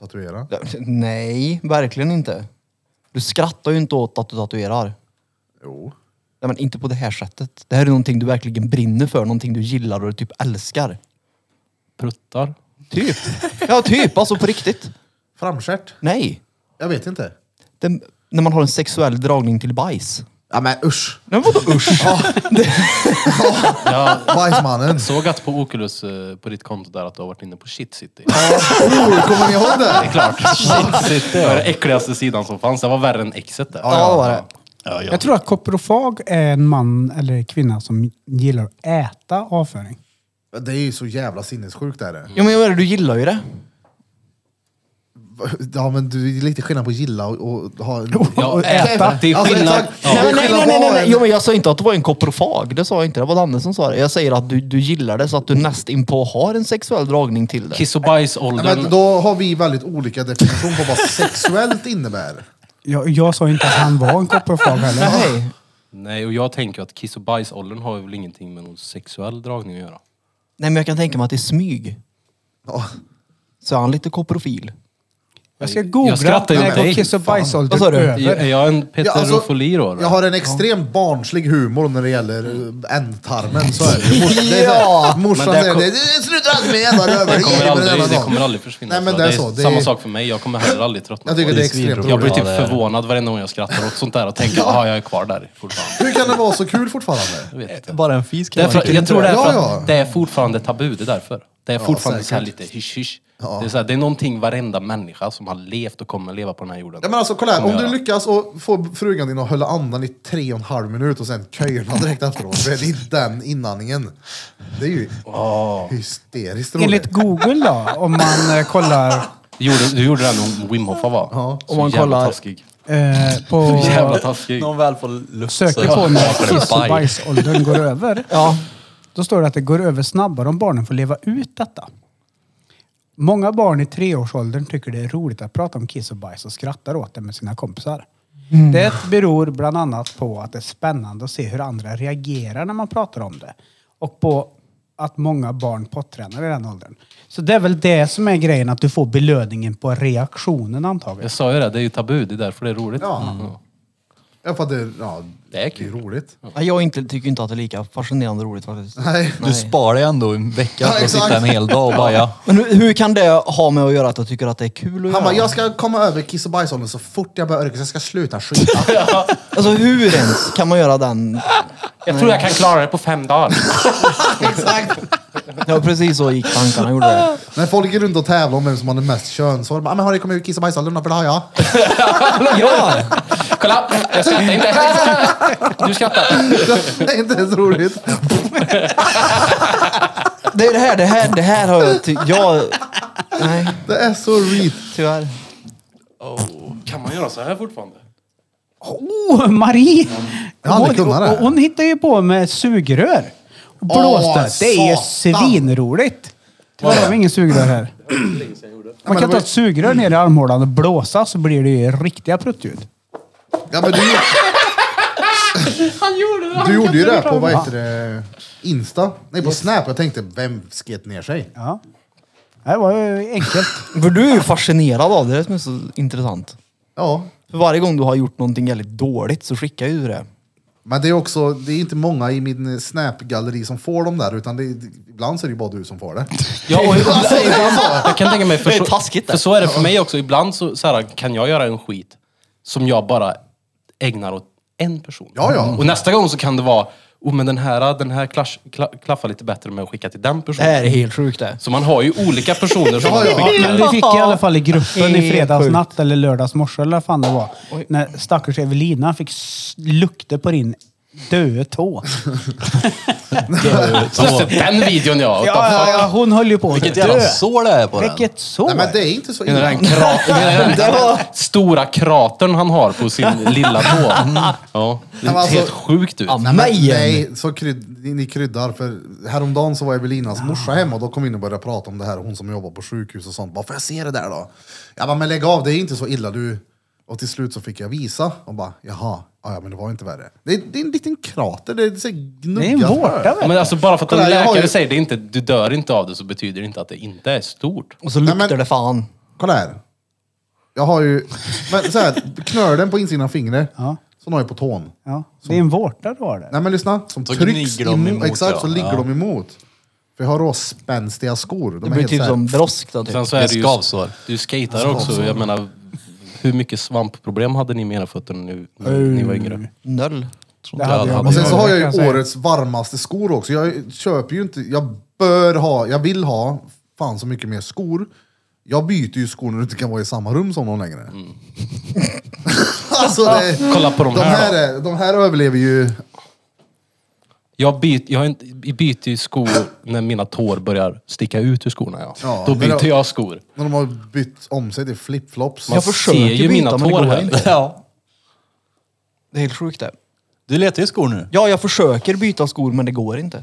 Speaker 1: tatuera.
Speaker 6: Nej, verkligen inte. Du skrattar ju inte åt att du tatuerar.
Speaker 1: Jo.
Speaker 6: Nej, men inte på det här sättet. Det här är någonting du verkligen brinner för, någonting du gillar och du typ älskar.
Speaker 5: Pruttar.
Speaker 6: Typ. Ja, typ. Alltså på riktigt.
Speaker 1: Framstjärt.
Speaker 6: Nej.
Speaker 1: Jag vet inte.
Speaker 6: Den, när man har en sexuell dragning till bajs.
Speaker 1: Ja men usch.
Speaker 6: Nej, men vadå usch?
Speaker 5: Jag
Speaker 1: Bajsmannen.
Speaker 5: såg att på Oculus, eh, på ditt konto där, att du har varit inne på shit city.
Speaker 1: Oh, <laughs> kommer ni ihåg det?
Speaker 5: Klart. <laughs> shit city. Det var den äckligaste sidan som fanns. Det var värre än exet där.
Speaker 6: Ja, vad var det?
Speaker 4: Jag tror att koprofag är en man eller kvinna som gillar att äta avföring.
Speaker 1: Det är ju så jävla sinnessjukt är det.
Speaker 6: Jo, men jag menar, du gillar ju det.
Speaker 1: Ja men du det är lite skillnad på att gilla och, och ha...
Speaker 5: Ja, äta. Det är
Speaker 1: Alltså,
Speaker 5: skillnad.
Speaker 1: exakt.
Speaker 5: Ja.
Speaker 6: Nej, men, nej,
Speaker 1: skillnad
Speaker 6: nej, nej,
Speaker 1: på
Speaker 6: nej,
Speaker 1: en-
Speaker 6: Jo, men jag sa inte att det var en koprofag. Det sa jag inte. Det var Danne som sa det. Jag säger att du, du gillar det så att du nästinpå har en sexuell dragning till det.
Speaker 5: Mm. Kiss och bajs-åldern.
Speaker 1: Men då har vi väldigt olika definition på vad sexuellt innebär.
Speaker 4: Jag, jag sa inte att han var en koprofag heller.
Speaker 6: Nej.
Speaker 5: Nej, och jag tänker att kiss och bajs-åldern har väl ingenting med någon sexuell dragning att göra.
Speaker 6: nej, men jag kan tänka mig att i smyg
Speaker 1: Ja.
Speaker 6: så är han lite koprofil.
Speaker 4: Jag ska
Speaker 5: Jag
Speaker 4: googla
Speaker 5: skrattar ju åt
Speaker 4: när
Speaker 5: dig.
Speaker 4: kiss och
Speaker 6: Vad sa
Speaker 4: bajsåldern
Speaker 6: du?
Speaker 4: över.
Speaker 5: Är jag en
Speaker 1: Ja, alltså,
Speaker 5: peterofili då?
Speaker 1: Jag har en extrem barnslig humor när det gäller eh, ändtarmen. Så är det. ju.
Speaker 5: <laughs>
Speaker 1: Mors, det är så här,
Speaker 6: Ja!
Speaker 1: Morsan
Speaker 5: Men det
Speaker 1: säger
Speaker 5: kom-
Speaker 1: det, det slutar aldrig med jävla rövare.
Speaker 5: Det kommer
Speaker 1: Ge mig den
Speaker 5: aldrig,
Speaker 1: jävla
Speaker 5: det
Speaker 1: dagen."
Speaker 5: kommer aldrig försvinna.
Speaker 1: Nej men
Speaker 5: tror
Speaker 1: det är
Speaker 5: jag.
Speaker 1: så. Det
Speaker 5: samma
Speaker 1: är,
Speaker 5: sak för mig. Jag kommer heller aldrig tröttna
Speaker 1: Jag tycker
Speaker 5: på
Speaker 1: det är extremt
Speaker 5: Jag blir
Speaker 1: roligt.
Speaker 5: typ
Speaker 2: Ja, det är det.
Speaker 5: förvånad varenda gång jag skrattar åt sånt där och tänker att jag är kvar där fortfarande.
Speaker 1: Hur kan det vara så kul fortfarande?
Speaker 5: Jag, vet inte.
Speaker 2: Bara en fisk.
Speaker 5: Det är för, jag tror det är för
Speaker 1: Ja, ja.
Speaker 5: att det är fortfarande tabu, det är därför. Det är fortfarande så här
Speaker 1: säkert.
Speaker 5: lite hysch-hysch.
Speaker 1: Ja.
Speaker 5: Det, är så här, det är någonting varenda människa som har levt och kommer leva på den här jorden.
Speaker 1: Ja, men alltså, kolla här,
Speaker 5: kommer
Speaker 1: om du
Speaker 5: göra.
Speaker 1: lyckas och få frugan din att hålla andan i tre och en halv minut och sen köjerna direkt efteråt. för Det är den inandningen. Det är ju
Speaker 5: Ah.
Speaker 1: hysteriskt roligt.
Speaker 4: Enligt Google då, om man eh, kollar
Speaker 5: Du gjorde, du gjorde det här med Wim Hof va?
Speaker 1: Ja.
Speaker 5: Om man kollar... Taskig.
Speaker 4: eh, på...
Speaker 5: Så jävla taskig.
Speaker 2: Någon väl får lust alltså.
Speaker 4: Söker
Speaker 2: så-
Speaker 4: på
Speaker 2: <laughs>
Speaker 4: när
Speaker 2: Ja,
Speaker 4: kiss och
Speaker 2: baj.
Speaker 4: bajsåldern går
Speaker 2: <laughs>
Speaker 4: över.
Speaker 6: Ja.
Speaker 4: Då står det att det går över snabbare om barnen får leva ut detta. Många barn i treårsåldern tycker det är roligt att prata om kiss och bajs och skrattar åt det med sina kompisar. Det beror bland annat på att det är spännande att se hur andra reagerar när man pratar om det. Och på att många barn pottränar i den åldern. Så det är väl det som är grejen, att du får belöningen på reaktionen antagligen.
Speaker 5: Jag sa ju det, det är ju tabu. Det är därför det är roligt.
Speaker 1: Ja.
Speaker 5: Mm.
Speaker 1: Ja, för att det, ja,
Speaker 5: Det är
Speaker 1: det är
Speaker 5: kul.
Speaker 1: roligt.
Speaker 6: Nej, Jag inte, tycker inte att det är lika fascinerande roligt faktiskt.
Speaker 1: Nej.
Speaker 6: Nej.
Speaker 2: Du sparar dig ändå en vecka för att
Speaker 1: exakt.
Speaker 2: sitta en hel dag och baja. <laughs>
Speaker 6: Men hur, hur kan det ha med att göra att jag tycker att det är kul att
Speaker 1: Han bara,
Speaker 6: göra?
Speaker 1: jag ska komma över kiss och bajsåldern så fort jag börjar orka, så jag ska sluta skita.
Speaker 6: Alltså hur ens kan man göra den?
Speaker 5: Jag tror jag kan klara det på fem dagar.
Speaker 1: Exakt!
Speaker 6: Ja, precis så gick tankarna. Gjorde det.
Speaker 1: När folk går runt och tävlar om vem som har den mest könshår, bara, "Ah, men har du kommit över kiss och bajsåldern? För det har
Speaker 5: <laughs>
Speaker 1: jag.
Speaker 6: Ja!
Speaker 5: Kolla! Jag skrattar inte. Du skrattar.
Speaker 1: Det är inte ens roligt.
Speaker 6: Det är det här, det här, det här har jag... Ty- jag nej,
Speaker 1: Det är så reet.
Speaker 6: tyvärr.
Speaker 5: Kan man göra så här fortfarande?
Speaker 4: Oh, Marie!
Speaker 1: Jag har aldrig
Speaker 4: hon,
Speaker 1: kunnat det.
Speaker 4: hon, hon hittade ju på med sugrör. Och blåste.
Speaker 1: Åh,
Speaker 4: det är ju
Speaker 1: satan.
Speaker 4: svinroligt. Tyvärr har vi ingen sugrör här. Man kan ta ett sugrör ner i armhålan och blåsa så blir det ju riktiga pruttljud.
Speaker 1: Ja, men du,
Speaker 9: Han gjorde det!
Speaker 1: du gjorde ju det på vad heter det, Insta. Nej, på Snap. Jag tänkte, vem sket ner sig?
Speaker 4: Ja. Det var ju enkelt.
Speaker 6: För du är ju fascinerad av det, det är det som är så intressant.
Speaker 1: Ja,
Speaker 6: För varje gång du har gjort någonting väldigt dåligt så skickar ju du det.
Speaker 1: men det är också, det är inte många i min Snap-galleri som får dem där, utan det, ibland så är det ju bara du som får det.
Speaker 5: Ja, och
Speaker 1: <laughs>
Speaker 5: jag kan tänka mig, för
Speaker 6: Det är
Speaker 5: så,
Speaker 6: taskigt det.
Speaker 5: för så är det för mig också. Ibland så, så här, kan jag göra en skit som jag bara ägnar åt en person.
Speaker 1: Ja, ja.
Speaker 5: Och nästa gång så kan det vara, oh men den här, den här klash, kla, klaffar lite bättre med att skicka till den personen.
Speaker 6: är helt sjukt det.
Speaker 5: Så man har ju olika personer som man
Speaker 1: Ja, ja.
Speaker 5: skickar.
Speaker 4: Men vi fick i alla fall i gruppen i
Speaker 6: Helt
Speaker 4: fredags
Speaker 6: sjukt.
Speaker 4: natt eller lördags morse eller vad fan det var. När stackars Evelina fick s- lukta på din döda tå.
Speaker 5: Just det, den videon ja.
Speaker 4: Ja, ja, ja, hon höll ju på att
Speaker 2: Vilket jävla sår det är på den.
Speaker 4: Vilket sår!
Speaker 1: Nej, men det är inte så
Speaker 5: Hela
Speaker 1: illa.
Speaker 5: den, <laughs> kra- hela den stora kratern han har på sin lilla tå. Ja, det
Speaker 1: men
Speaker 5: ser
Speaker 1: alltså-
Speaker 5: helt sjukt ut.
Speaker 1: Nej, men,
Speaker 6: Mejen.
Speaker 1: nej så kryd, ni ni kryddar. För häromdagen så var Evelinas morsa hemma och då kom vi in och började prata om det här. Hon som jobbar på sjukhus och sånt. Bara, får jag se det där då? Jag bara, men lägg av, det är inte så illa du. Och till slut så fick jag visa och bara, jaha, ja, ja, men det var inte värre. Det är, det är en liten krater, det är så
Speaker 4: Det är en
Speaker 1: gnuggat.
Speaker 4: vårta
Speaker 5: Men
Speaker 4: väl?
Speaker 5: alltså bara för att en
Speaker 1: Kolla, jag har
Speaker 5: läkare
Speaker 1: ju-
Speaker 5: säger det inte, du dör inte av det så betyder det inte att det inte är stort.
Speaker 6: Och så luktar
Speaker 1: Nej, men-
Speaker 6: det fan.
Speaker 1: Kolla här. Jag har ju, men så här, knölen på insidan av fingret, ja. som har jag på tån.
Speaker 4: Ja, det är en vårta du har där.
Speaker 1: Nej men lyssna, som
Speaker 2: Så
Speaker 1: trycks
Speaker 2: gniger de
Speaker 1: emot,
Speaker 2: emot,
Speaker 1: exakt så
Speaker 2: ja.
Speaker 1: ligger
Speaker 2: Ja.
Speaker 1: de emot. För jag har då spänstiga skor. De
Speaker 6: Det
Speaker 1: är
Speaker 6: blir
Speaker 1: helt
Speaker 6: typ
Speaker 1: så här-
Speaker 6: som brosk då, typ.
Speaker 5: Sen så är
Speaker 2: Det är
Speaker 5: det ju,
Speaker 2: skavsår.
Speaker 5: Du skater också. Jag menar, hur mycket svampproblem hade ni med era fötter nu när ni var yngre?
Speaker 6: Noll.
Speaker 4: Det hade jag.
Speaker 1: Och
Speaker 4: Men
Speaker 1: sen så har jag
Speaker 4: kan
Speaker 1: ju
Speaker 4: säga.
Speaker 1: årets varmaste skor också. Jag köper ju inte, jag bör ha, jag vill ha fan så mycket mer skor. Jag byter ju skor när du inte kan vara i samma rum som någon längre. <laughs> alltså det,
Speaker 5: Mm. Kolla på de
Speaker 1: de,
Speaker 5: här
Speaker 1: här
Speaker 5: då.
Speaker 1: är, de här överlever ju...
Speaker 5: Jag, byt, jag har inte- jag byter ju skor när mina tår börjar sticka ut ur skorna. Ja.
Speaker 1: Ja,
Speaker 5: Då
Speaker 1: men
Speaker 5: byter
Speaker 1: då-
Speaker 5: jag skor.
Speaker 1: När de har bytt om sig till flipflops.
Speaker 5: Man ser ju mina
Speaker 6: men det
Speaker 5: tår
Speaker 6: går
Speaker 5: här.
Speaker 6: inte.
Speaker 2: <laughs> Ja.
Speaker 6: Det är helt sjukt det.
Speaker 2: Du letar ju skor nu.
Speaker 6: Ja, jag försöker byta skor men det går inte.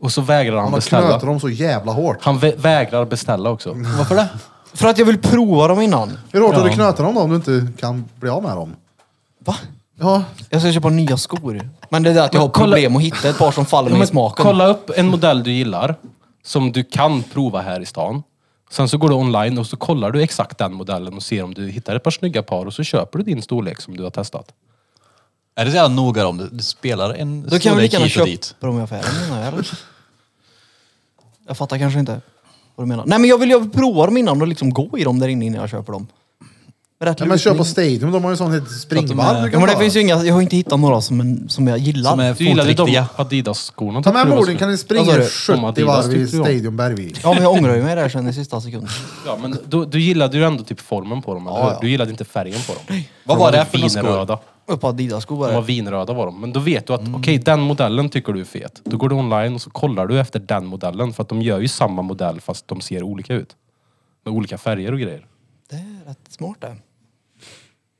Speaker 5: Och så vägrar han
Speaker 1: Man har knöt
Speaker 5: beställa.
Speaker 1: dem Mm. så jävla hårt.
Speaker 5: Han vä- vägrar beställa också.
Speaker 2: Varför det?
Speaker 6: För att jag vill prova dem innan.
Speaker 1: Hur hårt har du knötat dem då om du inte kan bli av med dem?
Speaker 6: Va?
Speaker 1: Ja,
Speaker 6: Jag ska köpa nya skor. Men det är det att jag har
Speaker 5: Men kolla-
Speaker 6: problem att hitta ett par som faller
Speaker 5: Ja,
Speaker 6: mig i
Speaker 5: men
Speaker 6: smaken.
Speaker 5: Kolla upp en modell du gillar, som du kan prova här i stan. Sen så går du online och så kollar du exakt den modellen och ser om du hittar ett par snygga par och så köper du din storlek som du har testat.
Speaker 2: Är det så jävla noga om du, du spelar en
Speaker 6: Då kan vi lika gärna
Speaker 2: hit
Speaker 6: köpa
Speaker 2: och dit?
Speaker 6: dem i affären menar jag. eller?
Speaker 2: <laughs>
Speaker 6: Jag fattar kanske inte vad du menar. Nej men jag vill ju prova dem innan och liksom gå i dem där inne innan jag köper dem. Med Rätt
Speaker 1: ja men köp på
Speaker 6: lutning.
Speaker 1: Stadium, de har ju en sån här springvarv du
Speaker 6: ja,
Speaker 1: kan
Speaker 6: men det
Speaker 1: ta.
Speaker 6: finns ju inga, jag har inte hittat några som, en, som jag gillar.
Speaker 2: Som är
Speaker 5: Du gillade de
Speaker 2: Eh, fotriktiga.
Speaker 5: Adidas-skorna.
Speaker 1: Ta med
Speaker 5: tyckte du var
Speaker 1: morden
Speaker 5: snygga.
Speaker 1: kan ni
Speaker 6: Alltså,
Speaker 5: Vad sa
Speaker 1: springa
Speaker 5: du?
Speaker 1: 70
Speaker 5: Adidas
Speaker 1: varv i
Speaker 5: tyckte du om.
Speaker 1: Stadium Bergvik.
Speaker 6: Ja men jag ångrar ju mig där sen i sista sekunden.
Speaker 5: Ja, men du, du gillade ju ändå typ formen på dem, eller hur? Du gillade inte färgen på dem.
Speaker 2: Vad
Speaker 5: De
Speaker 2: var det
Speaker 5: typ
Speaker 2: för några skor?
Speaker 5: vinröda.
Speaker 6: Upp på Adidas-skor
Speaker 5: De var
Speaker 6: bara.
Speaker 5: vinröda var de. Men då vet du att
Speaker 1: Mm.
Speaker 5: okej, den modellen tycker du är fet. Då går du online och så kollar du efter den modellen. För att de gör ju samma modell fast de ser olika ut. Med olika färger och grejer.
Speaker 6: Det är rätt smart det.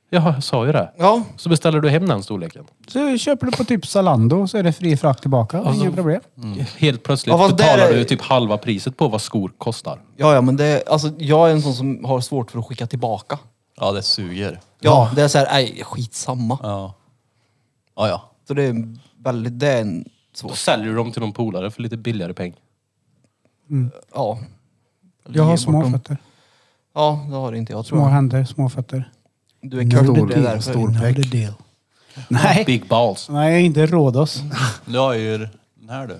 Speaker 5: Jaha, jag sa ju det.
Speaker 6: Ja,
Speaker 5: Så beställer du hem den storleken.
Speaker 4: Så köper du på typ Zalando så är det fri frakt tillbaka. Inga problem.
Speaker 2: Mm.
Speaker 5: Helt plötsligt
Speaker 6: Ja, fast
Speaker 5: betalar
Speaker 6: där är-
Speaker 5: du typ halva priset på vad skor kostar.
Speaker 6: ja, ja men det, alltså, jag är en sån som har svårt för att skicka tillbaka.
Speaker 2: Ja, det suger.
Speaker 6: Ja, det är såhär, nej skitsamma.
Speaker 2: Ja. Ja, ja.
Speaker 6: Så det är väldigt, det är en svår,
Speaker 5: Då säljer du dem till någon polare för lite billigare peng.
Speaker 6: ja.
Speaker 4: Jag har
Speaker 6: Ge bort
Speaker 4: små
Speaker 6: dem.
Speaker 4: fötter.
Speaker 6: Ja, det har inte jag tror
Speaker 4: Små
Speaker 6: jag.
Speaker 4: händer, små fötter.
Speaker 6: Du är kurd, det är därför.
Speaker 1: Storpäck.
Speaker 4: deal. Nej,
Speaker 5: Big balls.
Speaker 4: nej inte Rhodos.
Speaker 2: Du har ju den här du.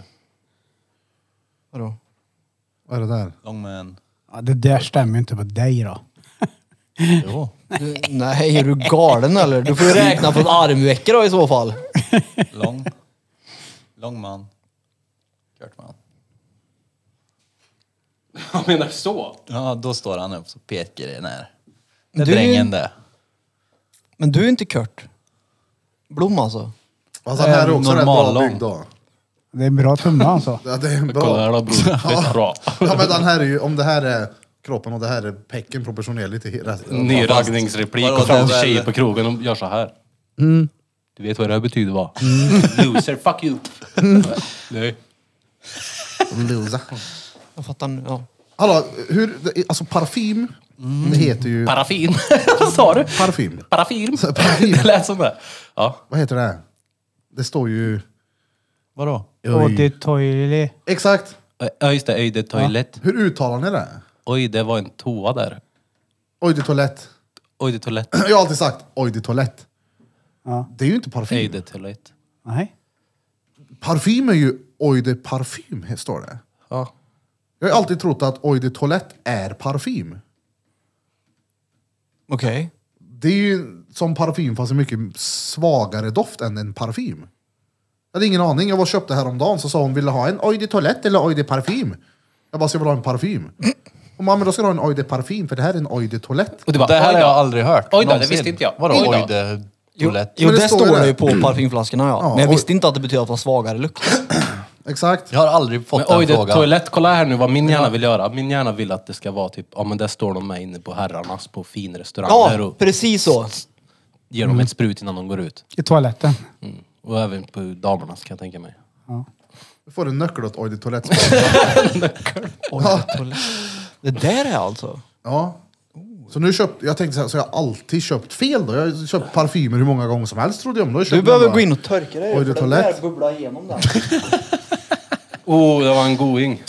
Speaker 6: Vadå?
Speaker 1: Vad är det där?
Speaker 2: Lång med en...
Speaker 4: Ja, det där stämmer ju inte på dig då.
Speaker 2: Jo.
Speaker 6: Du, nej, är du galen eller? Du får ju räkna på ett armveckor då i så fall. <laughs>
Speaker 2: Lång. Lång man. Kort man.
Speaker 5: <laughs> Jag menar så?
Speaker 2: Ja, då står han upp så pekar det ner. Det är
Speaker 6: Du är ju-
Speaker 2: drängen det.
Speaker 6: Men du är inte Kurt. Blom alltså.
Speaker 1: Alltså, den här är också rätt bra
Speaker 2: Normallång.
Speaker 1: byggd då.
Speaker 4: Det är en bra tumme alltså.
Speaker 1: Ja, det är en
Speaker 5: Kolla
Speaker 1: bra.
Speaker 5: där då bror. Det är bra.
Speaker 1: Ja, men den här är ju, om det här är kroppen och det här är pecken proportionerligt i hela...
Speaker 5: Ny raggningsreplik
Speaker 2: Vadå,
Speaker 5: och fram till
Speaker 2: det är väl-
Speaker 5: tjejer på krogen och gör så här. Du vet vad det här betyder va? <laughs> Loser, fuck you! Nej.
Speaker 1: Loser.
Speaker 6: Jag fattar nu. Ja.
Speaker 1: Hallå, hur, alltså parfym,
Speaker 6: Mm.
Speaker 1: det heter ju...
Speaker 6: <laughs>
Speaker 5: Paraffin. Vad sa du?
Speaker 1: Parfym.
Speaker 2: <laughs>
Speaker 5: Paraffin?
Speaker 1: Paraffin.
Speaker 5: Det lät som det. Ja.
Speaker 1: Vad heter det? Det står ju...
Speaker 2: Vadå?
Speaker 4: Och det toilet.
Speaker 1: Exakt!
Speaker 5: Ja just det, öj det toalett.
Speaker 1: Hur uttalar ni det?
Speaker 5: Oj det var en toa där.
Speaker 1: Oj, det är toalett. <clears throat>
Speaker 5: Oj det toalett.
Speaker 1: Jag har alltid sagt oj, det är toalett.
Speaker 4: Ja.
Speaker 1: Det är ju inte
Speaker 5: Öj
Speaker 1: parfym.
Speaker 5: det toalett.
Speaker 4: Nej.
Speaker 1: Parfym är ju oj, det är parfym, här står det.
Speaker 5: Ja.
Speaker 1: Jag har alltid trott att oj, det är toalett är parfym.
Speaker 6: Okej.
Speaker 1: Det är ju som parfym fast en mycket svagare doft än en parfym. Jag hade ingen aning. Jag var och köpte häromdagen så sa hon ville ha en Oj de toalett eller Oj de parfym. Jag bara, så jag vill ha en parfym. Och mamma, då ska du ha en Oj de parfym för det här är en Oj de toalett.
Speaker 5: Och du bara,
Speaker 2: det här
Speaker 5: oj
Speaker 2: har
Speaker 5: då.
Speaker 2: jag aldrig hört.
Speaker 5: Oj då, det
Speaker 2: någonsin.
Speaker 5: visste inte jag.
Speaker 2: Vadå
Speaker 5: Oj då.
Speaker 2: oj det
Speaker 6: Jo,
Speaker 2: toalett?
Speaker 6: jo
Speaker 1: Men
Speaker 6: det,
Speaker 1: det står ju
Speaker 6: står det
Speaker 1: det.
Speaker 6: ju på parfymflaskorna ja.
Speaker 1: Ja,
Speaker 6: Men jag
Speaker 1: och-
Speaker 6: visste inte att det betyder att det var svagare lukt.
Speaker 1: Exakt.
Speaker 2: Jag har aldrig fått
Speaker 5: Men oj
Speaker 2: den
Speaker 5: det
Speaker 2: frågan.
Speaker 5: toalett, kolla här nu vad min hjärna vill göra. Min hjärna vill att det ska vara typ, ja men där står de med inne på herrarnas på finrestauranger
Speaker 6: Ja,
Speaker 5: och
Speaker 6: precis så.
Speaker 5: ger dem ett sprut innan de går ut.
Speaker 4: I toaletten.
Speaker 5: Och även på damernas kan jag tänka mig.
Speaker 1: Du får en nyckel åt Oj de toalett.
Speaker 6: Oj, det där är alltså.
Speaker 1: <laughs> Ja. Så nu köpte, jag tänkte så, här, så jag har alltid köpt fel då. Jag har köpt parfymer hur många gånger som helst trodde jag. Men då har jag
Speaker 6: Du
Speaker 1: köpt
Speaker 6: behöver
Speaker 1: bara-
Speaker 6: gå in och torka dig.
Speaker 1: Oj, det
Speaker 6: för
Speaker 1: är
Speaker 6: den där
Speaker 1: toalett.
Speaker 6: bubblar
Speaker 1: <laughs>
Speaker 6: igenom där.
Speaker 5: Oh, det var en going.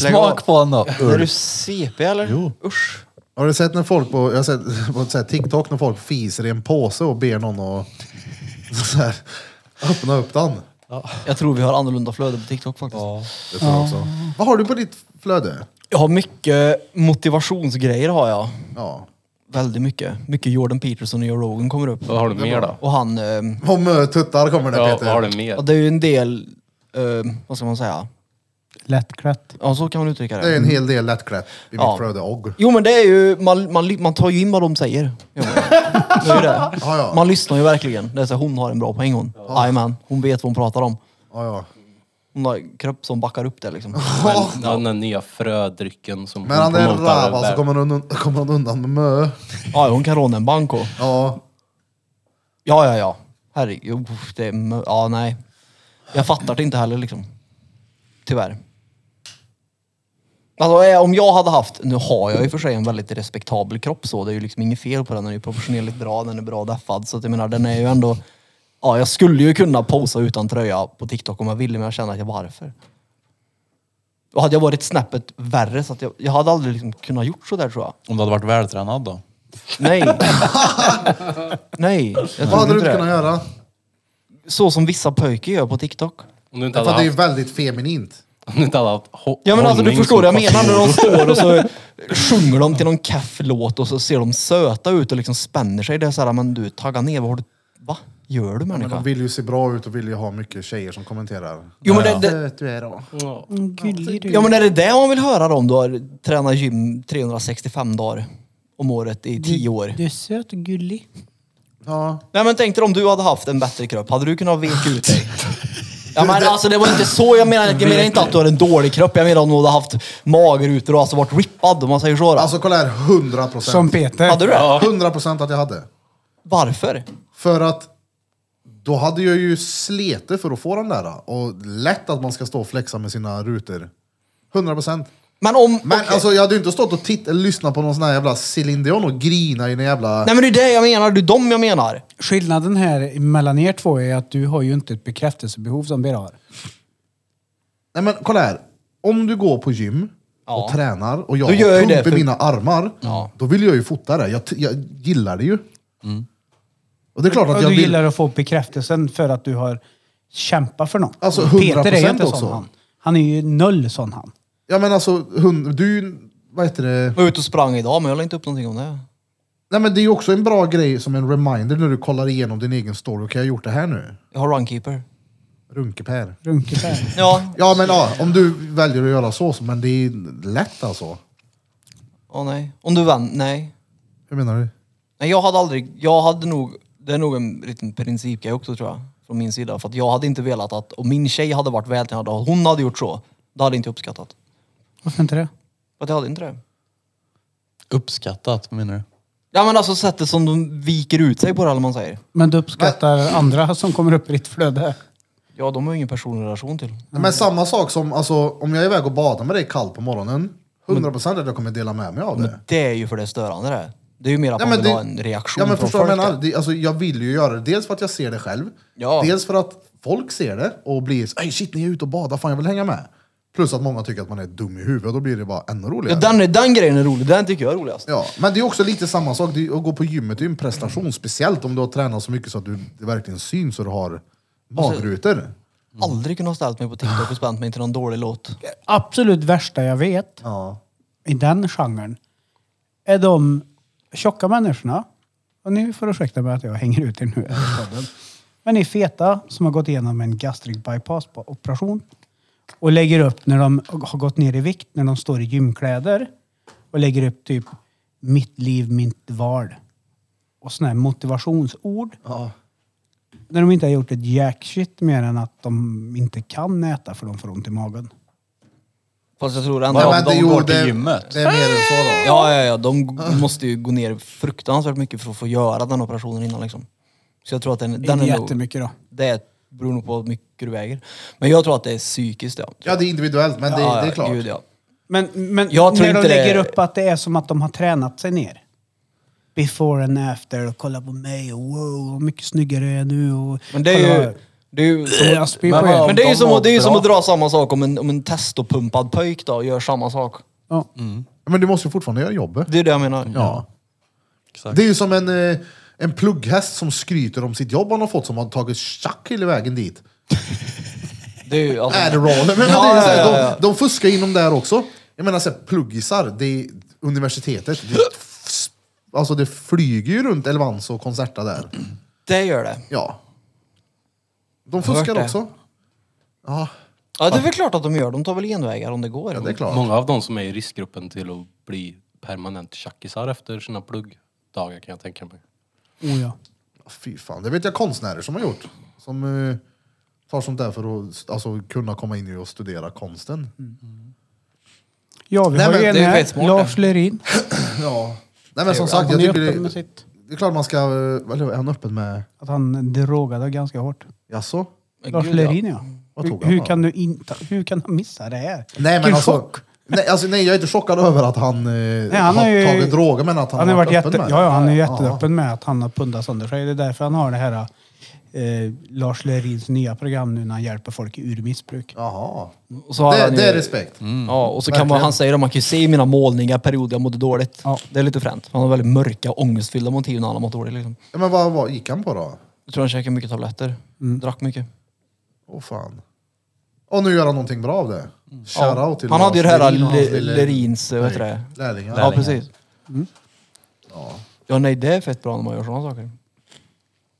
Speaker 2: Smak på honom.
Speaker 6: Är du CP eller? Jo. Usch.
Speaker 1: Har du sett när folk på, jag har sett <laughs> på så här TikTok när folk fiser i en påse och ber någon att <laughs> så här, öppna upp den?
Speaker 6: Jag tror vi har annorlunda flöde på TikTok faktiskt.
Speaker 1: Det tror jag också. Vad har du på ditt flöde?
Speaker 6: Jag har mycket motivationsgrejer har jag.
Speaker 1: Ja.
Speaker 6: Väldigt mycket. Mycket Jordan Peterson och Joe Rogan kommer upp.
Speaker 5: Vad har du mer då?
Speaker 6: Och han, ehm,
Speaker 1: Om eh, tuttar kommer det
Speaker 5: Ja,
Speaker 1: Peter.
Speaker 5: vad har du mer?
Speaker 6: ja, det är ju en del, ehm, vad ska man säga?
Speaker 4: Lättklätt.
Speaker 6: Ja, så kan man uttrycka det.
Speaker 1: Det är en hel del lättklätt i
Speaker 6: Ja.
Speaker 1: mitt flöde. Och.
Speaker 6: Jo men det är ju, man, man, ly- man tar ju in vad de säger. Jo, men. Det är ju det.
Speaker 1: Ja, ja.
Speaker 6: Man lyssnar ju verkligen. Det är så här, hon har en bra poäng hon. Jajamän, hon vet vad hon pratar om.
Speaker 1: Ja, ja.
Speaker 6: Hon har kropp som backar upp det liksom.
Speaker 5: Men, Den där nya frödrycken som
Speaker 1: Men han är alltså, en
Speaker 5: promotar
Speaker 1: rava så
Speaker 5: där.
Speaker 1: kommer han, un- kommer han undan med mö.
Speaker 6: Ja, hon kan råna en bank och.
Speaker 1: Ja.
Speaker 6: Ja, ja, ja. Herregud. uff, Det är, mö- ja, nej. Jag fattar det inte heller liksom. Tyvärr. Alltså, eh, om jag hade haft, nu har jag ju för sig en väldigt respektabel kropp så, det är ju liksom inget fel på den, den är ju proportionerligt bra, den är bra deffad. Så att jag menar, den är ju ändå, ja jag skulle ju kunna posa utan tröja på TikTok om jag ville, men jag känner att jag varför? Då hade jag varit snäppet värre, så att jag, jag hade aldrig liksom kunnat gjort så där tror jag.
Speaker 2: Om du hade varit vältränad då?
Speaker 1: <laughs>
Speaker 6: Nej. Nej. jag tror
Speaker 1: Vad hade du
Speaker 6: det.
Speaker 1: inte kunnat göra?
Speaker 6: så som vissa pojkar gör på TikTok.
Speaker 5: Om du inte
Speaker 1: För
Speaker 5: hade
Speaker 1: att det är
Speaker 5: haft,
Speaker 1: väldigt feminint.
Speaker 5: om du inte hade haft ho-
Speaker 6: Ja men alltså du
Speaker 5: hållning
Speaker 6: förstår
Speaker 5: som
Speaker 6: vad jag menar när
Speaker 1: <laughs>
Speaker 5: kostar-
Speaker 6: de står och så sjunger de till någon keff-låt och så ser de söta ut och liksom spänner sig. Det är såhär, men du tagga ner, vad har du... Va? Gör du
Speaker 1: Men de
Speaker 6: människa?
Speaker 1: vill ju se bra ut och vill ju ha mycket tjejer som kommenterar.
Speaker 6: Jo men, det, det,
Speaker 1: Söt du är då.
Speaker 4: Gullig du.
Speaker 6: ja men är det det man vill höra då om du har tränat gym 365 dagar om året i 10 år?
Speaker 4: Du är söt och gullig.
Speaker 1: Ja.
Speaker 6: Nej men tänk dig om du hade haft en bättre kropp, hade du kunnat veka ut
Speaker 1: <laughs>
Speaker 6: dig? Ja men alltså det var inte så, jag menar, jag menar inte att du har en dålig kropp, jag menar om du hade haft magrutor och alltså varit rippad om man säger så då.
Speaker 1: Alltså kolla här, 100 procent.
Speaker 4: Som Peter.
Speaker 6: Hade du det?
Speaker 1: 100 procent att jag hade.
Speaker 6: Varför?
Speaker 1: För att då hade jag ju slete för att få den där. Och lätt att man ska stå och flexa med sina rutor. 100 procent.
Speaker 6: Men om...
Speaker 1: Men
Speaker 6: okej.
Speaker 1: alltså jag hade ju inte stått och titt- eller lyssnat på någon sån här jävla Céline Dion och grina i en jävla...
Speaker 6: Nej men det är det jag menar, det är dem jag menar.
Speaker 4: Skillnaden här mellan er två är att du har ju inte ett bekräftelsebehov som vi har.
Speaker 1: Nej men kolla här. Om du går på gym
Speaker 6: Ja.
Speaker 1: och tränar och jag
Speaker 6: Då gör
Speaker 1: har
Speaker 6: jag det
Speaker 1: pump i
Speaker 6: för-
Speaker 1: mina armar. Då vill jag ju fota det. Jag, t- jag gillar det ju.
Speaker 6: Mm.
Speaker 1: Och det är klart att
Speaker 4: Och
Speaker 1: jag
Speaker 4: du
Speaker 1: vill...
Speaker 4: gillar att få bekräftelsen för att du har kämpat för något.
Speaker 1: Alltså,
Speaker 4: Peter är ju
Speaker 1: 100%
Speaker 4: inte
Speaker 1: också.
Speaker 4: sån han. Han är ju noll sån han.
Speaker 1: Ja men alltså, hund, du... är ju- Vad heter det?
Speaker 6: Jag var ute och sprang idag men jag la inte upp någonting om det.
Speaker 1: Nej men det är ju också en bra grej som en reminder när du kollar igenom din egen story. Okej, jag har gjort det här nu.
Speaker 6: Jag har runkeeper.
Speaker 1: Runkepär. <laughs>
Speaker 4: Runkepär.
Speaker 6: Ja.
Speaker 1: Ja men ja, om du väljer att göra så, så men det är lätt alltså.
Speaker 6: Åh nej. Om du vann, nej.
Speaker 1: Hur menar du?
Speaker 6: Nej jag hade aldrig, jag hade nog, det är nog en liten principgrej också tror jag. Från min sida. För att jag hade inte velat att, om min tjej hade varit vältränad och hon hade gjort så, då hade jag inte uppskattat.
Speaker 4: Varför inte det?
Speaker 6: För att jag hade inte det.
Speaker 2: Uppskattat menar du?
Speaker 6: Ja men alltså sättet som de viker ut sig på det eller vad man säger.
Speaker 4: Men du uppskattar andra som kommer upp i ditt flöde.
Speaker 6: Ja de har ju ingen personlig relation till.
Speaker 1: Men samma sak som alltså, om jag är iväg och badar med dig kallt på morgonen 100% att jag kommer dela med mig av det.
Speaker 6: Det är ju för det störande det. här. Det är ju mer att
Speaker 1: Ja,
Speaker 6: man
Speaker 1: men
Speaker 6: vill
Speaker 1: det-
Speaker 6: ha en reaktion
Speaker 1: ja, men
Speaker 6: från
Speaker 1: förstår du vad
Speaker 6: folk.
Speaker 1: jag menar?
Speaker 6: där.
Speaker 1: Det, alltså, jag vill ju göra det. Dels för att jag ser det själv.
Speaker 6: Ja.
Speaker 1: Dels för att folk ser det och blir så, Ey, shit ni är ute och badar, fan jag vill hänga med. Plus att många tycker att man är dum i huvudet, då blir det bara ännu
Speaker 6: Ja,
Speaker 1: roligare.
Speaker 6: den, är- den grejen är rolig, den tycker jag är roligast.
Speaker 1: Ja, men det är också lite samma sak. Det är, att gå på gymmet är ju en prestation, speciellt om du har tränat så mycket så att du det verkligen syns och du har
Speaker 6: Alltså,
Speaker 1: magrutor.
Speaker 6: Mm. Aldrig kunnat ställt mig på TikTok och spänt mig till någon dålig låt.
Speaker 4: Absolut värsta jag vet
Speaker 1: Ja.
Speaker 4: i den genren är de tjocka människorna. Och nu får ursäkta mig att jag hänger ut er nu. efter podden. Men ni feta som har gått igenom en gastric bypass på operation och lägger upp när de har gått ner i vikt, när de står i gymkläder och lägger upp typ mitt liv, mitt val och sådana här motivationsord. När de inte har gjort ett jack shit mer än att de inte kan äta för de får ont i magen.
Speaker 6: Fast jag tror ändå...
Speaker 1: Nej,
Speaker 6: Ja,
Speaker 1: men
Speaker 6: de,
Speaker 1: det-
Speaker 6: går-
Speaker 1: jo,
Speaker 2: till
Speaker 1: det-
Speaker 2: gymmet.
Speaker 1: Det är mer än så då.
Speaker 6: ja, ja, ja, de g- måste ju gå ner fruktansvärt mycket för att få göra den operationen innan liksom. Så jag tror att den, den
Speaker 4: inte
Speaker 6: är nog...
Speaker 4: jättemycket då.
Speaker 6: Det beror nog på hur mycket du väger. Men jag tror att det är psykiskt ja.
Speaker 1: Ja, det är individuellt, men det, det är klart.
Speaker 6: Gud, ja.
Speaker 4: Men, men
Speaker 6: Jag tror
Speaker 4: när de
Speaker 6: inte det-
Speaker 4: lägger upp att det är som att de har tränat sig ner. Before and after och kolla på mig och wow, vad mycket snyggare jag är nu. Och
Speaker 6: Men det är
Speaker 4: kolla
Speaker 6: ju...
Speaker 4: vad-
Speaker 6: Det är ju som
Speaker 4: Jag spyr på
Speaker 6: Men,
Speaker 4: er.
Speaker 6: det är ju
Speaker 5: de
Speaker 6: som,
Speaker 5: var
Speaker 6: att- det är ju som
Speaker 5: bra.
Speaker 6: att dra samma sak om en, om en testopumpad pöjk då gör samma sak.
Speaker 4: Ja.
Speaker 1: Men du måste ju fortfarande göra jobbet.
Speaker 6: Det är det jag menar.
Speaker 1: Ja. Det är ju som en, eh, en plugghäst som skryter om sitt jobb han har fått som har tagit tjack hela vägen dit.
Speaker 6: Det är ju, alltså,
Speaker 1: Adderall. Men, men
Speaker 6: Ja,
Speaker 1: det är så här,
Speaker 6: ja, ja, ja.
Speaker 1: De, de fuskar inom där också. Jag menar, så här, pluggisar, det är universitetet. Det, alltså det flyger ju runt Elvans och Concerta där.
Speaker 6: det gör det.
Speaker 1: Ja. De
Speaker 6: hört
Speaker 1: fuskar
Speaker 6: det.
Speaker 1: också. Ja,
Speaker 6: Ja, det är väl klart att de gör. De tar väl genvägar om det går.
Speaker 1: ja, det är klart.
Speaker 5: Många av de som är i riskgruppen till att bli permanent tjackisar efter sina pluggdagar kan jag tänka mig.
Speaker 4: Oh, ja.
Speaker 1: Fy fan, det vet jag konstnärer som har gjort. Som eh, tar sånt där för att alltså, kunna komma in i och studera konsten.
Speaker 4: ja, vi
Speaker 1: Nej,
Speaker 4: har
Speaker 1: men
Speaker 4: ju en
Speaker 6: det är ju
Speaker 4: här.
Speaker 6: fetsmart,
Speaker 4: Lars Lerin.
Speaker 1: Ja. Nej men som sagt,
Speaker 4: Han
Speaker 1: jag
Speaker 4: är
Speaker 1: tycker
Speaker 4: öppen med
Speaker 1: det,
Speaker 4: sitt.
Speaker 1: det är klart man ska... eh, Eller är han öppen med...
Speaker 4: Att han drogade ganska hårt.
Speaker 1: Jaså?
Speaker 4: Lars
Speaker 6: Gud, ja.
Speaker 4: Lerin ja.
Speaker 1: Vad tog han
Speaker 4: Hur, hur,
Speaker 1: då?
Speaker 4: kan du inte, hur kan han missa det här?
Speaker 1: Nej men
Speaker 4: Vilken
Speaker 1: alltså,
Speaker 4: chock.
Speaker 1: nej, alltså, nej jag är inte chockad över att han, eh,
Speaker 4: Nej, han
Speaker 1: har
Speaker 4: har ju-
Speaker 1: tagit droger men att han,
Speaker 4: Han har varit
Speaker 1: öppen
Speaker 4: jätte,
Speaker 1: med det.
Speaker 4: ja, ja, han är
Speaker 1: Ja,
Speaker 4: jätteöppen med att han har pundat sönder sig. Det är därför han har det här eh, Lars Lerins nya program nu när han hjälper folk ur missbruk.
Speaker 1: Jaha.
Speaker 6: Och så har
Speaker 1: Det,
Speaker 6: han ju-
Speaker 1: det är respekt.
Speaker 2: Mm.
Speaker 6: Ja, och så kan man,
Speaker 1: Verkligen.
Speaker 6: han säger att man kan ju se i mina målningar perioder jag mådde dåligt.
Speaker 4: Ja.
Speaker 6: Det är lite fränt. Han har väldigt mörka, ångestfyllda motiv när han har mått dåligt. Liksom.
Speaker 1: Ja, men vad, vad gick han på då?
Speaker 6: Jag tror han käkade mycket tabletter.
Speaker 1: Mm.
Speaker 6: Drack mycket.
Speaker 1: Åh fan. Och nu gör han någonting bra av det. Shoutout
Speaker 6: Ja.
Speaker 1: till
Speaker 6: Han hade ju det här
Speaker 1: Lerin och hans lille-
Speaker 6: Le- Lerins, vad heter det?
Speaker 1: Lärlingar.
Speaker 6: Ja, precis.
Speaker 1: Mm.
Speaker 6: Ja, nej, det är fett bra när man gör sådana saker.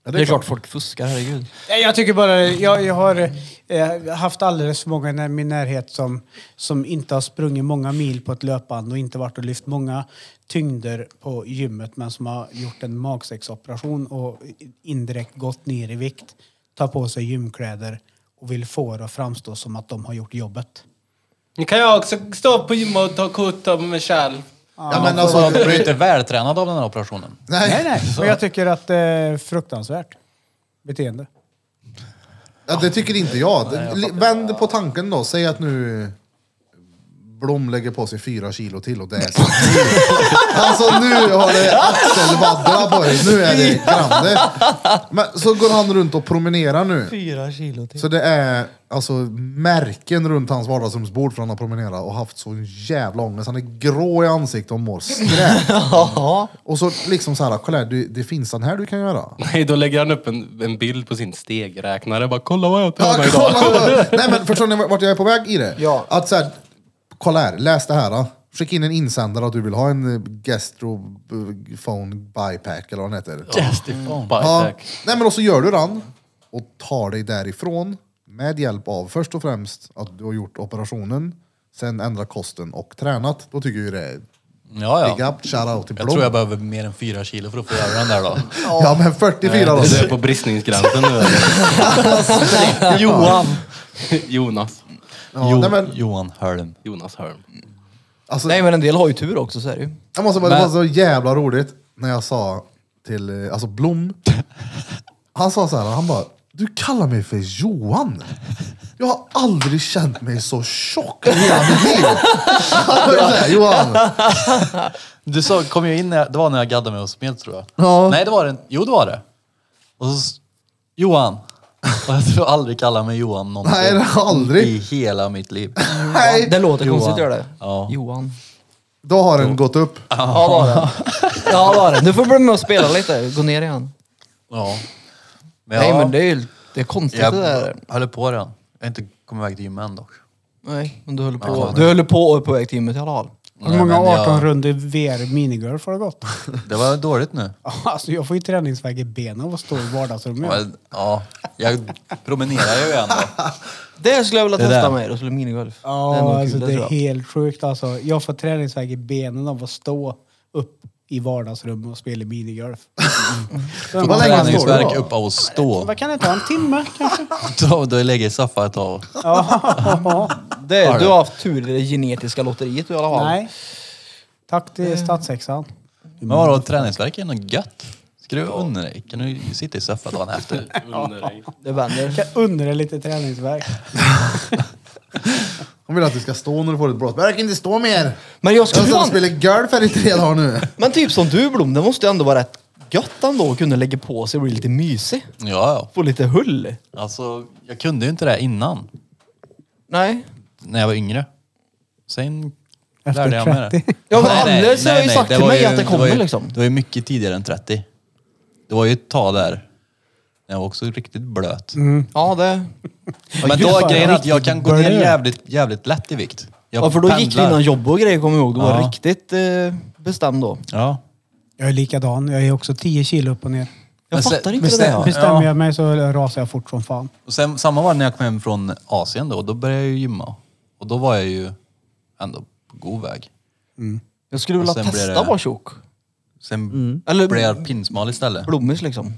Speaker 1: Ja,
Speaker 6: Det är klart folk fuskar, herregud.
Speaker 4: Nej, Jag tycker bara, jag, jag har eh, haft alldeles för många i när- min närhet som, som inte har sprungit många mil på ett löpband och inte varit och lyft många tyngder på gymmet men som har gjort en magsäcksoperation och indirekt gått ner i vikt, tar på sig gymkläder och vill få det att framstå som att de har gjort jobbet.
Speaker 9: Nu kan jag också stå på gymmet och ta kort av mig själv.
Speaker 1: Ja, men alltså,
Speaker 2: Alltså, du är
Speaker 1: det,
Speaker 2: inte vältränad av den här operationen.
Speaker 1: nej.
Speaker 4: Nej, nej, men jag tycker att det är fruktansvärt beteende.
Speaker 1: Ja, det tycker inte jag. Det- li- Vänd på tanken då. Säg att nu Blom lägger på sig fyra kilo till och det är så. <laughs> Alltså nu har det axelvaddla på dig. Nu är det grande. Men så går han runt och promenerar nu.
Speaker 6: Fyra kilo till.
Speaker 1: Så det är alltså märken runt hans vardagsrumsbord för han har promenerat och haft så jävla ångest. Han är grå i ansiktet och mår skräp. Och så liksom så här, kolla här, du- det finns den här du kan göra.
Speaker 5: Nej, då lägger han upp en, en bild på sin stegräknare. Bara kolla vad jag
Speaker 1: Ja,
Speaker 5: tränar
Speaker 1: kolla,
Speaker 5: idag.
Speaker 1: kolla. Nej men förstår ni vart jag är på väg i det?
Speaker 6: Ja.
Speaker 1: Att så här, kolla här, läs det här. Då. Skicka in en insändare att du vill ha en eh, gastrophone bypack eller vad den heter.
Speaker 2: Mm.
Speaker 1: Ja.
Speaker 5: Bara,
Speaker 1: Nej men och så gör du den och tar dig därifrån med hjälp av först och främst att du har gjort operationen, sen ändra kosten och tränat. Då tycker jag ju det är
Speaker 2: Ja,
Speaker 1: big
Speaker 2: ja.
Speaker 1: up, shout-out till
Speaker 2: Jag
Speaker 1: Blom.
Speaker 2: tror jag behöver mer än fyra kilo för att få göra den
Speaker 5: <laughs>
Speaker 2: där då.
Speaker 1: Ja men 44 då.
Speaker 5: Du är på bristningsgränsen nu. <laughs>
Speaker 2: Johan!
Speaker 5: Jonas.
Speaker 1: Ja, nej, men,
Speaker 2: Johan Hölm.
Speaker 5: Jonas Hörn.
Speaker 1: alltså,
Speaker 6: Nej, men en del har ju tur också, så är det ju.
Speaker 1: Jag måste bara, Det var så jävla roligt när jag sa till eh, alltså Blom. Han sa så här, han bara, du kallar mig för Johan. Jag har aldrig känt mig så tjock i hela mitt liv. Han var ju såhär, Johan,
Speaker 2: Du sa, kom ju in, när jag, det var när jag gaddade mig och smet tror jag.
Speaker 1: Ja.
Speaker 2: Nej, det var det Jo, det var det. Och så, s- Johan. <laughs> Och jag tror aldrig kalla mig Johan någonsin.
Speaker 1: Nej, det har aldrig.
Speaker 2: I hela mitt liv.
Speaker 1: hej.
Speaker 6: Det låter
Speaker 2: Johan.
Speaker 6: konstigt, gör det?
Speaker 2: Ja.
Speaker 6: Johan.
Speaker 1: Då har den gått upp.
Speaker 6: Ja, det har den.
Speaker 2: <laughs>
Speaker 6: Ja, det har den. Du får bli med och spela lite. Gå ner igen.
Speaker 2: Ja.
Speaker 6: Nej,
Speaker 2: ja,
Speaker 6: men det är ju det är konstigt
Speaker 2: Jag
Speaker 6: det där.
Speaker 2: höll på redan. Jag har inte kommit iväg till gymmet än dock.
Speaker 6: Nej, men du höll på. du höll på och är på väg till gymmet i alla fall.
Speaker 4: Hur många
Speaker 2: men jag-
Speaker 4: 18 runder VR minigolf har det gått? <laughs>
Speaker 2: Det var dåligt nu.
Speaker 4: Alltså jag får ju träningsvärk i benen av att stå i vardagsrummet.
Speaker 2: Men, Ja, jag promenerar ju igen då.
Speaker 6: Det skulle jag vilja
Speaker 2: Det
Speaker 6: testa
Speaker 2: där.
Speaker 6: med. Då skulle minigolf. det är nog
Speaker 4: Ja,
Speaker 6: kul,
Speaker 4: alltså
Speaker 6: det
Speaker 4: det är
Speaker 6: tror jag.
Speaker 4: helt sjukt alltså. Jag får träningsvärk i benen av att stå upp i vardagsrummet och spela minigolf.
Speaker 1: <laughs>
Speaker 4: Mm.
Speaker 1: Vad länge står du
Speaker 2: Träningsvärk
Speaker 1: då?
Speaker 2: upp av att stå.
Speaker 4: Vad kan det ta? En timme kanske?
Speaker 2: <laughs> Då, då lägger jag i saffa ett tag.
Speaker 6: Det,
Speaker 2: Har
Speaker 6: du
Speaker 2: du?
Speaker 6: har haft tur i det genetiska lotteriet i alla fall.
Speaker 4: Nej. Tack till statssexan.
Speaker 2: Men vadå, träningsvärk är nog gött. Ska du unna dig? Kan du sitta i saffa dagen efter?
Speaker 6: Det vänder.
Speaker 4: Jag undrar lite träningsvärk.
Speaker 1: Hon vill att du ska stå när du får ett brott. Men jag kan inte stå mer.
Speaker 6: <laughs> Men jag
Speaker 1: Jag har
Speaker 6: skulle
Speaker 1: stått och
Speaker 6: fan,
Speaker 1: spelat golf här i tre dagar nu.
Speaker 6: Men typ som du Blom, det måste ju ändå vara rätt gött ändå att kunna lägga på sig och bli lite mysig.
Speaker 2: Ja, ja.
Speaker 6: Få lite hull.
Speaker 2: Alltså, jag kunde ju inte det innan.
Speaker 6: Nej.
Speaker 2: När jag var yngre. Sen
Speaker 4: Efter
Speaker 2: lärde jag mig det.
Speaker 4: 30.
Speaker 6: Ja, men
Speaker 2: Nej,
Speaker 6: alla
Speaker 2: nej,
Speaker 6: har
Speaker 2: nej,
Speaker 6: ju
Speaker 2: nej,
Speaker 6: sagt till
Speaker 2: var
Speaker 6: mig
Speaker 2: ju-
Speaker 6: att det
Speaker 2: var
Speaker 6: kommer
Speaker 2: ju,
Speaker 6: liksom.
Speaker 2: Det var ju mycket tidigare än 30. Det var ju ett tag där. Jag var också riktigt blöt.
Speaker 4: Mm.
Speaker 6: Ja, det...
Speaker 2: Men då
Speaker 4: fan,
Speaker 2: är grejen att jag
Speaker 4: riktigt
Speaker 2: kan gå ner
Speaker 4: blöt.
Speaker 2: jävligt, jävligt lätt i vikt. Jag
Speaker 6: Ja, för då gick vi
Speaker 2: pendlar.
Speaker 6: innan jobb och grejer kommer jag ihåg. Du var
Speaker 2: Ja.
Speaker 6: riktigt eh, bestämd då.
Speaker 2: Ja.
Speaker 4: Jag är likadan. Jag är också 10 kilo upp och ner.
Speaker 6: Jag
Speaker 2: Men sen-
Speaker 6: fattar inte det
Speaker 4: Bestäm,
Speaker 6: där.
Speaker 4: Bestämmer
Speaker 2: Ja.
Speaker 4: jag mig så rasar jag fort som fan.
Speaker 2: Och sen, samma var det när jag kom hem från Asien då. Då började jag ju gymma. Och då var jag ju ändå på god väg.
Speaker 6: Jag skulle vilja
Speaker 2: Och sen blir
Speaker 6: testa
Speaker 2: det-
Speaker 6: vara tjock.
Speaker 2: Sen
Speaker 6: Mm. Eller-
Speaker 2: blev jag pinsmal istället.
Speaker 6: Blommis liksom.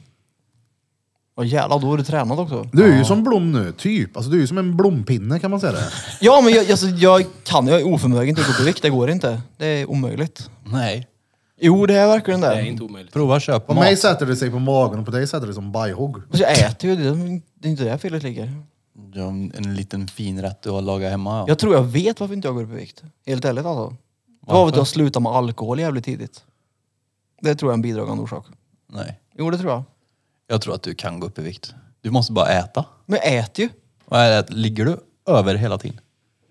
Speaker 6: Åh jävlar, då är du tränad också.
Speaker 1: Du är ju som Blom nu, typ. Alltså du är ju som en blompinne kan man säga det.
Speaker 6: Ja, men jag, alltså, jag kan Jag är oförmögen till att gå upp i vikt. Det går inte. Det är omöjligt.
Speaker 2: Nej.
Speaker 6: Jo, det är verkligen det.
Speaker 5: Det är inte omöjligt.
Speaker 2: Prova köp
Speaker 1: På
Speaker 2: mat.
Speaker 1: mig sätter det sig på magen och på dig sätter det som bajhugg.
Speaker 6: Fast jag äter ju. Det, det är inte där felet ligger.
Speaker 2: Ja, En liten fin rätt du har lagat hemma. Ja.
Speaker 6: Jag tror jag vet varför inte jag går upp i vikt. Helt ärligt alltså. Det var väl att jag slutade med alkohol jävligt tidigt. Det tror jag är en bidragande orsak.
Speaker 2: Nej.
Speaker 6: Jo, det tror jag.
Speaker 2: Jag tror att du kan gå upp i vikt. Du måste bara äta.
Speaker 6: Men jag äter ju.
Speaker 2: Och är det att ligger du över hela tiden?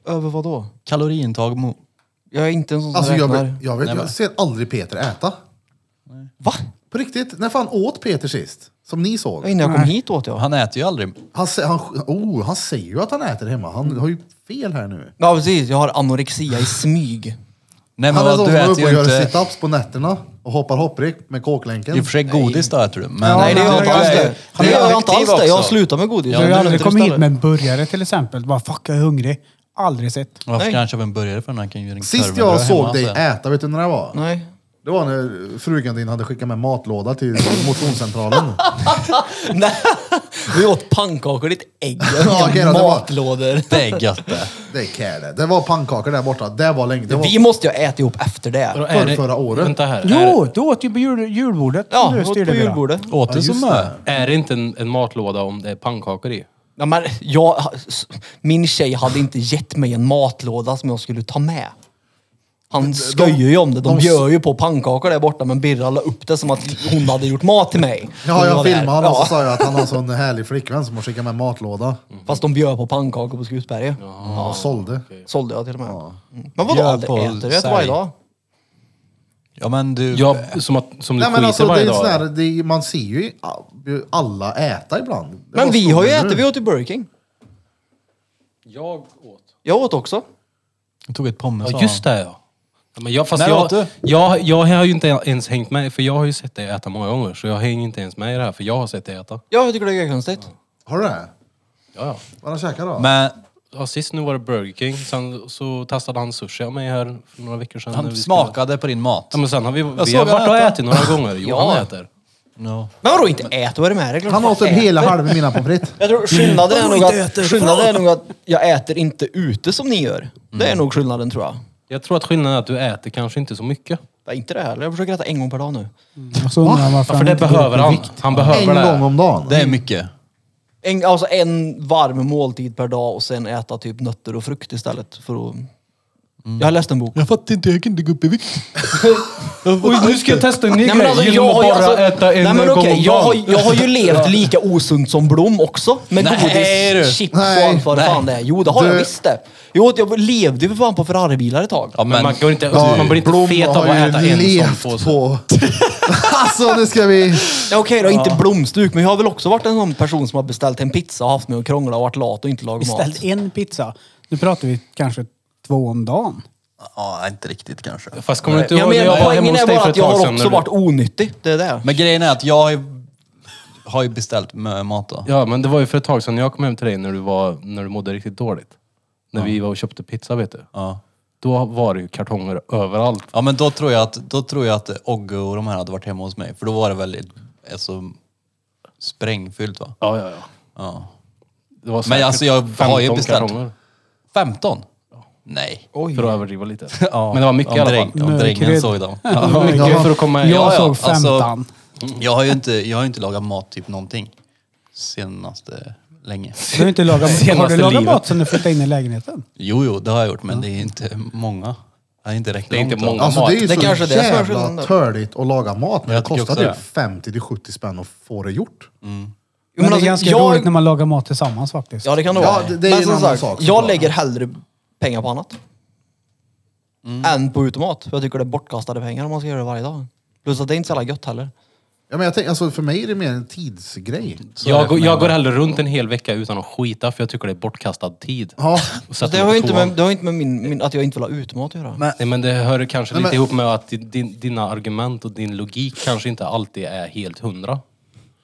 Speaker 6: Över vad då?
Speaker 2: Kaloriintag mot...
Speaker 6: Jag är inte en sån som
Speaker 1: Alltså jag,
Speaker 6: räknar.
Speaker 1: vet, jag, vet, jag ser aldrig Peter äta.
Speaker 6: Va?
Speaker 1: På riktigt, när fan åt Peter sist? Som ni såg.
Speaker 6: Ja, Innan jag kom hit åt jag.
Speaker 2: Han äter ju aldrig.
Speaker 1: Han, sä- han, oh, han säger ju att han äter hemma. Han har ju fel här nu.
Speaker 6: Ja precis, jag har anorexia i smyg.
Speaker 2: Nej men
Speaker 1: Han är
Speaker 2: vad,
Speaker 1: sån som
Speaker 2: du
Speaker 1: går upp
Speaker 2: äter
Speaker 1: och
Speaker 2: ju
Speaker 1: gör
Speaker 2: inte...
Speaker 1: situps på nätterna och hoppar hopprep med kåklänken.
Speaker 2: I och för sig godis då äter du. Men
Speaker 4: Ja,
Speaker 6: Nej det
Speaker 4: men
Speaker 6: gör jag
Speaker 4: han
Speaker 2: du
Speaker 4: är-
Speaker 6: inte alls det. Det
Speaker 2: ju- du är
Speaker 6: gör jag inte
Speaker 2: aktiv
Speaker 6: alls det. Jag har
Speaker 2: också.
Speaker 6: slutat med godis.
Speaker 2: Ja,
Speaker 4: Du har
Speaker 6: Jag
Speaker 4: ju
Speaker 2: nu
Speaker 4: aldrig
Speaker 6: äter
Speaker 4: kommit hit
Speaker 6: istället.
Speaker 4: med en burgare till exempel. Bara fuck, jag är hungrig. Aldrig sett.
Speaker 2: Varför
Speaker 6: Nej.
Speaker 2: ska han köpa en burgare för när han kan ju göra en
Speaker 1: Sist
Speaker 2: korv med
Speaker 1: jag
Speaker 2: bröd
Speaker 1: såg
Speaker 2: hemma alltså.
Speaker 1: dig
Speaker 2: sen?
Speaker 1: äta, vet du när det var?
Speaker 6: <laughs> Nej.
Speaker 1: Det var när frugan din hade skickat med matlåda till
Speaker 2: <laughs>
Speaker 1: motionscentralen.
Speaker 6: Nej. Vi åt pannkakor i ett ägg.
Speaker 1: Ja, okej då, det var-
Speaker 6: matlådor.
Speaker 2: Det är gött det.
Speaker 1: det är care det. Det var pannkakor där borta. Det var länge. Det var
Speaker 6: Vi måste ju äta ihop efter det.
Speaker 1: förr, förra året.
Speaker 5: Vänta här. Är,
Speaker 4: Jo, du åt ju på jul, julbordet.
Speaker 6: Ja,
Speaker 4: som du
Speaker 6: vi åt
Speaker 4: styrde
Speaker 6: på
Speaker 4: med.
Speaker 6: julbordet.
Speaker 2: Åt du som mö?
Speaker 5: är det inte en, en matlåda om det är pannkakor
Speaker 1: Mm.
Speaker 5: i?
Speaker 6: Ja, men jag, min tjej hade inte gett mig en matlåda som jag skulle ta med. Han skojar ju om det. De,
Speaker 1: de-
Speaker 6: gör ju på pannkakor där borta, men Birra la upp det som att hon hade gjort mat till mig.
Speaker 1: Ja,
Speaker 6: Hon
Speaker 1: jag
Speaker 6: var där.
Speaker 1: filmade alltså. honom och
Speaker 6: Ja,
Speaker 1: så sa jag att han har en sån härlig flickvän som har skickat med matlåda.
Speaker 6: Fast de bjöd på pannkakor på Skutberget.
Speaker 1: Och sålde.
Speaker 6: Sålde jag till och med. Mm. Men vadå?
Speaker 2: Bjöd
Speaker 6: aldrig
Speaker 2: på
Speaker 6: äter jag äter
Speaker 2: sälj.
Speaker 6: varje dag.
Speaker 2: Ja men du...
Speaker 5: Ja, som, att, som du
Speaker 1: Nej
Speaker 5: skiter
Speaker 1: men alltså, det
Speaker 5: varje
Speaker 1: är
Speaker 5: dag.
Speaker 1: sån här, det är, man ser ju ju alla äta ibland. Det
Speaker 6: Men
Speaker 1: var
Speaker 6: vi
Speaker 1: stor
Speaker 6: har ju
Speaker 1: nu.
Speaker 6: ätit. Vi åt ju Burger King.
Speaker 5: Jag åt.
Speaker 6: Jag åt också.
Speaker 2: Jag tog ett pommes
Speaker 5: Ja, just det ja. Ja, Men jag, fast
Speaker 2: Alltså. När
Speaker 5: jag,
Speaker 2: åt du?
Speaker 5: Jag, jag har ju inte ens hängt med, för jag har ju sett dig äta många gånger. Så jag hänger inte ens med i det här, för jag har sett dig äta.
Speaker 6: Ja, jag tycker det är konstigt.
Speaker 1: Har du det?
Speaker 5: Ja, ja.
Speaker 1: Vad har han käkat då?
Speaker 2: Men
Speaker 5: ja. Sist nu var det Burger King, sen så testade han sushi av mig här för några veckor sedan. när
Speaker 2: han
Speaker 5: vi
Speaker 2: smakade på din mat.
Speaker 5: Ja, men sen har vi, vi
Speaker 2: såg
Speaker 5: har
Speaker 2: han
Speaker 5: varit och
Speaker 2: äta.
Speaker 5: ätit några gånger. Jo,
Speaker 6: Ja.
Speaker 5: han äter.
Speaker 2: No.
Speaker 6: Men vadå inte äta? Vad är det med dig? Klart
Speaker 1: Han
Speaker 6: man
Speaker 1: åt en
Speaker 6: äter.
Speaker 1: hela halv Mm. mina pommes frites.
Speaker 6: Jag tror skillnaden är, nog att, skillnaden är nog att jag äter inte ute som ni gör. Det är nog skillnaden tror jag.
Speaker 5: Jag tror att skillnaden är att du äter kanske inte så mycket.
Speaker 6: Nej, inte det heller. Jag försöker äta en gång per dag nu.
Speaker 4: Och så undrar man varför
Speaker 5: Ja, för
Speaker 4: han
Speaker 5: det
Speaker 4: inte går upp
Speaker 5: behöver
Speaker 4: i
Speaker 5: han.
Speaker 4: vikt.
Speaker 5: Han behöver
Speaker 1: En
Speaker 5: det.
Speaker 1: gång om dagen.
Speaker 2: Det är mycket.
Speaker 6: En, alltså en varm måltid per dag och sen äta typ nötter och frukt istället. För att... Jag har läst en bok.
Speaker 2: Jag fattar inte, jag kan inte gå upp i vikt.
Speaker 9: Oj, nu ska jag testa en ny grej.
Speaker 5: alltså,
Speaker 9: Genom att
Speaker 6: har ju-
Speaker 9: bara äta en
Speaker 6: alltså, nej, men
Speaker 9: gång
Speaker 6: okej,
Speaker 9: om
Speaker 6: jag, har,
Speaker 9: dagen.
Speaker 6: jag har ju levt lika osunt som Blom också. Med godis, chips och
Speaker 1: Nej,
Speaker 6: allt vad det
Speaker 2: nej.
Speaker 6: fan det är. Jo, det har jag
Speaker 1: Du-
Speaker 6: visst det. Jo, jag levde ju för fan på Ferraribilar ett tag.
Speaker 5: Ja, men,
Speaker 2: Men-
Speaker 5: man, går inte,
Speaker 1: Ja,
Speaker 5: man blir
Speaker 1: Blom
Speaker 5: inte fet av
Speaker 1: har
Speaker 5: att
Speaker 1: ju
Speaker 5: äta en
Speaker 1: levt
Speaker 5: sån påse.
Speaker 1: på. alltså nu ska vi...
Speaker 6: Ja, Okej då, inte blomstuk, men jag har väl också varit en sån person som har beställt en pizza och haft mig att krångla och varit lat och inte lagat mat.
Speaker 4: Beställt en pizza. Nu pratar vi kanske två om dagen.
Speaker 2: Ja, inte riktigt kanske.
Speaker 5: Fast kommer du inte
Speaker 6: Jag
Speaker 5: ihåg när
Speaker 6: menar,
Speaker 5: jag var hemma
Speaker 6: poängen
Speaker 5: hos
Speaker 6: är
Speaker 5: dig
Speaker 6: bara
Speaker 5: för ett
Speaker 6: att jag
Speaker 5: tag
Speaker 6: har
Speaker 5: sedan?
Speaker 6: också
Speaker 5: när du-
Speaker 6: varit onyttig. Det är det.
Speaker 2: Men grejen är att jag har ju, har ju beställt med mat då.
Speaker 5: Ja, men det var ju för ett tag sedan jag kom hem till dig när du, var, när du mådde riktigt dåligt. När vi var och köpte pizza, vet du.
Speaker 2: Ja.
Speaker 5: Då var det ju kartonger överallt.
Speaker 2: Ja men då tror jag att, då tror jag att Ogge och de här hade varit hemma hos mig. För då var det väldigt alltså, sprängfyllt va?
Speaker 5: Ja, ja, ja.
Speaker 2: Ja.
Speaker 5: Det var
Speaker 2: Men
Speaker 5: säkert
Speaker 2: alltså jag har ju
Speaker 5: 15
Speaker 2: beställt.
Speaker 5: kartonger,
Speaker 2: 15? Nej.
Speaker 5: För att överdriva
Speaker 6: <laughs>
Speaker 5: lite.
Speaker 2: Ja,
Speaker 5: Men det var mycket
Speaker 2: om
Speaker 5: i alla
Speaker 2: dräng-
Speaker 5: fall.
Speaker 2: Om
Speaker 4: Nej,
Speaker 2: drängen
Speaker 4: krydd.
Speaker 2: såg <laughs> dem.
Speaker 5: Det var mycket för att komma...
Speaker 4: Jag
Speaker 5: Ja, ja.
Speaker 4: såg
Speaker 2: alltså-
Speaker 4: femtan.
Speaker 2: Jag har ju inte, jag har ju inte lagat mat typ någonting. Senaste länge.
Speaker 4: Du har, inte lagat, har
Speaker 5: Senaste
Speaker 4: du lagat
Speaker 5: livet.
Speaker 4: mat sen du flyttade in i lägenheten?
Speaker 2: Jo, jo, det har jag gjort men det är inte många. Det är inte räckt
Speaker 5: Det är inte
Speaker 2: långt då.
Speaker 5: många.
Speaker 1: Alltså det är ju
Speaker 6: Det
Speaker 1: så
Speaker 6: kanske är det som är skillnaden
Speaker 1: jävla
Speaker 6: där.
Speaker 1: törligt att laga mat. Men det
Speaker 2: Jag tycker
Speaker 1: kostar
Speaker 2: också
Speaker 1: typ
Speaker 2: det.
Speaker 1: 50-70 spänn att få det gjort.
Speaker 6: Jo,
Speaker 4: Men det är ganska
Speaker 6: alltså, jag-
Speaker 4: roligt när man lagar mat tillsammans faktiskt.
Speaker 6: Ja, det kan det
Speaker 1: Ja,
Speaker 6: vara.
Speaker 1: det- det är
Speaker 6: men
Speaker 1: en
Speaker 6: som
Speaker 1: annan
Speaker 6: sagt,
Speaker 1: sak,
Speaker 6: jag
Speaker 1: såklart.
Speaker 6: lägger hellre pengar på annat. Än på utemat. För jag tycker det är bortkastade pengar om man ska göra det varje dag. Plus att det är inte så jävla gött heller.
Speaker 1: Ja, men jag tänker, alltså, för mig är det mer en tidsgrej.
Speaker 5: Jag, går- jag går hellre runt en hel vecka utan att skita för jag tycker det är bortkastad tid.
Speaker 1: Ja.
Speaker 5: Och
Speaker 6: Så
Speaker 5: sätter
Speaker 6: det
Speaker 5: mig
Speaker 6: har
Speaker 5: på
Speaker 6: ju inte
Speaker 5: toan.
Speaker 6: med, det har inte med min, min, att jag inte vill ha utemat att göra.
Speaker 5: Nej, men det hör kanske lite
Speaker 1: men-
Speaker 5: ihop med att din, dina argument och din logik kanske inte alltid är helt hundra.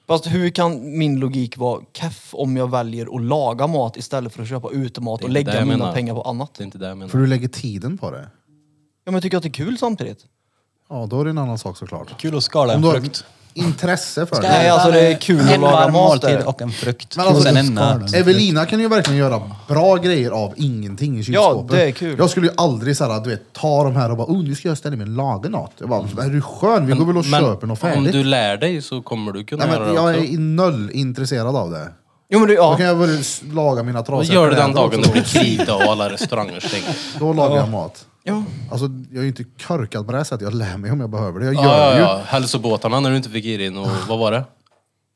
Speaker 6: Fast hur kan min logik vara keff om jag väljer att laga mat istället för att köpa utemat
Speaker 5: Det är
Speaker 6: och
Speaker 5: inte det
Speaker 6: lägga
Speaker 5: jag
Speaker 6: mina
Speaker 5: menar.
Speaker 6: pengar på annat?
Speaker 5: Det är inte det jag menar.
Speaker 1: För du lägger tiden på det.
Speaker 6: Ja, men jag tycker att det är kul samtidigt.
Speaker 1: Ja, då är det en annan sak såklart.
Speaker 2: Kul att skala
Speaker 1: Om
Speaker 2: en
Speaker 1: du har
Speaker 2: frukt.
Speaker 1: intresse för
Speaker 6: Nej,
Speaker 1: det.
Speaker 6: alltså det är kul att
Speaker 2: En
Speaker 6: laga
Speaker 2: varm
Speaker 6: mat. där.
Speaker 2: måltid och en frukt.
Speaker 1: Men alltså,
Speaker 2: och sen en
Speaker 1: ska-
Speaker 2: nöt.
Speaker 1: Evelina kan ju verkligen göra bra grejer av ingenting i kylskåpet.
Speaker 6: det är kul.
Speaker 1: Jag skulle ju aldrig så här, du vet, ta de här och bara oh, nu ska jag ställa mig och laga något. Jag bara, är du skön? Vi går väl och köper något
Speaker 5: om
Speaker 1: färdigt.
Speaker 5: du lär dig så kommer du kunna
Speaker 1: Nej,
Speaker 5: göra
Speaker 1: men
Speaker 5: det
Speaker 1: jag
Speaker 5: också.
Speaker 1: är i noll intresserad av det.
Speaker 6: Jo, men det,
Speaker 1: Då
Speaker 6: ja.
Speaker 1: kan jag väl s- laga mina
Speaker 5: Vad
Speaker 1: trasiga
Speaker 5: gör du den
Speaker 1: kläder
Speaker 5: dagen
Speaker 1: också.
Speaker 5: det blir krig då och alla restauranger
Speaker 1: <laughs>
Speaker 5: stänger?
Speaker 1: Då lagar jag mat.
Speaker 6: Ja.
Speaker 1: Alltså, jag är ju inte körkad på det här sättet. Jag lär mig om jag behöver det. Jag gör
Speaker 5: Ja, ja,
Speaker 1: ju.
Speaker 5: ja. Hälsobåtarna när du inte fick i dig och vad var det?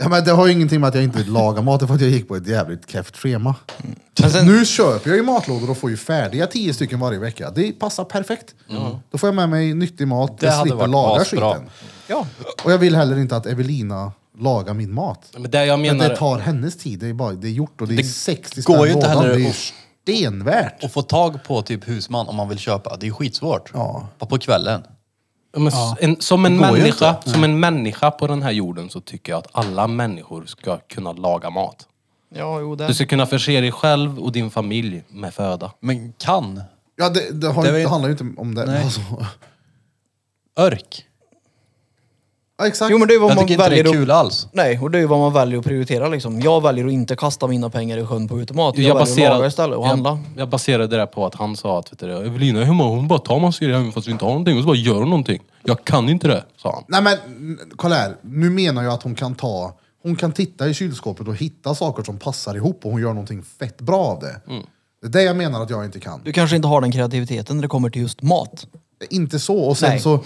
Speaker 1: Ja, men det har ju ingenting med att jag inte vill laga mat, det är för att jag gick på ett jävligt kräft schema.
Speaker 2: Mm.
Speaker 6: Men sen-
Speaker 1: Nu köper jag ju matlådor och får ju färdiga tio stycken varje vecka. Det passar perfekt. Då får jag med mig nyttig mat,
Speaker 2: Det
Speaker 1: jag
Speaker 2: hade
Speaker 1: slipper
Speaker 2: varit
Speaker 1: laga
Speaker 2: asbra.
Speaker 1: skiten. Och jag vill heller inte att Evelina lagar min mat.
Speaker 5: Men det jag
Speaker 1: Men
Speaker 5: menar...
Speaker 1: det tar hennes tid, det är, bara, det är gjort och det är 60
Speaker 2: går
Speaker 1: spänn
Speaker 2: ju inte
Speaker 1: lådan.
Speaker 2: heller
Speaker 1: Det är ju
Speaker 2: att-
Speaker 1: stenvärt.
Speaker 2: Och få tag på typ husman om man vill köpa, det är ju skitsvårt.
Speaker 1: Ja.
Speaker 2: Bara På kvällen.
Speaker 5: Men s- en, som, en
Speaker 2: Det går ju
Speaker 5: människa,
Speaker 2: inte.
Speaker 5: som en människa på den här jorden så tycker jag att alla människor ska kunna laga mat.
Speaker 6: ja, jo
Speaker 5: Du
Speaker 6: det.
Speaker 5: ska kunna förse dig själv och din familj med föda.
Speaker 2: Men kan?
Speaker 1: Ja, det, det, har
Speaker 2: Det
Speaker 1: ju-
Speaker 2: var ju-
Speaker 1: det handlar ju inte om det.
Speaker 2: Nej.
Speaker 1: Alltså,
Speaker 2: Örk?
Speaker 1: ja, exakt.
Speaker 6: Jo, men det är vad
Speaker 2: Jag
Speaker 6: man
Speaker 2: tycker inte det
Speaker 6: väljer
Speaker 2: är
Speaker 6: att
Speaker 2: kul alls.
Speaker 6: Nej, och det är ju vad man väljer att prioritera liksom. Jag väljer att inte kasta mina pengar i sjön på utemat. Jag,
Speaker 5: Jag
Speaker 6: väljer att laga
Speaker 5: baserar-
Speaker 6: istället och handla.
Speaker 5: Jag, jag baserade det där på att han sa att vet du, det, Evelina är hemma, hon bara tar massor hem fast vi inte har någonting och så bara gör hon någonting. Jag kan inte det, sa han.
Speaker 1: Nej men n- kolla här, nu menar jag att hon kan ta, hon kan titta i kylskåpet och hitta saker som passar ihop och hon gör någonting fett bra av det.
Speaker 6: Mm.
Speaker 1: Det är det jag menar att jag inte kan.
Speaker 6: Du kanske inte har den kreativiteten när det kommer till just mat.
Speaker 1: Inte så, och sen
Speaker 6: Nej.
Speaker 1: så,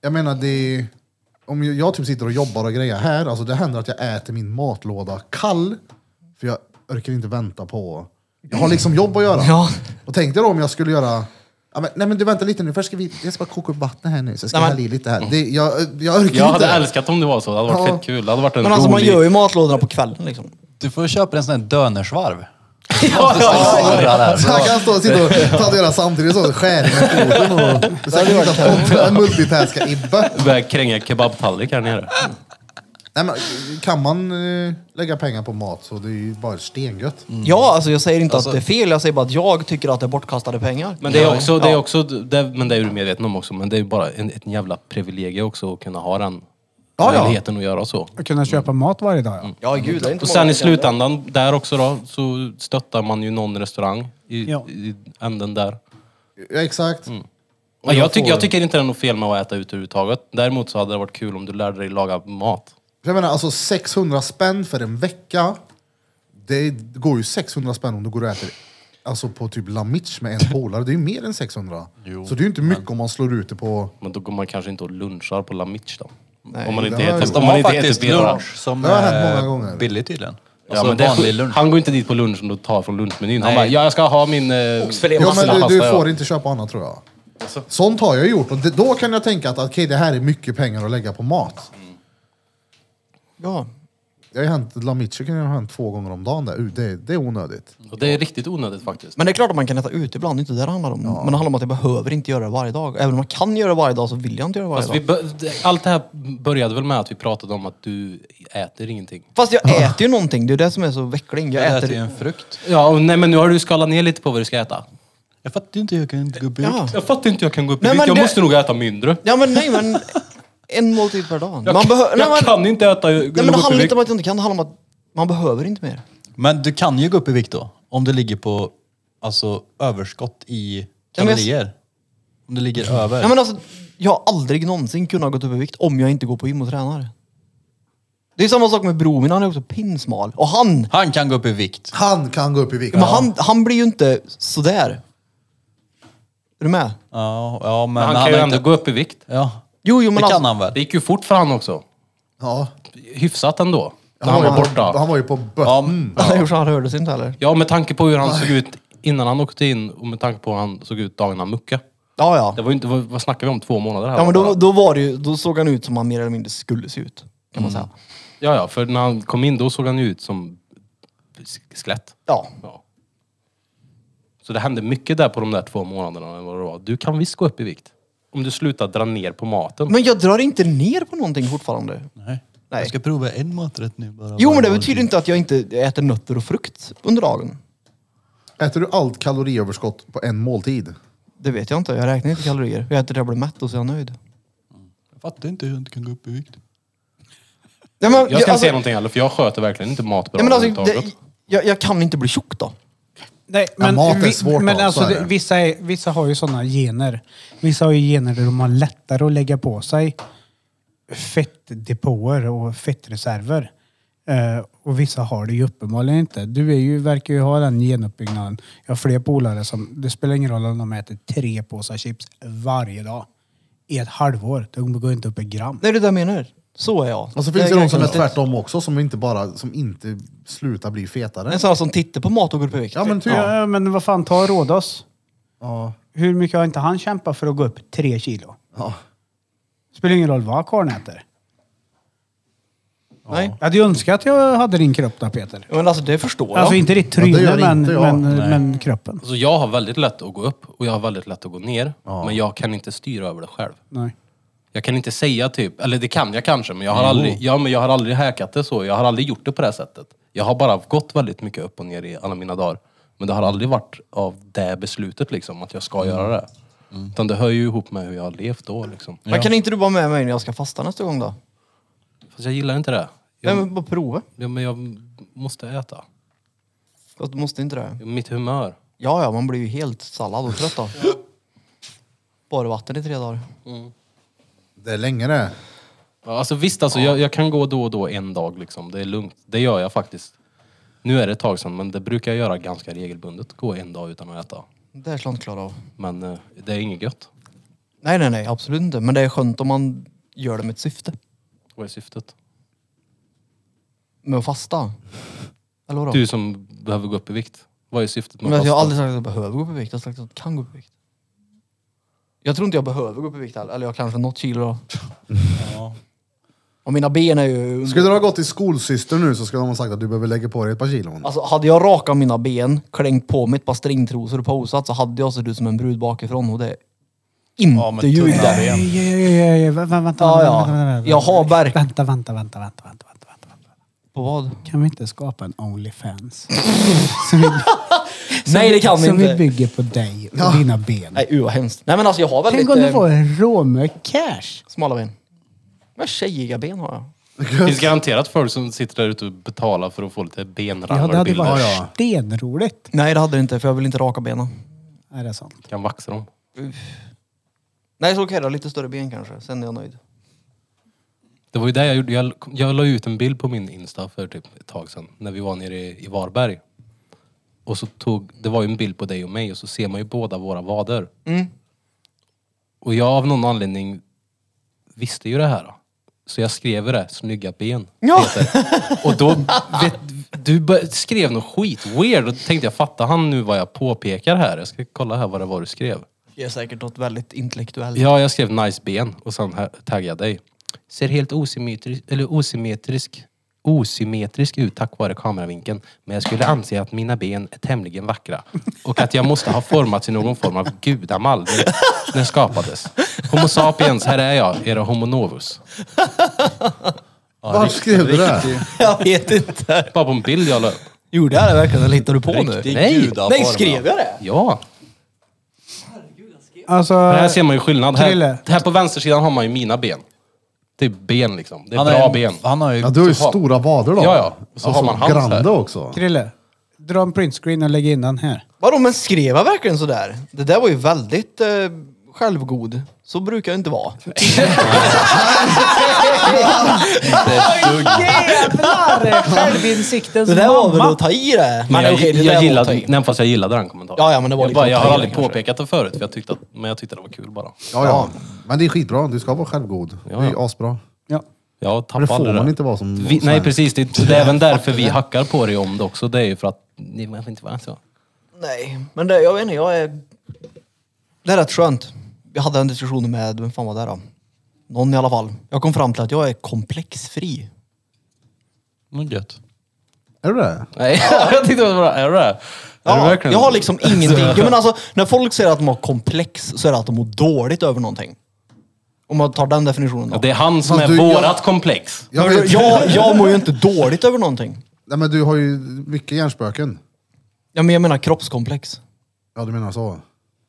Speaker 1: jag menar det, om jag- jag typ sitter och jobbar och grejer här, alltså det händer att jag äter min matlåda kall, för jag orkar inte vänta på, jag har liksom jobb att göra.
Speaker 6: Ja.
Speaker 1: Och tänkte då om jag skulle göra Ja, men, nej men du vänta lite nu, först ska vi, jag ska bara koka upp vattnet här nu, så ska
Speaker 6: Nej,
Speaker 1: jag
Speaker 6: men-
Speaker 1: hälla i lite här. Det, jag, jag orkar
Speaker 5: Jag
Speaker 1: inte.
Speaker 5: hade älskat om det var så, det hade varit
Speaker 1: Ja.
Speaker 5: fett kul. Det hade varit en
Speaker 6: Men alltså man
Speaker 5: rolig...
Speaker 6: gör ju matlådorna på kvällen liksom.
Speaker 2: Du får köpa en sån här dönersvarv.
Speaker 6: <laughs> Ja, <laughs>
Speaker 1: Så han kan stå och sitta och tatuera samtidigt så skär med foten <laughs> och... Så han kan sitta och multitaska i bött.
Speaker 5: Börjar kränga kebabtallrik här nere.
Speaker 1: Nej men kan man eh, lägga pengar på mat så det är ju bara stengött.
Speaker 5: Mm.
Speaker 6: ja alltså jag säger inte
Speaker 2: Alltså-
Speaker 6: att det är fel, jag säger bara att jag tycker att det är bortkastade pengar.
Speaker 5: Men det är också, det är också, det, men det är du medveten om också, men det är ju bara en, ett jävla privilegie också att kunna ha den
Speaker 1: Ja, ja.
Speaker 5: möjligheten att göra så.
Speaker 4: Att kunna köpa mat varje dag ja.
Speaker 6: Ja gud, det är inte
Speaker 5: Och sen i
Speaker 6: många som kan det.
Speaker 5: slutändan, där också då, så stöttar man ju någon restaurang i,
Speaker 4: Ja.
Speaker 5: i änden där.
Speaker 1: Ja, exakt.
Speaker 5: Ja, jag, tycker- jag
Speaker 1: får-
Speaker 5: tycker inte det är något fel med att äta ute överhuvudtaget. Däremot så hade det varit kul om du lärde dig laga mat.
Speaker 1: Jag menar alltså 600 spänn för en vecka det går ju 600 spänn om du går och äter alltså på typ La Mitch med en polare. Det är ju mer än 600. så det är ju inte mycket om man slår ut det på...
Speaker 5: Men då går man kanske inte och lunchar på La Mitch då. om man inte
Speaker 1: det har jag
Speaker 5: äter, om
Speaker 2: De
Speaker 5: man
Speaker 2: har
Speaker 5: inte äter
Speaker 2: faktiskt
Speaker 5: bilar.
Speaker 2: lunch som
Speaker 1: Det har hänt
Speaker 2: är
Speaker 1: många gånger.
Speaker 2: billig tydligen.
Speaker 5: Ja,
Speaker 2: Alltså
Speaker 5: men det,
Speaker 2: vanlig lunch.
Speaker 5: han går inte dit på lunchen och tar från lunchmenyn. Han
Speaker 2: Nej.
Speaker 5: bara, ja, jag ska ha min... Eh,
Speaker 6: Oxfilé
Speaker 1: Ja, Alltså. men du,
Speaker 5: pasta,
Speaker 1: du
Speaker 5: ja.
Speaker 1: får inte köpa annat tror jag. Sånt har jag gjort och det, då kan jag tänka att okej, det här är mycket pengar att lägga på mat.
Speaker 6: Ja.
Speaker 1: Jag har ju hänt, La Mitch kan jag ha hänt två gånger om dagen där. Uh, Det, det är onödigt.
Speaker 5: Och det är riktigt onödigt faktiskt.
Speaker 6: Men det är klart att man kan äta ute ibland, det är inte det det handlar om. Men det handlar om att jag behöver inte göra det varje dag. Även om man kan göra det varje dag så vill jag inte göra det varje
Speaker 5: Alltså,
Speaker 6: dag.
Speaker 5: vi bör- allt det här började väl med att vi pratade om att du äter ingenting.
Speaker 6: Fast jag äter ju någonting, det är det som är så veckling. Jag
Speaker 2: Jag
Speaker 6: äter...
Speaker 2: äter ju en frukt.
Speaker 5: Ja, och nej men nu har du skalat ner lite på vad du ska äta.
Speaker 2: Jag fattar inte hur jag kan inte gå upp i
Speaker 6: Ja.
Speaker 5: Jag fattar inte jag kan gå upp i
Speaker 6: Nej,
Speaker 5: vikt.
Speaker 6: men
Speaker 5: Jag
Speaker 6: det-
Speaker 5: måste nog äta mindre.
Speaker 6: Ja men nej men, en måltid per dag.
Speaker 5: Jag,
Speaker 6: Man behö-
Speaker 5: jag
Speaker 6: nej, men,
Speaker 5: kan inte äta, gå
Speaker 6: nej men det
Speaker 5: upp i
Speaker 6: handlar
Speaker 5: vikt.
Speaker 6: inte om att jag inte kan, det handlar om att man behöver inte mer.
Speaker 2: Men du kan ju gå upp i vikt då. Om det ligger på alltså, överskott i
Speaker 6: Ja, men jag-
Speaker 2: kalorier. Om det ligger över.
Speaker 6: Nej men alltså, jag har aldrig någonsin kunnat gå upp i vikt om jag inte går på gym och tränar. Det är samma sak med bror min, han är också pinsmal. Och han,
Speaker 2: Han kan gå upp i vikt.
Speaker 1: Han kan gå upp i vikt.
Speaker 6: men han, han blir ju inte sådär. Är du med?
Speaker 2: Ja, ja men,
Speaker 5: Men han,
Speaker 2: har
Speaker 5: kan ju
Speaker 2: inte-
Speaker 5: ändå gå upp i vikt.
Speaker 2: Ja.
Speaker 6: Jo, jo men
Speaker 2: det
Speaker 6: alltså,
Speaker 2: kan han väl?
Speaker 5: Det gick ju fort för han också.
Speaker 1: Ja.
Speaker 5: Hyfsat ändå. Han
Speaker 1: Han
Speaker 5: var ju
Speaker 1: Han,
Speaker 5: borta.
Speaker 1: var ju på Mm.
Speaker 2: Ja,
Speaker 1: bötten.
Speaker 6: <laughs> Han gjorde så han rörde sig inte heller.
Speaker 5: Ja, med tanke på hur han såg ut innan han åkte in och med tanke på hur han såg ut dagen han muckade.
Speaker 6: Ja, ja.
Speaker 5: Det var ju inte, vad, vad snackar vi om? Två månader här?
Speaker 6: Ja men
Speaker 5: bara.
Speaker 6: då, då var det ju, då såg han ut som han mer eller mindre skulle se ut. Kan
Speaker 2: Mm.
Speaker 6: man säga.
Speaker 5: Ja, ja, för när han kom in då såg han ju ut som sk- skelett.
Speaker 6: Ja.
Speaker 5: Ja. Så det hände mycket där på de där två månaderna. eller vad det var. Du kan visst gå upp i vikt. Om du slutar dra ner på maten.
Speaker 6: Men jag drar inte ner på någonting fortfarande.
Speaker 2: Nej.
Speaker 6: Nej.
Speaker 2: Jag ska prova en maträtt nu bara.
Speaker 6: Jo men det
Speaker 2: Bara-
Speaker 6: betyder inte att jag inte äter nötter och frukt under dagen.
Speaker 1: Äter du allt kaloriöverskott på en måltid?
Speaker 6: Det vet jag inte, jag räknar inte kalorier. Jag äter det jag blir mätt och så är jag nöjd.
Speaker 2: Jag fattar inte hur jag inte kan gå upp i vikt.
Speaker 6: Ja, men,
Speaker 5: jag ska inte
Speaker 6: alltså,
Speaker 5: säga någonting heller för jag sköter verkligen inte mat bra
Speaker 6: ja, men alltså,
Speaker 5: överhuvudtaget.
Speaker 6: det, jag, jag kan inte bli tjock då.
Speaker 4: Nej,
Speaker 1: Ja,
Speaker 4: men
Speaker 1: mat är
Speaker 4: vi-
Speaker 1: svårt
Speaker 4: men
Speaker 1: då,
Speaker 4: alltså,
Speaker 1: så är
Speaker 4: det-
Speaker 1: det.
Speaker 4: Vissa, är, vissa har ju sådana gener. Vissa har ju gener där de har lättare att lägga på sig fettdepåer och fettreserver. Eh, och vissa har det ju uppenbarligen inte. Du är ju, verkar ju ha den genuppbyggnaden. Jag har fler polare som, det spelar ingen roll om de äter tre påsar chips varje dag i ett halvår. De går inte upp ett gram.
Speaker 6: Nej det är det jag menar. Så är jag.
Speaker 1: Och så Alltså, finns
Speaker 6: Jag
Speaker 1: det de som är
Speaker 6: ganska-
Speaker 1: tvärtom också, som inte bara, som inte slutar bli fetare.
Speaker 6: En sån här som tittar på mat och går upp i vikt.
Speaker 1: Ja men typ. Ja.
Speaker 4: Ja, men vad fan, ta Rhodos.
Speaker 1: Ja.
Speaker 4: Hur mycket har inte han kämpat för att gå upp tre kilo? Spelar ingen roll vad karln äter.
Speaker 6: Nej.
Speaker 4: Jag hade ju önskat att jag hade din kropp då Peter.
Speaker 6: Men alltså det förstår
Speaker 4: Alltså
Speaker 6: jag.
Speaker 4: inte ditt
Speaker 1: det
Speaker 4: tryne
Speaker 1: gör
Speaker 4: men,
Speaker 1: inte jag.
Speaker 4: men, men kroppen.
Speaker 5: Alltså, jag har väldigt lätt att gå upp och jag har väldigt lätt att gå ner. Men jag kan inte styra över det själv.
Speaker 4: Nej.
Speaker 5: Jag kan inte säga typ, eller det kan jag kanske, men jag har aldrig, ja, men jag har aldrig häkat det så. Jag har aldrig gjort det på det här sättet. Jag har bara gått väldigt mycket upp och ner i alla mina dagar. Men det har aldrig varit av det beslutet liksom, att jag ska göra det. Utan det hör ju ihop med hur jag har levt då liksom.
Speaker 6: Men kan inte du vara med mig när jag ska fasta nästa gång då?
Speaker 5: Fast jag gillar inte det.
Speaker 6: Nej
Speaker 5: Jag,
Speaker 6: men bara prova.
Speaker 5: ja, men jag måste äta.
Speaker 6: Fast Du måste inte det.
Speaker 5: Mitt humör.
Speaker 6: Ja, ja, man blir ju helt sallad
Speaker 5: <laughs>
Speaker 6: och trött då. Bara vatten i tre dagar.
Speaker 1: Det är länge det.
Speaker 5: Ja, Alltså visst, alltså, jag, jag kan gå då och då en dag liksom. Det är lugnt. Det gör jag faktiskt. Nu är det ett tag sedan, men det brukar jag göra ganska regelbundet. Gå en dag utan att äta.
Speaker 6: Det är slant klar av.
Speaker 5: Men eh, det är inget gött.
Speaker 6: Nej, nej, nej, absolut inte. Men det är skönt om man gör det med ett syfte.
Speaker 5: Vad är syftet?
Speaker 6: Med att fasta. Eller vadå?
Speaker 5: Du som behöver gå upp i vikt. Vad är syftet med
Speaker 6: men jag har
Speaker 5: fasta?
Speaker 6: aldrig sagt att jag behöver gå upp i vikt. Jag har sagt att jag kan gå upp i vikt. Jag tror inte jag behöver gå upp i vikt heller. Eller jag kanske något kilo då. Och mina ben är ju... under-
Speaker 1: Skulle du ha gått till skolsyster nu så skulle de ha sagt att du behöver lägga på dig ett par kilon.
Speaker 6: Alltså hade jag rakat mina ben, klängt på mig ett par stringtrosor och posat så hade jag sett ut som en brud bakifrån och det är inte
Speaker 2: Ja, men
Speaker 6: ljug
Speaker 2: tunna
Speaker 6: där.
Speaker 2: ben.
Speaker 4: Ja, ja, ja, ja, vä- vä- Vänta,
Speaker 6: Ja,
Speaker 4: vänta,
Speaker 6: ja.
Speaker 4: vänta, vänta, vänta.
Speaker 6: Jag har verk-
Speaker 4: Vänta, vänta, vänta, vänta, vänta, vänta, vänta.
Speaker 6: På vad?
Speaker 4: Kan vi inte skapa en
Speaker 6: <laughs>
Speaker 4: Onlyfans?
Speaker 6: Nej det kan vi
Speaker 4: Som vi
Speaker 6: inte.
Speaker 4: bygger på dig och dina ben.
Speaker 6: Nej, uh, vad hemskt. Nej men alltså jag har väldigt
Speaker 4: Tänk om du
Speaker 6: eh,
Speaker 4: får en råmö cash.
Speaker 6: smala ben. Men tjejiga ben har jag.
Speaker 5: Det finns garanterat folk som sitter där ute och betalar för att få lite
Speaker 4: Ja, det hade
Speaker 5: benrallarbilder.
Speaker 4: varit
Speaker 1: ja.
Speaker 4: stenroligt.
Speaker 6: Nej det hade det inte för jag vill inte raka benen.
Speaker 4: Är det sant?
Speaker 5: Kan vaxa dem.
Speaker 6: Nej så okej då, lite större ben kanske. Sen är jag nöjd.
Speaker 5: Det var ju det jag gjorde. Jag, jag la ut en bild på min Insta för typ ett tag sedan. När vi var nere i, i Varberg. Och så tog, det var ju en bild på dig och mig och så ser man ju båda våra vader. Och jag av någon anledning visste ju det här. då. Så jag skrev ju det, snygga ben.
Speaker 6: Ja.
Speaker 5: Peter. Och då, vet, du bör- skrev något skit weird. Och då tänkte jag, fattar han nu vad jag påpekar här? Jag ska kolla här vad det var du skrev.
Speaker 6: Det är säkert något väldigt intellektuellt.
Speaker 5: Ja, jag skrev nice ben och sen här- taggade jag dig. Ser helt osymmetrisk, eller osymmetrisk, osymmetrisk ut tack vare kameravinkeln. Men jag skulle anse att mina ben är tämligen vackra. Och att jag måste ha formats i någon form av gudamall när- när den skapades. Homo sapiens, här är jag, era homo novus.
Speaker 1: Varför skrev du
Speaker 6: <laughs>
Speaker 1: det?
Speaker 6: Jag vet inte.
Speaker 5: Bara på en bild jag la upp.
Speaker 6: Gjorde jag det verkligen eller hittar du på nu?
Speaker 2: Riktig
Speaker 5: Nej.
Speaker 2: gudaform,
Speaker 6: Nej,
Speaker 2: ja.
Speaker 6: skrev jag det?
Speaker 5: Ja,
Speaker 4: Alltså,
Speaker 5: men här ser man ju skillnad.
Speaker 4: Krille.
Speaker 5: Här, här på vänstersidan har man ju mina ben. Det är ben liksom. Det är
Speaker 2: Han
Speaker 5: bra
Speaker 2: är,
Speaker 5: ben.
Speaker 2: Han har ju...
Speaker 1: Ja, du har ju
Speaker 5: Så har-
Speaker 1: stora vader då.
Speaker 5: Ja, ja. Och så
Speaker 1: och
Speaker 5: har
Speaker 1: så
Speaker 5: man hans här.
Speaker 1: grande också.
Speaker 4: Krille, dra en printscreen och lägg in den här.
Speaker 6: Vadå, men skrev jag verkligen sådär? Det där var ju väldigt eh, självgod. Så brukar jag inte vara.
Speaker 5: typ
Speaker 6: <laughs>
Speaker 4: Jävlar! Självinsiktens
Speaker 6: Det där var väl
Speaker 4: mamma.
Speaker 6: att ta i det.
Speaker 5: Men jag,
Speaker 6: okej, det
Speaker 5: jag,
Speaker 6: där var att
Speaker 5: gillade,
Speaker 6: ta i.
Speaker 5: nej, fast jag gillade den kommentaren.
Speaker 6: Ja, ja, men det var
Speaker 5: jag,
Speaker 6: lite
Speaker 5: bara, jag har
Speaker 6: åt
Speaker 5: aldrig
Speaker 6: kanske.
Speaker 5: påpekat det förut, för jag tyckte att, men jag tyckte det var kul bara.
Speaker 1: Ja, ja. Men det är skitbra. Du ska vara självgod.
Speaker 5: Ja,
Speaker 1: Det är
Speaker 5: ja.
Speaker 1: ju asbra.
Speaker 4: Ja.
Speaker 5: Jag tappade
Speaker 1: Men det får man inte vara som
Speaker 5: Vi, nej,
Speaker 1: svensk.
Speaker 5: precis. Det, det är även därför vi hackar på dig om det också. Det är ju för att ni behöver inte vara så.
Speaker 6: Nej, men det, jag vet inte, jag är... Det är rätt skönt. Jag hade en diskussion med, vem fan var det då? Någon i alla fall. Jag kom fram till att jag är komplexfri.
Speaker 2: Något gött.
Speaker 1: Är du det?
Speaker 5: Nej, <laughs> jag tyckte det var bra. Är du det? Är du
Speaker 6: Ja,
Speaker 5: verkligen-
Speaker 6: jag har <laughs> liksom ingenting. Jo, men alltså, när folk säger att de har komplex så är det att de mår dåligt över någonting. Om man tar den definitionen då.
Speaker 5: Det är han som
Speaker 1: Fast
Speaker 5: är
Speaker 1: du, jag-
Speaker 5: vårat komplex.
Speaker 1: Jag,
Speaker 6: jag,
Speaker 1: vet,
Speaker 6: jag, jag mår ju inte dåligt över någonting.
Speaker 1: Nej, men du har ju mycket hjärnspöken.
Speaker 6: Ja, men jag menar kroppskomplex.
Speaker 1: Ja, du menar så.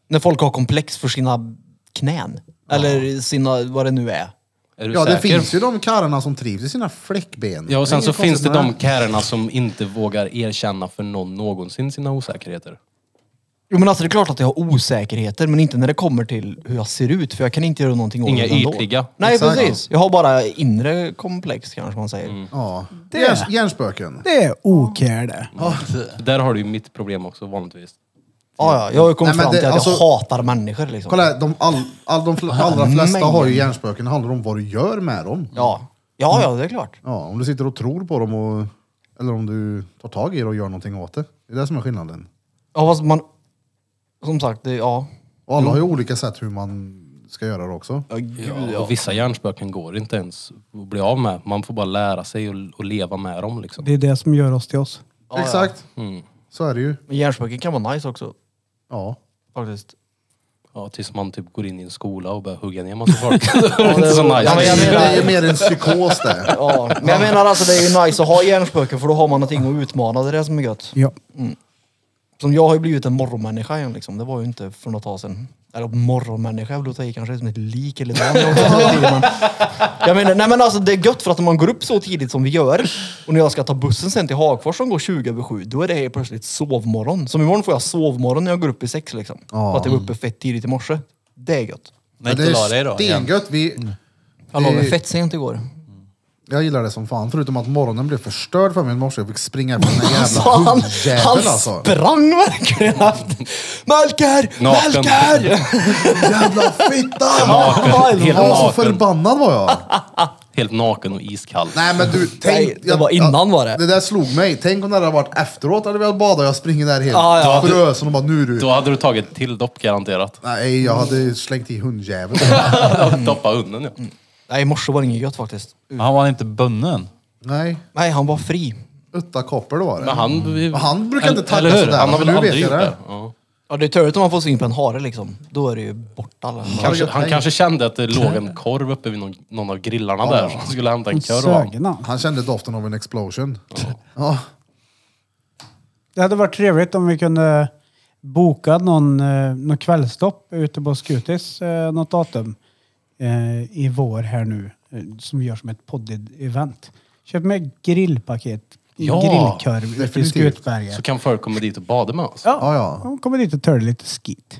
Speaker 6: När folk har komplex för sina knän. Eller sina, vad det nu är.
Speaker 5: Är du
Speaker 1: Ja, det
Speaker 5: säker?
Speaker 1: finns ju de karlarna som trivs i sina fläckben.
Speaker 5: Ja, och sen
Speaker 1: är
Speaker 5: så
Speaker 1: inget
Speaker 5: finns det
Speaker 1: konstigt med
Speaker 5: de kärerna som inte vågar erkänna för någon någonsin sina osäkerheter.
Speaker 6: Jo men alltså det är klart att jag har osäkerheter men inte när det kommer till hur jag ser ut för jag kan inte göra någonting åt
Speaker 5: Inga
Speaker 6: det ändå.
Speaker 5: ytliga.
Speaker 6: Nej
Speaker 1: Exakt. Mm.
Speaker 6: precis. Jag har bara inre komplex kanske man säger.
Speaker 1: Ja. Hjärns- Hjärnspöken.
Speaker 4: Det är okär det.
Speaker 5: Där har du ju mitt problem också vanligtvis.
Speaker 6: Ja, ja, jag har ju
Speaker 1: Nej,
Speaker 6: kommit
Speaker 1: men
Speaker 6: fram till
Speaker 1: det-
Speaker 6: att jag
Speaker 1: alltså-
Speaker 6: hatar människor liksom.
Speaker 1: Kolla här, de, all, all, de fl- allra flesta
Speaker 6: mängden.
Speaker 1: har ju hjärnspöken. Det handlar om vad du gör med dem.
Speaker 6: Ja. ja, ja det är klart.
Speaker 1: Ja, om du sitter och tror på dem och, eller om du tar tag i det och gör någonting åt det. Det är det som är skillnaden.
Speaker 6: Ja fast man... Som sagt, det, ja.
Speaker 1: Och alla har ju olika sätt hur man ska göra det också.
Speaker 5: Mm. Ja, och vissa hjärnspöken går inte ens att bli av med. Man får bara lära sig och, och leva med dem liksom.
Speaker 4: Det är det som gör oss till oss.
Speaker 1: Exakt.
Speaker 5: Mm.
Speaker 1: Så är det ju.
Speaker 6: Men hjärnspöken kan vara nice också.
Speaker 1: Ja.
Speaker 6: Faktiskt.
Speaker 5: Ja, tills man typ går in i en skola och börjar hugga ner massa folk. det är inte så
Speaker 6: var-
Speaker 5: nice.
Speaker 6: Ja, men jag
Speaker 1: det
Speaker 6: menar-
Speaker 1: är ju mer en psykos det.
Speaker 6: Ja. Men jag menar alltså det är ju nice att ha hjärnspöken för då har man någonting att utmana. Det är det som är gött.
Speaker 4: Ja.
Speaker 6: Som jag har ju blivit en morgonmänniska igen liksom. Det var ju inte för något tag sedan. Eller morgonmänniska, då tar jag i kanske som ett lik eller något. Jag, också hela tiden, men- jag menar, nej men alltså det är gött för att om man går upp så tidigt som vi gör och när jag ska ta bussen sen till Hagfors som går 20 över 7, då är det helt plötsligt sovmorgon. Som imorgon får jag sovmorgon när jag går upp i sex liksom.
Speaker 1: Ja.
Speaker 6: För att jag var uppe fett tidigt i morse. Det är gött.
Speaker 2: Nej,
Speaker 1: det
Speaker 2: inte la dig då.
Speaker 1: är
Speaker 2: igen.
Speaker 1: stengött. Vi,
Speaker 6: Jag la mig
Speaker 1: Eh,
Speaker 6: fett sent igår.
Speaker 1: jag gillar det som fan. Förutom att morgonen blev förstörd för mig i morse. Jag fick springa efter den där
Speaker 6: Alltså,
Speaker 1: jävla
Speaker 6: han, han
Speaker 1: hundjäveln alltså.
Speaker 6: sprang verkligen efter... Melker!
Speaker 5: Naken.
Speaker 6: Melker!
Speaker 1: Jävla fitta!
Speaker 5: Naken, helt
Speaker 1: Ja, så
Speaker 5: naken.
Speaker 1: förbannad var jag.
Speaker 5: Helt naken och iskall.
Speaker 1: Nej men du, tänk.
Speaker 6: Nej, det
Speaker 1: jag-
Speaker 6: var innan
Speaker 1: jag-
Speaker 6: var det.
Speaker 1: Det där slog mig. Tänk om det hade varit efteråt hade vi hade badat och jag springer där helt
Speaker 6: Ja, ja.
Speaker 1: frösen och bara nu du.
Speaker 5: Då hade du tagit till
Speaker 1: <laughs>
Speaker 5: dopp garanterat.
Speaker 1: Nej, jag hade slängt i hundjäveln.
Speaker 5: Doppa hunden ja.
Speaker 6: Nej, i morse var det inget gött faktiskt.
Speaker 2: Han var inte bunden.
Speaker 1: Nej,
Speaker 6: Nej, han var fri.
Speaker 1: utta koppel var det.
Speaker 5: Men han,
Speaker 1: Men han brukar inte tacka
Speaker 5: eller hur?
Speaker 1: sådär,
Speaker 5: Han har
Speaker 1: men
Speaker 5: väl
Speaker 1: nu
Speaker 5: aldrig
Speaker 1: vet jag
Speaker 5: gjort
Speaker 1: det.
Speaker 5: det. Ja.
Speaker 6: Ja, det är turligt om man får syn på en hare liksom. Då är det ju borta. eller?
Speaker 5: Kanske,
Speaker 1: gött,
Speaker 5: han
Speaker 1: hej.
Speaker 5: kanske kände att det låg en korv uppe vid någon, någon av grillarna där. Så han skulle hämta en korv. av.
Speaker 4: Sögna.
Speaker 1: Han kände doften av en explosion. Ja.
Speaker 4: Det hade varit trevligt om vi kunde boka någon, eh, någon kvällstopp ute på Skutis eh, något datum eh, i vår här nu eh, som vi gör som ett podd-event. Köp med grillpaket,
Speaker 5: Ja,
Speaker 4: grillkorv ute i
Speaker 1: definitivt.
Speaker 4: Skutberget.
Speaker 5: Så kan folk komma dit och bada med oss.
Speaker 1: Ja, ja.
Speaker 4: De kommer dit och törde lite skit.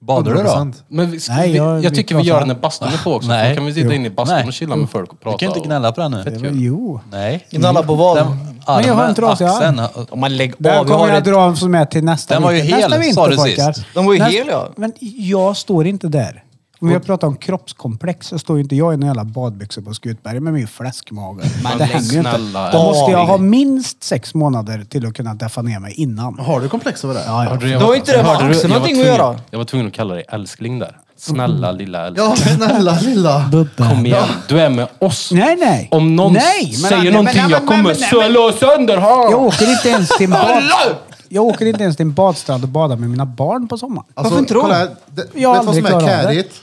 Speaker 2: Badar du då?
Speaker 1: 100%.
Speaker 5: Men vi,
Speaker 4: Nej,
Speaker 5: vi,
Speaker 4: jag-
Speaker 5: jag,
Speaker 4: vi
Speaker 5: tycker
Speaker 4: kan
Speaker 5: vi gör
Speaker 4: vara-
Speaker 5: den när bastun är på också.
Speaker 2: Nej.
Speaker 5: Då kan vi sitta inne i bastun
Speaker 2: Nej.
Speaker 5: och chilla med folk och prata.
Speaker 2: Du kan inte
Speaker 5: och-
Speaker 2: gnälla på den nu.
Speaker 5: kul.
Speaker 4: Jo.
Speaker 2: Nej.
Speaker 6: Gnälla på vad?
Speaker 2: Den,
Speaker 4: Men jag har inte
Speaker 2: armen,
Speaker 4: rasig arm.
Speaker 2: axeln. ha-
Speaker 6: Om man lägger
Speaker 4: Den
Speaker 6: av.
Speaker 4: kommer jag
Speaker 6: ett-
Speaker 4: dra en som är till nästa
Speaker 2: Den var ju
Speaker 4: vinter.
Speaker 2: hel,
Speaker 4: nästa vinter,
Speaker 2: sa du
Speaker 4: pojkar.
Speaker 2: sist.
Speaker 6: Den var ju
Speaker 4: Nästa-
Speaker 6: hel, ja.
Speaker 4: Men jag står inte där. Om jag pratar om kroppskomplex så står ju inte jag i några jävla badbyxor på Skutberget med min fläskmage. Men det hänger ju inte.
Speaker 5: snälla,
Speaker 4: Då
Speaker 5: är
Speaker 4: måste jag
Speaker 5: vanlig.
Speaker 4: ha minst sex månader till att kunna deffa ner mig innan.
Speaker 1: Har du komplex över det?
Speaker 4: Ja, ja.
Speaker 5: Hörde jag
Speaker 6: Då
Speaker 5: var-
Speaker 6: har inte det med
Speaker 5: hörde du-
Speaker 6: axeln
Speaker 5: jag var
Speaker 6: någonting att
Speaker 5: tvungen-
Speaker 6: göra.
Speaker 5: Jag var tvungen att kalla dig älskling där. Snälla
Speaker 4: Mm.
Speaker 5: lilla älskling.
Speaker 1: Ja, snälla lilla.
Speaker 5: Kom igen, du är med oss.
Speaker 4: Nej, nej.
Speaker 5: Om någon
Speaker 4: Nej, men-
Speaker 5: säger
Speaker 4: men-
Speaker 5: någonting,
Speaker 4: men- men-
Speaker 5: jag kommer
Speaker 4: men- men-
Speaker 5: söla sönder honom!
Speaker 4: Jag åker inte ens till en bad... Jag åker inte ens till en badstrand och badar med mina barn på sommaren.
Speaker 1: Alltså,
Speaker 6: Varför inte då?
Speaker 1: kolla här. Det,
Speaker 4: Jag har
Speaker 1: vet vad som
Speaker 4: aldrig
Speaker 1: är
Speaker 4: klarat av det.
Speaker 1: kärigt?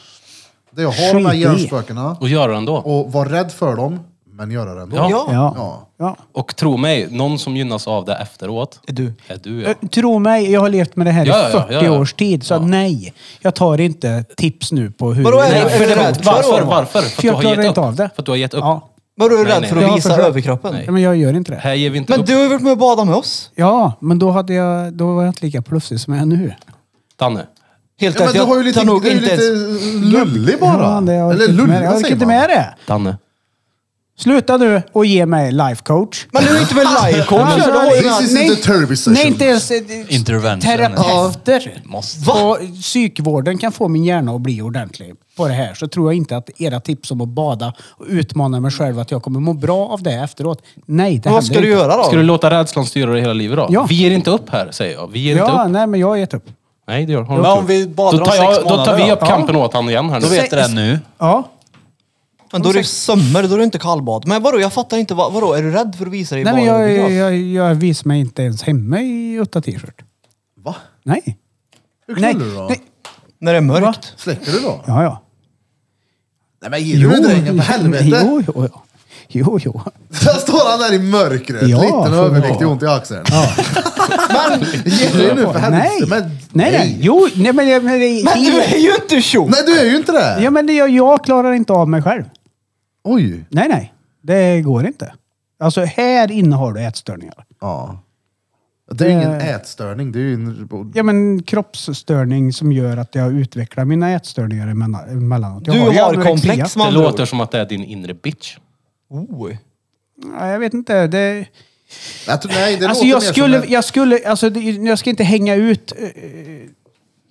Speaker 1: Det är att ha de här
Speaker 4: Skit i.
Speaker 1: hjärnspökena
Speaker 5: Och gör det ändå.
Speaker 1: och vara rädd för dem, men göra det ändå.
Speaker 5: Ja.
Speaker 6: Ja.
Speaker 4: Ja.
Speaker 1: Ja.
Speaker 4: ja.
Speaker 5: Och tro mig, någon som gynnas av det efteråt.
Speaker 6: Är du.
Speaker 5: Är du ja.
Speaker 4: Ö, Eh, Tro mig, jag har levt med det här
Speaker 5: Ja, ja,
Speaker 4: i
Speaker 5: ja,
Speaker 4: 40
Speaker 5: ja.
Speaker 4: års tid. Så nej, jag tar inte tips nu på hur...
Speaker 6: Vadå, är
Speaker 5: Nej,
Speaker 6: du-
Speaker 5: för
Speaker 6: är du
Speaker 5: det-
Speaker 6: rädd för
Speaker 5: Varför?
Speaker 6: dem?
Speaker 5: Varför?
Speaker 4: För jag klarar inte
Speaker 5: upp.
Speaker 4: av det.
Speaker 5: För att du har gett upp.
Speaker 4: Ja.
Speaker 6: Men du är
Speaker 5: Nej,
Speaker 6: rädd
Speaker 5: nej,
Speaker 6: för att
Speaker 5: jag
Speaker 4: har
Speaker 6: visa
Speaker 4: försökt.
Speaker 6: överkroppen?
Speaker 4: Ja, Men jag gör inte det.
Speaker 5: Här ger vi inte
Speaker 6: Men
Speaker 5: upp.
Speaker 6: du har ju varit med och badat med oss.
Speaker 4: Ja, men då, hade jag, då var jag inte lika plufsig som jag är nu.
Speaker 5: Danne.
Speaker 6: Helt
Speaker 1: Ja, men
Speaker 6: rätt.
Speaker 1: du
Speaker 6: Jag
Speaker 1: har ju lite,
Speaker 6: tar nog
Speaker 1: du är ju
Speaker 6: inte
Speaker 1: lite
Speaker 6: ens...
Speaker 1: lullig bara.
Speaker 4: Fan, det- jag orkar
Speaker 1: Eller
Speaker 4: inte med
Speaker 1: lullig,
Speaker 4: det. Jag orkar
Speaker 1: säger
Speaker 4: inte
Speaker 1: man.
Speaker 4: med det.
Speaker 5: Danne.
Speaker 4: Sluta nu och ge mig life coach.
Speaker 6: Men du är inte med livecoach.
Speaker 4: Alltså,
Speaker 6: Du har ju-
Speaker 1: This is
Speaker 4: nej,
Speaker 1: the therapy session.
Speaker 4: Nej, inte ens eh,
Speaker 2: Intervention.
Speaker 4: terapeuter.
Speaker 2: Måste.
Speaker 4: Va? Psykvården kan få min hjärna att bli ordentlig på det här. Så tror jag inte att era tips om att bada och utmana mig själv att jag kommer må bra av det efteråt. Nej, det
Speaker 6: Men Vad
Speaker 4: händer
Speaker 6: ska du
Speaker 4: inte.
Speaker 6: göra
Speaker 5: Ska du
Speaker 6: då?
Speaker 5: låta rädslan styra dig hela livet då?
Speaker 4: Ja.
Speaker 5: Vi ger inte upp här, säger jag. Vi ger inte
Speaker 4: Ja,
Speaker 5: upp.
Speaker 4: nej, men jag har gett upp.
Speaker 5: Nej, det gör har du
Speaker 2: Men
Speaker 5: inte
Speaker 2: om
Speaker 5: gjort.
Speaker 2: vi badar
Speaker 5: då
Speaker 2: om
Speaker 5: tar,
Speaker 2: sex
Speaker 5: jag, då tar vi
Speaker 2: månader
Speaker 5: upp
Speaker 2: då?
Speaker 5: kampen åt han igen här nu.
Speaker 2: Då vet du det nu.
Speaker 4: Ja.
Speaker 6: Men då är det ju sömmer, då är det inte kallbad. Men vadå, jag fattar inte. vad- Vadå, är du rädd för att visa dig i
Speaker 4: Nej, men
Speaker 6: bara
Speaker 4: jag, jag,
Speaker 6: överkropp?
Speaker 4: jag, visar mig inte ens hemma i utta t-shirt.
Speaker 1: Va?
Speaker 4: Nej.
Speaker 1: Hur
Speaker 4: Nej.
Speaker 1: knullar du då?
Speaker 4: Nej.
Speaker 6: När det är mörkt?
Speaker 1: Släcker du då?
Speaker 4: Ja, ja.
Speaker 1: Nej men ger du drängen för helvete?
Speaker 4: <laughs> Jo, jo, jo. Jo, jo.
Speaker 1: <laughs> Där står han där i mörkret,
Speaker 4: Ja,
Speaker 1: liten
Speaker 4: får
Speaker 1: överviktig,
Speaker 4: jag.
Speaker 1: ont i axeln. <laughs> men ge dig nu för
Speaker 4: Nej.
Speaker 1: helvete. Men,
Speaker 4: nej, nej. Jo, nej, men... jag- Men, det-
Speaker 6: Men du är ju inte tjock!
Speaker 1: Nej, du är ju inte det.
Speaker 4: Ja,
Speaker 6: Eh.
Speaker 4: men det, jag, jag klarar inte av mig själv.
Speaker 1: Oj.
Speaker 4: Nej, nej. Det går inte. Alltså, här inne har du ätstörningar.
Speaker 1: Ja. Det är ju ingen
Speaker 4: Eh.
Speaker 1: ätstörning, det är ju en...
Speaker 4: Ja, men kroppsstörning som gör att jag utvecklar mina ätstörningar emellan- emellanåt. Jag
Speaker 6: Du
Speaker 4: ju
Speaker 6: har
Speaker 4: anorexia.
Speaker 6: komplex
Speaker 5: Det
Speaker 6: man.
Speaker 5: låter som att det är din inre bitch.
Speaker 6: Oh.
Speaker 4: Ja, jag vet inte. Det...
Speaker 1: Jag tror, nej, det
Speaker 4: alltså
Speaker 1: låter
Speaker 4: jag
Speaker 1: mer som
Speaker 4: skulle,
Speaker 1: en-
Speaker 4: jag skulle, alltså det- jag ska inte hänga ut eh,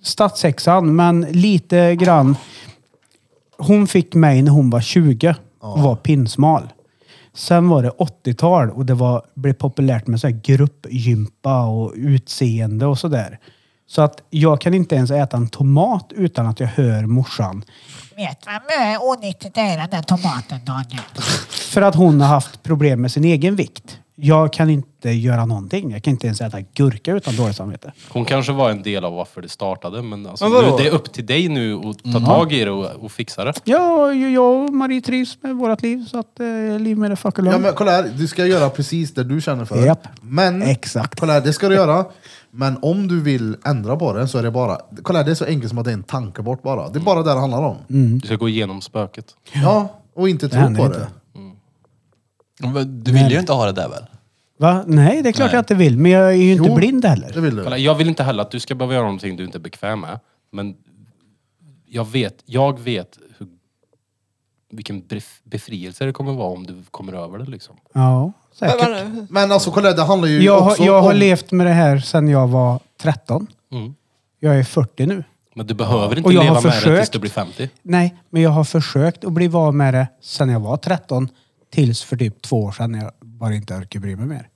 Speaker 4: stadshäxan, men lite grann. Hon fick mig när hon var 20 och var pinsmal. Sen var det 80-tal och det var, blev populärt med så här gruppgympa och utseende och sådär. Så att jag kan inte ens äta en tomat utan att jag hör morsan.
Speaker 10: Vet vad mycket onyttigt det är den där tomaten, Daniel?
Speaker 4: För att hon har haft problem med sin egen vikt. Jag kan inte göra någonting. Jag kan inte ens äta gurka utan dåligt samvete.
Speaker 5: Hon kanske var en del av varför det startade, men, alltså,
Speaker 6: Men vadå?
Speaker 5: nu, det är upp till dig nu att ta
Speaker 4: Mm.
Speaker 5: tag i det och, och fixa det.
Speaker 4: Ja, ju- jag och Marie trivs med vårt liv så att eh, liv med det fucker
Speaker 1: Ja,
Speaker 4: lugnt.
Speaker 1: men kolla här, du ska göra precis det du känner för.
Speaker 4: Japp.
Speaker 1: Men,
Speaker 4: Exakt.
Speaker 1: kolla här, det ska du göra. Men om du vill ändra på det så är det bara, kolla här, det är så enkelt som att det är en tanke bort bara. Det är bara det det handlar om.
Speaker 5: Du ska gå igenom spöket.
Speaker 1: Ja, och inte tro
Speaker 4: Mm. händer
Speaker 1: på
Speaker 4: inte.
Speaker 1: det.
Speaker 2: Men Du vill ju inte ha det där väl?
Speaker 4: Va? Nej, det är klart
Speaker 2: Nej.
Speaker 4: jag inte vill. Men jag är ju inte
Speaker 1: Jo,
Speaker 4: blind
Speaker 1: Det
Speaker 4: heller.
Speaker 1: vill du.
Speaker 5: Kolla, jag vill inte heller att du ska behöva göra någonting du inte är bekväm med. Men jag vet, jag vet hur, vilken bef- befrielse det kommer vara om du kommer över det. Liksom.
Speaker 4: Ja, säkert.
Speaker 1: Men alltså kolla, det handlar ju
Speaker 4: jag har,
Speaker 1: också
Speaker 4: jag har
Speaker 1: om...
Speaker 4: levt med det här sedan jag var 13.
Speaker 5: Mm.
Speaker 4: Jag är 40 nu.
Speaker 5: Men du behöver inte
Speaker 4: Och jag
Speaker 5: leva
Speaker 4: har
Speaker 5: med det tills
Speaker 4: försökt.
Speaker 5: du blir 50.
Speaker 4: Nej, men jag har försökt att bli van med det sedan jag var 13. Tills för typ två år sedan när jag bara inte orkar bry mig mer.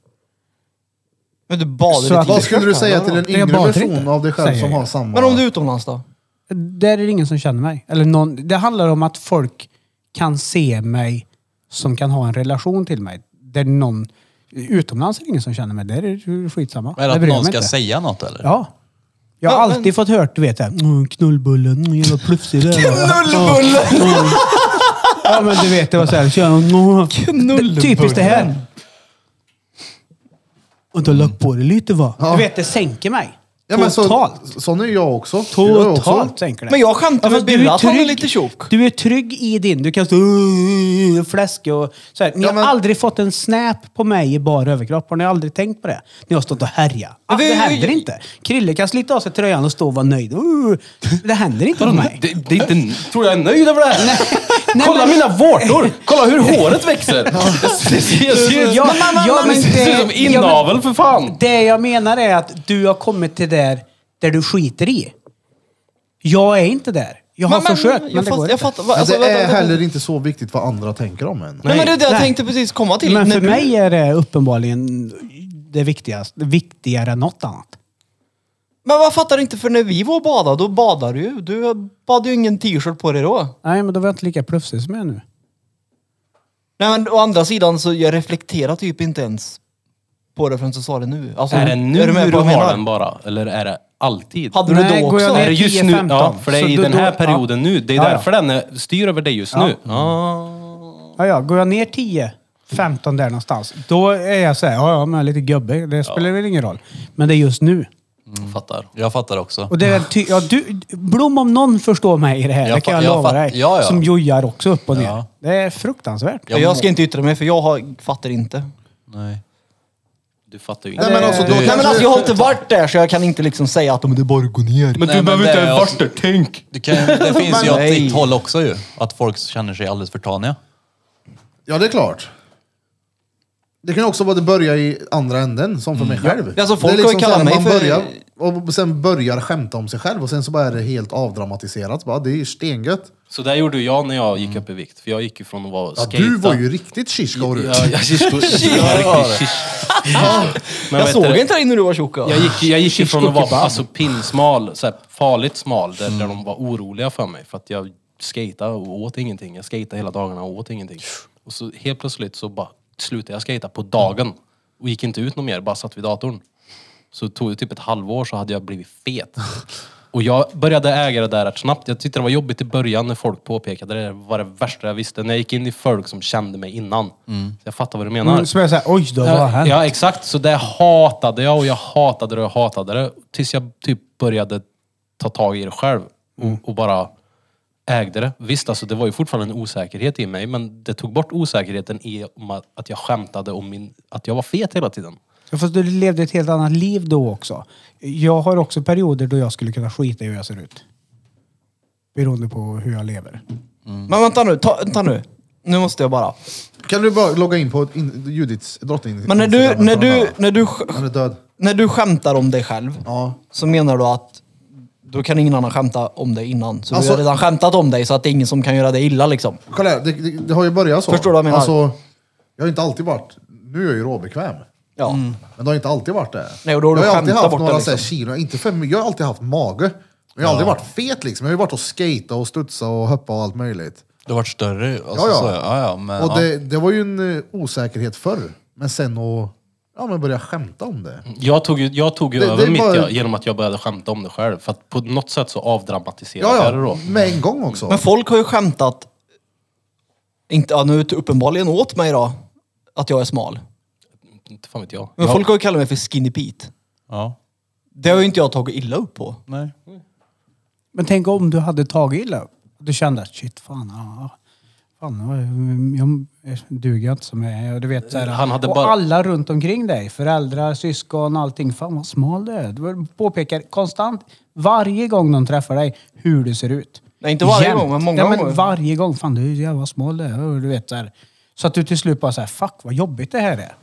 Speaker 6: Men du badar
Speaker 4: Så
Speaker 6: i
Speaker 4: att-
Speaker 1: Vad
Speaker 6: t-shirt
Speaker 1: skulle du
Speaker 6: här,
Speaker 1: säga
Speaker 6: vadå?
Speaker 1: till en
Speaker 4: Jag
Speaker 1: yngre
Speaker 4: badar
Speaker 1: version
Speaker 4: inte,
Speaker 1: av dig själv
Speaker 4: säger
Speaker 1: som
Speaker 4: jag.
Speaker 1: har samma...
Speaker 6: Men om du är utomlands då?
Speaker 4: Där är det ingen som känner mig. Eller någon, det handlar om att folk kan se mig som kan ha en relation till mig. Där någon, utomlands är det ingen som känner mig. Där är det ju skitsamma.
Speaker 2: Eller
Speaker 4: Där
Speaker 2: att
Speaker 4: bryr jag
Speaker 2: någon
Speaker 4: mig
Speaker 2: ska
Speaker 4: inte.
Speaker 2: säga något eller?
Speaker 4: Ja. Jag har
Speaker 6: Ja,
Speaker 4: alltid fått hört, du vet, det här, mm, knullbullen, mm, jävla plufsig du är.
Speaker 6: Knullbullen!
Speaker 4: <laughs> Ja men du vet, det var såhär, tjena, mm.
Speaker 6: Knullbullen.
Speaker 4: Det- Typiskt det här. Och du har lagt på dig lite va? Du vet, det sänker mig.
Speaker 1: Ja, men så,
Speaker 4: Totalt.
Speaker 1: sån är jag också. Jag är också-
Speaker 4: Totalt sänker det.
Speaker 6: Men jag skämtar
Speaker 4: Ja,
Speaker 6: med
Speaker 4: fast du
Speaker 6: Birre
Speaker 4: är
Speaker 6: att han är
Speaker 4: trygg-
Speaker 6: lite tjock.
Speaker 4: Du är trygg i din. Du kan stå "Åh, fläsk och så här. Ni
Speaker 1: Ja, men-
Speaker 4: har aldrig fått en snap på mig i bara överkropp. Har ni aldrig tänkt på det? Ni har stått och härjat. Ah,
Speaker 6: vi-
Speaker 4: det händer inte. Krille kan slita av sig tröjan och stå och vara nöjd. "Åh, Det händer inte på mig.
Speaker 5: Det, det är inte, tror jag är nöjd över det här?
Speaker 4: Nej,
Speaker 5: Kolla
Speaker 4: men-
Speaker 5: mina vårtor! Kolla hur håret växer! Det ser- <laughs> det ser ut
Speaker 4: Ja, ja, men
Speaker 5: det ser ut
Speaker 4: det-
Speaker 5: som
Speaker 4: ja, men-
Speaker 5: inavel för fan!
Speaker 4: Det jag menar är att du har kommit till där, där du skiter i. Jag är inte där. Jag har försökt, men,
Speaker 6: jag
Speaker 4: det
Speaker 6: fatt-
Speaker 4: går
Speaker 6: jag
Speaker 4: inte.
Speaker 6: fattar, va-
Speaker 1: Men
Speaker 6: alltså,
Speaker 1: det
Speaker 6: vänta,
Speaker 1: är
Speaker 6: vänta.
Speaker 1: heller inte så viktigt vad andra tänker om en.
Speaker 6: Nej, men det är det jag
Speaker 4: Nej.
Speaker 6: tänkte precis komma till.
Speaker 4: Men
Speaker 6: När
Speaker 4: för
Speaker 6: du-
Speaker 4: mig är det uppenbarligen det viktigaste. Viktigare än något annat.
Speaker 6: Men vad fattar du inte? För när vi var och badade, då badade du ju. Du badade ju ingen t-shirt på dig då.
Speaker 4: Nej, men då var jag inte lika plufsig som jag är nu.
Speaker 6: Nej men å andra sidan så jag reflekterar typ inte ens på det förrän du sa det nu. Alltså,
Speaker 5: Är det nu
Speaker 6: med på
Speaker 5: du
Speaker 6: vad
Speaker 5: har
Speaker 6: jag menar?
Speaker 5: den bara? Eller är det alltid?
Speaker 6: Hade du
Speaker 4: Nej,
Speaker 6: då
Speaker 4: går
Speaker 6: också?
Speaker 4: jag
Speaker 5: är
Speaker 4: ner
Speaker 5: det just
Speaker 4: 10-15?
Speaker 5: nu? Ja, för det är
Speaker 4: Så
Speaker 5: i
Speaker 4: då-
Speaker 5: den här
Speaker 4: då-
Speaker 5: perioden nu. Det är
Speaker 4: Ja, Mm. ja.
Speaker 5: därför den är- styr över dig just nu.
Speaker 4: Ja, ja, går jag ner 10, 15 där någonstans, då är jag så här, ja, ja, men jag är lite gubbig. Det spelar väl ingen roll. Men det är just nu.
Speaker 2: Fattar. Mm. Jag fattar också.
Speaker 4: Och det är ty- ja, du, Blom om någon förstår mig i det här,
Speaker 2: Jag
Speaker 4: det kan
Speaker 2: fa-
Speaker 4: Ah. jag,
Speaker 2: jag
Speaker 4: lova
Speaker 2: fa-
Speaker 4: dig.
Speaker 2: ja, ja.
Speaker 4: Som jojar också upp och ner.
Speaker 2: Ja.
Speaker 4: Det är fruktansvärt.
Speaker 6: Jag, jag ska inte yttra mig för jag har, fattar inte.
Speaker 2: Nej.
Speaker 5: Du fattar ju
Speaker 1: Nej, men alltså, då
Speaker 2: Nej,
Speaker 6: Nej
Speaker 1: kanske-
Speaker 6: men alltså jag har inte varit där så jag kan inte liksom säga att "Men det är bara att gå ner.
Speaker 2: Men du behöver inte ha varit
Speaker 5: där, tänk!
Speaker 2: Det, kan, det finns ju åt
Speaker 6: Nej.
Speaker 2: ditt håll också ju. Att folk känner sig alldeles förtaniga.
Speaker 1: Ja, det är klart. Det kan ju också vara att det börjar i andra änden, som för mig själv.
Speaker 6: Ja, alltså, folk
Speaker 1: det är liksom
Speaker 6: har ju kallat
Speaker 1: så här, man
Speaker 6: mig för-
Speaker 1: börjar, och sen börjar skämta om sig själv och sen så bara är det helt avdramatiserat. Bara, det är ju stengött.
Speaker 5: Så där gjorde jag när jag gick upp i vikt. För jag gick ju från att vara
Speaker 1: Ja,
Speaker 5: skejta.
Speaker 1: du var ju riktigt shishka och
Speaker 5: Ja, <laughs> jag kisko, Men
Speaker 6: Jag
Speaker 5: vet
Speaker 6: såg
Speaker 5: du,
Speaker 6: inte dig när du var tjock. ja.
Speaker 5: Jag gick, jag gick ifrån att vara alltså, pinsmal, så här, farligt smal, där, där de var oroliga för mig. För att jag skatade och åt ingenting. Jag skatade hela dagarna och åt ingenting. Och så helt plötsligt så bara slutade jag skata på dagen. Och gick inte ut något mer, bara satt vid datorn. Så det tog det typ ett halvår så hade jag blivit fet. Och jag började äga det där rätt snabbt. Jag tyckte det var jobbigt i början när folk påpekade det. Det var det värsta jag visste. När jag gick in i folk som kände mig innan. Så jag fattar vad du menar.
Speaker 4: Mm, så jag säger oj då, vad har
Speaker 5: Ja,
Speaker 4: hänt?
Speaker 5: ja, exakt. Så det hatade jag och jag hatade det och jag hatade det. Tills jag typ började ta tag i det själv.
Speaker 1: Mm.
Speaker 5: Och, och bara ägde det. Visst, alltså det var ju fortfarande en osäkerhet i mig, men det tog bort osäkerheten i om att- att jag skämtade om min, att jag var fet hela tiden.
Speaker 4: Ja, fast du levde ett helt annat liv då också. Jag har också perioder då jag skulle kunna skita i hur jag ser ut. Beroende på hur jag lever.
Speaker 6: Men vänta nu, ta, vänta nu. Nu måste jag bara.
Speaker 1: Kan du bara logga in på in, Judits drottning?
Speaker 6: Men när du,
Speaker 1: Instagram
Speaker 6: när
Speaker 1: och kolla
Speaker 6: du,
Speaker 1: där?
Speaker 6: när du,
Speaker 1: Han är död.
Speaker 6: när du skämtar om dig själv
Speaker 1: Ja.
Speaker 6: så menar du att då kan ingen annan skämta om dig innan. Så
Speaker 1: Alltså-
Speaker 6: du har redan skämtat om dig så att det är ingen som kan göra dig illa liksom.
Speaker 1: Kolla här, det, det, det har ju börjat så.
Speaker 6: Förstår du vad jag menar?
Speaker 1: Alltså, jag har inte alltid varit... Nu är jag ju råbekväm.
Speaker 6: Ja.
Speaker 1: Men det har inte alltid varit det.
Speaker 6: Nej, och då har du
Speaker 1: jag har alltid
Speaker 6: skämtat
Speaker 1: haft
Speaker 6: bort det,
Speaker 1: några
Speaker 6: liksom.
Speaker 1: så här kilo, inte för mycket. Jag har alltid haft mage. Men jag har aldrig varit fet liksom. Jag har ju varit och skata och studsa och hoppa och allt möjligt.
Speaker 2: Det har varit större. Och
Speaker 1: Ja, ja.
Speaker 2: Så, ja, ja, men,
Speaker 1: och
Speaker 2: ja.
Speaker 1: det, det var ju en eh, osäkerhet förr. Men sen att ja, men börja skämta om det.
Speaker 6: Mm.
Speaker 5: Jag tog ju, jag tog ju
Speaker 1: Det- det
Speaker 5: över
Speaker 1: är
Speaker 5: mitt
Speaker 1: bara-
Speaker 5: jag, genom att jag började skämta om det själv. För att på något sätt så avdramatiserade
Speaker 1: Ja,
Speaker 5: jag det då.
Speaker 1: ja. Med en gång också.
Speaker 6: Men folk har ju skämtat, inte, ja, nu är det uppenbarligen åt mig då, att jag är smal.
Speaker 5: Inte fan vet jag.
Speaker 6: Men
Speaker 5: jag
Speaker 6: folk har ju kallat mig för skinny Pete.
Speaker 2: ja.
Speaker 6: Det har ju inte jag tagit illa upp på.
Speaker 2: Nej.
Speaker 4: Men tänk om du hade tagit illa upp. Du kände att shit, fan, ja, fan jag, jag duger inte som jag är. Och Du vet, så här,
Speaker 5: Han hade
Speaker 4: och
Speaker 5: bara-
Speaker 4: alla runt omkring dig, föräldrar, syskon, allting. Fan vad smal du är. Du påpekar konstant, varje gång de träffar dig, hur du ser ut.
Speaker 6: Nej, inte varje gång, men många
Speaker 4: ja, men
Speaker 6: gånger.
Speaker 4: Varje gång. Fan, du är jävla smal du är. Och Du vet, så, här. så att du till slut bara så här, fuck vad jobbigt det här är.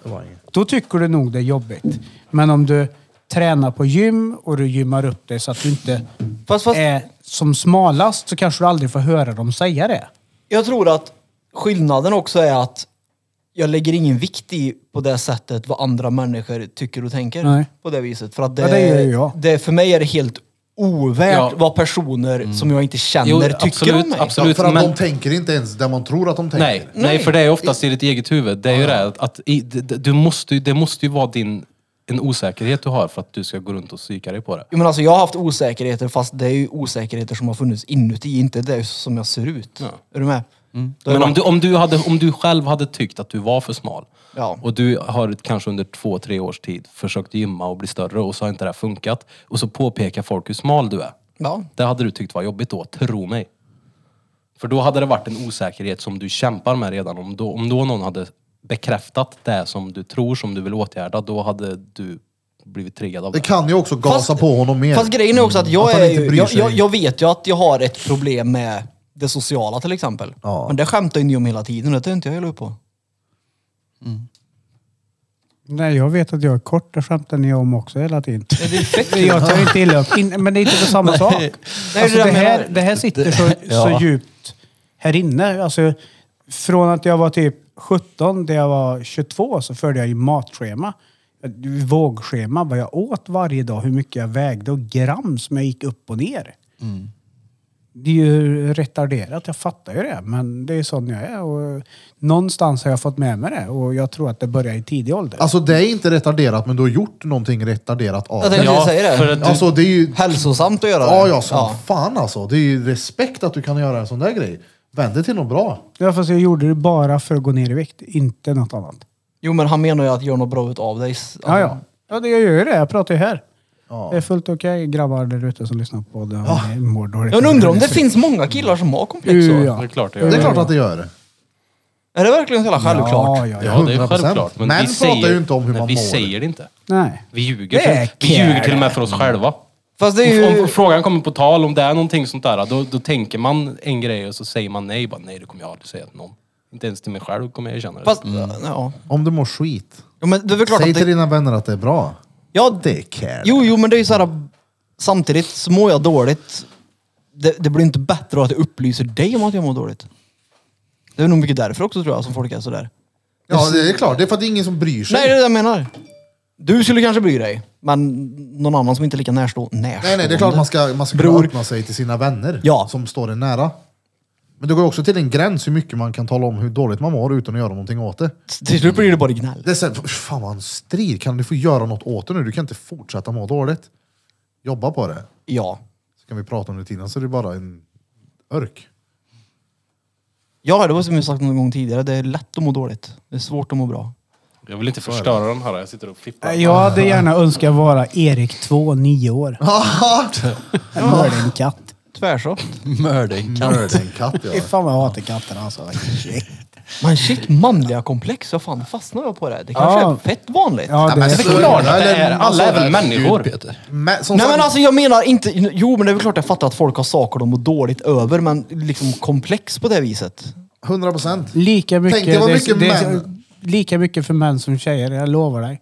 Speaker 4: Då tycker du nog det är jobbigt. Men om du tränar på gym och du gymmar upp dig så att du inte
Speaker 6: Fast, fast
Speaker 4: är som smalast så kanske du aldrig får höra dem säga det.
Speaker 6: jag tror att skillnaden också är att jag lägger ingen vikt i på det sättet vad andra människor tycker och tänker.
Speaker 4: Nej.
Speaker 6: På det viset. För att det,
Speaker 4: Ja, det gör ju jag.
Speaker 6: det, för mig är det helt ovärt
Speaker 5: Ja. Mm.
Speaker 6: vad personer som jag inte känner
Speaker 5: Jo,
Speaker 6: tycker
Speaker 5: absolut,
Speaker 6: om mig.
Speaker 5: absolut.
Speaker 1: ja, för att
Speaker 5: men-
Speaker 1: de tänker inte ens det man tror att de tänker.
Speaker 5: Nej, nej, för det är oftast i ditt eget huvud. Det är ju det att- att i, d- d- du måste, ju- det måste ju vara din, en osäkerhet du har för att du ska gå runt och psyka dig på det.
Speaker 6: Jo, men alltså, jag har haft osäkerheter fast det är ju osäkerheter som har funnits inuti, inte det som jag ser ut. Är du med?
Speaker 5: Mm. Men om du, om, du hade, om du själv hade tyckt att du var för smal
Speaker 6: Ja.
Speaker 5: och du har kanske under två, tre års tid försökt gymma och bli större och så har inte det här funkat och så påpekar folk hur smal du är.
Speaker 6: Ja.
Speaker 5: Det hade du tyckt var jobbigt då, tro mig. För då hade det varit en osäkerhet som du kämpar med redan. Om då, om då någon hade bekräftat det som du tror, som du vill åtgärda, då hade du blivit triggad av
Speaker 1: Det
Speaker 5: det.
Speaker 1: kan ju också gasa
Speaker 6: Fast-
Speaker 1: på honom mer.
Speaker 6: Fast grejen är också att jag,
Speaker 1: Att han
Speaker 6: är,
Speaker 1: inte
Speaker 6: ju-
Speaker 1: bryr
Speaker 6: jag,
Speaker 1: sig.
Speaker 6: jag, jag vet ju att jag har ett problem med det sociala till exempel.
Speaker 1: Ja.
Speaker 6: Men det skämtar ju ni om hela tiden, det är inte jag heller på.
Speaker 4: Nej, jag vet att jag är kort. Det skämtar ni om också hela tiden. Jag tar inte illa upp. In, men det är inte för samma sak. Alltså,
Speaker 6: det
Speaker 4: det,
Speaker 6: jag
Speaker 4: här,
Speaker 6: menar.
Speaker 4: det här sitter så, så djupt här inne. Alltså, från att jag var typ 17 till jag var 22 så förde jag ju matschema. Ett Vågschema, vad jag åt varje dag, hur mycket jag vägde och gram som jag gick upp och ner. Det är ju retarderat, jag fattar ju det. Men det är ju sån jag är. Och någonstans har jag fått med mig det och jag tror att det börjar i tidig ålder.
Speaker 1: Alltså det är inte retarderat, men du har gjort någonting retarderat av
Speaker 6: Jag
Speaker 1: det.
Speaker 6: tänkte
Speaker 5: Ja,
Speaker 6: säga det.
Speaker 5: för att-
Speaker 1: Alltså det är ju...
Speaker 6: Hälsosamt att göra
Speaker 1: Ja,
Speaker 6: det.
Speaker 1: ja, som fan alltså. Det är ju respekt att du kan göra en sån där grej. Vänd det till något bra.
Speaker 4: Ja, fast jag gjorde det bara för att gå ner i vikt, inte något annat.
Speaker 6: Jo men han menar ju att göra något bra utav dig.
Speaker 4: Ja, ja. ja det, jag gör ju det. Jag pratar ju här. Det är fullt okej grabbar där ute som lyssnar på det. Ja. Mår dåligt.
Speaker 6: Jag undrar om det finns många killar som har komplex så.
Speaker 4: Uh, ja.
Speaker 5: Det är klart det
Speaker 1: Det
Speaker 5: gör.
Speaker 1: är klart att det gör.
Speaker 6: Är det verkligen så jävla självklart?
Speaker 4: Ja, ja, ja.
Speaker 5: Ja, det är
Speaker 1: 100%.
Speaker 5: självklart. Men,
Speaker 1: Män
Speaker 5: vi
Speaker 1: pratar
Speaker 5: säger,
Speaker 1: ju inte om hur
Speaker 5: nej,
Speaker 1: man
Speaker 5: vi
Speaker 1: mår.
Speaker 5: säger det inte.
Speaker 4: Nej.
Speaker 5: Vi ljuger,
Speaker 4: Det är
Speaker 5: till, vi
Speaker 4: kul.
Speaker 5: ljuger till och med för
Speaker 1: Mm.
Speaker 5: oss själva.
Speaker 6: Fast det är
Speaker 5: Om, om
Speaker 6: ju...
Speaker 5: frågan kommer på tal, om det är någonting sånt där, då, då tänker man en grej och så säger man nej. Bara, nej, det kommer jag aldrig säga till någon. Inte ens till mig själv kommer jag erkänna det.
Speaker 6: Fast, ja.
Speaker 1: Om du mår skit.
Speaker 6: Jo, men det är väl klart
Speaker 1: Säg
Speaker 6: att
Speaker 1: till
Speaker 6: det,
Speaker 1: dina vänner att det är bra.
Speaker 6: ja,
Speaker 1: Det är care.
Speaker 6: Jo, jo, men det är ju så här. Samtidigt så mår jag dåligt. Det, det blir inte bättre av att jag upplyser dig om att jag mår dåligt. Det är nog mycket därför också tror jag som folk är sådär.
Speaker 1: Ja, det är klart. Det är för att det är ingen som bryr sig.
Speaker 6: Nej, det är det jag menar. Du skulle kanske bry dig, men någon annan som inte är lika närstå, närstående.
Speaker 1: Nej, nej, det är klart man ska, man ska
Speaker 6: Bror.
Speaker 1: kunna öppna sig till sina vänner
Speaker 6: Ja.
Speaker 1: som står en nära. Men det går också till en gräns hur mycket man kan tala om hur dåligt man mår utan att göra någonting åt det.
Speaker 6: Till slut blir det bara gnäll.
Speaker 1: Det är såhär, fan vad en strid. Kan du få göra något åt det nu? Du kan inte fortsätta må dåligt. Jobba på det.
Speaker 6: Ja.
Speaker 1: Så kan vi prata om det tiden så är det bara en örk.
Speaker 6: Ja, det var som jag sagt någon gång tidigare. Det är lätt att må dåligt. Det är svårt att må bra.
Speaker 5: jag vill inte förstöra den här. Jag sitter och fipplar.
Speaker 4: Jag hade gärna önskat vara Erik 2, 9 år. Jag Mörda en katt.
Speaker 6: Tvärsoft.
Speaker 2: Mördingkatt.
Speaker 1: Mörda
Speaker 2: <laughs>
Speaker 1: en katt
Speaker 4: Fy
Speaker 1: ja.
Speaker 4: fan vad jag hatar katter alltså.
Speaker 6: Men shit, manliga komplex. Vad fan fastnar jag på det? Det kanske
Speaker 4: Ja.
Speaker 6: är fett vanligt.
Speaker 4: Ja, det,
Speaker 5: Det är klart att det
Speaker 1: Eller,
Speaker 5: är. Alla är
Speaker 1: alltså,
Speaker 5: väl människor?
Speaker 1: Men, som
Speaker 6: Nej
Speaker 1: sagt,
Speaker 6: men alltså jag menar inte, jo men det är väl klart jag fattar att folk har saker de mår dåligt över men liksom komplex på det viset.
Speaker 1: 100 procent.
Speaker 4: lika mycket,
Speaker 1: Tänk, det var mycket män.
Speaker 4: lika mycket för män som tjejer, jag lovar dig.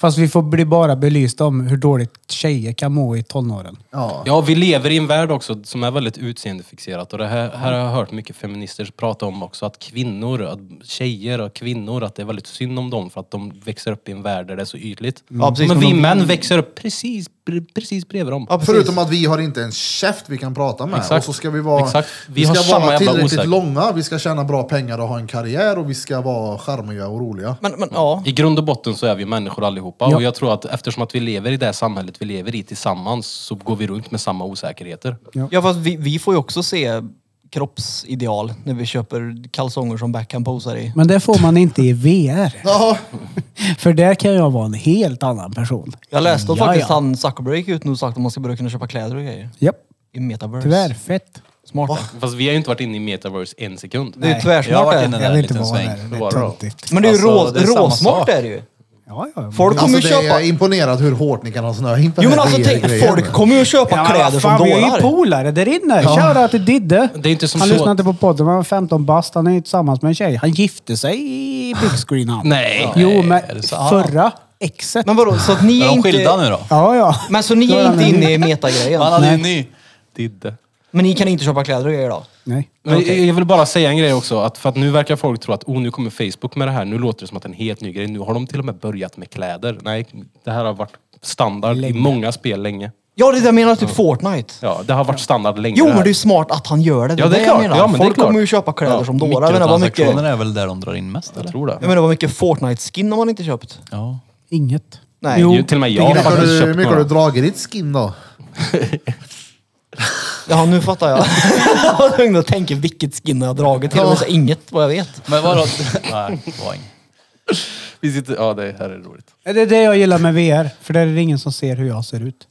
Speaker 4: Fast vi får bli bara belysta om hur dåligt tjejer kan må i tonåren.
Speaker 1: Ja.
Speaker 5: Ja, vi lever i en värld också som är väldigt utseendefixerat. Och det här, här har jag hört mycket feminister prata om också. Att kvinnor, att tjejer och kvinnor, att det är väldigt synd om dem för att de växer upp i en värld där det är så ytligt.
Speaker 6: Ja, precis,
Speaker 5: Men
Speaker 6: men
Speaker 5: vi
Speaker 6: de-
Speaker 5: män växer upp precis, precis bredvid dem.
Speaker 6: Ja, precis.
Speaker 1: Förutom att vi har inte en käft vi kan prata med.
Speaker 5: Exakt.
Speaker 1: Och så ska vi vara,
Speaker 5: Exakt. Vi
Speaker 1: vi
Speaker 5: har
Speaker 1: ska
Speaker 5: samma
Speaker 1: vara
Speaker 5: jävla
Speaker 1: tillräckligt
Speaker 5: osäker-
Speaker 1: långa, vi ska tjäna bra pengar och ha en karriär och vi ska vara charmiga och roliga.
Speaker 6: Men, men ja.
Speaker 5: I grund och botten så är vi människor allihopa
Speaker 4: Ja.
Speaker 5: och jag tror att eftersom att vi lever i det här samhället vi lever i tillsammans så går vi runt med samma osäkerheter.
Speaker 6: Ja fast vi, vi får ju också se kroppsideal när vi köper kalsonger som Beckham posar i.
Speaker 4: Men det får man inte i VR.
Speaker 1: Ja,
Speaker 4: För där kan jag vara en helt annan person. Mm,
Speaker 6: Jag läste att
Speaker 4: Ja,
Speaker 6: faktiskt
Speaker 4: ja.
Speaker 6: han Zuckerberg gick ut nu och sagt att man ska börja kunna köpa kläder och grejer.
Speaker 4: Japp,
Speaker 6: I metaverse.
Speaker 4: tyvärr. Fett.
Speaker 6: Smart.
Speaker 5: Fast vi har ju inte varit inne i metaverse en sekund.
Speaker 6: Det är ju
Speaker 2: Jag har
Speaker 6: tvärsmart
Speaker 2: varit
Speaker 6: det.
Speaker 2: inne
Speaker 4: Jag
Speaker 2: där en
Speaker 4: vill inte
Speaker 2: liten
Speaker 4: vara
Speaker 2: sväng.
Speaker 4: där. Det
Speaker 5: Det var
Speaker 4: är
Speaker 5: det.
Speaker 4: töntigt.
Speaker 6: Men det är ju
Speaker 2: Alltså,
Speaker 6: rå,
Speaker 2: det är samma
Speaker 6: råsmart
Speaker 2: sak.
Speaker 6: är det ju.
Speaker 4: Ja, ja.
Speaker 6: Folk kommer
Speaker 1: alltså
Speaker 6: ju
Speaker 1: det är
Speaker 6: köpa...
Speaker 1: imponerad hur hårt ni kan ha snö in på
Speaker 6: Jo
Speaker 1: den
Speaker 6: men
Speaker 1: här
Speaker 6: alltså tänk,
Speaker 1: VR-grejen.
Speaker 6: folk kommer ju köpa
Speaker 4: Ja,
Speaker 6: kläder
Speaker 4: vad
Speaker 6: som
Speaker 4: fan, Vi är ju
Speaker 6: dårar.
Speaker 4: polare där inne. Shoutout till Didde.
Speaker 5: Det är inte som
Speaker 4: han
Speaker 5: så
Speaker 4: lyssnade
Speaker 5: att-
Speaker 4: inte på podden. Han var 15 bast. Han är ju tillsammans med en tjej. Han gifte sig i big screen han.
Speaker 5: Nej.
Speaker 4: Jo,
Speaker 2: är
Speaker 4: men
Speaker 2: det så?
Speaker 4: förra exet.
Speaker 6: Men vadå, så att ni
Speaker 2: <laughs> Är
Speaker 6: är
Speaker 2: de skilda
Speaker 6: inte...
Speaker 2: nu då?
Speaker 4: Ja, ja.
Speaker 6: Men så ni
Speaker 4: Då
Speaker 6: är
Speaker 4: han
Speaker 6: inte
Speaker 4: en-
Speaker 6: inne i metagrejen?
Speaker 2: Han hade ju en ny.
Speaker 5: Didde.
Speaker 6: Men ni kan inte köpa kläder och grejer då?
Speaker 4: Nej.
Speaker 5: Men Jag vill bara säga en grej också, att för att nu verkar folk tro att oh, nu kommer Facebook med det här, nu låter det som att det är en helt ny grej. Nu har de till och med börjat med kläder. Nej, det här har varit standard i många spel länge.
Speaker 6: Ja, det är det jag menar. Typ Fortnite.
Speaker 5: Ja, det har varit standard länge.
Speaker 6: Jo,
Speaker 5: det
Speaker 6: men
Speaker 5: här.
Speaker 6: det är ju smart att han gör det.
Speaker 5: Ja, det är
Speaker 6: jag
Speaker 5: klart.
Speaker 6: menar.
Speaker 5: Ja, men det är
Speaker 6: Folk
Speaker 5: klart.
Speaker 6: kommer ju köpa kläder
Speaker 5: Ja,
Speaker 6: som dårar. Jag menar vad mycket...
Speaker 2: Mikrotransaktioner är väl där de drar in mest eller?
Speaker 5: Jag tror det.
Speaker 6: Jag menar vad mycket Fortnite-skin har man inte köpt?
Speaker 2: Ja.
Speaker 4: Inget.
Speaker 6: Nej.
Speaker 5: Jo, till och med jag har
Speaker 1: Hur mycket har
Speaker 5: faktiskt
Speaker 1: du- hur
Speaker 5: köpt
Speaker 1: mycket har
Speaker 5: några.
Speaker 1: du dragit i ditt skin då?
Speaker 6: Ja, nu fattar jag. <laughs> jag var tvungen att tänka vilket skin jag har dragit. Till och med så inget vad jag vet.
Speaker 2: Men vadå? <laughs> Nej, det var inget.
Speaker 5: Vi sitter, ja, det här är roligt.
Speaker 4: Det är det jag gillar med VR, för där är det ingen som ser hur jag ser ut.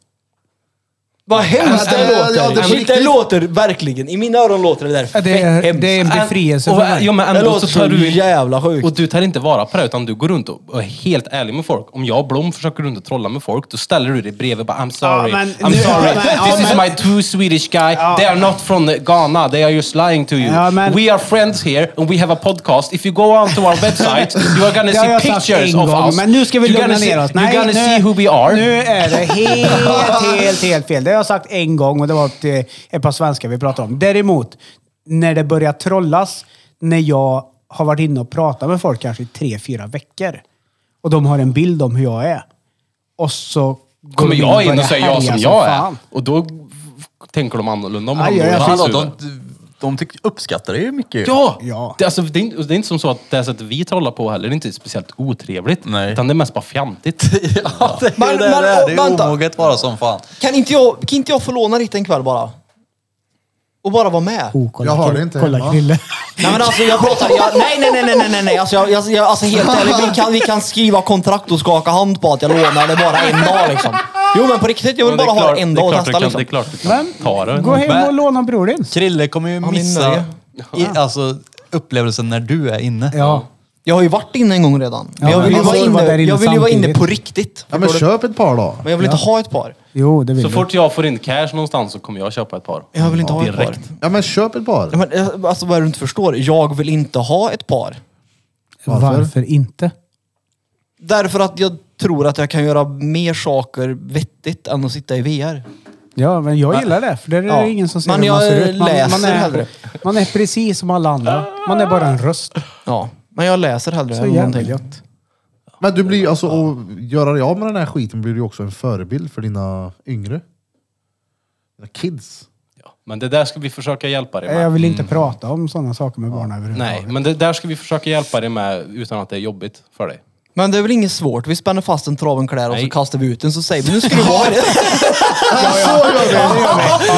Speaker 6: Vad hemskt
Speaker 1: Ja,
Speaker 6: det
Speaker 1: ja, ja, det är
Speaker 6: låter! Shit, det
Speaker 1: riktigt.
Speaker 6: låter verkligen. I mina öron låter det där
Speaker 4: Det är, det är en befrielse
Speaker 5: Alltså, Och,
Speaker 4: för mig.
Speaker 5: ja, men
Speaker 6: Det
Speaker 5: ändå
Speaker 6: låter
Speaker 5: så tar
Speaker 6: så
Speaker 5: du
Speaker 6: jävla sjukt.
Speaker 5: Och du tar inte vara på det utan du går runt och och är helt ärlig med folk. Om jag och Blom försöker runt och trolla med folk, då ställer du dig bredvid och bara I'm sorry,
Speaker 4: Ja, men
Speaker 5: I'm
Speaker 4: nu-
Speaker 5: sorry.
Speaker 4: ja, men- <laughs> ja,
Speaker 5: This is
Speaker 4: men-
Speaker 5: my true Swedish guy. They are not from Ghana, they are just lying to you.
Speaker 4: Ja, men-
Speaker 5: we are friends here and we have a podcast. If you go on to our
Speaker 4: <laughs>
Speaker 5: website, you are gonna
Speaker 4: Det har
Speaker 5: see
Speaker 4: jag sagt
Speaker 5: pictures
Speaker 4: en
Speaker 5: of
Speaker 4: gång,
Speaker 5: us.
Speaker 4: men nu ska vi
Speaker 5: You're
Speaker 4: lugna
Speaker 5: gonna
Speaker 4: ner
Speaker 5: see-
Speaker 4: oss.
Speaker 5: You're gonna see who we are.
Speaker 4: Nu
Speaker 5: <laughs>
Speaker 4: är det helt, helt, helt fel. Det har jag sagt en gång och det var till ett par svenskar vi pratade om. Däremot, när det börjar trollas, när jag har varit inne och pratat med folk kanske i tre, fyra veckor och de har en bild om hur jag är. Och så går
Speaker 5: Kommer
Speaker 4: de
Speaker 5: jag in och
Speaker 4: börjar
Speaker 5: säger jag
Speaker 4: härja
Speaker 5: som jag är,
Speaker 4: fan.
Speaker 5: och då tänker de annorlunda om
Speaker 4: Aj,
Speaker 5: honom.
Speaker 4: aj, aj,
Speaker 5: Och
Speaker 2: Men
Speaker 5: hans
Speaker 2: hallå,
Speaker 5: huvud.
Speaker 2: de, de tyck, uppskattar det ju mycket.
Speaker 5: Ja!
Speaker 4: Ja.
Speaker 5: Det, alltså, det, är, inte- det är inte som så att det här sättet vi trollar på heller, det är inte speciellt otrevligt.
Speaker 2: Nej.
Speaker 5: Utan det är mest bara
Speaker 6: <laughs>
Speaker 5: fjantigt.
Speaker 2: Ja, det är
Speaker 6: Men-
Speaker 2: ju det
Speaker 6: men,
Speaker 2: det är. Det
Speaker 6: och-
Speaker 2: är ju
Speaker 6: vänta.
Speaker 2: omoget bara som fan.
Speaker 6: Kan inte jag, kan inte jag få låna ditt en kväll bara? Och bara vara med?
Speaker 4: Oh, kolla,
Speaker 1: Jag har
Speaker 4: Krille.
Speaker 1: det inte
Speaker 4: Kolla
Speaker 1: hemma.
Speaker 4: Krille.
Speaker 6: Nej men alltså jag pratar, jag, nej nej nej nej nej nej nej. Alltså, jag, jag, jag, alltså helt ärligt, vi kan, vi kan skriva kontrakt och skaka hand på att jag lånar det bara en dag liksom. Jo men på riktigt, jag vill
Speaker 5: Men det är
Speaker 6: bara ha
Speaker 5: klart-
Speaker 6: det en
Speaker 5: det är
Speaker 6: dag och
Speaker 5: klart du
Speaker 6: testa
Speaker 5: kan-
Speaker 6: liksom.
Speaker 5: Det är klart du kan ta det.
Speaker 4: Gå hem och
Speaker 2: Men-
Speaker 4: låna bror din.
Speaker 2: Krille kommer ju
Speaker 6: Han är
Speaker 2: missa
Speaker 6: nöjd.
Speaker 2: i, alltså, upplevelsen när du är inne.
Speaker 4: Ja.
Speaker 6: Jag har ju varit inne en gång redan. Men jag
Speaker 4: men
Speaker 6: vill ju
Speaker 4: man
Speaker 6: vara
Speaker 4: får vara
Speaker 6: inne,
Speaker 4: där inne
Speaker 6: jag vill ju vara inne
Speaker 4: samtidigt.
Speaker 6: på riktigt.
Speaker 1: Ja, men
Speaker 6: Förstår du?
Speaker 1: köp ett par då.
Speaker 6: men jag vill inte ha ett par.
Speaker 4: Jo, det vill
Speaker 5: Så
Speaker 4: du.
Speaker 5: fort jag får in cash någonstans så kommer jag köpa ett par.
Speaker 6: Jag vill inte ha ett par.
Speaker 5: Direkt.
Speaker 1: Ja, men köp ett par.
Speaker 6: Ja, Men, eh, alltså vad är det du inte förstår? Jag vill inte ha ett par.
Speaker 1: Varför?
Speaker 4: Varför inte?
Speaker 6: Därför att jag tror att jag kan göra mer saker vettigt än att sitta i VR.
Speaker 4: Ja, men jag gillar det. För där är det
Speaker 6: Ja.
Speaker 4: ingen som ser
Speaker 6: Men
Speaker 4: hur man
Speaker 6: jag
Speaker 4: ser ut. Man, man,
Speaker 6: läser
Speaker 4: är,
Speaker 6: hellre.
Speaker 4: man är precis som alla andra. Man är bara en röst.
Speaker 6: Ja. Men jag läser hellre
Speaker 4: Så
Speaker 6: än
Speaker 4: jävla
Speaker 6: någonting.
Speaker 4: gött.
Speaker 1: Men du blir alltså, att göra dig av med den här skiten blir du också en förebild för dina yngre. Dina kids.
Speaker 5: Ja. Men det där ska vi försöka hjälpa dig
Speaker 4: Jag
Speaker 5: med.
Speaker 4: vill inte
Speaker 6: Mm.
Speaker 4: prata om sådana saker med barn
Speaker 5: Nej,
Speaker 4: överhuvudtaget.
Speaker 5: men det där ska vi försöka hjälpa dig med utan att det är jobbigt för dig.
Speaker 6: Men det är väl inget svårt? Vi spänner fast en traven kläder och så
Speaker 5: Nej.
Speaker 6: kastar vi ut den så säger vi nu ska du
Speaker 4: <laughs>
Speaker 6: vara i det.
Speaker 4: Ja,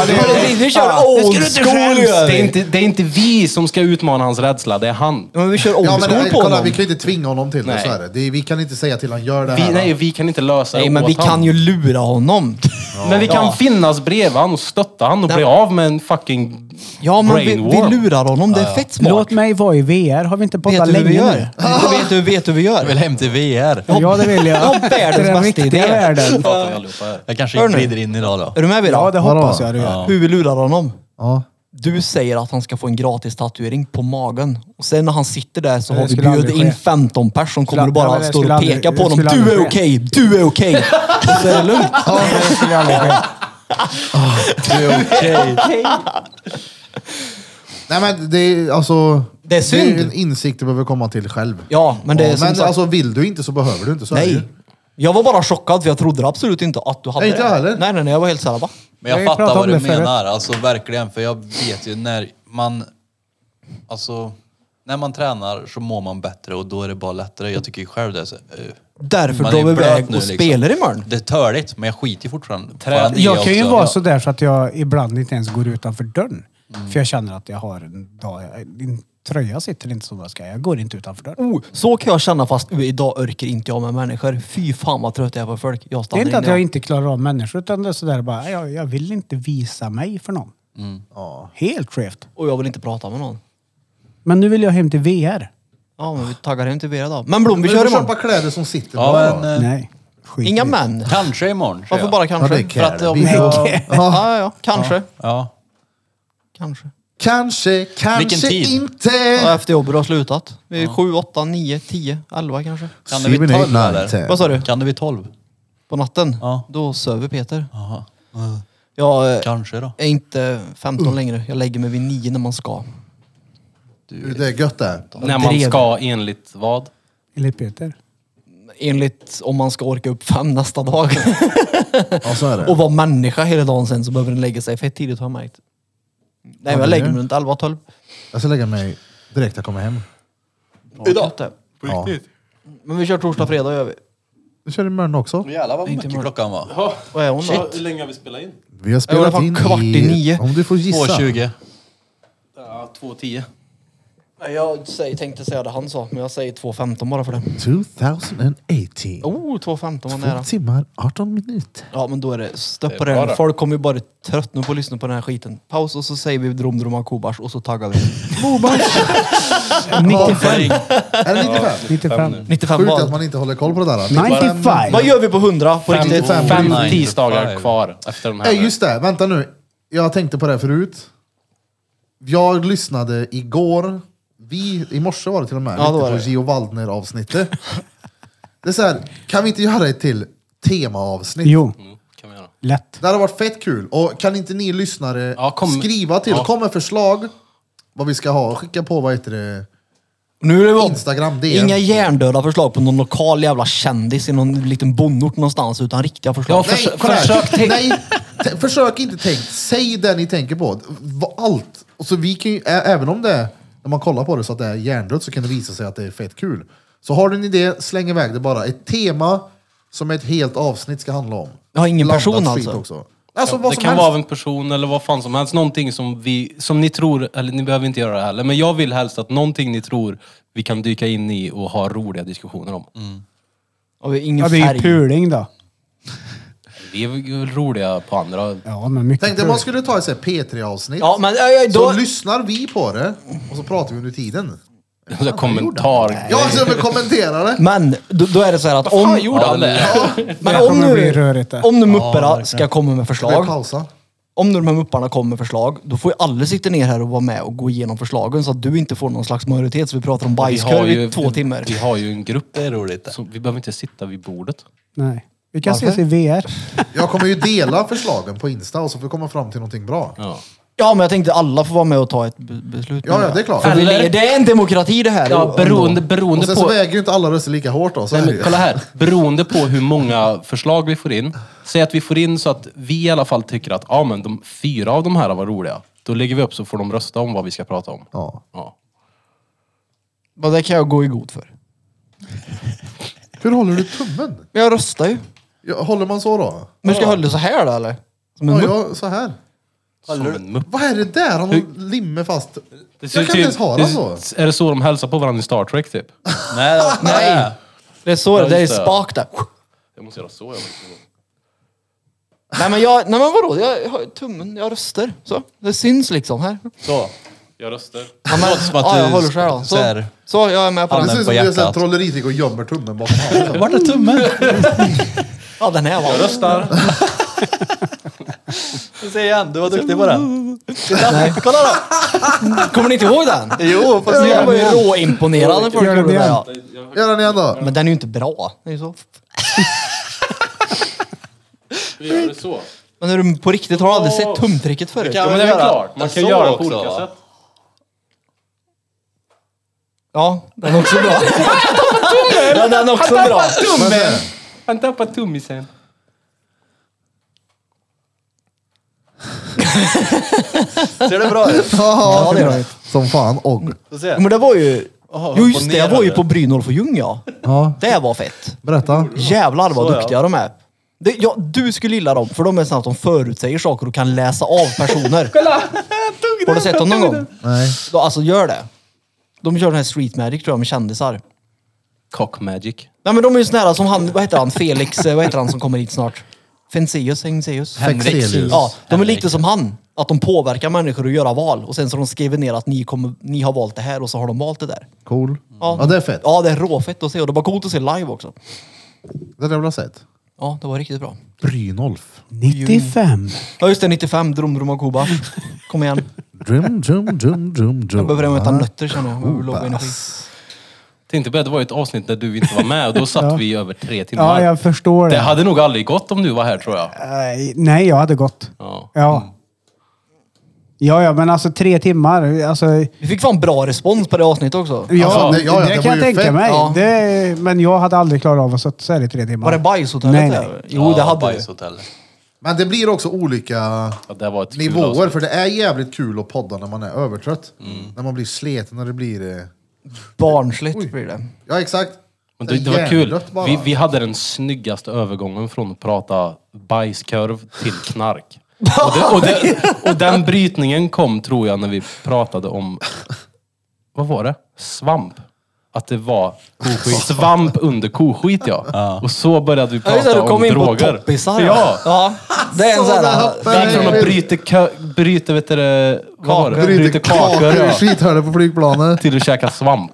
Speaker 4: det är-
Speaker 6: Vi- Vi kör old school gör
Speaker 5: Det är,
Speaker 6: vi.
Speaker 5: inte, det är inte vi som ska utmana hans rädsla, det är han.
Speaker 6: Ja, men vi kör old
Speaker 1: Ja, men
Speaker 6: school
Speaker 1: det,
Speaker 6: på
Speaker 1: kolla,
Speaker 6: honom.
Speaker 1: vi kan ju inte tvinga honom till det.
Speaker 5: Nej.
Speaker 1: Så är det. det. är- Vi kan inte säga till han gör det
Speaker 5: Vi,
Speaker 1: här.
Speaker 5: nej, vi kan inte lösa det
Speaker 6: Nej men vi
Speaker 5: åt han.
Speaker 6: kan ju lura honom.
Speaker 5: Men vi kan
Speaker 6: Ja.
Speaker 5: finnas bredvid han och stötta han och
Speaker 6: Nej.
Speaker 5: bli av med en fucking
Speaker 6: Ja men vi,
Speaker 5: brain
Speaker 6: vi
Speaker 5: worm.
Speaker 6: lurar honom, det är fett smart.
Speaker 4: Låt mig vara i VR. Har vi inte
Speaker 6: Vet
Speaker 4: poddat
Speaker 6: du hur vi
Speaker 4: länge
Speaker 6: gör?
Speaker 4: nu?
Speaker 6: Vet du- Vet du, vet du hur vi
Speaker 2: Jag vill
Speaker 6: gör?
Speaker 2: hem till VR.
Speaker 4: Ja, det vill jag.
Speaker 6: Ja, världens
Speaker 4: Till den
Speaker 6: bästa
Speaker 4: riktiga
Speaker 6: idé.
Speaker 4: världen.
Speaker 5: Pratar vi allihopa här.
Speaker 2: Jag kanske
Speaker 6: Hör nu.
Speaker 2: glider in idag då.
Speaker 6: Är du med Birra?
Speaker 4: Ja, det
Speaker 1: Vadå?
Speaker 4: hoppas jag du gör.
Speaker 6: Hur vi lurar honom.
Speaker 1: Ja.
Speaker 6: Du säger att han ska få en gratis tatuering på magen. Och sen när han sitter där så
Speaker 4: Det
Speaker 6: har vi
Speaker 4: skulle
Speaker 6: bjudit
Speaker 4: aldrig ske.
Speaker 6: in 15 personer som kommer
Speaker 4: Skulle-
Speaker 6: och
Speaker 4: ja, men
Speaker 6: bara
Speaker 4: det
Speaker 6: står
Speaker 4: skulle
Speaker 6: och
Speaker 4: aldrig-
Speaker 6: pekar
Speaker 4: det
Speaker 6: på honom.
Speaker 4: skulle
Speaker 6: Du
Speaker 4: aldrig
Speaker 6: är
Speaker 4: ske."
Speaker 6: okej, du
Speaker 4: <laughs>
Speaker 6: är okej. Och så är det <laughs> lugnt.
Speaker 4: Ja, det skulle aldrig ske.
Speaker 6: <laughs>
Speaker 1: Nej men det är alltså...
Speaker 6: Det är synd.
Speaker 1: Det är en insikt du behöver komma till själv.
Speaker 6: Ja, men det är som
Speaker 1: men
Speaker 6: sagt-
Speaker 1: alltså vill du inte så behöver du inte. Så är det ju.
Speaker 6: Nej. Jag var bara chockad för jag trodde absolut inte att du hade
Speaker 1: Nej, inte
Speaker 6: det.
Speaker 1: jag heller.
Speaker 6: Nej, nej, nej. Jag var helt såhär, va?
Speaker 2: Men jag
Speaker 4: Vi har ju
Speaker 2: fattar
Speaker 4: pratat
Speaker 2: vad
Speaker 4: om
Speaker 2: du
Speaker 4: det förut.
Speaker 2: menar, alltså verkligen. För jag vet ju när man... Alltså, när man tränar så mår man bättre och då är det bara lättare. Jag tycker ju själv det. Så, eh,
Speaker 6: Därför
Speaker 2: man
Speaker 6: drar
Speaker 2: är
Speaker 6: vi
Speaker 2: blöt
Speaker 6: iväg och
Speaker 2: nu liksom.
Speaker 6: spelar imorgon.
Speaker 2: Det är törligt, men jag skiter ju fortfarande fortfarande i det
Speaker 4: Jag kan ju
Speaker 2: också.
Speaker 4: vara sådär så att jag ibland inte ens går utanför dörren. För jag känner att jag har en dag... Din tröja sitter inte som den ska. Jag går inte utanför dörren.
Speaker 6: Oh, så kan jag känna fast "Oj, idag orkar inte jag med människor. Fy fan vad trött jag är på folk. Jag
Speaker 4: Det är
Speaker 6: stannar
Speaker 4: inte att
Speaker 6: inne.
Speaker 4: jag inte klarar av människor utan det är sådär bara, jag, jag vill inte visa mig för någon.
Speaker 5: Mm.
Speaker 4: Helt skevt.
Speaker 6: Och jag vill inte prata med någon.
Speaker 4: Men nu vill jag hem till VR.
Speaker 6: Ja, men vi taggar hem till Vera då. Men
Speaker 1: Men
Speaker 6: Blom, vi
Speaker 1: du
Speaker 6: kör
Speaker 1: får
Speaker 6: imorgon.
Speaker 1: köpa kläder som sitter
Speaker 2: Ja,
Speaker 1: bra
Speaker 2: men,
Speaker 1: då.
Speaker 2: eh,
Speaker 4: Nej. Skit i
Speaker 6: Inga
Speaker 4: det.
Speaker 6: män.
Speaker 2: Kanske imorgon. tror
Speaker 6: Varför
Speaker 2: jag.
Speaker 6: bara
Speaker 1: Ja, det
Speaker 6: kanske?
Speaker 1: är
Speaker 6: För att
Speaker 1: kär.
Speaker 6: om
Speaker 1: Vi
Speaker 6: jag...
Speaker 1: får- Ja.
Speaker 6: Ja, ja, ja. Kanske.
Speaker 2: Ja.
Speaker 6: Kanske.
Speaker 1: Kanske,
Speaker 2: Vilken
Speaker 1: kanske
Speaker 2: tid?
Speaker 1: inte.
Speaker 6: Ja, efter jobbet har slutat. Vi är sju, åtta, nio, tio, elva kanske.
Speaker 2: Kan det bli
Speaker 1: Syven,
Speaker 2: tolv,
Speaker 1: eight,
Speaker 2: eller?
Speaker 1: nine, ten.
Speaker 6: Vad sa du?
Speaker 2: Kan det bli tolv?
Speaker 6: På natten?
Speaker 2: Ja.
Speaker 6: Då sover Peter.
Speaker 2: Jaha.
Speaker 6: Jag eh,
Speaker 2: Kanske då.
Speaker 6: är inte 15 längre. Jag lägger mig vid nio när man ska.
Speaker 1: Du, Det är gött det.
Speaker 5: När man
Speaker 6: Drev.
Speaker 5: ska enligt vad?
Speaker 4: Eller Peter.
Speaker 6: Enligt om man ska orka upp fem nästa dag. <laughs>
Speaker 1: Ja, så är det.
Speaker 6: och vara människa hela dagen sen så behöver den lägga sig fett tidigt har jag märkt. Nej, men
Speaker 1: det är
Speaker 6: jag lägger mig
Speaker 1: det.
Speaker 6: runt 11-12.
Speaker 1: Jag ska lägga mig direkt jag kommer hem.
Speaker 6: Idag?
Speaker 1: Ja.
Speaker 6: Men vi kör torsdag, fredag gör vi.
Speaker 1: Du kör imorgon också?
Speaker 2: Jävlar vad mycket klockan var.
Speaker 6: Vad är hon då?
Speaker 9: Hur länge har vi spelat in?
Speaker 1: Vi har
Speaker 6: Jag
Speaker 1: spelat
Speaker 6: var
Speaker 1: in
Speaker 6: kvart i nio.
Speaker 1: Om du får gissa.
Speaker 2: 2.20.
Speaker 5: Ja, 2.10.
Speaker 6: Nej, Jag säger, tänkte säga det han sa, men jag säger 2.15 bara för det.
Speaker 1: 2018.
Speaker 6: Oh, 2.15 var
Speaker 1: Två
Speaker 6: nära.
Speaker 1: timmar, 18 minuter.
Speaker 6: Ja, men då är det stopp på
Speaker 5: Det är bra
Speaker 6: det.
Speaker 5: det.
Speaker 6: Folk kommer ju bara tröttna på att lyssna på den här skiten. Paus och så säger vi Drom Droma Kobars och så
Speaker 4: <laughs>
Speaker 6: taggar vi. <laughs>
Speaker 4: 95.
Speaker 1: Är det 95?
Speaker 4: 95.
Speaker 6: 95
Speaker 1: Sjukt att
Speaker 6: val.
Speaker 1: man inte håller koll på det där.
Speaker 4: 95.
Speaker 6: Vad gör vi på 100? På
Speaker 5: Fem,
Speaker 6: riktigt?
Speaker 1: fem-
Speaker 5: fem
Speaker 2: nine to
Speaker 5: tisdagar
Speaker 2: five.
Speaker 5: kvar efter den här.
Speaker 1: Nej, just det. Vänta nu. Jag tänkte på det här förut. Jag lyssnade igår. Vi, I morse var det till och med.
Speaker 6: Ja, det var
Speaker 1: lite
Speaker 6: det.
Speaker 1: på Gio Waldner avsnittet. det är så här, kan vi inte göra ett till temaavsnitt?
Speaker 4: Jo,
Speaker 5: Mm, Kan vi göra.
Speaker 4: lätt.
Speaker 1: Det hade varit fett kul. Och kan inte ni lyssnare
Speaker 5: Ja, kom-
Speaker 1: skriva till,
Speaker 5: ja.
Speaker 1: kom med förslag vad vi ska ha. Skicka på vad heter det?
Speaker 6: Nu är det igång.
Speaker 1: Instagram DM.
Speaker 6: Inga hjärndöda förslag på någon lokal jävla kändis i någon liten bondort någonstans, utan riktiga förslag.
Speaker 5: Ja,
Speaker 1: Nej,
Speaker 5: förs-
Speaker 1: kolla här.
Speaker 5: försök tänk-
Speaker 1: Nej, t- försök inte tänk. Säg det ni tänker på. Va- Allt. Och så vi kan ju, ä- även om det är, när man kollar på det så att det är hjärndött så kan det visa sig att det är fett kul. Så har du en idé, släng iväg det bara. Ett tema som ett helt avsnitt ska handla om.
Speaker 6: Ja, ingen
Speaker 1: Blandat
Speaker 6: person
Speaker 1: skit
Speaker 6: alltså.
Speaker 1: Också. Alltså
Speaker 5: det
Speaker 1: vad som
Speaker 5: kan
Speaker 1: helst.
Speaker 5: vara av en person eller vad fan som helst. Någonting som vi, som ni tror, eller ni behöver inte göra det heller, men jag vill helst att någonting ni tror vi kan dyka in i och ha roliga diskussioner om.
Speaker 1: Mm.
Speaker 6: Och vi har ingen
Speaker 4: Ja, det är ju
Speaker 6: färg.
Speaker 4: puling då.
Speaker 5: Vi är väl roliga på andra...
Speaker 4: Ja, men mycket
Speaker 1: Tänkte man
Speaker 4: puling.
Speaker 1: skulle ta ett så här P3-avsnitt.
Speaker 6: Ja, men äh, äh,
Speaker 1: Så
Speaker 6: då...
Speaker 1: lyssnar vi på det och så pratar vi under tiden.
Speaker 5: <laughs> Så här kommentar...
Speaker 1: Ja, så vi kommenterar det.
Speaker 6: Men då, då är det så här att om...
Speaker 5: gjorde han
Speaker 4: <laughs>
Speaker 5: det?
Speaker 6: Men
Speaker 4: Det
Speaker 6: om
Speaker 4: kommer bli
Speaker 6: nu,
Speaker 4: rörigt det.
Speaker 6: om nu mupparna ska komma med
Speaker 1: Vi
Speaker 6: förslag,
Speaker 1: pausa.
Speaker 6: om nu de här mupparna kommer med förslag, då får ju alla sitta ner här och vara med och gå igenom förslagen så att du inte får någon slags majoritet så vi pratar om bajskorv i två timmar.
Speaker 5: Vi har ju en grupp.
Speaker 2: Det är roligt det.
Speaker 5: Så vi behöver inte sitta vid bordet.
Speaker 4: Nej. Vi kan
Speaker 6: Varför?
Speaker 4: ses i VR.
Speaker 1: Jag kommer ju dela förslagen på Insta och så får vi komma fram till någonting bra. Ja,
Speaker 5: Ja.
Speaker 6: Ja, men jag tänkte alla får vara med och ta ett be- beslut.
Speaker 1: ja det är klart.
Speaker 6: För vi
Speaker 5: Eller-
Speaker 6: le- Det är en demokrati det här.
Speaker 5: Ja, beroende, beroende
Speaker 1: Och sen så
Speaker 5: på...
Speaker 1: väger ju inte alla röster lika hårt då. Så
Speaker 5: Nej,
Speaker 1: är det
Speaker 5: men
Speaker 1: ju.
Speaker 5: kolla här. Beroende på hur många förslag vi får in. Säg att vi får in så att vi i alla fall tycker att ah, men de fyra av de här var roliga. Då lägger vi upp så får de rösta om vad vi ska prata om.
Speaker 1: Ja.
Speaker 5: Ja.
Speaker 6: Ja, det kan jag gå i god för.
Speaker 1: Hur håller du tummen?
Speaker 6: Men jag röstar ju.
Speaker 1: Ja, Håller man så då?
Speaker 6: Men ska jag hålla det så här då eller? Som en
Speaker 1: Ja,
Speaker 6: mupp?
Speaker 1: jag, så här.
Speaker 5: Som en mupp.
Speaker 1: Vad är det där? Han har limme fast.
Speaker 5: Det
Speaker 1: Jag
Speaker 5: ser
Speaker 1: kan
Speaker 5: ut
Speaker 1: inte
Speaker 5: till-
Speaker 1: ens ha den
Speaker 5: det-
Speaker 1: så.
Speaker 5: Är det så de hälsar på varandra i Star Trek typ?
Speaker 2: Nej, nej.
Speaker 6: Det är så, det är
Speaker 5: just det.
Speaker 6: spak där.
Speaker 5: Jag måste göra så. Jag måste...
Speaker 6: Nej men, jag, nej men vadå, jag har tummen, jag röstar. Så, det syns liksom här.
Speaker 5: Så. Jag röstar.
Speaker 6: Ja, men,
Speaker 2: Låter som att
Speaker 6: ja, jag
Speaker 2: du
Speaker 6: håller så här då. Så,
Speaker 2: så här.
Speaker 6: så jag är med på
Speaker 1: Det
Speaker 6: den.
Speaker 1: ser ut
Speaker 2: på
Speaker 1: som att jag
Speaker 2: hjärtat.
Speaker 1: trolleritrick och gömmer tummen bakom
Speaker 2: <laughs>
Speaker 1: handen.
Speaker 2: Vart är tummen?
Speaker 6: Ja den här var.
Speaker 5: Röstar.
Speaker 2: Säg igen, du var duktig på den.
Speaker 6: <laughs> Nej, kolla då! Kommer ni inte ihåg den? Jo, fast jag var ju råimponerad när folk
Speaker 4: Gör
Speaker 6: gjorde
Speaker 4: den
Speaker 6: det.
Speaker 4: igen.
Speaker 6: Ja.
Speaker 1: Gör den igen då.
Speaker 6: Men den är ju inte bra. Det är ju så.
Speaker 5: Vi gör det så.
Speaker 6: Men är du på riktigt, har du aldrig sett tumtricket förut?
Speaker 5: Ja, men det är väl klart. Man
Speaker 2: en
Speaker 5: kan
Speaker 2: så
Speaker 5: göra på
Speaker 2: också,
Speaker 5: olika
Speaker 2: va?
Speaker 5: sätt.
Speaker 6: Ja, den är också bra. ja, den är också bra.
Speaker 1: Men, eh,
Speaker 5: Han tappar tummisen.
Speaker 2: Ser det bra ut?
Speaker 6: Ja, det är bra.
Speaker 1: Som fan och.
Speaker 2: Får se.
Speaker 6: Men det var ju...
Speaker 2: Jaha,
Speaker 6: Jo just det, jag var ju
Speaker 2: imponerande.
Speaker 6: på Brynolf och Ljung ja. Det var fett.
Speaker 1: Berätta.
Speaker 6: Jävlar vad
Speaker 2: Så, ja.
Speaker 6: duktiga de är. Det, ja, du skulle gilla dem, för de är sådana att de förutsäger saker och kan läsa av personer. Har du sett dem någon gång?
Speaker 1: Nej.
Speaker 6: Då, alltså gör det. De kör den här street magic tror jag med kändisar.
Speaker 5: Cock magic.
Speaker 6: Nej men de är ju såna här som han, vad heter han, Felix, eh, vad heter han som kommer hit snart? Fenseus, Hengseus?
Speaker 1: Fexelius.
Speaker 6: Ja, de är lite som han. Att de påverkar människor att göra val. Och sen så har de skrivit ner att ni, kommer, ni har valt det här och så har de valt det där.
Speaker 1: Cool.
Speaker 6: Ja.
Speaker 1: Ja, det är fett.
Speaker 6: Ja, det är råfett att se och det var coolt att se live också.
Speaker 1: Det hade jag velat sett.
Speaker 6: Ja, det var riktigt bra.
Speaker 1: Brynolf.
Speaker 4: 95.
Speaker 6: Ja just det, 95, Drom Drom och Koba. Kom igen.
Speaker 1: Drum, drum, drum, drum, drum.
Speaker 6: Jag behöver äta nötter känner jag. Jag behöver låg energi.
Speaker 5: Tänkte på det, det var ju ett avsnitt där du inte var med och då satt
Speaker 4: Ja.
Speaker 5: vi i över tre timmar.
Speaker 4: Ja, jag förstår
Speaker 5: det
Speaker 4: det.
Speaker 5: hade nog aldrig gått om du var här tror jag.
Speaker 4: Eh, Nej, jag hade gått.
Speaker 5: Ja.
Speaker 4: Ja. Ja, ja, men alltså tre timmar. Alltså, ja,
Speaker 6: Vi fick fan bra respons på det avsnittet också.
Speaker 1: Alltså, det- ja, ja,
Speaker 4: det,
Speaker 1: det var
Speaker 4: kan jag
Speaker 1: ju
Speaker 4: tänka
Speaker 1: fett.
Speaker 4: mig.
Speaker 6: Ja.
Speaker 4: Det, men jag hade aldrig klarat av att sitta här i tre timmar.
Speaker 6: Var det bajshotellet
Speaker 4: Nej,
Speaker 6: där?
Speaker 4: nej.
Speaker 6: Jo, det
Speaker 2: Ja,
Speaker 6: hade vi.
Speaker 2: bajshotell.
Speaker 1: Men det blir också olika
Speaker 5: Ja, det var ett kul alltså.
Speaker 1: nivåer,
Speaker 5: avsnitt.
Speaker 1: för det är jävligt kul att podda när man är övertrött.
Speaker 5: Mm.
Speaker 1: När man blir sleten, när det blir... eh,
Speaker 6: Barnsligt blir det.
Speaker 1: Ja, exakt.
Speaker 5: Men det, det var kul. <laughs> Vi, vi hade den snyggaste övergången från att prata bajskorv till knark. Och, det,
Speaker 6: <laughs>
Speaker 5: och, det, och den brytningen kom, tror jag, när vi pratade om, vad var det? Svamp. Att det var <laughs> svamp under koskit, ja. Och så började vi
Speaker 6: Ja, just
Speaker 5: prata
Speaker 6: det, du
Speaker 5: om
Speaker 6: kom in på
Speaker 5: droger.
Speaker 6: toppisar.
Speaker 5: Ja.
Speaker 6: ja. Det är en
Speaker 1: Så
Speaker 6: sån
Speaker 1: där
Speaker 6: här...
Speaker 1: hoppar
Speaker 5: Det gick från att bryta, kö, bryta vet du, det, vad var det?
Speaker 1: Bryter
Speaker 5: Bryta kakor
Speaker 1: kakor i
Speaker 5: ja,
Speaker 1: skithörnet på flygplanet.
Speaker 5: till att käka svamp.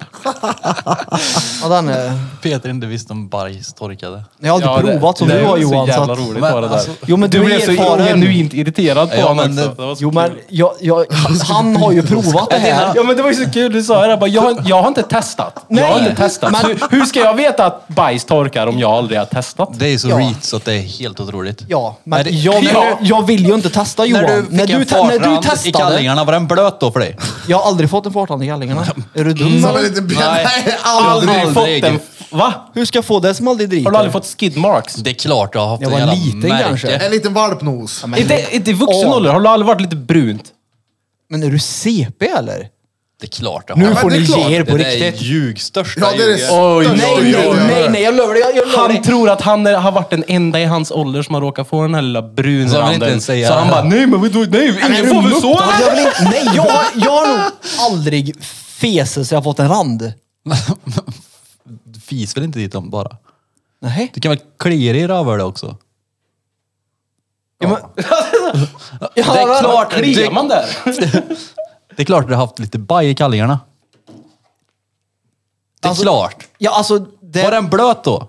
Speaker 6: Ja, den är...
Speaker 2: Peter inte visste om bajs torkade.
Speaker 6: Jag har aldrig provat som
Speaker 5: det
Speaker 6: du
Speaker 5: är
Speaker 6: har
Speaker 5: så
Speaker 6: Johan. Så
Speaker 5: jävla
Speaker 6: att,
Speaker 5: roligt
Speaker 2: Men
Speaker 5: var det där.
Speaker 2: alltså-
Speaker 6: Jo, men du är
Speaker 5: blev så
Speaker 6: erfaren.
Speaker 5: genuint irriterad på
Speaker 2: Ja,
Speaker 5: honom
Speaker 2: men
Speaker 5: också.
Speaker 2: det-
Speaker 5: Det var så
Speaker 6: jo men
Speaker 5: kul.
Speaker 6: jag, jag, han har ju provat det här.
Speaker 5: Ja men det var ju så kul, du sa det där, bara, jag, har- jag har inte testat. Jag har
Speaker 6: Nej.
Speaker 5: inte testat.
Speaker 6: Men-
Speaker 5: Så hur- hur ska jag veta att bajs torkar om jag aldrig har testat?
Speaker 2: Det är ju så
Speaker 6: Ja.
Speaker 2: reet så att det är helt otroligt.
Speaker 6: Ja, men
Speaker 2: När det-
Speaker 6: jag,
Speaker 5: Ja.
Speaker 6: jag vill ju inte testa Johan.
Speaker 2: När du fick
Speaker 6: när, du
Speaker 2: en
Speaker 6: te- när du
Speaker 2: fartrand i
Speaker 6: testade.
Speaker 2: kallingarna, var den blöt då för
Speaker 6: <laughs>
Speaker 2: dig?
Speaker 6: Jag har aldrig fått en fartrand i kallingarna.
Speaker 5: Mm.
Speaker 6: Är du dum
Speaker 1: Som en
Speaker 6: eller?
Speaker 1: liten björn. <laughs> Nej, aldrig.
Speaker 5: aldrig
Speaker 2: aldrig.
Speaker 5: fått en... Va?
Speaker 6: Hur ska jag få det som aldrig dricker?
Speaker 5: Har du aldrig fått skidmarks?
Speaker 2: Det är klart jag har haft
Speaker 6: Jag
Speaker 2: en
Speaker 6: var
Speaker 2: jävla
Speaker 6: liten
Speaker 2: märke.
Speaker 6: kanske.
Speaker 1: En liten valpnos.
Speaker 5: Inte, inte i vuxen
Speaker 6: Åh.
Speaker 5: ålder, har du aldrig varit lite brunt?
Speaker 6: Men är du CP eller?
Speaker 2: Det är klart jag
Speaker 6: Nu
Speaker 2: har.
Speaker 6: får
Speaker 1: det är
Speaker 6: ni
Speaker 1: klart.
Speaker 6: ge er
Speaker 2: Det
Speaker 6: på
Speaker 2: där är
Speaker 6: riktigt.
Speaker 2: ljugstörsta
Speaker 1: Ja, det är det
Speaker 2: ljuget.
Speaker 5: Oj,
Speaker 1: största ljudet
Speaker 6: Nej, nej,
Speaker 1: jag har
Speaker 6: nej,
Speaker 1: hört.
Speaker 6: nej, jag lovar dig. Jag, jag lovar
Speaker 5: Han
Speaker 6: dig.
Speaker 5: tror att han är, har varit den enda i hans ålder som har råkat få den här lilla
Speaker 2: Så han vill inte
Speaker 5: brunranden.
Speaker 2: ens säga
Speaker 5: Så han
Speaker 2: det.
Speaker 5: bara, nej men vadå, nej, ingen får väl så
Speaker 6: Ja,
Speaker 5: eller?
Speaker 6: Jag vill inte, nej, jag, har- jag har nog aldrig feset så jag har fått en rand.
Speaker 2: Du Fis väl inte dit dem bara?
Speaker 6: Nej.
Speaker 2: Du kan väl klia dig i rövhålet också?
Speaker 6: Ja, men, ja,
Speaker 2: det är klart.
Speaker 5: Kliar man där?
Speaker 2: Det är klart du har haft lite baj i kallingarna. Det är
Speaker 6: Alltså,
Speaker 2: klart.
Speaker 6: Ja, alltså, det,
Speaker 2: Var den blöt då?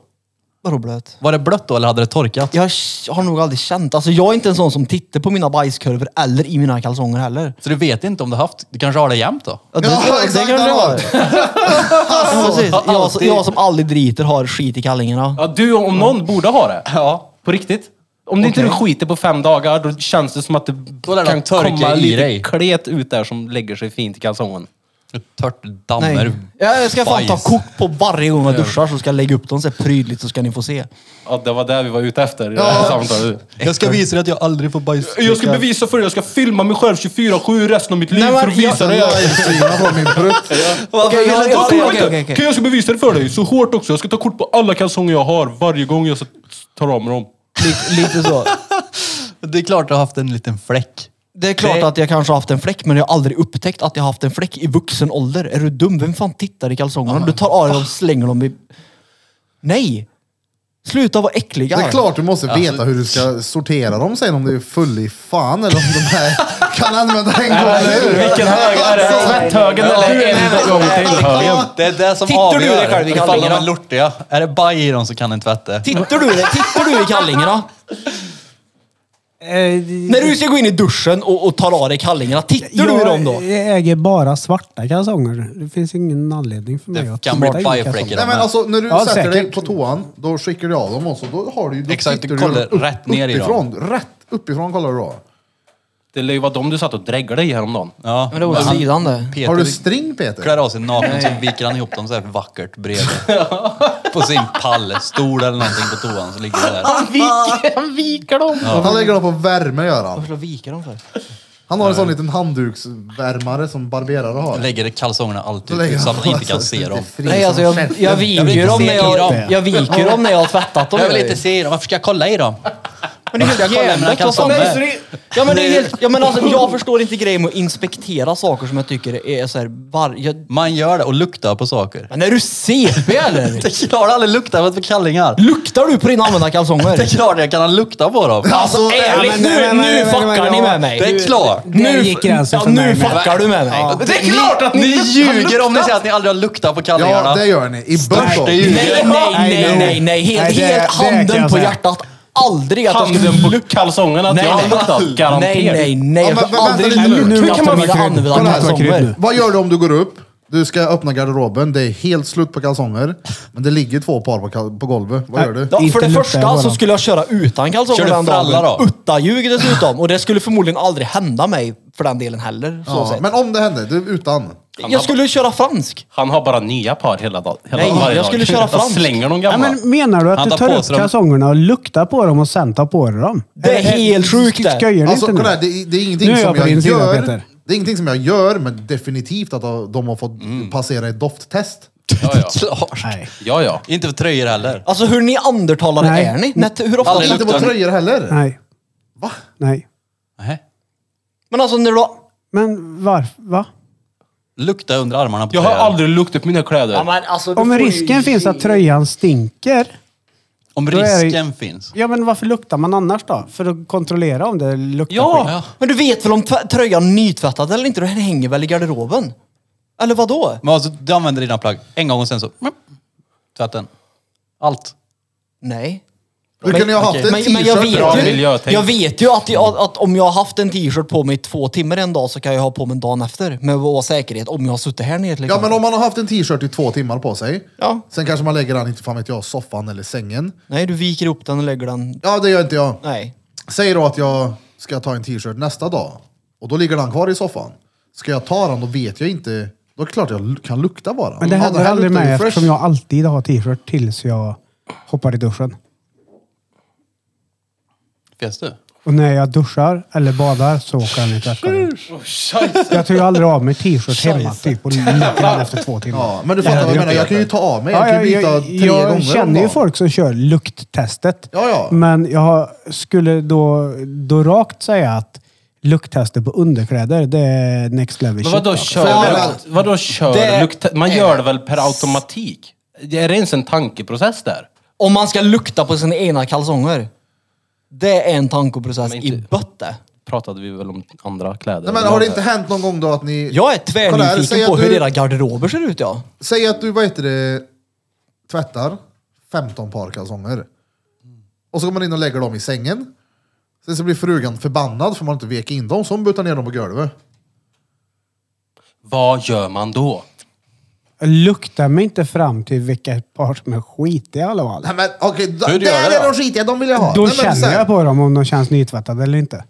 Speaker 6: Vadå blöt?
Speaker 2: Var det blött då eller hade det torkat?
Speaker 6: Jag k- har nog aldrig känt, alltså jag är inte en sån som tittar på mina bajskurvor eller i mina kalsonger heller.
Speaker 2: Så du vet inte om du haft, du kanske har det jämt då?
Speaker 6: Ja, det,
Speaker 1: Ja,
Speaker 6: det,
Speaker 1: exakt,
Speaker 6: kanske
Speaker 1: han
Speaker 6: jag har.
Speaker 1: har.
Speaker 6: <laughs> Ja, precis. Jag, som- jag som aldrig driter har skit i kallingarna.
Speaker 5: Ja, du om någon borde ha det. Ja. På riktigt. Om det inte du skiter på fem dagar, då känns det som att det
Speaker 2: lär det
Speaker 5: kan
Speaker 2: torka
Speaker 5: komma
Speaker 2: i
Speaker 5: lite
Speaker 2: dig.
Speaker 5: klet ut där som lägger sig fint i kalsongen.
Speaker 2: Ett Tört dammer.
Speaker 6: Nej. Jag ska fan ta
Speaker 2: bajs.
Speaker 6: kort på varje gång jag duschar så ska jag lägga upp dem så här prydligt så ska ni få se.
Speaker 5: Ja, det var där vi var ute efter i det här samtalet.
Speaker 2: Jag ska visa dig att jag aldrig får bajs.
Speaker 5: Jag ska bevisa för dig, jag ska filma mig själv 24-7 resten av mitt liv
Speaker 6: Nej, men
Speaker 5: för att visa
Speaker 1: Sen
Speaker 5: dig.
Speaker 6: <laughs>
Speaker 1: livestreamar från min prutt.
Speaker 6: Okej, jag-
Speaker 5: Jag,
Speaker 6: jag-
Speaker 5: jag,
Speaker 6: okej, okej, okej.
Speaker 5: Kan jag ska bevisa det för dig. Så hårt också. Jag ska ta kort på alla kalsonger jag har varje gång jag tar av mig dem.
Speaker 6: Lite, lite så.
Speaker 2: Det är klart du har haft en liten fläck.
Speaker 6: Det är klart att jag kanske har haft en fläck, men jag har aldrig upptäckt att jag har haft en fläck i vuxen ålder. Är du dum? Vem fan tittar i kalsongerna? Du tar av dig dem, slänger dem i... Nej! Sluta vara äckliga.
Speaker 1: Det är klart du måste veta hur du ska sortera dem sen om du är full i fan eller om de här kan använda en gång eller
Speaker 5: Vilken hög är det? Tvätthögen eller en gång till högen?
Speaker 2: Det är det som
Speaker 6: Tittar du
Speaker 2: avgör
Speaker 6: dig själv i
Speaker 2: ifall de
Speaker 6: kallingarna?
Speaker 2: är lortiga. Är det baj i dem så kan en tvätta.
Speaker 6: Tittar du, tittar du i kallingarna?
Speaker 4: Eh,
Speaker 6: När du ska gå in i duschen och, och tar av dig kallingarna, tittar du i dem då?
Speaker 4: Jag äger bara svarta kalsonger. Det finns ingen anledning för mig
Speaker 2: Det
Speaker 4: att
Speaker 2: kan bli
Speaker 4: tvätta i
Speaker 2: bajfläck i
Speaker 4: kalsonger.
Speaker 1: Nej
Speaker 2: dem.
Speaker 1: men alltså när du
Speaker 4: Ja,
Speaker 1: sätter dig
Speaker 4: säkert.
Speaker 1: på toan, då skickar du av dem och så då har du ju... då
Speaker 2: Exakt,
Speaker 1: sitter
Speaker 2: du
Speaker 1: ju
Speaker 2: kollar
Speaker 1: upp-
Speaker 2: rätt ner i dem.
Speaker 1: uppifrån, Rätt uppifrån kollar du då.
Speaker 5: Det lär ju vara dem du satt och dräggade i häromdagen.
Speaker 2: Ja.
Speaker 6: Men det var åt sidan det.
Speaker 2: Peter
Speaker 1: Har du string Peter?
Speaker 2: klär av sig naken så viker han ihop dem så här vackert <laughs> bredvid. På sin pallstol eller någonting på toan så ligger det där.
Speaker 1: Han lägger dem på värme gör han.
Speaker 6: Varför ska jag vika dem för?
Speaker 1: Han har en sån liten handduksvärmare som barberare har.
Speaker 2: Lägger kalsongerna alltid
Speaker 1: Då lägger
Speaker 2: ut så
Speaker 1: han
Speaker 2: att man inte
Speaker 1: alltså
Speaker 2: kan se
Speaker 1: lite
Speaker 2: dem.
Speaker 1: fri
Speaker 6: Nej,
Speaker 1: som
Speaker 6: alltså jag,
Speaker 1: käften.
Speaker 6: jag
Speaker 2: vill
Speaker 6: viker
Speaker 2: inte
Speaker 6: dem när
Speaker 2: se i
Speaker 6: jag,
Speaker 2: dem.
Speaker 6: jag viker dem när jag har tvättat dem.
Speaker 2: Jag vill inte se dem. Varför ska jag kolla i dem?
Speaker 6: Men det är
Speaker 2: Jag
Speaker 6: helt
Speaker 2: kollar mina
Speaker 6: jävligt vad fan
Speaker 2: kalsonger.
Speaker 6: är det? Ja men det är helt, ja, men alltså, jag förstår inte grejen med att inspektera saker som jag tycker är så här, var, jag,
Speaker 2: Man gör det och luktar på saker.
Speaker 6: Men är du CP eller?
Speaker 2: Det är klart aldrig luktar på kallingar.
Speaker 6: Luktar du på dina använda
Speaker 2: Det är
Speaker 6: kalsonger?
Speaker 2: klart jag kan ha lukta på dem.
Speaker 6: Alltså ärligt,
Speaker 4: men- nej,
Speaker 6: nu,
Speaker 4: nej, nej, nej,
Speaker 6: nu fuckar
Speaker 4: nej,
Speaker 6: ni
Speaker 4: nej.
Speaker 6: med mig.
Speaker 2: Det är klart.
Speaker 4: Där gick gränsen
Speaker 6: ja,
Speaker 4: för mig
Speaker 6: nu
Speaker 4: med.
Speaker 6: fuckar du med mig.
Speaker 2: Det är klart att ni ljuger om ni säger att ni aldrig har luktat på kallingarna.
Speaker 1: Ja, det gör ni. I
Speaker 2: Största
Speaker 1: början.
Speaker 2: ljud.
Speaker 6: Nej, nej, nej, nej, nej. Helt,
Speaker 4: Nej, det-
Speaker 6: helt
Speaker 4: det kan
Speaker 6: handen
Speaker 4: jag
Speaker 6: på
Speaker 4: säga.
Speaker 6: hjärtat. Aldrig att jag skulle...
Speaker 5: Handen på kalsongerna, att
Speaker 6: Nej,
Speaker 5: jag har
Speaker 6: nej.
Speaker 5: luktat.
Speaker 6: Nej,
Speaker 5: Garanterat.
Speaker 6: nej, nej.
Speaker 1: Ja,
Speaker 6: Jag
Speaker 1: men
Speaker 6: skulle
Speaker 1: vänta
Speaker 6: aldrig
Speaker 1: lite nu.
Speaker 4: Nu
Speaker 6: lukta
Speaker 4: kan
Speaker 6: på
Speaker 4: man
Speaker 6: mina
Speaker 4: vara krydd.
Speaker 6: använda
Speaker 4: Kolla här, så krydd
Speaker 6: kalsonger.
Speaker 4: nu.
Speaker 1: Vad gör du om du går upp? Du ska öppna garderoben, det är helt slut på kalsonger. Men det ligger två par på, kal- på golvet. Vad gör du?
Speaker 6: Ja,
Speaker 4: Inte
Speaker 6: för det
Speaker 4: luktar jag på
Speaker 6: första så
Speaker 4: dem.
Speaker 6: skulle jag köra utan kalsonger
Speaker 2: Kör du fralla då?
Speaker 6: Uttaljug dessutom. Och det skulle förmodligen aldrig hända mig för den delen heller. Så
Speaker 1: Ja,
Speaker 6: sett.
Speaker 1: men om det händer, du är utan.
Speaker 6: Jag skulle köra fransk.
Speaker 5: Han har bara nya par hela dagen. Hela
Speaker 6: Nej,
Speaker 5: varje
Speaker 6: jag
Speaker 5: dag.
Speaker 6: skulle köra fransk.
Speaker 5: slänger de
Speaker 4: Ja,
Speaker 5: gamla.
Speaker 4: men menar du att
Speaker 2: Han
Speaker 4: du
Speaker 2: tar
Speaker 4: tar
Speaker 2: på
Speaker 4: upp
Speaker 2: sig dem.
Speaker 4: kalsongerna och luktar på dem och sen tar på dig dem?
Speaker 6: Det är helt sjukt det.
Speaker 4: Skojar du
Speaker 1: Alltså,
Speaker 4: inte nu?
Speaker 1: kolla här, det, är- det är
Speaker 4: Nu
Speaker 1: ingenting
Speaker 4: är jag
Speaker 1: som
Speaker 4: på
Speaker 1: jag
Speaker 4: din sida,
Speaker 1: gör.
Speaker 4: Peter.
Speaker 1: det är ingenting som jag gör, men definitivt att de har fått
Speaker 6: Mm.
Speaker 1: passera ett dofttest.
Speaker 5: Ja, ja.
Speaker 2: klart.
Speaker 4: Nej.
Speaker 5: ja, ja.
Speaker 2: Inte för tröjor heller.
Speaker 6: Alltså hur neandertalare
Speaker 4: Nej.
Speaker 6: är ni? När, hur ofta
Speaker 2: Aldrig
Speaker 1: Inte på
Speaker 2: luktar-
Speaker 1: tröjor heller.
Speaker 4: Nej.
Speaker 1: Va?
Speaker 4: Nej.
Speaker 2: Nej.
Speaker 6: Men alltså när du...
Speaker 4: Men varför? Va?
Speaker 2: Lukta under armarna på
Speaker 5: Jag har
Speaker 2: tröjan.
Speaker 5: aldrig luktat på mina kläder.
Speaker 6: Ja, men alltså, du
Speaker 4: Om
Speaker 6: får ju
Speaker 4: risken finns att
Speaker 6: ge-
Speaker 4: tröjan stinker.
Speaker 2: Om
Speaker 4: Då är det-
Speaker 2: risken finns.
Speaker 4: Ja, men varför luktar man annars då? För att kontrollera om det luktar skit.
Speaker 6: Ja, men du vet väl om tv- tröjan är nytvättad eller inte? Den hänger väl i garderoben? Eller vadå?
Speaker 2: Men alltså, du använder dina plagg en gång och sen så... mm, Tvätten. Allt.
Speaker 6: Nej.
Speaker 1: Du kunde ju ha haft
Speaker 6: Okej.
Speaker 1: en
Speaker 6: men, men jag,
Speaker 1: t-shirt.
Speaker 6: vet
Speaker 1: på dig.
Speaker 5: miljö.
Speaker 6: ju,
Speaker 5: miljötänk.
Speaker 6: jag vet ju att, jag, att om jag har haft en t-shirt på mig i två timmar en dag så kan jag ha på mig dagen efter. Med vår säkerhet. Om jag har suttit här nere liksom. till
Speaker 1: Ja
Speaker 6: exempel.
Speaker 1: men om man har haft en t-shirt i två timmar på sig.
Speaker 6: Ja.
Speaker 1: Sen kanske man lägger den, inte fan vet jag, soffan eller sängen.
Speaker 6: Nej, du viker upp den och lägger den...
Speaker 1: Ja det gör inte jag.
Speaker 6: Nej.
Speaker 1: Säg då att jag ska ta en t-shirt nästa dag. Och då ligger den kvar i soffan. Ska jag ta den då vet jag inte. Då är det klart jag l- kan lukta bara.
Speaker 4: Men det
Speaker 1: Ja,
Speaker 4: händer
Speaker 1: här
Speaker 4: aldrig
Speaker 1: luktar ju
Speaker 4: mig
Speaker 1: fresh.
Speaker 4: eftersom jag alltid har t-shirt tills jag hoppar i duschen.
Speaker 2: Finns du?
Speaker 4: Och när jag duschar eller badar så åker den i tvättkorgen. Jag tar ju aldrig av mig t-shirt hemma typ och lägger den efter två timmar.
Speaker 1: Ja, men du fattar vad jag menar. Jag kan ju ta av mig. Jag
Speaker 4: Ja,
Speaker 1: kan ju
Speaker 4: jag,
Speaker 1: byta
Speaker 4: jag,
Speaker 1: tre gånger
Speaker 4: jag
Speaker 1: om
Speaker 4: känner ju
Speaker 1: dagen.
Speaker 4: folk som kör lukttestet.
Speaker 1: Ja, ja.
Speaker 4: Men jag har- skulle då, då rakt säga att lukttester på underkläder, det är next level
Speaker 5: Men
Speaker 4: shit.
Speaker 5: vadå
Speaker 4: alltså.
Speaker 5: kör?
Speaker 1: Fan,
Speaker 5: lukt- Vadå kör?
Speaker 6: Det
Speaker 5: lukt, man gör det väl per automatik? Det är det ens en tankeprocess där?
Speaker 6: Om man ska lukta på sina egna kalsonger. Det är en tankeprocess
Speaker 5: Men
Speaker 6: i
Speaker 5: inte-
Speaker 6: bötte.
Speaker 5: Pratade vi väl om andra kläder?
Speaker 1: Nej, men har det inte hänt någon gång då att ni...
Speaker 6: Jag är
Speaker 1: Kolla här, säg
Speaker 6: tvärnyfiken
Speaker 1: att
Speaker 6: på hur
Speaker 1: du-
Speaker 6: era garderober ser ut ja.
Speaker 1: Säg att du, vad heter det, tvättar 15 par kalsonger. Och så går man in och lägger dem i sängen. Sen så blir frugan förbannad för man inte vek in dem, så hon butar ner dem på golvet.
Speaker 5: Vad gör man då?
Speaker 4: Luktar mig inte fram till vilka par som är skitiga i alla fall.
Speaker 1: Nej men okej, d-
Speaker 2: Hur gör
Speaker 1: där
Speaker 2: det
Speaker 1: är
Speaker 2: då?
Speaker 1: de skitiga, de vill jag ha.
Speaker 4: Då
Speaker 1: Nej, men
Speaker 4: känner
Speaker 1: sen-
Speaker 4: jag på dem om de känns nytvättade eller inte.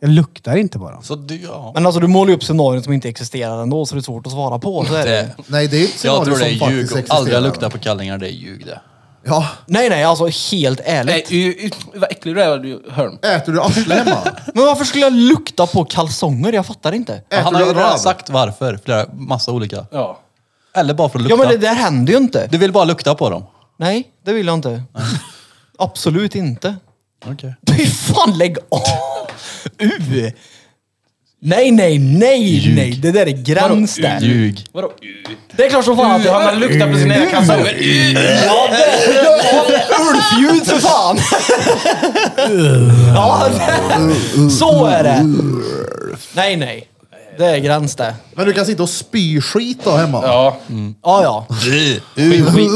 Speaker 4: Jag luktar inte på dem.
Speaker 2: Så du, ja.
Speaker 6: Men alltså du målar ju upp scenarion som inte existerar ändå så det är svårt att svara på. Så är det.
Speaker 2: Det,
Speaker 1: Nej det är ett
Speaker 2: jag
Speaker 1: scenario
Speaker 2: tror
Speaker 1: som
Speaker 2: det
Speaker 1: faktiskt
Speaker 2: är ljug.
Speaker 1: existerar.
Speaker 2: Och Aldrig lukta på kallingar, det är ljug det.
Speaker 1: Ja,
Speaker 6: Nej nej, alltså helt ärligt.
Speaker 5: Nej, y- y- vad äcklig du är, du, Hörn.
Speaker 1: äter du arsle hemma? <laughs>
Speaker 6: Men varför skulle jag lukta på kalsonger? Jag fattar inte.
Speaker 1: Äter
Speaker 2: Han har
Speaker 1: du
Speaker 2: ju redan
Speaker 1: röv?
Speaker 2: sagt varför. Flera, massa olika.
Speaker 5: Ja.
Speaker 2: Eller bara för att
Speaker 6: Ja
Speaker 2: lukta.
Speaker 6: men det där händer ju inte.
Speaker 2: Du vill bara lukta på dem?
Speaker 6: Nej, det vill jag inte. Absolut inte.
Speaker 2: Okej.
Speaker 6: Fy fan, lägg av! U! Nej, nej, nej, nej. Det där är gräns där.
Speaker 2: Ljug.
Speaker 5: Vadå?
Speaker 6: Det är klart som fan att
Speaker 5: Han har
Speaker 6: jag...
Speaker 5: luktat på sina egna kalsonger.
Speaker 6: Ja, det- ja, Ulfljud för fan! Ja, det- så är det. Nej, nej. Det är gräns det.
Speaker 1: Men du kan sitta och spy skit då hemma?
Speaker 5: Ja.
Speaker 6: Ja, ja.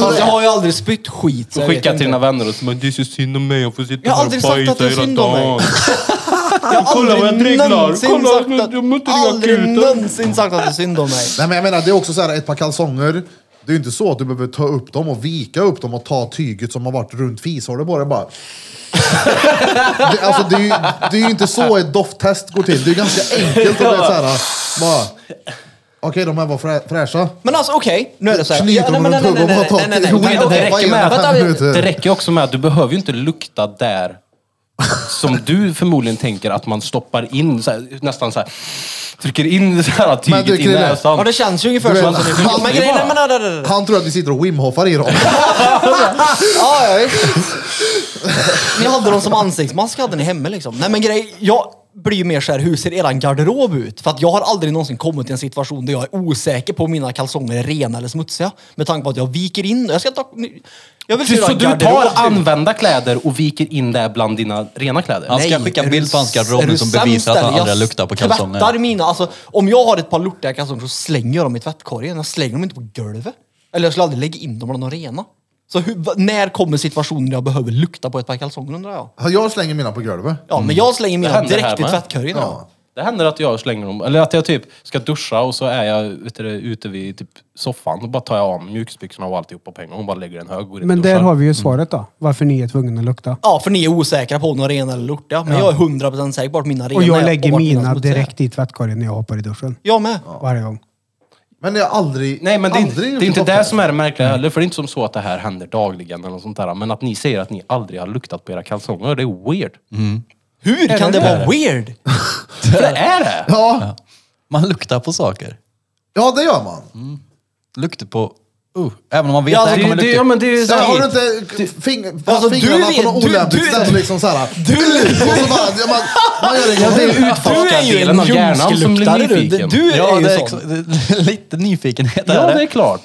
Speaker 6: Fast jag har ju aldrig spytt skit. så jag vet
Speaker 5: Skicka till
Speaker 6: inte.
Speaker 5: dina vänner och så men det är så synd om mig, jag får sitta
Speaker 6: Jag har
Speaker 5: här
Speaker 6: aldrig sagt att det är
Speaker 5: hela
Speaker 6: synd om mig.
Speaker 5: dagen."
Speaker 6: <laughs> Jag har
Speaker 5: Kolla vad jag
Speaker 6: aldrig
Speaker 5: drigglar.
Speaker 6: någonsin
Speaker 5: Kolla,
Speaker 6: sagt
Speaker 5: jag- jag måste
Speaker 6: att-
Speaker 5: ringa
Speaker 6: aldrig
Speaker 5: akuten.
Speaker 6: någonsin sagt att det är synd om mig.
Speaker 1: Nej men jag menar, det är också så här ett par kalsonger. Det är ju inte så att du behöver ta upp dem och vika upp dem och ta tyget som har varit runt fishålet på dig bara. <laughs> det, alltså, det, är ju, det är ju inte så ett dofttest går till. Det är ju ganska enkelt att bli så här, bara... Okej, de här var frä, fräscha.
Speaker 6: Men alltså okej, nu är det så här.
Speaker 1: Knyter
Speaker 6: nej,
Speaker 1: dem
Speaker 6: men
Speaker 1: runt
Speaker 6: nej, nej,
Speaker 1: huvudet och tar
Speaker 6: nej, nej, nej, nej,
Speaker 1: Jo,
Speaker 6: nej,
Speaker 1: det
Speaker 6: nej,
Speaker 1: räcker med
Speaker 6: vänta,
Speaker 1: fem
Speaker 6: vi-
Speaker 1: minuter.
Speaker 5: Det räcker också med att du behöver ju inte lukta där som du förmodligen tänker att man stoppar in, så här, nästan så här, trycker in så här
Speaker 1: Men du,
Speaker 5: tyget i
Speaker 1: Krille.
Speaker 5: näsan.
Speaker 6: Ja det känns ju ungefär
Speaker 1: Du
Speaker 6: som
Speaker 1: vet,
Speaker 6: att ni
Speaker 1: han-
Speaker 6: Men grejen är... men nej, nej, nej, nej.
Speaker 1: Han tror att vi sitter och wimhoffar i dem.
Speaker 6: Ja, ja, visst. Ni hade dem som ansiktsmask hade ni hemma liksom. Nej men grej, jag blir ju mer såhär, hur ser eran garderob ut? För att jag har aldrig någonsin kommit till en situation där jag är osäker på om mina kalsonger är rena eller smutsiga. Med tanke på att jag viker in, jag ska ta... Jag vill se hur
Speaker 5: Så
Speaker 6: eran
Speaker 5: du
Speaker 6: garderob
Speaker 1: typ?
Speaker 5: tar
Speaker 6: ser ut.
Speaker 5: använda kläder och viker in det bland dina rena kläder?
Speaker 2: Han ska
Speaker 6: Nej,
Speaker 2: skicka
Speaker 6: är
Speaker 2: bild
Speaker 6: du-
Speaker 2: på hans garderob
Speaker 6: är
Speaker 2: nu
Speaker 6: du
Speaker 2: som
Speaker 6: sämst
Speaker 2: bevisar att han
Speaker 6: eller? Jag
Speaker 2: aldrig luktar på
Speaker 6: tvättar
Speaker 2: kalsonger.
Speaker 6: mina, alltså om jag har ett par lortiga kalsonger så slänger jag dem i tvättkorgen. Jag slänger dem inte på golvet. Eller jag skulle aldrig lägga in dem bland de rena. Så hur, va- när kommer situationen där jag behöver lukta på ett par kalsonger undrar jag?
Speaker 1: Jag slänger mina på golvet.
Speaker 6: Ja, men jag slänger
Speaker 5: Mm. Det
Speaker 6: mina
Speaker 5: händer
Speaker 6: direkt
Speaker 5: här
Speaker 6: i
Speaker 5: med.
Speaker 6: tvättkorgen.
Speaker 1: Ja.
Speaker 5: Det händer att jag slänger dem, eller att jag typ ska duscha och så är jag vet du, ute vid typ soffan och bara tar jag av mig mjukisbyxorna och alltihopa på en gång och bara lägger en hög och går in
Speaker 4: Men
Speaker 5: och
Speaker 4: där
Speaker 5: duschar.
Speaker 4: har vi ju svaret då. Varför ni är tvungna att lukta.
Speaker 6: Ja, för ni är osäkra på om de är rena eller lortiga. Men jag är 100% säker på att mina rena
Speaker 4: Och jag
Speaker 6: är
Speaker 4: lägger
Speaker 6: vart mina
Speaker 4: mina
Speaker 6: smutsiga är.
Speaker 4: direkt i tvättkorgen när jag hoppar i duschen.
Speaker 6: Jag med.
Speaker 4: Varje gång.
Speaker 1: Men jag har aldrig...
Speaker 5: Nej men det är, inte-
Speaker 1: aldrig
Speaker 5: det är inte
Speaker 1: gjort
Speaker 5: det
Speaker 1: dofttest.
Speaker 5: som är det märkliga heller, för det är inte som så att det här händer dagligen eller något sånt där. Men att ni säger att ni aldrig har luktat på era kalsonger, det är weird.
Speaker 6: Hur kan det,
Speaker 5: det
Speaker 6: vara
Speaker 5: där?
Speaker 6: weird?
Speaker 5: För det är det!
Speaker 1: Ja,
Speaker 2: Man luktar på saker.
Speaker 5: Mm.
Speaker 1: ja, det gör man.
Speaker 2: Luktar på Uh, även om man vet
Speaker 6: Ja,
Speaker 2: att det
Speaker 6: alltså,
Speaker 2: här kommer
Speaker 5: Det, det, ja, men det
Speaker 2: lukta.
Speaker 5: är ju
Speaker 1: Ja,
Speaker 5: så
Speaker 1: har du
Speaker 5: här,
Speaker 1: inte fing,
Speaker 6: Alltså, du
Speaker 1: fingrarna
Speaker 6: vet-
Speaker 1: på något
Speaker 6: du-
Speaker 1: olämpligt
Speaker 6: du-
Speaker 1: ställe liksom såhär? Du! Och så bara, ja, man, man gör det en gång
Speaker 5: det är
Speaker 1: till.
Speaker 5: utforskardelen av hjärnan som blir
Speaker 6: ljumskeluktare du.
Speaker 5: nyfiken.
Speaker 6: Det- Du
Speaker 2: Ja,
Speaker 6: är ju
Speaker 2: det är
Speaker 6: sån.
Speaker 2: exa- det är lite nyfikenhet
Speaker 5: ja,
Speaker 2: är
Speaker 5: det är
Speaker 2: det.
Speaker 5: klart.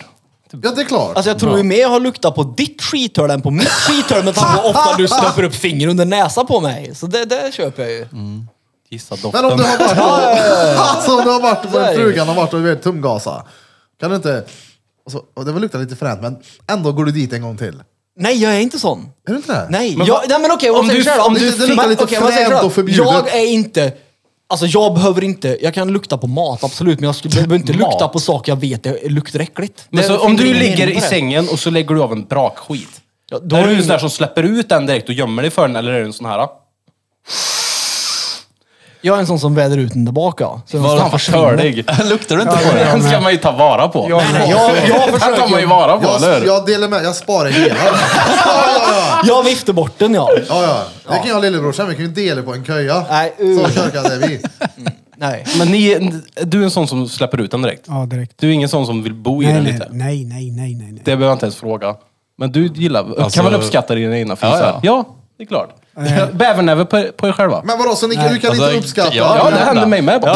Speaker 1: Ja, det är klart.
Speaker 6: Alltså jag tror ju mer jag har luktat på ditt skithörl än på mitt skithörl med tanke på hur ofta du stoppar upp fingret under näsan på mig. Så det, det köper jag ju.
Speaker 5: Mm. Gissa
Speaker 1: Men om
Speaker 5: doften.
Speaker 1: du har varit <laughs> alltså, om du har varit
Speaker 6: Så är det
Speaker 1: på
Speaker 6: ju.
Speaker 1: frugan har varit och du vet, tumgasa. Kan du inte... Och så, och det var lukta lite fränt, men ändå går du dit en gång till.
Speaker 6: Nej, jag är inte sån.
Speaker 1: Är du inte det?
Speaker 6: Nej,
Speaker 5: Men
Speaker 6: jag,
Speaker 5: vad-
Speaker 6: nej men okej.
Speaker 5: om
Speaker 6: Om,
Speaker 5: du-
Speaker 6: du, själv,
Speaker 5: om
Speaker 6: om
Speaker 1: du
Speaker 6: du
Speaker 1: luktar lite fränt och förbjudet.
Speaker 6: Jag är inte... Alltså jag behöver inte... Jag kan lukta på mat, absolut. Men jag skulle, behöver inte lukta på saker jag vet är- luktar äckligt.
Speaker 5: Men
Speaker 6: Det-
Speaker 5: så,
Speaker 6: det
Speaker 5: om
Speaker 6: finns
Speaker 5: du
Speaker 6: ingen
Speaker 5: ligger
Speaker 6: mening
Speaker 5: i
Speaker 6: med det.
Speaker 5: sängen och så lägger du av en brakskit.
Speaker 6: Ja, då
Speaker 5: Är
Speaker 6: har
Speaker 5: du
Speaker 6: du
Speaker 5: en sån där
Speaker 6: ingen-
Speaker 5: som släpper ut den direkt och gömmer dig för den eller är du en sån här? ah,
Speaker 6: Jag är en sån som väder ut den tillbaka. Så jag
Speaker 5: Fan vad törlig.
Speaker 2: <laughs> Luktar du inte
Speaker 5: <laughs>
Speaker 2: på det?
Speaker 5: Den ska man ju ta vara på.
Speaker 6: Nej, nej, jag, jag
Speaker 5: Den tar
Speaker 6: försöker
Speaker 5: man ju
Speaker 6: ju...
Speaker 5: vara på, eller
Speaker 1: Jag,
Speaker 5: hur?
Speaker 1: jag delar med, jag sparar
Speaker 5: <laughs>
Speaker 1: hela. ja, ja, ja.
Speaker 6: Jag viftar bort den ja.
Speaker 1: ja, ja. Det kan jag och lillebrorsan, vi kan ju dela på en köja.
Speaker 6: Nej,
Speaker 1: så
Speaker 6: uh.
Speaker 1: körkade är vi.
Speaker 6: Nej.
Speaker 5: Men ni, du är en sån som släpper ut den direkt.
Speaker 4: Ja, direkt.
Speaker 5: Du är ingen sån som vill bo i
Speaker 4: Nej,
Speaker 5: den
Speaker 4: nej,
Speaker 5: lite.
Speaker 4: nej, nej, nej, nej.
Speaker 5: Det behöver jag inte ens fråga. Men du gillar,
Speaker 2: Alltså-
Speaker 5: kan väl uppskatta dina egna fisar?
Speaker 2: Ja, ja.
Speaker 5: det är klart. <laughs> Bävernäve på, på er själva.
Speaker 1: Men vadå, så ni, kan- du kan
Speaker 2: Alltså,
Speaker 1: inte uppskatta?
Speaker 2: ja,
Speaker 5: ja,
Speaker 1: du,
Speaker 5: det hände mig med. Bara.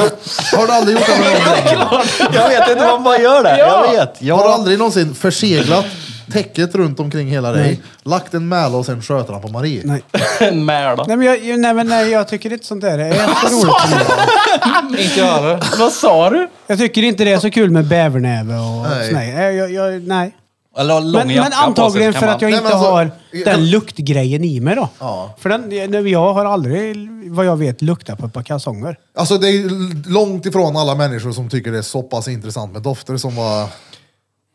Speaker 1: Har du aldrig gjort det med någon?
Speaker 6: <laughs>
Speaker 2: Jag vet inte, man bara gör det. Jag vet.
Speaker 1: Har du aldrig någonsin förseglat täcket runt omkring hela dig, lagt en mäla och sen sköt den på Marie?
Speaker 4: Nej.
Speaker 5: En <laughs> mäla.
Speaker 4: Nej, men jag, nej, men nej, jag tycker inte sånt där är så roligt.
Speaker 6: Inte jag heller.
Speaker 5: Vad sa du?
Speaker 4: Jag tycker inte det är så kul med bävernäve och
Speaker 1: Nej.
Speaker 4: sånt där. Nej, Jag, jag, nej.
Speaker 2: Eller ha lång
Speaker 4: Men,
Speaker 2: jacka
Speaker 4: men
Speaker 2: på sig,
Speaker 4: antagligen
Speaker 2: så kan
Speaker 4: för att jag
Speaker 1: Nej,
Speaker 4: inte
Speaker 1: men alltså,
Speaker 4: har
Speaker 1: jag-
Speaker 4: den luktgrejen i mig då.
Speaker 1: Ja.
Speaker 4: För den, nej, jag har aldrig, vad jag vet, luktat på ett par kalsonger.
Speaker 1: Alltså det är ju l- långt ifrån alla människor som tycker det är så pass intressant med dofter som var...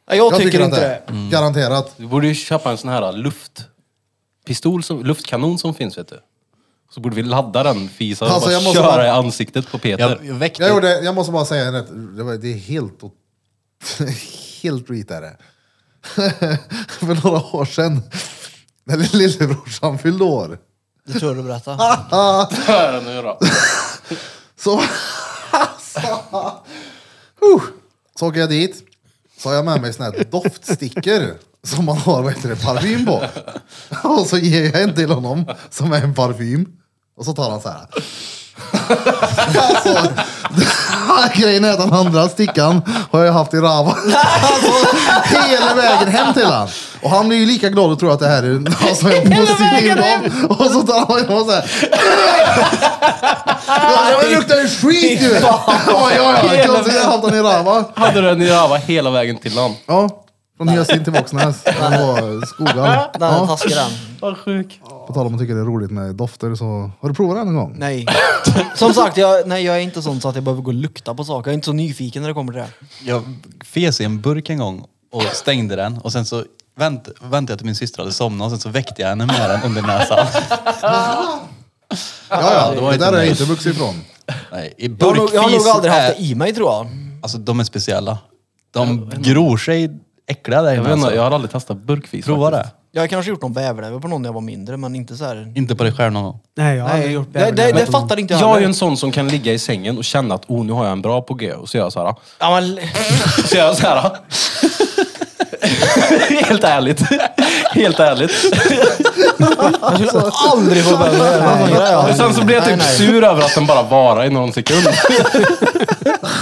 Speaker 6: Jag, jag tycker inte det. Mm.
Speaker 1: Garanterat.
Speaker 5: Du borde ju köpa en sån här luftpistol, som, luftkanon som finns vet du. Så borde vi ladda den fisa och
Speaker 1: Alltså,
Speaker 5: bara
Speaker 1: jag måste
Speaker 5: köra
Speaker 1: bara-
Speaker 5: i ansiktet på Peter.
Speaker 2: man- Jag väckte
Speaker 1: Jag, gjorde, jag måste bara säga en rätt, det, var, det är helt... o- <laughs> helt reet är det. <laughs> För några år sedan, när lillebrorsan fyllde år,
Speaker 6: Det tror jag du berättar.
Speaker 5: Hör den nu då.
Speaker 1: så... Uh, så åker jag dit, så har jag med mig såna här doftstickor som man har vad heter det, parfym på. <laughs> Och så ger jag en till honom som är en parfym. Och så tar han så här. <laughs> Alltså, <laughs> grejen är att den andra stickan har jag haft i rava. <laughs> Alltså, hela vägen hem till han. Och han blir ju lika glad och tror att det här är alltså, en positiv dag. Och så tar han och så här. Ja, men Det luktar ju skit ju! Ja, ja, ja. Konstigt, jag har haft den i rava.
Speaker 5: Hade den i röva hela vägen till land.
Speaker 1: Ja, från Hyasin till Våxnäs. Han var skogar.
Speaker 6: Den är
Speaker 1: Ja.
Speaker 6: taskig den.
Speaker 5: Vad sjuk.
Speaker 1: På tal om att tycka det är roligt med dofter så har du provat den en gång?
Speaker 6: Nej. Som sagt, jag, nej, jag är inte sån så att jag behöver gå och lukta på saker. Jag är inte så nyfiken när det kommer till det.
Speaker 2: Jag fes i en burk en gång och stängde den och sen så vänt, väntade jag till min syster hade somnat och sen så väckte jag henne med den under <laughs> näsan.
Speaker 1: Ja,
Speaker 2: det
Speaker 1: ja.
Speaker 2: var
Speaker 1: Det
Speaker 2: inte
Speaker 1: där har jag
Speaker 2: mig.
Speaker 1: inte vuxit ifrån.
Speaker 2: Nej, i
Speaker 6: Jag har, nog, jag har nog
Speaker 2: burkfis
Speaker 6: aldrig haft det
Speaker 2: är,
Speaker 6: i mig tror jag.
Speaker 2: alltså de är speciella. De gror sig äckliga där
Speaker 5: Jag,
Speaker 2: inne.
Speaker 5: vet inte,
Speaker 2: Alltså.
Speaker 5: jag har aldrig testat burkfis.
Speaker 2: Prova
Speaker 5: faktiskt.
Speaker 2: det.
Speaker 6: Jag har kanske gjort någon bävernäve på någon när jag var mindre, men inte så här.
Speaker 2: Inte på dig själv någon gång.
Speaker 4: Nej, jag har aldrig
Speaker 6: Nej,
Speaker 4: gjort
Speaker 6: det, det, det
Speaker 4: bävernäve.
Speaker 6: fattar inte jag
Speaker 5: Jag är ju
Speaker 6: heller.
Speaker 5: en sån som kan ligga i sängen och känna att oh, nu har jag en bra på G. Och så gör jag så här.
Speaker 6: Ja, men,
Speaker 5: <laughs> Så gör jag så här. Helt ärligt. Helt ärligt.
Speaker 6: jag skulle aldrig få <laughs> bävernäve.
Speaker 5: Och sen så blir jag typ sur över att den bara varar i någon
Speaker 2: <laughs>
Speaker 5: sekund.
Speaker 1: <laughs>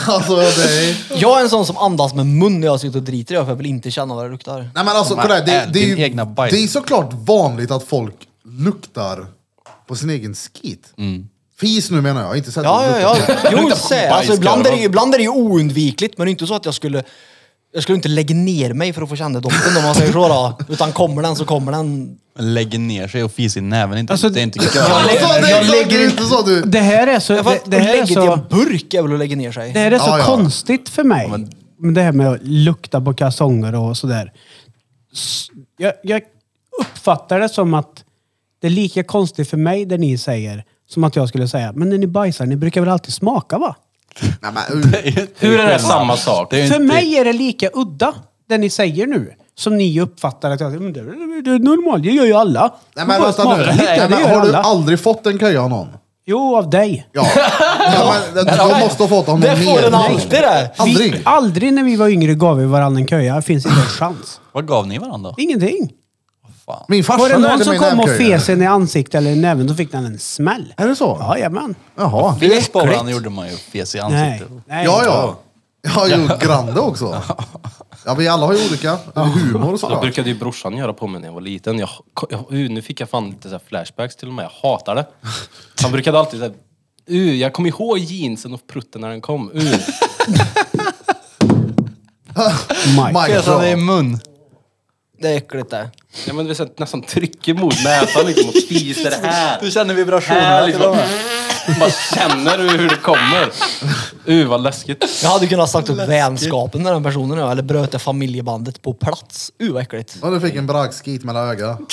Speaker 1: Alltså, det är...
Speaker 6: Jag är en sån som andas med mun när jag sitter och driter i det, för jag vill inte känna vad det luktar.
Speaker 1: Nej men alltså,
Speaker 2: De
Speaker 1: kolla, här, det,
Speaker 2: är
Speaker 1: det, är ju,
Speaker 2: din egna bajs.
Speaker 1: det är såklart vanligt att folk luktar på sin egen skit. Fis nu menar jag, inte så att
Speaker 6: Ja,
Speaker 1: de
Speaker 6: ja,
Speaker 1: luktar <laughs> på-
Speaker 6: ja. Jo,
Speaker 5: Luktar
Speaker 6: sä-
Speaker 5: bajs,
Speaker 6: alltså, ibland, är det,
Speaker 5: Karl.
Speaker 6: ju- ibland är det ju oundvikligt, men det är inte så att jag skulle... Jag skulle inte lägga ner mig för att få känna doften om man säger så då. Utan kommer den så kommer den.
Speaker 2: Lägger ner sig och fis i näven. Inte,
Speaker 4: Alltså,
Speaker 2: det är inte
Speaker 1: Alltså, det är inte- det är inte så att du...
Speaker 4: Det här är så...
Speaker 6: Jag
Speaker 4: Det,
Speaker 6: fast,
Speaker 4: det här är
Speaker 6: lägga till
Speaker 4: så...
Speaker 6: en burk är väl att lägga ner
Speaker 4: Det
Speaker 6: sig?
Speaker 4: här är så
Speaker 1: Ja, ja.
Speaker 4: konstigt för mig. Men det här med att lukta på kalsonger och sådär. S- Jag, jag uppfattar det som att det är lika konstigt för mig det ni säger som att jag skulle säga, men när ni bajsar, ni brukar väl alltid smaka va?
Speaker 1: Nej, men, uh.
Speaker 5: Hur är det samma sak?
Speaker 2: Det är
Speaker 4: För
Speaker 2: inte-
Speaker 4: mig är det lika udda, det ni säger nu, som ni uppfattar att jag, men det, det, det är normalt, det gör ju alla.
Speaker 1: Nej,
Speaker 4: Man
Speaker 1: men
Speaker 4: bara
Speaker 1: vänta nu.
Speaker 4: smakar lite,
Speaker 1: Nej,
Speaker 4: det
Speaker 1: men,
Speaker 4: gör
Speaker 1: har du
Speaker 4: alla.
Speaker 1: aldrig fått en köja av någon?
Speaker 4: Jo, av dig.
Speaker 1: Ja. Ja, men, de- de måste ha fått honom
Speaker 6: Det får den alltid det.
Speaker 1: Aldrig.
Speaker 4: Vi, aldrig när vi var yngre gav vi varandra en köja. Det finns inte en chans.
Speaker 2: Vad gav ni varandra?
Speaker 4: Ingenting.
Speaker 2: Fan.
Speaker 1: Min farsa
Speaker 4: Var det någon
Speaker 1: lärde
Speaker 4: som
Speaker 1: mig
Speaker 4: kom och
Speaker 1: nävköja.
Speaker 4: fes en i ansiktet eller i näven, då fick den en smäll.
Speaker 1: Är det så?
Speaker 4: Jajamän.
Speaker 1: Jaha.
Speaker 2: Fes på varandra gjorde man ju. Fes i
Speaker 4: Nej.
Speaker 2: ansiktet.
Speaker 4: Nej.
Speaker 1: Ja, ja. Jag har ju Grande också. Ja, vi alla har ju olika. Eller humor och
Speaker 5: Det
Speaker 1: såklart.
Speaker 5: brukade ju brorsan göra på mig när jag var liten. Jag, jag, uh, nu fick jag fan lite så här flashbacks till och med. Jag hatar det. Han brukade alltid säga uh, jag kommer ihåg jeansen och prutten när den kom. Uh.
Speaker 4: Mike.
Speaker 1: Microsoft.
Speaker 2: Alltså, mun.
Speaker 6: Det är äckligt det.
Speaker 5: Ja, men det är så att nästan trycker mot näsan liksom och fiser här.
Speaker 2: Du känner vibrationerna
Speaker 5: här
Speaker 2: till
Speaker 5: liksom.
Speaker 2: och med.
Speaker 5: Bara känner du hur det kommer. Uh, vad läskigt.
Speaker 6: Jag hade kunnat sagt upp vänskapen med den personen nu, eller bröt det familjebandet på plats. Uh vad äckligt.
Speaker 1: Ja, du fick en brakskit mellan ögonen.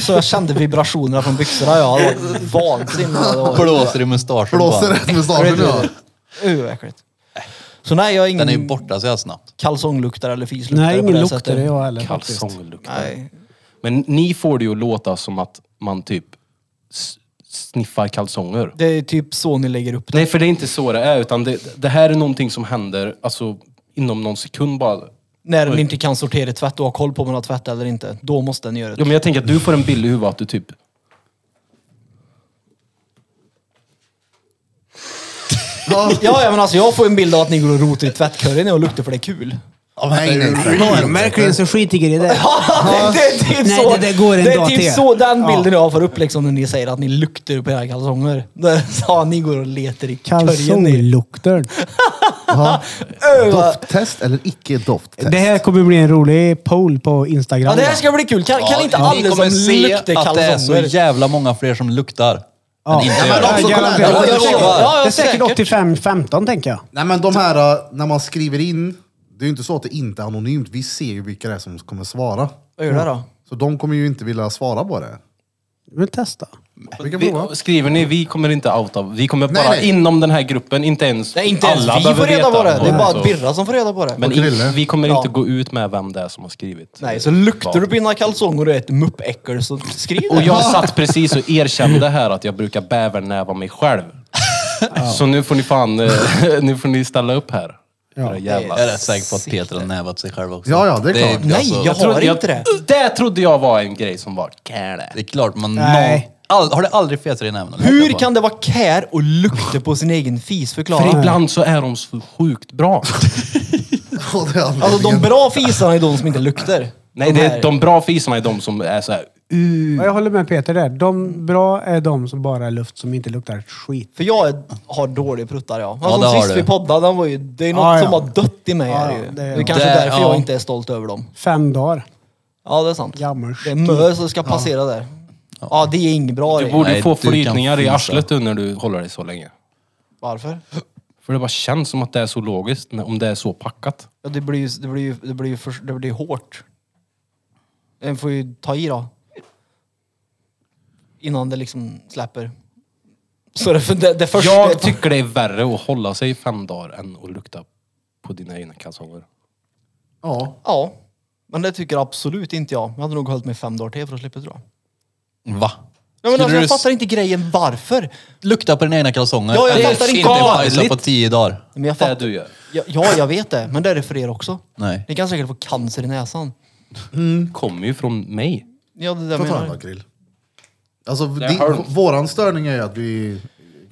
Speaker 6: Så jag kände vibrationerna från byxorna. Ja, det var vansinnigt. vad det var.
Speaker 2: Blåser i mustaschen
Speaker 1: Blåser
Speaker 2: bara.
Speaker 1: rätt med staven nu. ja.
Speaker 6: Uh vad äckligt. Så nej, jag har
Speaker 2: Den är
Speaker 6: ingen
Speaker 2: ju borta så jag snabbt.
Speaker 6: kalsongluktare eller fisluktare
Speaker 4: Nej,
Speaker 6: på
Speaker 4: ingen
Speaker 6: det
Speaker 4: luktade
Speaker 6: sättet.
Speaker 4: jag heller faktiskt.
Speaker 5: Kalsongluktar.
Speaker 6: Nej.
Speaker 5: Men ni får det ju att låta som att man typ s- sniffar kalsonger.
Speaker 6: Det är typ så ni lägger upp det.
Speaker 5: Nej, för det är inte så det är. Utan det, det här är någonting som händer alltså, inom någon sekund bara.
Speaker 6: När den inte kan sortera tvätt och ha koll på om den har tvätt eller inte. Då måste den göra
Speaker 5: Ja,
Speaker 6: det.
Speaker 5: men jag tänker att du får en bild i huvudet att du typ...
Speaker 1: Ja.
Speaker 6: Ja, ja, men alltså jag får en bild av att ni går och rotar i tvättkorgen och luktar för det är kul.
Speaker 1: Nej, nej, nej.
Speaker 4: Norrmärkligen så skiter jag i
Speaker 6: <laughs>
Speaker 4: det.
Speaker 6: det, det är typ
Speaker 4: Nej, det
Speaker 6: så,
Speaker 4: där går en
Speaker 6: det är
Speaker 4: dag
Speaker 6: typ
Speaker 4: till.
Speaker 6: så den bilden
Speaker 4: Ja.
Speaker 6: jag får upp liksom när ni säger att ni luktar på era kalsonger. Ja, ni går och letar i korgen. ni.
Speaker 4: Kalsonglukter.
Speaker 1: Ja.
Speaker 6: Öh, vad-
Speaker 1: Dofttest eller icke dofttest?
Speaker 4: Det här kommer bli en rolig poll på Instagram.
Speaker 6: Ja, det här ska bli kul. Kan, kan inte
Speaker 2: ni
Speaker 6: alla
Speaker 2: kommer
Speaker 6: som
Speaker 2: se att
Speaker 6: luktar
Speaker 2: det är så
Speaker 6: kalsonger...
Speaker 2: jävla många fler som luktar.
Speaker 4: Ja.
Speaker 2: Men inte
Speaker 1: Ja, men
Speaker 2: gör
Speaker 1: också
Speaker 2: det.
Speaker 1: kolla här.
Speaker 4: garanterat.
Speaker 1: Jag
Speaker 4: Det är
Speaker 1: lovar.
Speaker 6: Ja, ja,
Speaker 4: Det är säkert
Speaker 6: säkert.
Speaker 4: 85-15 tänker jag.
Speaker 1: Nej men de här, eh, när man skriver in, det är ju inte så att det inte är anonymt. Vi ser ju vilka det är som kommer svara.
Speaker 6: Vad gör det då?
Speaker 1: Så de kommer ju inte vilja svara på det.
Speaker 4: Vi testa.
Speaker 1: Vi kan
Speaker 5: Vi, <laughs>
Speaker 1: prova.
Speaker 5: skriver ni, vi kommer inte outa. Vi kommer
Speaker 1: Nej,
Speaker 5: bara
Speaker 1: nej.
Speaker 5: inom den här gruppen, inte ens
Speaker 6: Nej, inte ens
Speaker 5: alla
Speaker 6: vi
Speaker 5: behöver
Speaker 6: får reda
Speaker 5: veta
Speaker 6: på det. Det är
Speaker 5: något,
Speaker 6: bara
Speaker 5: så.
Speaker 6: Birra som får reda på det.
Speaker 5: Men
Speaker 1: Och Krille.
Speaker 5: in, vi kommer
Speaker 6: Ja.
Speaker 5: inte gå ut med vem det är som har skrivit.
Speaker 6: Nej, så luktar du på dina kalsonger och är ett muppäckel så skriv det.
Speaker 5: Och jag satt precis och erkände här att jag brukar bävernäva mig själv. Så nu får ni fan, eh, <laughs> nu får ni ställa upp här. Era jävlar.
Speaker 2: Jag är rätt säker på att Peter har nävat sig själv också.
Speaker 1: Ja, ja, det är klart.
Speaker 6: Nej,
Speaker 2: alltså-
Speaker 6: jag har inte det.
Speaker 5: Det trodde jag var en grej som var kärle.
Speaker 2: Det är klart, man
Speaker 4: Nej.
Speaker 2: någon, all, har det aldrig fetat i näven?
Speaker 6: Hur kan det vara kär och lukta på sin egen fis?
Speaker 5: För
Speaker 6: Förklara.
Speaker 5: ibland så är de så sjukt bra.
Speaker 1: Ja, det är
Speaker 6: Alltså de
Speaker 1: anledningen.
Speaker 6: bra fisarna är de som inte luktar.
Speaker 5: Nej, det
Speaker 6: här.
Speaker 5: är, de bra fisarna är de som är så här.
Speaker 6: Mm.
Speaker 4: Ja, Jag håller med Peter där. De bra är de som bara är luft som inte luktar skit.
Speaker 6: För jag är, har dåliga pruttar ja.
Speaker 2: Ja,
Speaker 6: Han
Speaker 2: det
Speaker 6: som
Speaker 2: har
Speaker 6: sist
Speaker 2: du.
Speaker 6: vi poddade, den var ju, det är något
Speaker 4: Ah, Ja, ja.
Speaker 6: som har dött i mig.
Speaker 4: Ja,
Speaker 6: är det
Speaker 4: ja,
Speaker 6: ju.
Speaker 4: det
Speaker 6: det
Speaker 4: är
Speaker 6: är
Speaker 4: det.
Speaker 6: kanske
Speaker 2: Det-
Speaker 6: därför
Speaker 2: ja.
Speaker 6: jag inte är stolt över dem.
Speaker 4: Fem dagar.
Speaker 6: Ja, det är sant.
Speaker 4: Gammal
Speaker 6: Det är mö som ska passera där. Ja, det är inget bra
Speaker 5: Du
Speaker 6: det.
Speaker 5: borde
Speaker 2: Nej,
Speaker 5: ju få
Speaker 2: du kan
Speaker 5: flytningar i
Speaker 2: fisa.
Speaker 5: arslet du när du håller dig så länge.
Speaker 6: Varför?
Speaker 5: För det bara känns som att det är så logiskt när- om det är så packat.
Speaker 6: Ja, det blir ju det blir, ju- det blir, ju för, det blir hårt. Den får ju ta i då. Innan det liksom släpper. Så det, det, det första...
Speaker 5: Jag tycker det är värre att hålla sig i fem dagar än att lukta på dina egna kalsonger.
Speaker 1: Ja.
Speaker 6: Ja. Men det tycker absolut inte jag. Jag hade nog hållit mig fem dagar till för att slippa dra.
Speaker 2: Va?
Speaker 6: Ja, men
Speaker 2: Skulle
Speaker 6: alltså,
Speaker 2: du
Speaker 6: jag fattar inte grejen varför.
Speaker 2: Lukta på dina egna kalsonger.
Speaker 6: Ja, jag
Speaker 2: Eller
Speaker 6: fattar inte.
Speaker 2: inte bajsa på
Speaker 5: Farligt.
Speaker 2: tio dagar.
Speaker 6: Men jag
Speaker 5: Det
Speaker 6: fattar.
Speaker 5: du gör.
Speaker 6: Ja, ja, jag vet det. Men det är det för er också.
Speaker 2: Nej.
Speaker 6: Ni kan säkert få cancer i näsan.
Speaker 5: kommer ju från mig.
Speaker 6: Ja, det där
Speaker 1: Får ta
Speaker 6: menar
Speaker 1: en
Speaker 6: jag.
Speaker 1: då, Krill. Alltså,
Speaker 5: Där
Speaker 1: di-
Speaker 5: har du.
Speaker 1: våran störning är ju att vi...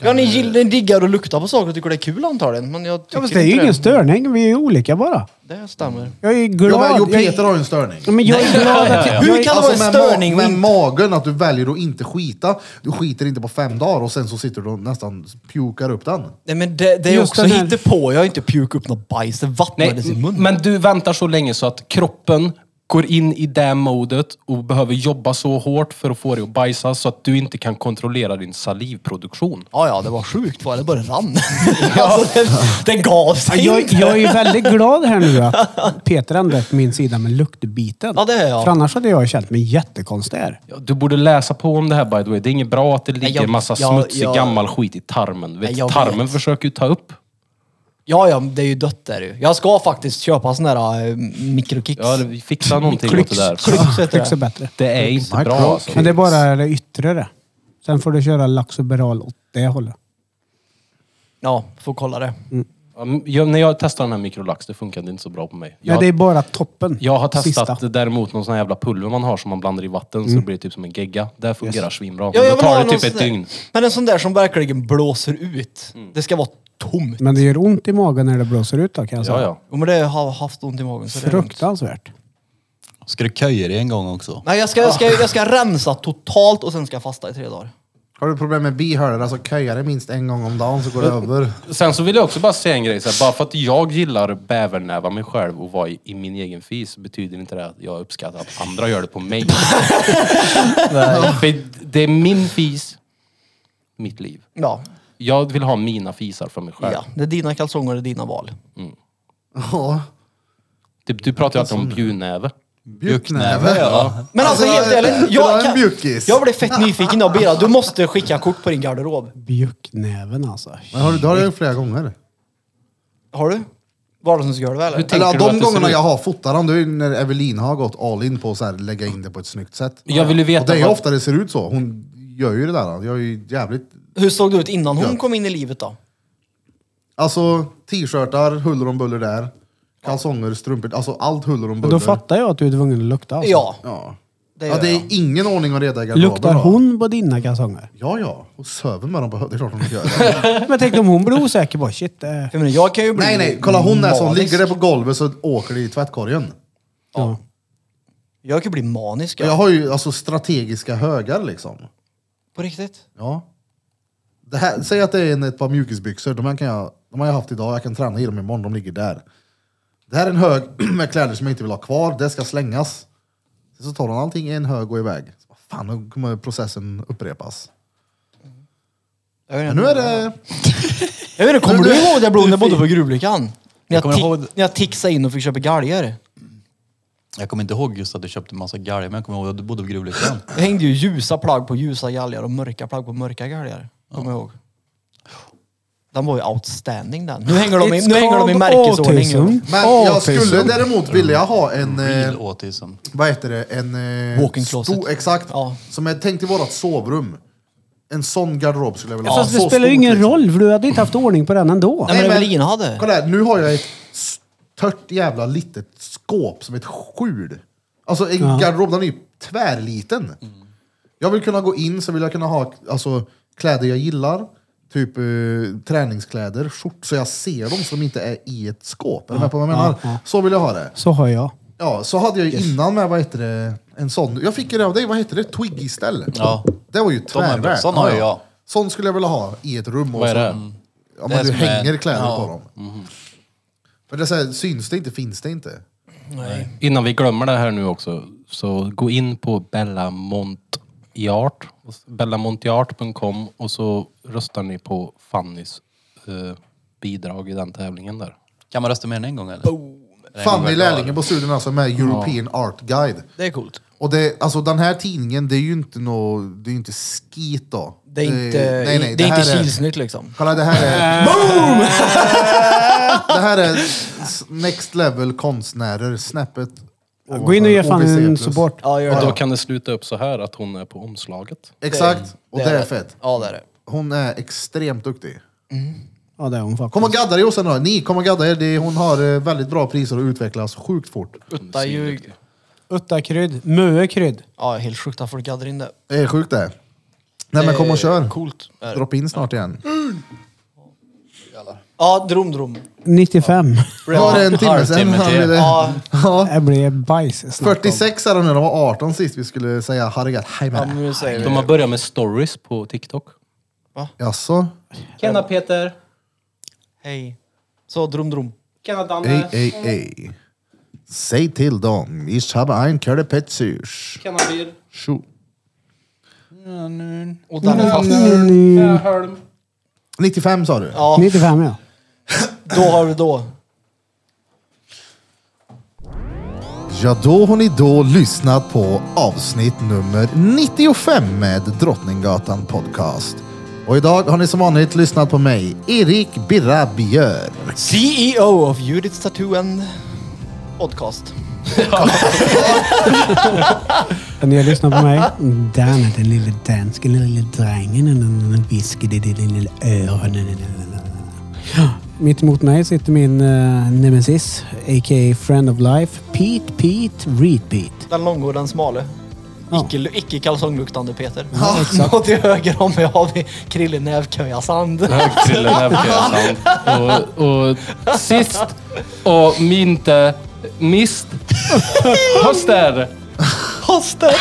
Speaker 6: Ja, ni, gill- ni diggar och luktar på saker och tycker det är kul antagligen. Men jag tycker
Speaker 4: Ja, fast det är ju
Speaker 6: inte
Speaker 4: ingen störning. Vi är ju olika bara.
Speaker 6: Det stämmer.
Speaker 4: Jag är glad.
Speaker 1: Ja, men, jo,
Speaker 4: Jag är-
Speaker 1: Peter har ju en störning. Alltså,
Speaker 4: Ja, men jag är alltså, glad att jag...
Speaker 6: Hur kan det vara en
Speaker 1: med, ma-
Speaker 6: störning? och
Speaker 1: med
Speaker 6: inte-
Speaker 1: magen, att du väljer att inte skita. Du skiter inte på fem dagar och sen så sitter du och nästan pukar upp den.
Speaker 6: Nej men det, det är ju
Speaker 4: Just
Speaker 6: också
Speaker 4: den här-
Speaker 6: hittepå. Jag har inte pukat upp något bajs. Det vattnades i munnen.
Speaker 5: men du väntar så länge så att kroppen går in i det modet och behöver jobba så hårt för att få dig att bajsa så att du inte kan kontrollera din salivproduktion.
Speaker 6: Ja, ja, det var sjukt vad det bara
Speaker 4: <laughs>
Speaker 6: rann. alltså, det, det gav
Speaker 4: Ja,
Speaker 6: sig
Speaker 4: Jag,
Speaker 6: inte.
Speaker 4: jag är ju väldigt glad här nu
Speaker 5: <laughs>
Speaker 4: att Peter ändå är på min sida med luktbiten.
Speaker 6: Ja, det är jag.
Speaker 4: För annars hade jag känt mig jättekonstig här.
Speaker 5: Ja, Du borde läsa på om det här by the way. Det är inget bra att det ligger
Speaker 6: jag-
Speaker 5: massa
Speaker 6: jag-
Speaker 5: smutsig
Speaker 6: jag-
Speaker 5: gammal skit i tarmen. Vet,
Speaker 6: Nej, jag
Speaker 5: tarmen
Speaker 6: vet.
Speaker 5: försöker ju ta upp.
Speaker 6: Ja, ja, det är ju dött där ju. Jag ska faktiskt köpa såna här eh, mikrokicks.
Speaker 5: Ja, det- fixa någonting åt det där.
Speaker 6: Klyx heter
Speaker 4: Tycks är
Speaker 6: det.
Speaker 4: bättre.
Speaker 5: Det är inte bra
Speaker 1: Micro-
Speaker 5: alltså.
Speaker 4: Men det är bara det yttre det. Sen får du köra laxoberal åt det hållet.
Speaker 6: Ja, får kolla det.
Speaker 5: Ja, m- Jag, när jag testade den här mikrolax, det funkade inte så bra på mig. Jag,
Speaker 4: Nej, det är bara toppen.
Speaker 5: jag har testat
Speaker 4: Sista.
Speaker 5: däremot någon sån här jävla pulver man har som man blandar i vatten så det blir typ som en gegga. Det fungerar svinbra.
Speaker 6: Mm. Ja,
Speaker 5: Men
Speaker 6: jag
Speaker 5: då
Speaker 6: vill ha
Speaker 5: tar det
Speaker 6: någon
Speaker 5: typ
Speaker 6: sån
Speaker 5: ett
Speaker 6: där-
Speaker 5: dygn. Mm.
Speaker 6: Men en sån där som verkligen blåser ut. Det ska vara tomt.
Speaker 4: Men det gör ont i magen när det blåser ut då kan jag säga.
Speaker 5: Ja, ja.
Speaker 6: Jo, men det har jag haft ont i magen. Så det är lugnt.
Speaker 4: Fruktansvärt.
Speaker 2: Ska du köja dig en gång också?
Speaker 6: Nej, jag ska, jag, ska, jag ska rensa totalt och sen ska jag fasta i tre dagar.
Speaker 1: Har du problem med bihålor, alltså köja det minst en gång om dagen så går det över.
Speaker 5: Sen så vill jag också bara säga en grej. Så här, bara för att jag gillar bävernäva mig själv och vara i, i min egen fis betyder inte det att jag uppskattar att andra gör det på
Speaker 6: <laughs>
Speaker 5: mig. Nej. För det är min fis, mitt liv.
Speaker 6: Ja.
Speaker 5: Jag vill ha mina fisar för mig själv.
Speaker 6: ja. Det är dina kalsonger, det är dina val.
Speaker 1: Ja.
Speaker 5: Du, Typ, du pratar ju alltid om bjudnäve.
Speaker 1: Bjuknäve.
Speaker 2: ja.
Speaker 6: Men alltså,
Speaker 1: Alltså,
Speaker 6: helt ärligt.
Speaker 1: det var
Speaker 6: Jag,
Speaker 1: en
Speaker 6: kan,
Speaker 1: mjukis.
Speaker 6: jag blev fett nyfiken av Bera. Du måste skicka kort på din garderob.
Speaker 4: Bjucknäven alltså.
Speaker 1: Men har du, det har du gjort flera gånger.
Speaker 6: Har du? Vardagsrumsgolv eller?
Speaker 5: Tänker
Speaker 1: Eller
Speaker 5: du
Speaker 1: de
Speaker 5: att det
Speaker 1: gångerna
Speaker 5: ser ut-
Speaker 1: jag har fotat dem, det är ju när Evelina har gått all in på att lägga in det på ett snyggt sätt.
Speaker 5: Jag vill ju veta
Speaker 1: Och det är ju
Speaker 5: vad-
Speaker 1: ofta det ser ut så. Hon gör ju det där. Jag är ju jävligt...
Speaker 6: Hur såg du ut innan hon
Speaker 1: Ja.
Speaker 6: kom in i livet då?
Speaker 1: Alltså t-shirtar, huller om buller där. Kalsonger, strumpor, alltså allt huller om buller.
Speaker 4: Då fattar jag att du är tvungen att lukta alltså.
Speaker 6: Ja,
Speaker 1: Ja.
Speaker 6: det
Speaker 1: ja,
Speaker 6: gör
Speaker 1: det är
Speaker 6: jag.
Speaker 1: ingen ordning och reda i garderoben.
Speaker 4: Luktar
Speaker 1: då.
Speaker 4: hon på dina kalsonger?
Speaker 1: Ja, ja. Och söver med dem på hög. Det är klart hon
Speaker 6: <laughs>
Speaker 1: inte gör det.
Speaker 4: Men tänk om hon blir osäker bara, shit. Eh.
Speaker 6: Jag, menar, jag kan ju bli
Speaker 1: nej, nej. Kolla hon är sån.
Speaker 6: manisk.
Speaker 1: Ligger det på golvet så åker det i tvättkorgen.
Speaker 4: Ja.
Speaker 6: Jag kan ju bli manisk.
Speaker 1: Jag
Speaker 6: Ja.
Speaker 1: har ju alltså strategiska högar liksom.
Speaker 6: På riktigt?
Speaker 1: Ja. Det här, säg att det är en, ett par mjukisbyxor. De, här kan jag, de har jag haft idag. Jag kan träna i dem imorgon. De ligger där. Det här är en hög <clears throat> med kläder som jag inte vill ha kvar. Det ska slängas. Sen så tar hon allting i en hög och iväg. Så, vad fan, då kommer processen upprepas.
Speaker 6: Jag vet
Speaker 1: Men
Speaker 6: inte.
Speaker 1: nu är det...
Speaker 6: Jag vet inte, kommer
Speaker 1: Nu-
Speaker 6: du ihåg det Blom, när jag bodde på Gruvlyckan? När jag,
Speaker 2: kommer
Speaker 6: tick-
Speaker 2: ihåg-
Speaker 6: när jag tixade in och fick köpa galger.
Speaker 2: Jag kommer inte ihåg just att du köpte massa galgar, men jag kommer ihåg att du bodde på Gruvlyckan.
Speaker 6: Jag hängde ju ljusa plagg på ljusa galgar och mörka plagg på mörka galgar. Kommer jag ihåg. Den var ju outstanding den. Nu hänger de i, nu hänger de i märkesordning.
Speaker 1: Men jag skulle däremot vilja ha en... Eh,
Speaker 2: Real autism.
Speaker 1: vad heter det? En... Eh,
Speaker 6: Walk-in closet.
Speaker 1: stor- Exakt.
Speaker 6: Ja.
Speaker 1: Som är tänkt i vårt sovrum. En sån garderob skulle jag vilja ha.
Speaker 4: Fast det
Speaker 1: Så
Speaker 4: spelar ju
Speaker 1: stort,
Speaker 4: ingen
Speaker 1: liksom.
Speaker 4: roll för du hade inte haft ordning på den ändå.
Speaker 6: Nej men
Speaker 1: Nej, men-
Speaker 6: Evelina hade.
Speaker 1: Kolla här, nu har jag ett stört jävla litet skåp som ett skjul. Alltså en garderob, den är ju tvärliten. Jag vill kunna gå in, så vill jag kunna ha alltså, kläder jag gillar. Typ eh, träningskläder, skjort, så jag ser dem som inte är i ett skåp. Är du med på vad jag menar? Så vill jag ha det.
Speaker 4: Så har jag.
Speaker 1: Ja, så hade jag ju innan med, vad heter det, en sån. Jag fick ju det av dig, vad heter det? Twiggy-ställ.
Speaker 2: Ja.
Speaker 1: Det var ju
Speaker 2: De är bra.
Speaker 1: tvärvärt.
Speaker 2: Sån har ju jag.
Speaker 1: Sån skulle jag vilja ha i ett rum. och
Speaker 5: Vad är
Speaker 1: så-
Speaker 5: det?
Speaker 1: Ja,
Speaker 2: Det
Speaker 1: men du
Speaker 2: som är-
Speaker 1: hänger kläder
Speaker 2: Ja. Mhm.
Speaker 1: på dem. För det är så här, syns det inte, finns det inte.
Speaker 5: Innan vi glömmer det här nu också, så gå in på Bella Montiart, bellamontiart.com och så röstar ni på Fannys eh, bidrag i den tävlingen där.
Speaker 2: Kan man rösta mer än en gång eller? Det är
Speaker 1: Fanny
Speaker 2: en gång
Speaker 1: Lärlingen på studion alltså med European Art Guide.
Speaker 6: Det är coolt.
Speaker 1: Och det, alltså den här tidningen, det är ju inte nå, det är ju inte skit då.
Speaker 6: Det är inte,
Speaker 1: Eh, nej, nej,
Speaker 6: det är inte
Speaker 1: här
Speaker 6: kilsnytt liksom.
Speaker 1: Kolla det här
Speaker 4: Eh.
Speaker 1: är... Boom! <laughs> det här är s- next level konstnärer, snäppet.
Speaker 4: Gå in och ge fan
Speaker 1: OVC+.
Speaker 4: en support.
Speaker 6: Ja, gör
Speaker 5: Och
Speaker 6: det.
Speaker 5: då kan det sluta upp så här att hon är på omslaget.
Speaker 1: Exakt, och det är fett.
Speaker 6: Ja, det är det.
Speaker 1: Hon är extremt duktig.
Speaker 4: Ja, det är hon
Speaker 1: Kom och
Speaker 4: faktiskt.
Speaker 1: gadda dig Jossan då. Ni, kom och gadda er. Det- Hon har eh, väldigt bra priser och utvecklas sjukt fort.
Speaker 6: Utta ljug.
Speaker 4: Uttakrydd. Möekrydd.
Speaker 6: Ja, helt sjukt att folk gaddar in det.
Speaker 1: Det är sjukt det. Nej men kom och kör.
Speaker 6: Coolt. Är det.
Speaker 1: Dropp in snart igen.
Speaker 6: Ja, drom drom.
Speaker 4: 95.
Speaker 1: Var det en timme sen?
Speaker 2: Halvtimme
Speaker 1: Han
Speaker 2: till.
Speaker 1: ville-
Speaker 6: Ja,
Speaker 4: Jag blev bajs snabbt.
Speaker 1: 46 är de nu. De var 18 sist vi skulle säga Harrigat
Speaker 6: ja,
Speaker 1: Heimer.
Speaker 6: men nu säger vi
Speaker 5: De har börjat med stories på TikTok.
Speaker 1: Jaså?
Speaker 9: Tjena Peter.
Speaker 6: hej. Så drom drom.
Speaker 9: Tjena
Speaker 1: Ej,
Speaker 9: Danne.
Speaker 1: ej, ej. Säg till dem. Ich habe ein Körperpetsusch.
Speaker 9: Tjena Bill.
Speaker 1: Tjo.
Speaker 6: Och den är fast.
Speaker 9: Tjena Holm.
Speaker 1: 95 sa du?
Speaker 6: Ja,
Speaker 4: 95 ja.
Speaker 6: då har vi då.
Speaker 1: Ja, då har ni då lyssnat på avsnitt nummer 95 med Drottninggatan Podcast. Och idag har ni som vanligt lyssnat på mig, Erik Birra Björk.
Speaker 6: CEO E of Judith's Tattoo and Podcast.
Speaker 4: Ni har lyssnat på mig. Dan är den lille danske lille drängen. Den lille whisky, den lille öronen. Mitt emot mig sitter min eh, nemesis, a.k.a. Friend of Life, Pete Pete Repeat.
Speaker 6: Den långa och den smale.
Speaker 4: Ja.
Speaker 6: Icke, icke kalsongluktande Peter.
Speaker 4: Ja, exakt.
Speaker 6: och till höger om mig har vi Krille Nävköjasand. <laughs>
Speaker 5: Högkrillen <laughs> Nävköjasand. Och, och sist och inte minst <laughs> Hoster.
Speaker 6: Hoster!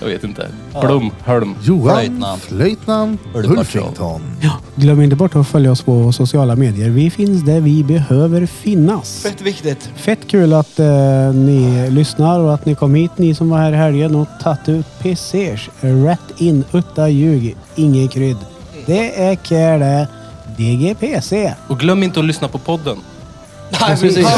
Speaker 5: Jag vet inte. Blom, Hölm.
Speaker 1: Johan
Speaker 2: Flöjtnant.
Speaker 1: Flöjtnant Ulfington.
Speaker 4: Ja, glöm inte bort att följa oss på sociala medier. Vi finns där vi behöver finnas.
Speaker 6: Fett viktigt.
Speaker 4: Fett kul att eh, ni lyssnar och att ni kom hit, ni som var här i helgen och tagit ut PCs. Rätt in, utta ljug, inget krydd. Det är kär det. DGPC.
Speaker 5: Och glöm inte att lyssna på podden.
Speaker 6: Nej, precis.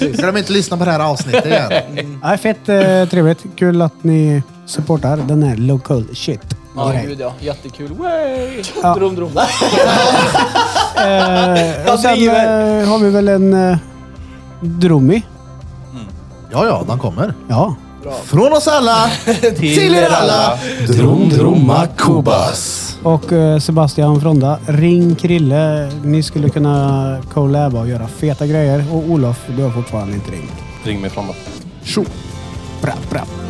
Speaker 1: Glöm inte att lyssna på det här avsnittet <laughs> igen.
Speaker 6: Mm.
Speaker 4: Ja, fett eh, trevligt. Kul att ni supportar den här local shit.
Speaker 6: Ja,
Speaker 4: grejen.
Speaker 6: gud ja. Jättekul. Way!
Speaker 4: Ja.
Speaker 6: Drum, drum.
Speaker 4: Eh,
Speaker 6: <laughs> Jag
Speaker 4: och sen
Speaker 6: driver.
Speaker 4: eh, har vi väl en eh, Drummi.
Speaker 1: Ja, ja, den kommer.
Speaker 4: Ja.
Speaker 1: Från oss alla <laughs> till er alla. Drom, dromma, kubas.
Speaker 4: Och eh, Sebastian Fronda, ring Krille. Ni skulle kunna collaba och göra feta grejer. Och Olof, du har fortfarande inte ringt.
Speaker 5: Ring mig framåt.
Speaker 4: Tjo! Bra, bra.